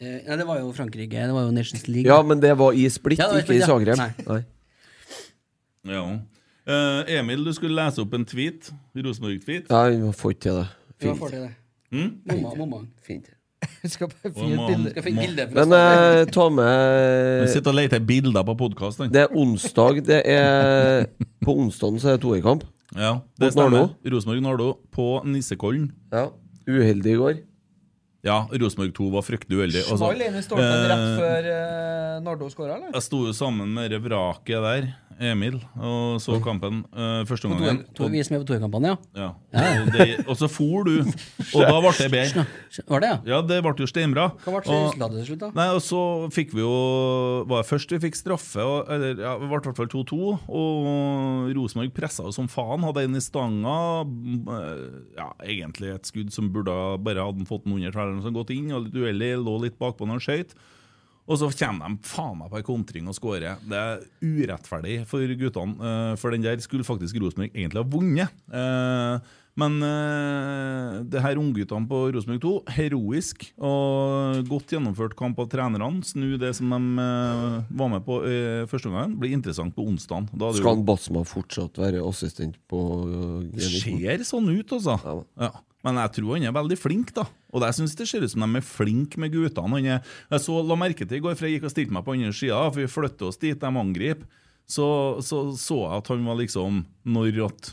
[SPEAKER 8] Eh, Nei, det var jo Frankrike, det var jo Nations League.
[SPEAKER 6] Ja, men det var i Split,
[SPEAKER 8] Ja, det var i
[SPEAKER 6] ikke i
[SPEAKER 8] Split, ja.
[SPEAKER 6] Zagreb. Nei.
[SPEAKER 3] Ja. Eh, Emil, du skulle lese opp en tweet. Rosenborg-tweet.
[SPEAKER 6] Ja, vi får ikke til det.
[SPEAKER 8] Ja, får til det.
[SPEAKER 3] Mm?
[SPEAKER 8] Mamma, mamma.
[SPEAKER 6] Fint.
[SPEAKER 2] Skal bare
[SPEAKER 3] finne et bilde.
[SPEAKER 8] Skal finne et bilde
[SPEAKER 6] Men eh, ta med
[SPEAKER 3] Han sitter og leter bilder på podkasten.
[SPEAKER 6] Det er onsdag. Det er På onsdagen så er det toerkamp.
[SPEAKER 3] Ja, det
[SPEAKER 6] Mot Nardo.
[SPEAKER 3] stemmer. Rosenborg-Nardo på Nissekollen.
[SPEAKER 6] Ja. Uheldig i går.
[SPEAKER 3] Ja, Rosenborg 2 var fryktelig uheldig. Altså,
[SPEAKER 2] Small inn i stolpen rett
[SPEAKER 3] eh,
[SPEAKER 2] før eh, Nardo skåra, eller?
[SPEAKER 3] Jeg sto jo sammen med det vraket der, Emil, og så kampen eh, første
[SPEAKER 8] På
[SPEAKER 3] gangen.
[SPEAKER 8] to- to- Vi som er på toerkampene, ja.
[SPEAKER 3] Ja. Og, det, og så for du, og da ble det bedre.
[SPEAKER 8] Var det, ja?
[SPEAKER 3] Ja, det ble jo steinbra.
[SPEAKER 8] Hva ble
[SPEAKER 3] Og-
[SPEAKER 8] resultatet til slutt, da?
[SPEAKER 3] Nei, og så fikk vi jo Var det først vi fikk straffe, og, eller ja, det ble i hvert fall 2-2, og Rosenborg pressa jo som faen. Hadde en i stanga. mm, eh, Ja, egentlig et skudd som burde ha- bare hadde han fått den under tverreren som gått inn, og litt uheldig, lå litt bakpå når han skøyt. Og så kommer de faen meg på ei kontring og skårer. Det er urettferdig for guttene. eh, For den der skulle faktisk Rosenborg egentlig ha vunnet. Eh, Men eh, det her ungguttene på Rosenborg 2, heroisk og godt gjennomført kamp av trenerne. Snu det som de eh, var med på eh, første gangen, blir interessant på onsdag.
[SPEAKER 6] Skal han Basma fortsatt være assistent på øh,
[SPEAKER 3] Det
[SPEAKER 6] G19?
[SPEAKER 3] ser sånn ut, altså. Ja. Men jeg tror han er veldig flink, da. Og det- jeg synes det ser ut som de er flinke med guttene. Han er, jeg så, la merke til i går, for jeg gikk og stilte meg på andre sida, for vi flytter oss dit de angriper. Så, så så jeg at han var liksom Når at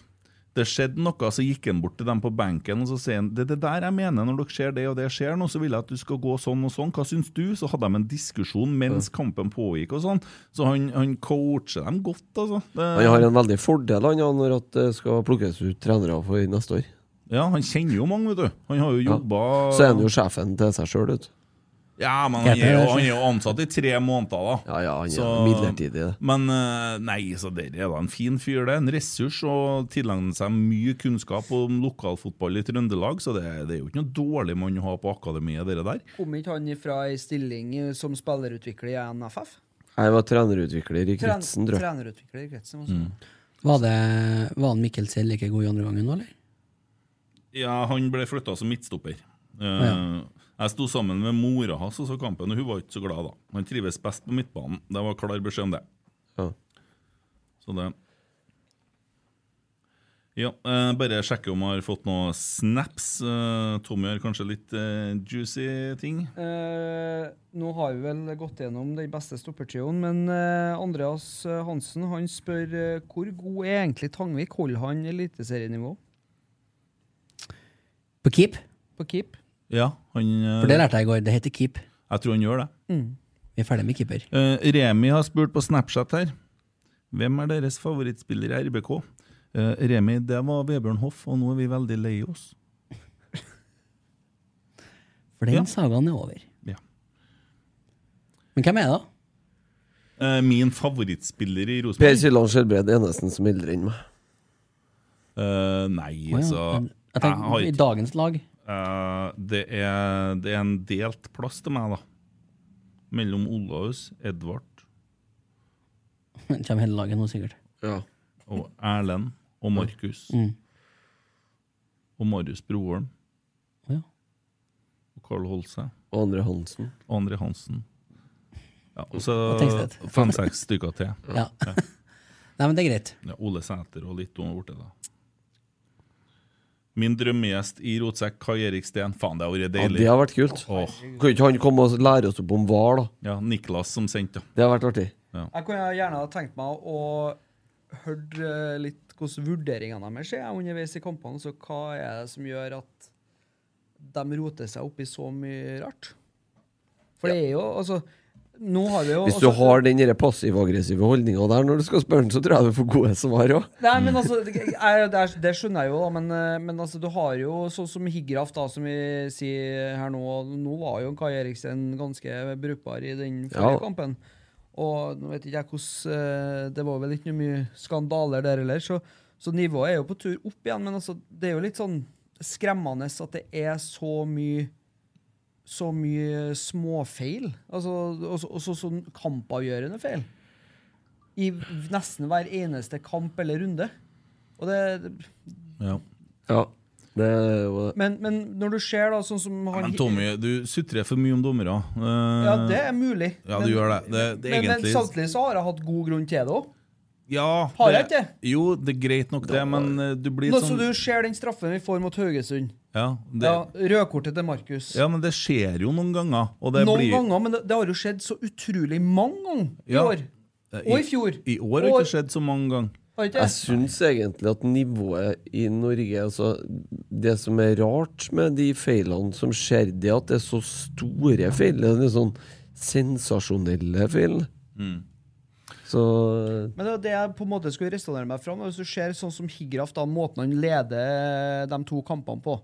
[SPEAKER 3] det skjedde noe, så gikk han bort til dem på benken og så sier han, det er det der jeg mener når dere ser det og det skjer nå, så vil jeg at du skal gå sånn og sånn. Hva syns du? Så hadde de en diskusjon mens kampen pågikk og sånn. Så han, han coacher dem godt, altså. Det-
[SPEAKER 6] Han har en veldig fordel han, han, når at det skal plukkes ut trenere for neste år.
[SPEAKER 3] Ja, han kjenner jo mange, vet du. Han har jo
[SPEAKER 6] Ja.
[SPEAKER 3] jobba
[SPEAKER 6] Så er han jo sjefen til seg sjøl, vet du.
[SPEAKER 3] Ja, men han er, jo, han er jo ansatt i tre måneder, da.
[SPEAKER 6] Ja, ja, han er midlertidig, det.
[SPEAKER 3] Men eh, nei, så det er da en fin fyr, det. En ressurs og tilegner seg mye kunnskap om lokalfotball i Trøndelag, så det, det er jo ikke noe dårlig mann å ha på akademiet, dere der.
[SPEAKER 2] Kom ikke han fra ei stilling eh, som spillerutvikler i NFF?
[SPEAKER 6] Jeg var trenerutvikler i
[SPEAKER 2] Tren-
[SPEAKER 6] Kretsen, tror jeg.
[SPEAKER 2] Trenerutvikler i kretsen. altså. Også.
[SPEAKER 8] Var, det, var han Mikkel Sel like god i andre gangen nå, eller?
[SPEAKER 3] Ja, han ble flytta som midtstopper. Eh,
[SPEAKER 8] Ja.
[SPEAKER 3] Jeg sto sammen med mora hans og så kampen, og hun var ikke så glad, da. Han trives best på midtbanen. Det var klar beskjed om det.
[SPEAKER 6] Ja.
[SPEAKER 3] Så det Ja, eh, bare sjekke om jeg har fått noen snaps. Eh, Tommy har kanskje litt eh, juicy ting.
[SPEAKER 2] Eh, nå har vi vel gått gjennom den beste stoppertrioen, men eh, Andreas eh, Hansen han spør eh, hvor god er egentlig Tangvik? Holder han eliteserienivå
[SPEAKER 8] På keep?
[SPEAKER 2] på keep?
[SPEAKER 3] Ja, han eh,
[SPEAKER 8] For det lærte jeg i går. Det heter keep. Mm.
[SPEAKER 3] Jeg tror han gjør det.
[SPEAKER 8] Vi er ferdig med keeper.
[SPEAKER 3] Eh, Remi har spurt på Snapchat her. Hvem er deres favorittspiller i RBK? Eh, Remi, det var Vebjørn Hoff, og nå er vi veldig lei oss.
[SPEAKER 8] For den
[SPEAKER 3] Ja.
[SPEAKER 8] sagaen er over.
[SPEAKER 3] Ja.
[SPEAKER 8] Men hvem er det, da?
[SPEAKER 3] Eh, min favorittspiller i Rosenborg
[SPEAKER 6] Per Siljan Skjelbred er nesten som eldre enn meg.
[SPEAKER 3] Eh, Nei,
[SPEAKER 6] Å ja,
[SPEAKER 3] altså
[SPEAKER 6] men-
[SPEAKER 8] Jeg tenker,
[SPEAKER 3] har ikke-
[SPEAKER 8] I dagens lag
[SPEAKER 3] Eh, det, er, det er en delt plass til meg, da. Mellom Olaus, Edvard
[SPEAKER 8] kommer hele laget nå, sikkert.
[SPEAKER 3] og Erlend og Markus.
[SPEAKER 8] Mm.
[SPEAKER 3] Og Marius Broholm.
[SPEAKER 8] Ja.
[SPEAKER 3] Og Karl Holse.
[SPEAKER 6] Og Andre Hansen.
[SPEAKER 3] Og Andre Hansen. Ja, og så
[SPEAKER 8] Og Tengstedt.
[SPEAKER 3] fem-seks stykker til.
[SPEAKER 8] Ja. Nei, men det er greit.
[SPEAKER 3] Ja, Ole Sæter og litt om borte, da. Min drømmegjest i rotsekk, Kai Erik Steen. Faen, det har vært
[SPEAKER 6] Ja,
[SPEAKER 3] deilig.
[SPEAKER 6] det har vært kult.
[SPEAKER 3] Åh.
[SPEAKER 6] Kan ikke han komme og lære oss opp om hval, da?
[SPEAKER 3] Ja, Niklas som sendte.
[SPEAKER 6] Det har vært artig.
[SPEAKER 2] Jeg kunne gjerne ha tenkt meg å høre eh, litt hvordan vurderingene deres er underveis i kampene. Så hva er det som gjør at de roter seg opp i så mye rart? For det er jo altså Nå har vi jo
[SPEAKER 6] Hvis du
[SPEAKER 2] altså-
[SPEAKER 6] har den der passiv-aggressive holdninga der når du skal spørre han, så tror jeg du får gode svar òg.
[SPEAKER 2] Nei, men altså, det, jeg, det, er, det skjønner jeg jo, da, men, eh, men altså, du har jo sånn som Higraf, da, som vi sier her nå. Nå var jo Kai Eriksen ganske brukbar i den forrige
[SPEAKER 6] Ja.
[SPEAKER 2] kampen. Og nå vet ikke jeg hvordan eh, Det var vel ikke noe mye skandaler der heller, så, så nivået er jo på tur opp igjen. Men altså, det er jo litt sånn skremmende at det er så mye så mye småfeil. Altså, også, også sånn kampavgjørende feil. I nesten hver eneste kamp eller runde. Og det,
[SPEAKER 3] Ja.
[SPEAKER 6] ja. Det er jo det.
[SPEAKER 2] men, men når du ser da, sånn som han
[SPEAKER 3] Men Tommy, du sutrer for mye om dommere. Eh,
[SPEAKER 2] Ja, det er mulig.
[SPEAKER 3] Ja, du
[SPEAKER 2] Men-
[SPEAKER 3] gjør det. det, det
[SPEAKER 2] men, men
[SPEAKER 3] egentlig,
[SPEAKER 2] samtidig så har jeg hatt god grunn til det òg.
[SPEAKER 3] ja,
[SPEAKER 2] Har jeg ikke?
[SPEAKER 3] Jo, det er greit nok, det, men eh, du blir
[SPEAKER 2] Nå
[SPEAKER 3] sånn
[SPEAKER 2] som du ser den straffen vi får mot Haugesund.
[SPEAKER 3] ja, det,
[SPEAKER 2] Ja, Rødkortet til Markus.
[SPEAKER 3] ja, men det skjer jo noen ganger. Og det
[SPEAKER 2] Noen
[SPEAKER 3] blir,
[SPEAKER 2] ganger, men det, det har jo skjedd så utrolig mange ganger i
[SPEAKER 3] Ja. Eh,
[SPEAKER 2] år. Og i fjor.
[SPEAKER 3] I år har det
[SPEAKER 2] Og-
[SPEAKER 3] ikke skjedd så mange ganger.
[SPEAKER 2] Har ikke det?
[SPEAKER 6] Jeg syns egentlig at nivået i Norge altså, Det som er rart med de feilene som skjer, det er at det er så store feil. Det er litt sånn sensasjonelle feil.
[SPEAKER 3] Mm.
[SPEAKER 6] Så
[SPEAKER 2] Men det var det jeg på en måte skulle restaurere meg fra. Hvis du ser sånn som Higraf, da, måten han leder eh, de to kampene på.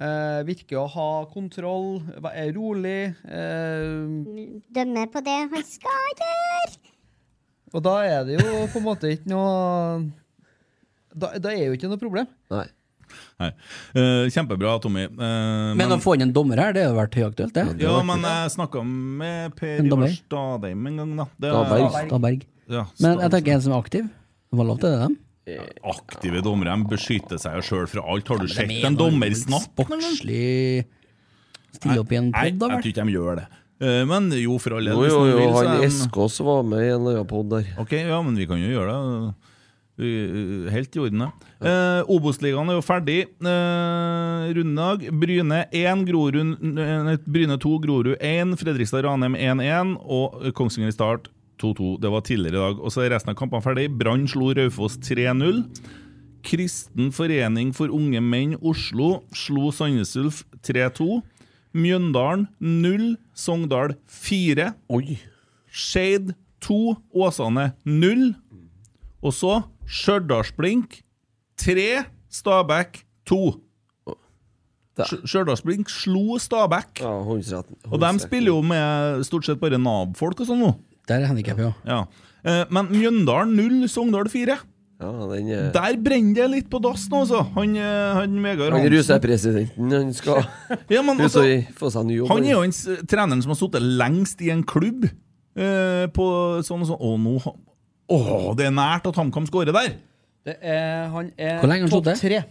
[SPEAKER 2] Eh, virker å ha kontroll, er rolig. Eh,
[SPEAKER 7] Dømme på det han skal gjøre.
[SPEAKER 2] og da er det jo på en måte ikke noe Da, da er jo ikke noe problem.
[SPEAKER 6] Nei.
[SPEAKER 3] Eh, kjempebra, Tommy. Eh,
[SPEAKER 8] Men, å få inn en dommer her, det har jo vært høyaktuelt, det.
[SPEAKER 3] ja, men jeg snakka med Per
[SPEAKER 8] En dommer?
[SPEAKER 3] Ivar Stadheim en gang, da. Det er-
[SPEAKER 8] Staberg. Staberg.
[SPEAKER 3] Ja,
[SPEAKER 8] Men jeg tenker en som er aktiv. Det var lov til det, dem.
[SPEAKER 3] Aktive dommere de beskytter seg jo sjøl fra alt. Har du sett
[SPEAKER 8] mener
[SPEAKER 3] en dommer
[SPEAKER 8] vel
[SPEAKER 3] snakke?
[SPEAKER 8] Sportslig Stille opp i en
[SPEAKER 3] Nei,
[SPEAKER 8] podd,
[SPEAKER 3] jeg
[SPEAKER 8] da
[SPEAKER 3] tror
[SPEAKER 8] vel?
[SPEAKER 3] ikke de gjør det. Eh, Men jo, for all del.
[SPEAKER 6] Jo,
[SPEAKER 3] hvis
[SPEAKER 6] jo,
[SPEAKER 3] noen
[SPEAKER 6] jo,
[SPEAKER 3] vil, så
[SPEAKER 6] han
[SPEAKER 3] er de-
[SPEAKER 6] Eskås var med i en annen pod der.
[SPEAKER 3] Ok, ja, men vi kan jo gjøre det. Uh, uh, Helt i orden, det. Eh, Obos-ligaen er jo ferdig. Eh, rundedag. Bryne 1, Grorud, eh, nei, Bryne 2, Grorud 1, Fredrikstad-Ranheim 1-1 og Kongsvinger Start 2-2. Det var tidligere i dag. Og så er resten av kampene ferdig. Brann slo Raufoss 3-0. Kristen forening for unge menn Oslo slo Sandnes Ulf 3-2. Mjøndalen 0, Sogndal 4.
[SPEAKER 6] Oi.
[SPEAKER 3] Skeid 2, Åsane 0. Og så Stjørdalsblink 3, Stabæk 2. Stj- Stjørdalsblink slo Stabæk. Og de spiller jo med stort sett bare Nav-folk og sånn nå.
[SPEAKER 8] Der er handikap, ja.
[SPEAKER 3] Ja. Eh, Men Mjøndalen 0, Sogndal 4.
[SPEAKER 6] Ja, den er
[SPEAKER 3] Der brenner det litt på dassen, altså. Han, eh, han Vegard
[SPEAKER 6] Han
[SPEAKER 3] Hansen.
[SPEAKER 6] ruser presidenten. Han skal
[SPEAKER 3] Ja, men
[SPEAKER 6] ut
[SPEAKER 3] altså-
[SPEAKER 6] og få seg en ny jobb.
[SPEAKER 3] Han er jo den s- treneren som har sittet lengst i en klubb. Eh, på sånn og sånn Å, nå ha- Å, det er nært at HamKam skårer der!
[SPEAKER 2] Det er, han
[SPEAKER 6] Eh,
[SPEAKER 3] Hvor lenge har han
[SPEAKER 2] er topp
[SPEAKER 3] sittet?
[SPEAKER 2] tre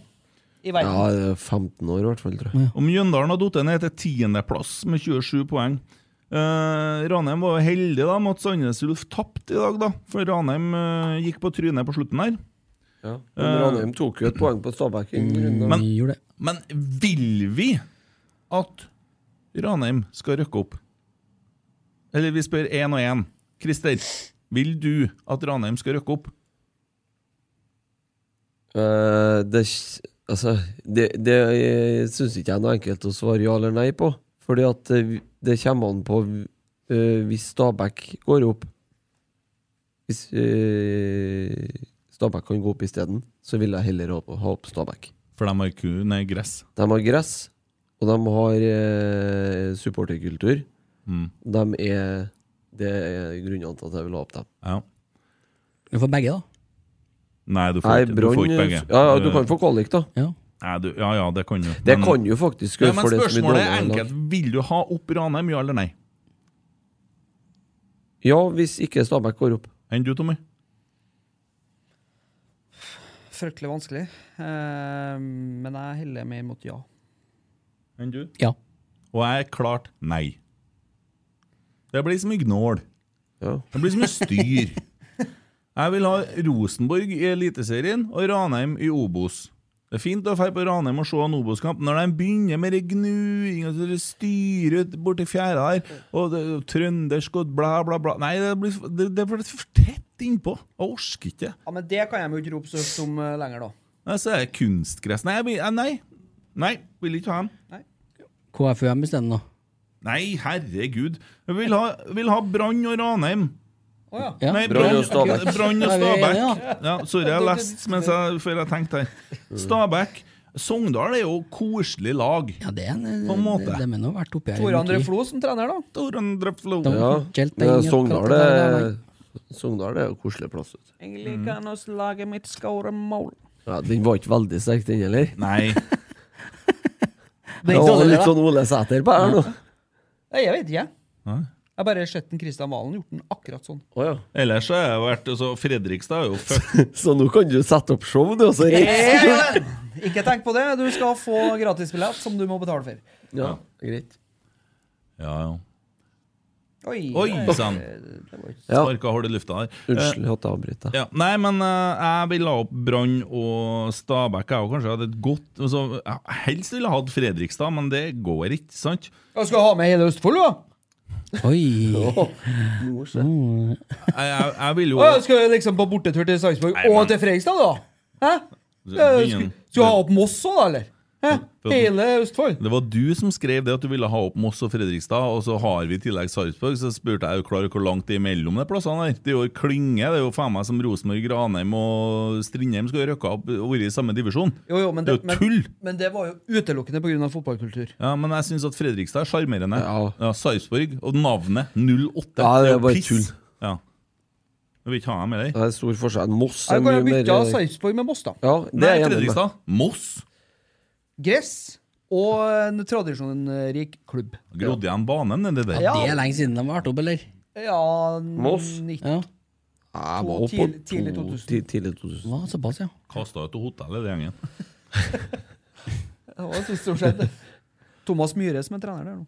[SPEAKER 2] i verden.
[SPEAKER 6] Ja, det er 15 år i hvert fall, tror jeg.
[SPEAKER 3] Og Mjøndalen har falt ned til tiendeplass med 27 poeng. Eh, Ranheim var jo heldig da med at Sandnes Ulf tapte i dag, da. For Ranheim eh, gikk på trynet på slutten der.
[SPEAKER 6] Ja. Men Ranheim tok jo et poeng på Stabæk. i en runde.
[SPEAKER 3] Men, men vil vi at Ranheim skal rykke opp? Eller vi spør én og én. Christer, vil du at Ranheim skal rykke opp?
[SPEAKER 6] Eh, det, altså, det, det syns ikke jeg er noe enkelt å svare ja eller nei på. Fordi at eh, vi- det kommer an på eh, hvis Stabæk går opp. Hvis eh, Stabæk kan gå opp isteden, så vil jeg heller ha, ha opp Stabæk.
[SPEAKER 3] For de har ku, nei, gress.
[SPEAKER 6] De har gress, og de har eh, supporterkultur.
[SPEAKER 3] Mm.
[SPEAKER 6] De er, det er grunnene til at jeg vil ha opp dem.
[SPEAKER 8] Du får begge, da.
[SPEAKER 3] Nei, du får,
[SPEAKER 6] Nei,
[SPEAKER 3] ikke, du
[SPEAKER 6] Brann
[SPEAKER 3] får ikke begge.
[SPEAKER 6] Ja, ja, du kan få kvalik, da.
[SPEAKER 3] Nei, du, ja ja, det kan du.
[SPEAKER 6] Det
[SPEAKER 3] Men-
[SPEAKER 6] kan du faktisk
[SPEAKER 3] ja,
[SPEAKER 6] gjøre,
[SPEAKER 3] Men
[SPEAKER 6] for det er så mye
[SPEAKER 3] spørsmålet er
[SPEAKER 6] dårligere lag.
[SPEAKER 3] enkelt. Vil du ha opp Ranheim, ja eller nei?
[SPEAKER 6] Ja, hvis ikke Stabæk går opp.
[SPEAKER 3] Enn du, Tommy?
[SPEAKER 2] Fryktelig vanskelig. Eh, men jeg heller mer mot ja.
[SPEAKER 3] Enn du?
[SPEAKER 8] Ja.
[SPEAKER 3] Og jeg er klart nei. Det blir som gnål. Det blir som styr. Jeg vil ha Rosenborg i Eliteserien og Ranheim i Obos. Det er fint å dra på Ranheim og se en Obos-kamp. Når de begynner med det gnuing og det styret borti fjæra her, og det, trøndersk og bla, bla, bla Nei, det blir, det, det blir for tett innpå. Jeg orker ikke.
[SPEAKER 2] Ja, Men det kan jeg jo ikke rope så høyt om eh, lenger, da.
[SPEAKER 3] Nei, Så er det kunstgress. Nei, jeg, vil- eh, nei. nei, vil ikke ha dem.
[SPEAKER 8] KFUM bestemmer nå.
[SPEAKER 3] Nei, herregud. Jeg vil ha, vil ha Brann og Ranheim.
[SPEAKER 8] Ja.
[SPEAKER 3] Nei,
[SPEAKER 8] Brann
[SPEAKER 3] Brann
[SPEAKER 8] og Stabæk.
[SPEAKER 3] Brann og
[SPEAKER 8] Da er vi
[SPEAKER 3] Stabæk.
[SPEAKER 8] enige,
[SPEAKER 3] Ja, sorry, jeg har lest mens jeg, før jeg tenkte her.
[SPEAKER 8] Mm.
[SPEAKER 3] Stabæk. Sogndal er jo koselig lag.
[SPEAKER 8] Ja, det er en,
[SPEAKER 3] På en måte.
[SPEAKER 8] De, de er nå vært oppi her.
[SPEAKER 2] Tore
[SPEAKER 8] en
[SPEAKER 2] André
[SPEAKER 8] tid.
[SPEAKER 2] Flo som trener, da.
[SPEAKER 3] Tore André Flo.
[SPEAKER 8] Da
[SPEAKER 6] Ja,
[SPEAKER 8] var Kjelt
[SPEAKER 6] men
[SPEAKER 8] inn i
[SPEAKER 6] Sogndal
[SPEAKER 8] akkurat det
[SPEAKER 6] er,
[SPEAKER 8] der,
[SPEAKER 6] Sogndal er jo koselig plass. vet du.
[SPEAKER 2] Egentlig kan oss lage mitt skåre mål.
[SPEAKER 6] Ja, den var ikke veldig sterk, den heller.
[SPEAKER 3] Nei.
[SPEAKER 6] Det var litt sånn Ole Sæter på her nå.
[SPEAKER 2] Nei, jeg vet ikke, jeg.
[SPEAKER 3] Nei.
[SPEAKER 2] Jeg bare sett den Kristian Valen gjort den akkurat sånn.
[SPEAKER 3] Ellers så har jeg vært altså, Fredrikstad er jo fuck.
[SPEAKER 6] Så nå kan du sette opp show, du, og så reise rundt.
[SPEAKER 2] Ikke tenk på det, du skal få gratisbillett som du må betale for.
[SPEAKER 6] Ja, greit.
[SPEAKER 3] Ja, ja.
[SPEAKER 2] Oi,
[SPEAKER 3] Oi
[SPEAKER 2] det-
[SPEAKER 3] sann!
[SPEAKER 2] det var ikke-
[SPEAKER 3] Sparka harde lufta her. Eh,
[SPEAKER 6] Unnskyld at jeg avbryter.
[SPEAKER 3] Ja, nei, men eh, jeg vil ha opp Brann og Stabæk. Jeg har kanskje hatt et godt altså, jeg Helst ville jeg hatt Fredrikstad, men det går ikke, sant?
[SPEAKER 2] Jeg skal ha med hele Østfold, da!
[SPEAKER 8] Oi!
[SPEAKER 3] Jeg,
[SPEAKER 6] Mm.
[SPEAKER 3] jeg, jeg vil jo
[SPEAKER 2] Å, jeg skal liksom på bortetur til Sarpsborg
[SPEAKER 3] Nei, men-
[SPEAKER 2] og til Fredrikstad, da? Hæ?
[SPEAKER 3] Det blir
[SPEAKER 2] Eh, Skal
[SPEAKER 3] ingen-
[SPEAKER 2] skal jeg ha opp Moss òg, da, eller? Hæ?
[SPEAKER 3] For-
[SPEAKER 2] Hele Østfold?
[SPEAKER 3] Det var du som skrev det at du ville ha opp Moss og Fredrikstad, og så har vi i tillegg Sarpsborg. Så spurte jeg jo klar hvor langt det er mellom de plassene her. Det er jo klynge. Det er jo faen meg som Rosenborg, Ranheim og Strindheim skal jo rykke opp og være i samme divisjon.
[SPEAKER 2] Jo, jo, men
[SPEAKER 3] Det er
[SPEAKER 2] det,
[SPEAKER 3] jo
[SPEAKER 2] men,
[SPEAKER 3] tull.
[SPEAKER 2] men det var jo utelukkende pga. fotballkultur.
[SPEAKER 3] Ja, Men jeg syns at Fredrikstad er sjarmerende. Ja. Sarpsborg og navnet 08.
[SPEAKER 6] Ja, det er bare
[SPEAKER 3] piss.
[SPEAKER 6] tull.
[SPEAKER 3] Ja. Jeg vil ikke ha dem med
[SPEAKER 6] Det er stor forskjell. Moss
[SPEAKER 2] Her
[SPEAKER 6] er
[SPEAKER 2] kan
[SPEAKER 6] mye
[SPEAKER 2] jeg bytte av
[SPEAKER 6] mer
[SPEAKER 2] Sarpsborg med Moss, da.
[SPEAKER 6] Ja, det
[SPEAKER 3] Nei,
[SPEAKER 6] er jeg enig med.
[SPEAKER 3] Fredrikstad. Moss.
[SPEAKER 2] Gress og en tradisjonrik klubb.
[SPEAKER 3] Grodd igjen banen, er det det?
[SPEAKER 2] Ja.
[SPEAKER 8] Det er lenge siden de har vært oppe, eller?
[SPEAKER 2] Ja,
[SPEAKER 3] Moss?
[SPEAKER 2] 19
[SPEAKER 8] Ja.
[SPEAKER 6] Jeg
[SPEAKER 2] To
[SPEAKER 6] var oppe
[SPEAKER 2] tidlig- tidlig 2000.
[SPEAKER 6] Tidlig 2000.
[SPEAKER 8] Hva, såpass, ja.
[SPEAKER 3] Kasta ut av hotellet, den gjengen.
[SPEAKER 2] Det var det siste som skjedde. Thomas Myhre som er trener der nå.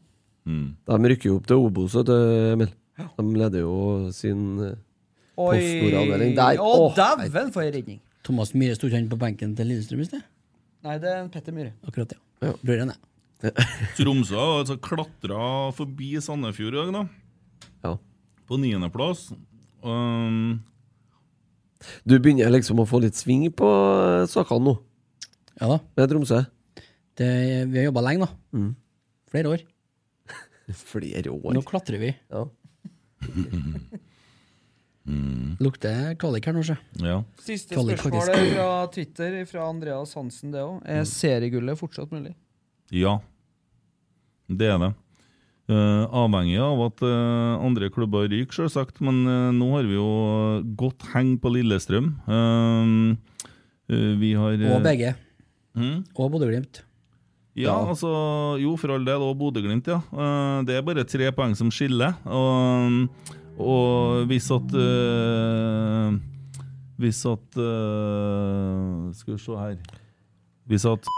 [SPEAKER 3] Mm.
[SPEAKER 6] De rykker jo opp til Obos, vet du, Emil. De leder jo sin eh,
[SPEAKER 2] Oi!
[SPEAKER 6] postnordavdeling der.
[SPEAKER 2] Å,
[SPEAKER 6] Åh,
[SPEAKER 2] dæven, for en redning!
[SPEAKER 8] Thomas Myhre sto ikke han på benken til Lillestrøm i sted?
[SPEAKER 2] Nei, det er en Petter Myhre.
[SPEAKER 8] Akkurat, ja. Brødrene.
[SPEAKER 3] Tromsø har altså klatra forbi Sandefjord i dag, da.
[SPEAKER 6] Ja.
[SPEAKER 3] På niendeplass. Um,
[SPEAKER 6] Du begynner liksom å få litt sving på eh, sakene nå,
[SPEAKER 8] Ja da.
[SPEAKER 6] med Tromsø.
[SPEAKER 8] Det, vi har jobba lenge, da.
[SPEAKER 6] Mm.
[SPEAKER 8] Flere år.
[SPEAKER 6] Flere år.
[SPEAKER 8] Nå klatrer vi.
[SPEAKER 6] Ja.
[SPEAKER 8] Lukter kvalik her nå, sjø.
[SPEAKER 3] Mm. Ja.
[SPEAKER 2] Siste
[SPEAKER 8] Kalle
[SPEAKER 2] spørsmål
[SPEAKER 8] Kakisk.
[SPEAKER 2] fra Twitter, fra Andreas Hansen, det òg. Er
[SPEAKER 6] Mm.
[SPEAKER 2] seriegullet fortsatt mulig?
[SPEAKER 3] ja. Det er det. Eh, avhengig av at eh, andre klubber ryker, selvsagt, men eh, nå har vi jo godt heng på Lillestrøm. Um, eh, vi har eh,
[SPEAKER 8] Og begge.
[SPEAKER 3] Mm.
[SPEAKER 8] Og Bodø-Glimt.
[SPEAKER 3] Ja,
[SPEAKER 8] Ja.
[SPEAKER 3] altså Jo, for all del, og Bodø-Glimt, ja. Eh, Det er bare tre poeng som skiller. Og, og hvis at eh, Hvis at eh, Skal vi se her Hvis at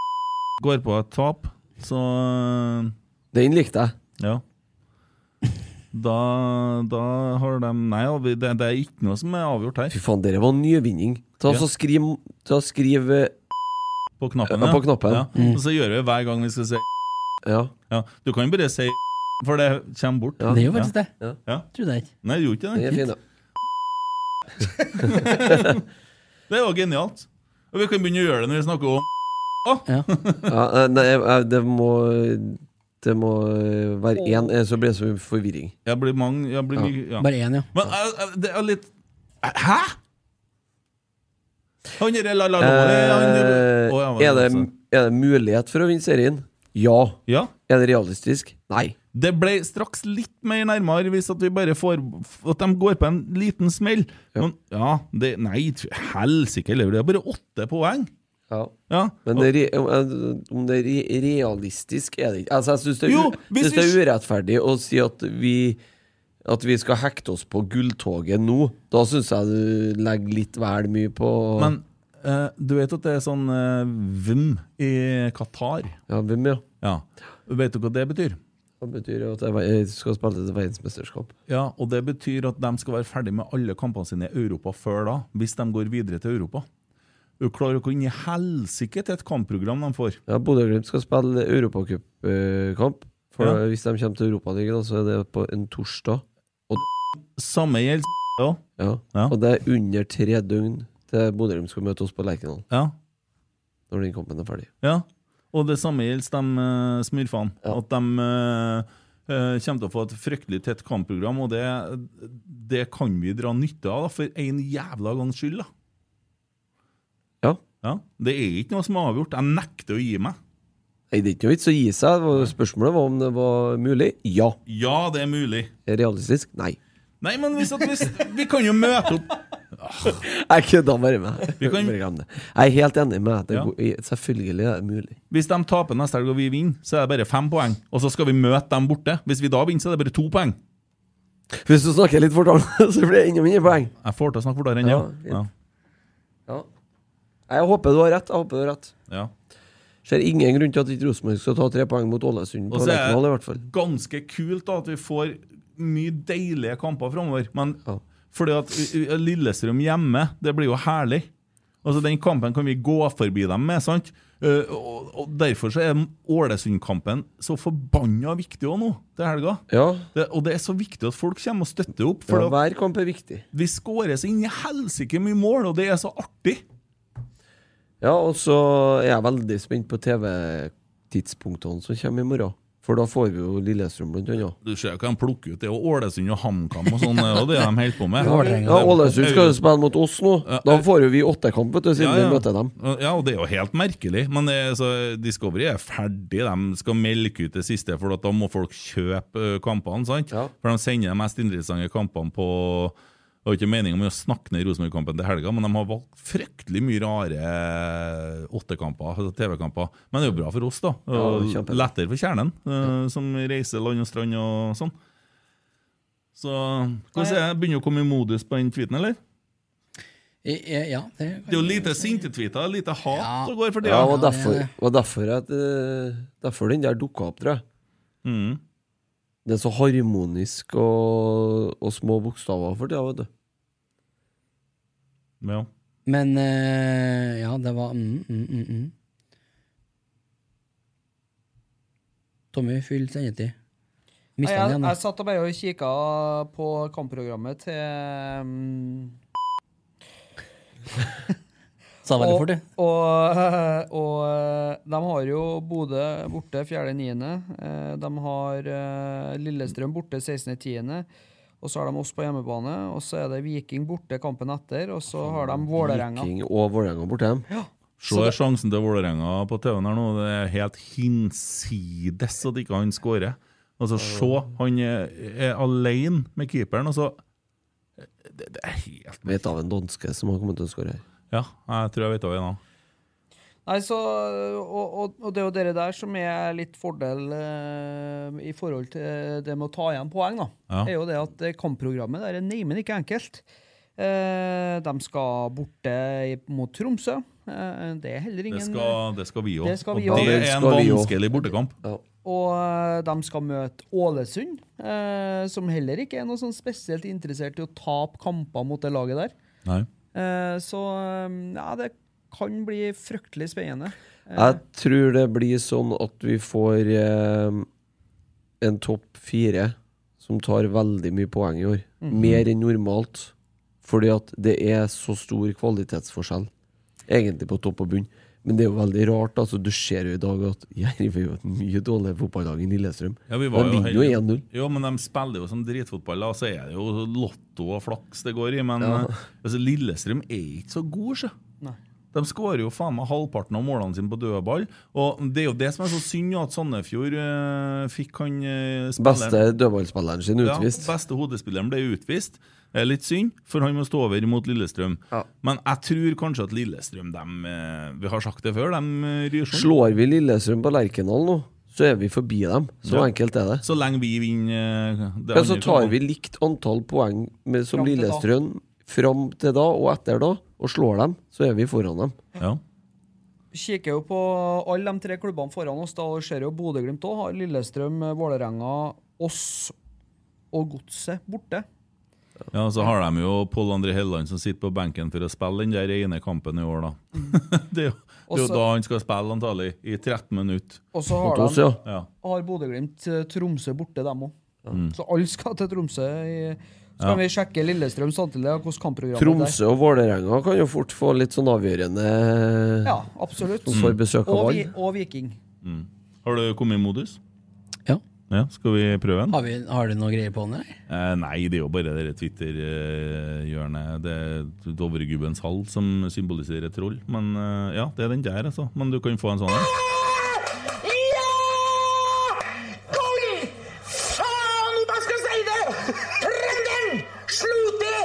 [SPEAKER 3] går på et tap, så eh,
[SPEAKER 6] Den likte jeg.
[SPEAKER 3] Ja. Da, da har de Nei, ja, vi- det, det er ikke noe som er avgjort her.
[SPEAKER 6] Fy faen, dere var en nyvinning. Ta
[SPEAKER 3] Ja.
[SPEAKER 6] så skriv, ta skriv eh,
[SPEAKER 3] På knappen,
[SPEAKER 6] Ja, på knappen.
[SPEAKER 3] Ja.
[SPEAKER 6] Mm.
[SPEAKER 3] Og så gjør vi det hver gang vi skal si
[SPEAKER 6] Ja.
[SPEAKER 3] Du kan jo bare si for det kommer bort.
[SPEAKER 6] Ja. Det
[SPEAKER 8] gjør faktisk det.
[SPEAKER 3] Ja. Ja.
[SPEAKER 8] Tror det ikke.
[SPEAKER 3] Nei, det gjorde ikke det.
[SPEAKER 6] Den er fin, da.
[SPEAKER 3] Det var genialt. Og vi kan begynne å gjøre det når vi snakker om
[SPEAKER 6] ja, eh, nei, jeg- jeg- det må Det må eh, være én, eh, så blir det så mye forvirring.
[SPEAKER 3] Jeg blir mange jeg blir
[SPEAKER 6] Ja.
[SPEAKER 3] mye, ja.
[SPEAKER 8] Bare én, ja.
[SPEAKER 3] Men eh, eh, det er litt Hæ?! Han er la, la, la,
[SPEAKER 6] Eh,
[SPEAKER 3] Å, ja, men- altså.
[SPEAKER 6] er, det, er det mulighet for å vinne serien? Ja.
[SPEAKER 3] Ja.
[SPEAKER 6] Er det realistisk? Nei.
[SPEAKER 3] Det ble straks litt mer nærmere hvis at vi bare får At de går på en liten smell. Men ja, det Nei, t- helsike, det er bare åtte poeng!
[SPEAKER 6] Ja.
[SPEAKER 3] Ja.
[SPEAKER 6] Men det, er re- om- eh, om det er re- realistisk, er det ikke. Altså, jeg syns det, er
[SPEAKER 3] Jo,
[SPEAKER 6] u-
[SPEAKER 3] hvis
[SPEAKER 6] synes det er
[SPEAKER 3] vi-
[SPEAKER 6] urettferdig å si at vi, at vi skal hekte oss på gulltoget nå. Da syns jeg du legger litt vel mye på
[SPEAKER 3] Men eh, du vet at det er sånn eh, VIM i Qatar?
[SPEAKER 6] Ja, VIM, ja.
[SPEAKER 3] Vet du hva det betyr?
[SPEAKER 6] Det betyr jo at jeg jeg skal spille til verdensmesterskap.
[SPEAKER 3] Ja, og det betyr at de skal være ferdig med alle kampene sine i Europa før da, hvis de går videre til Europa. Du klarer ikke å inn i helsike til et kampprogram de får.
[SPEAKER 6] Ja, Bodø-Glimt skal spille europacupkamp. For
[SPEAKER 3] Ja.
[SPEAKER 6] hvis de kommer til Europaligaen, så er det på en torsdag. Og,
[SPEAKER 3] Samme gjelder òg.
[SPEAKER 6] ja. og det er under tre døgn til Bodø-Glimt skal møte oss på Lerkendal.
[SPEAKER 3] Ja.
[SPEAKER 6] Når den kampen er ferdig.
[SPEAKER 3] Ja, og det samme gjelder de eh, smurfene. At de eh, eh, kommer til å få et fryktelig tett kampprogram, og det, det kan vi dra nytte av da, for en jævla gangs skyld. da.
[SPEAKER 6] Ja.
[SPEAKER 3] Det er ikke noe som er avgjort. Jeg nekter å gi meg.
[SPEAKER 6] Nei, det er ikke noe vits å gi seg. Det var- Spørsmålet var om det var mulig. Ja.
[SPEAKER 3] Ja, det er mulig.
[SPEAKER 6] Realistisk? Nei.
[SPEAKER 3] Nei, men hvis at hvis, vi kan jo møte opp
[SPEAKER 6] Jeg kødda bare med deg.
[SPEAKER 3] Vi kan-
[SPEAKER 6] Bare glem det. Jeg er helt enig med deg. Det er
[SPEAKER 3] Ja.
[SPEAKER 6] go- Selvfølgelig er det mulig.
[SPEAKER 3] Hvis de taper neste helg og vi vinner, så er det bare fem poeng. Og så skal vi møte dem borte. Hvis vi da vinner, så er det bare to poeng.
[SPEAKER 6] Hvis du snakker litt fortere, så blir det enda mindre poeng.
[SPEAKER 3] Jeg får til å snakke fortere enn
[SPEAKER 6] Ja,
[SPEAKER 3] det.
[SPEAKER 6] fint.
[SPEAKER 3] Ja.
[SPEAKER 6] Ja. Jeg håper du har rett. Jeg håper du har rett.
[SPEAKER 3] Ja.
[SPEAKER 6] Ser ingen grunn til at ikke Rosenborg skal ta tre poeng mot Ålesund på
[SPEAKER 3] Og så er
[SPEAKER 6] Lerkendal, i hvert
[SPEAKER 3] det
[SPEAKER 6] fall.
[SPEAKER 3] ganske kult da, at vi får mye deilige kamper framover. Men fordi at ø, ø, Lillestrøm hjemme, det blir jo herlig. Altså Den kampen kan vi gå forbi dem med, sant? Ø, og, og Derfor så er Ålesund-kampen så forbanna viktig òg nå, til helga. Det, og det er så viktig at folk kommer og støtter opp.
[SPEAKER 6] Ja,
[SPEAKER 3] at
[SPEAKER 6] hver kamp er viktig.
[SPEAKER 3] Vi skårer så inn i helsike mye mål, og det er så artig!
[SPEAKER 6] Ja, og så er jeg veldig spent på TV-tidspunktene som kommer i morgen. For da får vi jo Lillestrøm, blant annet.
[SPEAKER 3] Du ser jo hva de plukker ut. Det er jo Ålesund og HamKam og sånn, det er jo det de holder på med.
[SPEAKER 6] Ja, Ålesund skal jo spille mot oss nå. Da får jo vi åttekamp, vet du, siden
[SPEAKER 3] Ja, ja.
[SPEAKER 6] vi møter dem.
[SPEAKER 3] Ja, og det er jo helt merkelig. Men det, er så Discovery er ferdig. De skal melke ut det siste, for at da må folk kjøpe ø, kampene. sant? For de sender de mest interessante kampene på Det var ikke meningen med å snakke ned Rosenborg-kampen til helga, men de har valgt fryktelig mye rare åttekamper, altså TV-kamper. Men det er jo bra for oss, da. Og
[SPEAKER 6] Ja, kjempe.
[SPEAKER 3] lettere for kjernen, ø, som reiser land og strand og sånn. Så hvordan er det? Begynner du å komme i modus på den tweeten, eller?
[SPEAKER 8] Ja, det
[SPEAKER 3] Det er jo lite sintetweeter, lite hat som går for tida.
[SPEAKER 6] Ja, og derfor, og derfor, at, eh, derfor den der dukka opp, tror jeg.
[SPEAKER 3] Mhm.
[SPEAKER 6] Det er så harmonisk og, og små bokstaver for tida, vet du.
[SPEAKER 3] Ja.
[SPEAKER 8] Men eh, ja, det var mm, mm, mm, mm. Tommy, fyll sendetid.
[SPEAKER 2] Nei,
[SPEAKER 8] Mista
[SPEAKER 2] jeg,
[SPEAKER 8] den igjen,
[SPEAKER 2] jeg
[SPEAKER 8] da.
[SPEAKER 2] satt og bare og kikka på kampprogrammet til um,
[SPEAKER 8] Sa veldig
[SPEAKER 2] og-
[SPEAKER 8] fort, det.
[SPEAKER 2] Og, og de har jo Bodø borte 4.9. Eh, De har eh, Lillestrøm borte 16.10. Og så har de oss på hjemmebane, og så er det Viking borte kampen etter, og så har de Vålerenga.
[SPEAKER 6] Viking og Vålerenga borte. Ja.
[SPEAKER 3] Se der sjansen til Vålerenga på TV-en her nå. Det er helt hinsides at ikke han skårer. Altså, se, han er, er alene med keeperen, og så det, det er helt
[SPEAKER 6] Vet av en danske som har kommet til å skåre her.
[SPEAKER 3] Ja, jeg tror jeg vet hva det er nå.
[SPEAKER 2] Nei, så, og, og, og det er jo dere der som er litt fordel eh, i forhold til det med å ta igjen poeng, da.
[SPEAKER 3] Ja.
[SPEAKER 2] er jo det at eh, kampprogrammet der er neimen ikke enkelt. Eh, de skal borte i- mot Tromsø. Eh, det er heller
[SPEAKER 3] Det
[SPEAKER 2] ingen
[SPEAKER 3] skal, det skal vi òg.
[SPEAKER 2] Det skal vi
[SPEAKER 3] og
[SPEAKER 2] også.
[SPEAKER 3] det
[SPEAKER 2] Det
[SPEAKER 3] er en
[SPEAKER 2] skal vi også.
[SPEAKER 3] vanskelig bortekamp.
[SPEAKER 2] Og eh, de skal møte Ålesund, eh, som heller ikke er noe sånn spesielt interessert i å tape kamper mot det laget der.
[SPEAKER 3] Nei.
[SPEAKER 2] Eh, så eh, ja, det kan bli fryktelig spennende. Eh,
[SPEAKER 6] Jeg tror det blir sånn at vi får eh, en topp fire som tar veldig mye poeng i år.
[SPEAKER 2] Mhm.
[SPEAKER 6] Mer enn normalt. Fordi at det er så stor kvalitetsforskjell, egentlig, på topp og bunn. Men det er jo veldig rart. altså Du ser jo i dag at Jerv er jo et mye dårligere fotballag enn Lillestrøm.
[SPEAKER 3] Ja, vi
[SPEAKER 6] De
[SPEAKER 3] var jo
[SPEAKER 6] vinner jo
[SPEAKER 3] heldige.
[SPEAKER 6] 1-0.
[SPEAKER 3] Jo, men de spiller jo som dritfotball, da, og så er det jo lotto og flaks det går i. Men
[SPEAKER 6] Ja.
[SPEAKER 3] eh, altså, Lillestrøm er ikke så god, sjø.
[SPEAKER 2] Nei.
[SPEAKER 3] De skårer jo faen meg halvparten av målene sine på dødball. Og det er jo det som er så synd, at Sandefjord eh, fikk han eh, spilleren-
[SPEAKER 6] Beste dødballspilleren sin utvist.
[SPEAKER 3] Ja, beste hodespilleren ble utvist. Det er litt synd, for han må stå over mot Lillestrøm. Men jeg tror kanskje at Lillestrøm dem, eh, Vi har sagt det før, de eh, ryr seg.
[SPEAKER 6] Slår vi Lillestrøm på Lerkendal nå, så er vi forbi dem. Så
[SPEAKER 3] Ja.
[SPEAKER 6] enkelt er det.
[SPEAKER 3] Så lenge vi vinner eh, det
[SPEAKER 6] Ja, så
[SPEAKER 3] andre
[SPEAKER 6] tar
[SPEAKER 3] kampen.
[SPEAKER 6] vi likt antall poeng med, som
[SPEAKER 3] Fram til da.
[SPEAKER 6] Lillestrøm fram til da og etter da, og slår dem, så er vi foran dem.
[SPEAKER 2] kikker jo på alle de tre klubbene foran oss. Da ser jo Bodø-Glimt òg har Lillestrøm, Vålerenga, oss og Godset borte.
[SPEAKER 3] Ja, så har de jo Pål André Helleland som sitter på benken for å spille den der ene kampen i år,
[SPEAKER 8] Mm.
[SPEAKER 3] da. det er jo, det er jo
[SPEAKER 2] Også-
[SPEAKER 3] da han skal spille, antagelig, i 13 minutter.
[SPEAKER 2] Og så har, de- har Bodø-Glimt eh, Tromsø borte, dem òg.
[SPEAKER 3] Mm.
[SPEAKER 2] Så alle skal til Tromsø. i- Så
[SPEAKER 6] Ja.
[SPEAKER 2] kan vi sjekke Lillestrøm samtidig, og hvordan kampprogrammet er der.
[SPEAKER 6] Tromsø og Vålerenga kan jo fort få litt sånn avgjørende
[SPEAKER 2] Ja, absolutt.
[SPEAKER 6] Som får besøk av
[SPEAKER 2] og,
[SPEAKER 6] Vard.
[SPEAKER 2] vi, og Viking.
[SPEAKER 3] Mm. Har du kommet i modus?
[SPEAKER 8] Ja.
[SPEAKER 3] skal vi prøve den?
[SPEAKER 8] Har, vi, har du noe greier på den, eller?
[SPEAKER 3] Eh, nei, det er jo bare det der Twitter-hjørnet. Det er Dovregubbens hall som symboliserer troll. Men eh, ja, det er den der, altså. Men du kan få en sånn en.
[SPEAKER 1] Tony! Faen, hva skal jeg si det? Trønderen slo til!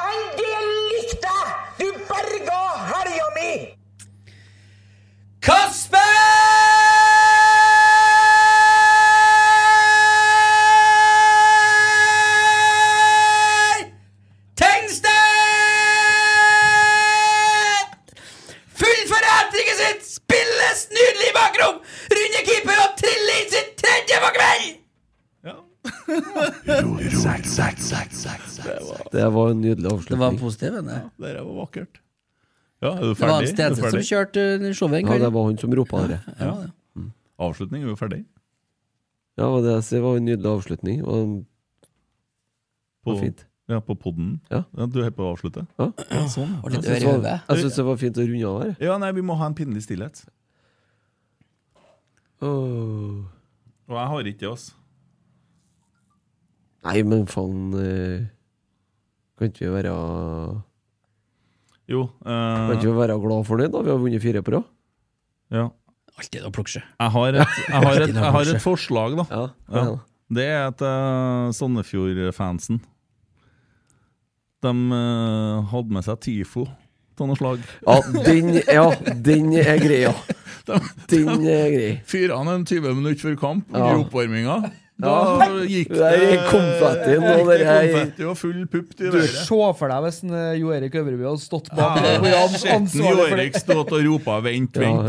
[SPEAKER 1] Den del likte jeg! Du berga helga mi!
[SPEAKER 4] Kasper! Tengsted! Fullfører hat-tricket sitt! Spilles nydelig i bakrom! Runder keeper og triller inn sitt tredje på kvelden!
[SPEAKER 6] Det var en nydelig
[SPEAKER 8] Det
[SPEAKER 6] avslutning.
[SPEAKER 8] var positivt, det.
[SPEAKER 3] Det der var vakkert. Ja, er du
[SPEAKER 8] Det var
[SPEAKER 3] ferdig?
[SPEAKER 8] han
[SPEAKER 3] Er du
[SPEAKER 8] Stenseth som
[SPEAKER 3] ferdig?
[SPEAKER 8] kjørte uh, showet den
[SPEAKER 6] Ja, det
[SPEAKER 8] kvelden.
[SPEAKER 6] var han som ropa det.
[SPEAKER 3] Ja. Avslutning er jo ferdig.
[SPEAKER 6] Ja, det var det jeg sier. Det var en nydelig avslutning. Og det
[SPEAKER 3] På,
[SPEAKER 6] var fint.
[SPEAKER 3] ja, på podden.
[SPEAKER 6] Ja.
[SPEAKER 3] du er helt på å avslutte?
[SPEAKER 6] Ja.
[SPEAKER 3] Ja, sånn.
[SPEAKER 6] Jeg syns det var- jeg syns det var fint å runde av her.
[SPEAKER 3] Ja, nei, vi må ha en pinlig stillhet. Og jeg har ikke det, altså.
[SPEAKER 6] Nei, men faen eh, Kan ikke vi være
[SPEAKER 3] Jo. eh,
[SPEAKER 6] Kan ikke vi være glad for det, da? Vi har vunnet fire på rad.
[SPEAKER 3] Ja.
[SPEAKER 8] Alltid noe plukksjø.
[SPEAKER 3] Jeg har et, jeg har et, jeg har et forslag, da.
[SPEAKER 6] kom igjen, da.
[SPEAKER 3] Det er at eh, Sandefjord-fansen De eh, hadde med seg TIFO av noe slag.
[SPEAKER 6] Ja, den, ja, den er grei, ja. Den er grei.
[SPEAKER 3] Fyra han en 20 minutter før kamp under
[SPEAKER 6] Ja.
[SPEAKER 3] oppvarminga. Da
[SPEAKER 6] Ja.
[SPEAKER 3] gikk det
[SPEAKER 6] Der gikk konfettien, og
[SPEAKER 3] gikk det
[SPEAKER 6] der er-
[SPEAKER 3] konfetti og full pupp til
[SPEAKER 2] Du
[SPEAKER 3] været.
[SPEAKER 2] Se for deg hvis en, eh, Jo Erik Øvrebø hadde stått bak der. hvor
[SPEAKER 3] Ja,
[SPEAKER 2] han
[SPEAKER 3] Skjetten
[SPEAKER 2] ansvarlig for det.
[SPEAKER 3] Jorik stått og ropa 'vent, vent'.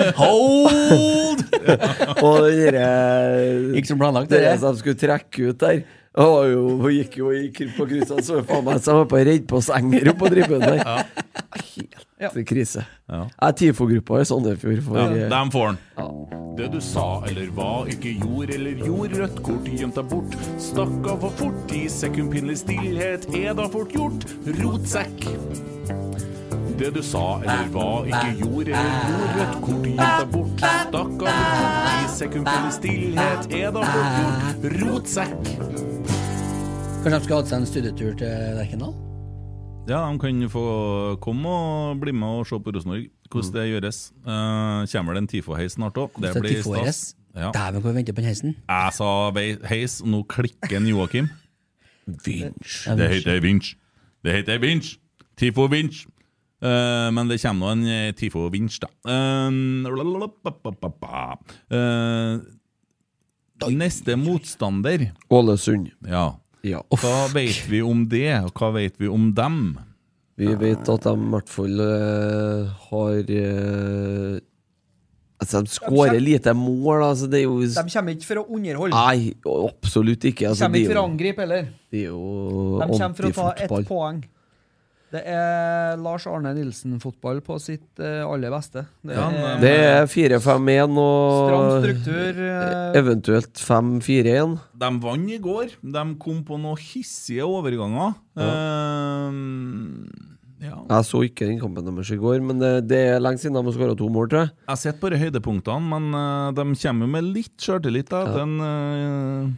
[SPEAKER 3] ja.
[SPEAKER 6] Hold! og den derre
[SPEAKER 8] Gikk som planlagt,
[SPEAKER 6] det.
[SPEAKER 8] dere.
[SPEAKER 6] som skulle trekke ut der. Det var jo, hun gikk jo i kryp på kryssene, så faen meg så jeg var på redd på senger oppe på tribunen der. Helt krise. Jeg er TIFO-gruppa i Sandefjord. For,
[SPEAKER 3] Ja,
[SPEAKER 6] eh,
[SPEAKER 3] dem får han.
[SPEAKER 15] Det du sa eller hva, ikke gjorde eller gjorde, rødt kort gjemt deg bort. Stakk av for fort, i sekundpinnelig stillhet er da fort gjort. Rotsekk. Det du sa eller hva, ikke gjorde eller gjorde, rødt kort gjemt deg bort. Stakk av for fort, i sekundpinnelig stillhet er da fort gjort. Rotsekk.
[SPEAKER 8] Kanskje de skulle hatt seg en studietur til Lerkendal?
[SPEAKER 3] Ja, de kan jo få komme og bli med og se på Rosenborg, hvordan det gjøres. Eh, kommer det en TIFO-heis snart òg? Det
[SPEAKER 8] Hvordan
[SPEAKER 3] blir
[SPEAKER 8] TIFO gjøres?
[SPEAKER 3] stas. Ja.
[SPEAKER 8] Dæven, kan vi vente på den heisen?
[SPEAKER 3] Jeg sa vei- heis, og nå klikker en Joakim. Vinsj. Det heter vinsj. Det heter vinsj. Tifo vinsj. Eh, men det kommer nå en eh, Tifo vinsj, da. Eh, lalalala, ba, ba, ba, ba. Eh, neste motstander
[SPEAKER 6] Ålesund.
[SPEAKER 3] Ja.
[SPEAKER 6] Uff.
[SPEAKER 3] Hva vet vi om det, og hva vet vi om dem?
[SPEAKER 6] Vi vet at de i hvert fall eh, har eh, Altså, de skårer lite mål, altså. Det er jo
[SPEAKER 2] De kommer ikke for å underholde.
[SPEAKER 6] Nei, absolutt ikke.
[SPEAKER 2] de
[SPEAKER 6] Altså,
[SPEAKER 2] kommer
[SPEAKER 6] det
[SPEAKER 2] ikke
[SPEAKER 6] er
[SPEAKER 2] for å
[SPEAKER 6] jo,
[SPEAKER 2] angripe heller.
[SPEAKER 6] det er jo
[SPEAKER 2] De kommer for å ta ett
[SPEAKER 6] antifotball.
[SPEAKER 2] poeng. Det er Lars Arne Nilsen-fotball på sitt eh, aller beste. Det
[SPEAKER 6] Ja,
[SPEAKER 2] er,
[SPEAKER 6] Det
[SPEAKER 3] eh,
[SPEAKER 6] er
[SPEAKER 2] Stram
[SPEAKER 6] 4-5-1 og
[SPEAKER 2] struktur, eh.
[SPEAKER 6] eventuelt 5-4-1.
[SPEAKER 3] De vant i går. De kom på noen hissige overganger. Eh, ja.
[SPEAKER 6] Jeg så ikke den kampen deres i går, men det, det er lenge siden de har skåra to mål, tror jeg.
[SPEAKER 3] Jeg sitter bare i høydepunktene, men eh, de kommer jo med litt sjøltillit. da, at den, eh,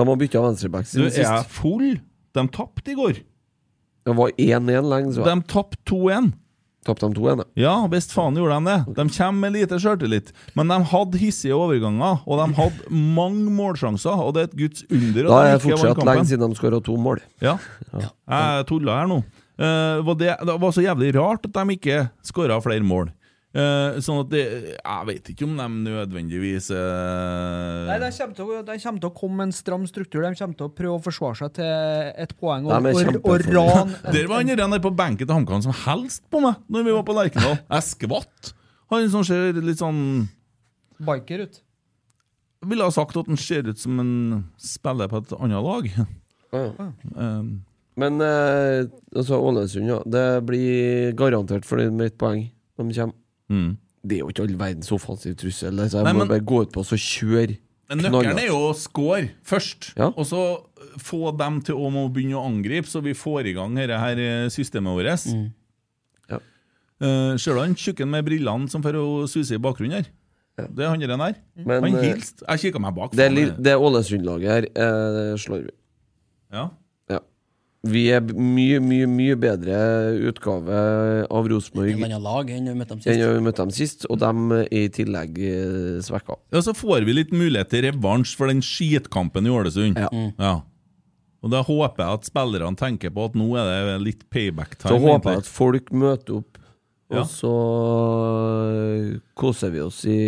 [SPEAKER 6] De har bytta venstreback
[SPEAKER 3] Du,
[SPEAKER 6] siden
[SPEAKER 3] er jeg
[SPEAKER 6] sist.
[SPEAKER 3] full? De tapte i går.
[SPEAKER 6] Det var 1-1 lenge, så
[SPEAKER 3] De tapte 2-1.
[SPEAKER 6] Tapte de 2-1, da.
[SPEAKER 3] Ja, visst faen gjorde de det. De kommer med lite sjøltillit. Men de hadde hissige overganger, og de hadde mange målsjanser. Og det er et guds under at de
[SPEAKER 6] Da er
[SPEAKER 3] ikke
[SPEAKER 6] det
[SPEAKER 3] vant
[SPEAKER 6] fortsatt
[SPEAKER 3] kampen.
[SPEAKER 6] lenge siden de skåra to mål.
[SPEAKER 3] Ja. Jeg tulla her nå. Eh, var det, det var så jævlig rart at de ikke skåra flere mål. Eh, sånn at det Jeg vet ikke om de nødvendigvis eh,
[SPEAKER 2] Nei, de kommer, til å, de kommer til å komme med en stram struktur. De kommer til å prøve å forsvare seg til et poeng og,
[SPEAKER 3] Nei, men
[SPEAKER 2] og, og
[SPEAKER 3] kjempefornøyd.
[SPEAKER 2] ran
[SPEAKER 3] Der var han der på benken til HamKam som helst på meg Når vi var på Lerkendal. Jeg skvatt. Han som ser litt sånn
[SPEAKER 2] biker ut.
[SPEAKER 3] Ville ha sagt at han ser ut som en spiller på et annet lag. Um,
[SPEAKER 6] Men eh, altså, Ålesund, ja. Det blir garantert fornøyd med ett poeng. De kommer.
[SPEAKER 3] Mm.
[SPEAKER 6] Det er jo ikke all verdens offensiv trussel. Så jeg
[SPEAKER 3] Nei,
[SPEAKER 6] må
[SPEAKER 3] men-
[SPEAKER 6] bare gå ut på og så kjøre.
[SPEAKER 3] Men
[SPEAKER 6] knallhardt.
[SPEAKER 3] nøkkelen er jo å score først, og så få dem til å må begynne å angripe, så vi får i gang dette her eh, systemet vårt.
[SPEAKER 2] Mm.
[SPEAKER 3] Eh, ser du han tjukken med brillene som får å suse i bakgrunnen her? Det er han der.
[SPEAKER 6] Men,
[SPEAKER 3] han
[SPEAKER 6] eh,
[SPEAKER 3] hilste. Jeg kikka meg bak.
[SPEAKER 6] Det,
[SPEAKER 3] faen, eh.
[SPEAKER 6] li-
[SPEAKER 3] jeg-
[SPEAKER 6] det Ålesund-laget her eh, det slår vi.
[SPEAKER 3] Ja.
[SPEAKER 6] Ja. Vi er b- mye, mye, mye bedre utgave av Rosenborg
[SPEAKER 5] En annen lag enn vi møtte dem
[SPEAKER 6] enn
[SPEAKER 5] sist.
[SPEAKER 6] vi møtte dem sist, og de er i tillegg eh, svekka.
[SPEAKER 3] Ja, så får vi litt mulighet til revansj for den skitkampen i Ålesund. Ja. Og da håper jeg at spillerne tenker på at nå er det litt payback-time.
[SPEAKER 6] Så håper
[SPEAKER 3] egentlig.
[SPEAKER 6] jeg at folk møter opp, og
[SPEAKER 3] Ja.
[SPEAKER 6] så eh, koser vi oss i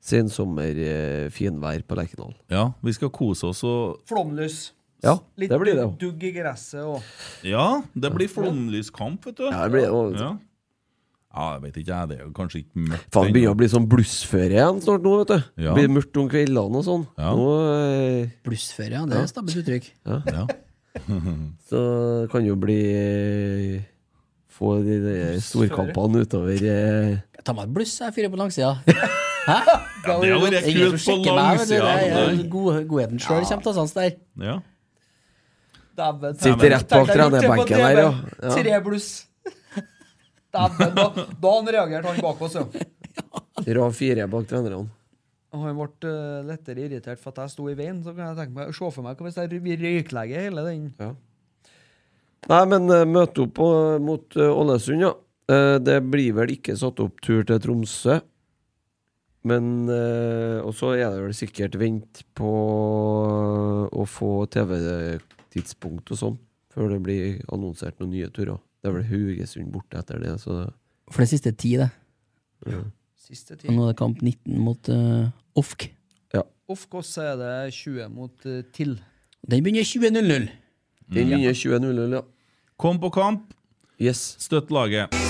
[SPEAKER 6] sensommer eh, finvær på Lerkendal.
[SPEAKER 3] Ja, vi skal kose oss og
[SPEAKER 2] Flomlys.
[SPEAKER 6] Ja,
[SPEAKER 2] Litt
[SPEAKER 6] det blir det.
[SPEAKER 2] dugg i gresset og
[SPEAKER 3] Ja, det blir flomlyskamp, vet du.
[SPEAKER 6] Ja, det blir det også, vet du.
[SPEAKER 3] Ja. ja, jeg vet ikke, jeg. Det er jo kanskje ikke mørkt
[SPEAKER 6] Faen, det
[SPEAKER 3] ennå.
[SPEAKER 6] begynner å bli sånn blussføre igjen snart nå, vet du.
[SPEAKER 3] Ja.
[SPEAKER 6] Det blir mørkt om kveldene og sånn.
[SPEAKER 3] Ja.
[SPEAKER 6] Nå, eh,
[SPEAKER 8] Blussføre, ja. Det er et stabbet uttrykk.
[SPEAKER 6] Ja. Så det kan jo bli eh, Få de der storkampene utover eh,
[SPEAKER 5] Jeg tar meg et bluss, jeg fyrer på langsida. Hæ?
[SPEAKER 6] Ja, det hadde vært
[SPEAKER 5] Ingen
[SPEAKER 6] kult
[SPEAKER 5] som
[SPEAKER 6] på
[SPEAKER 5] sjekker meg, vet du. Det er-
[SPEAKER 6] langsida.
[SPEAKER 5] jeg- god- Godheten sjøl kommer til å sanse der.
[SPEAKER 3] Ja.
[SPEAKER 2] Dæven.
[SPEAKER 6] Sitter
[SPEAKER 2] Dæven.
[SPEAKER 6] rett bak
[SPEAKER 2] Tenk deg borte på
[SPEAKER 6] trenerbenken der, ja.
[SPEAKER 2] DB.
[SPEAKER 6] Ja.
[SPEAKER 2] Tre bluss. Dæven, da, da han reagerte, han bak oss, ja.
[SPEAKER 6] Rav 4 bak trenerne.
[SPEAKER 2] Og han ble eh, lettere irritert for at jeg sto i veien. Så kan jeg tenke meg, se for meg hva hvis jeg vi røyklegger hele den.
[SPEAKER 6] Nei, men eh, møte opp på- mot eh, Ålesund, ja. Eh, det blir vel ikke satt opp tur til Tromsø. Men eh, Og så er det vel sikkert vent på eh, å få TV-tidspunkt og sånn, før det blir annonsert noen nye turer. Det er vel Haugesund borte etter det, så
[SPEAKER 5] For det siste er ti, det.
[SPEAKER 6] Ja.
[SPEAKER 2] Siste
[SPEAKER 5] Og nå er det kamp 19 mot eh, OFK.
[SPEAKER 2] Of course så er det 20 mot eh, TIL.
[SPEAKER 5] Den begynner 20.00.
[SPEAKER 6] Den begynner 20.00, ja.
[SPEAKER 3] Kom på kamp.
[SPEAKER 6] Yes.
[SPEAKER 3] Støtt laget.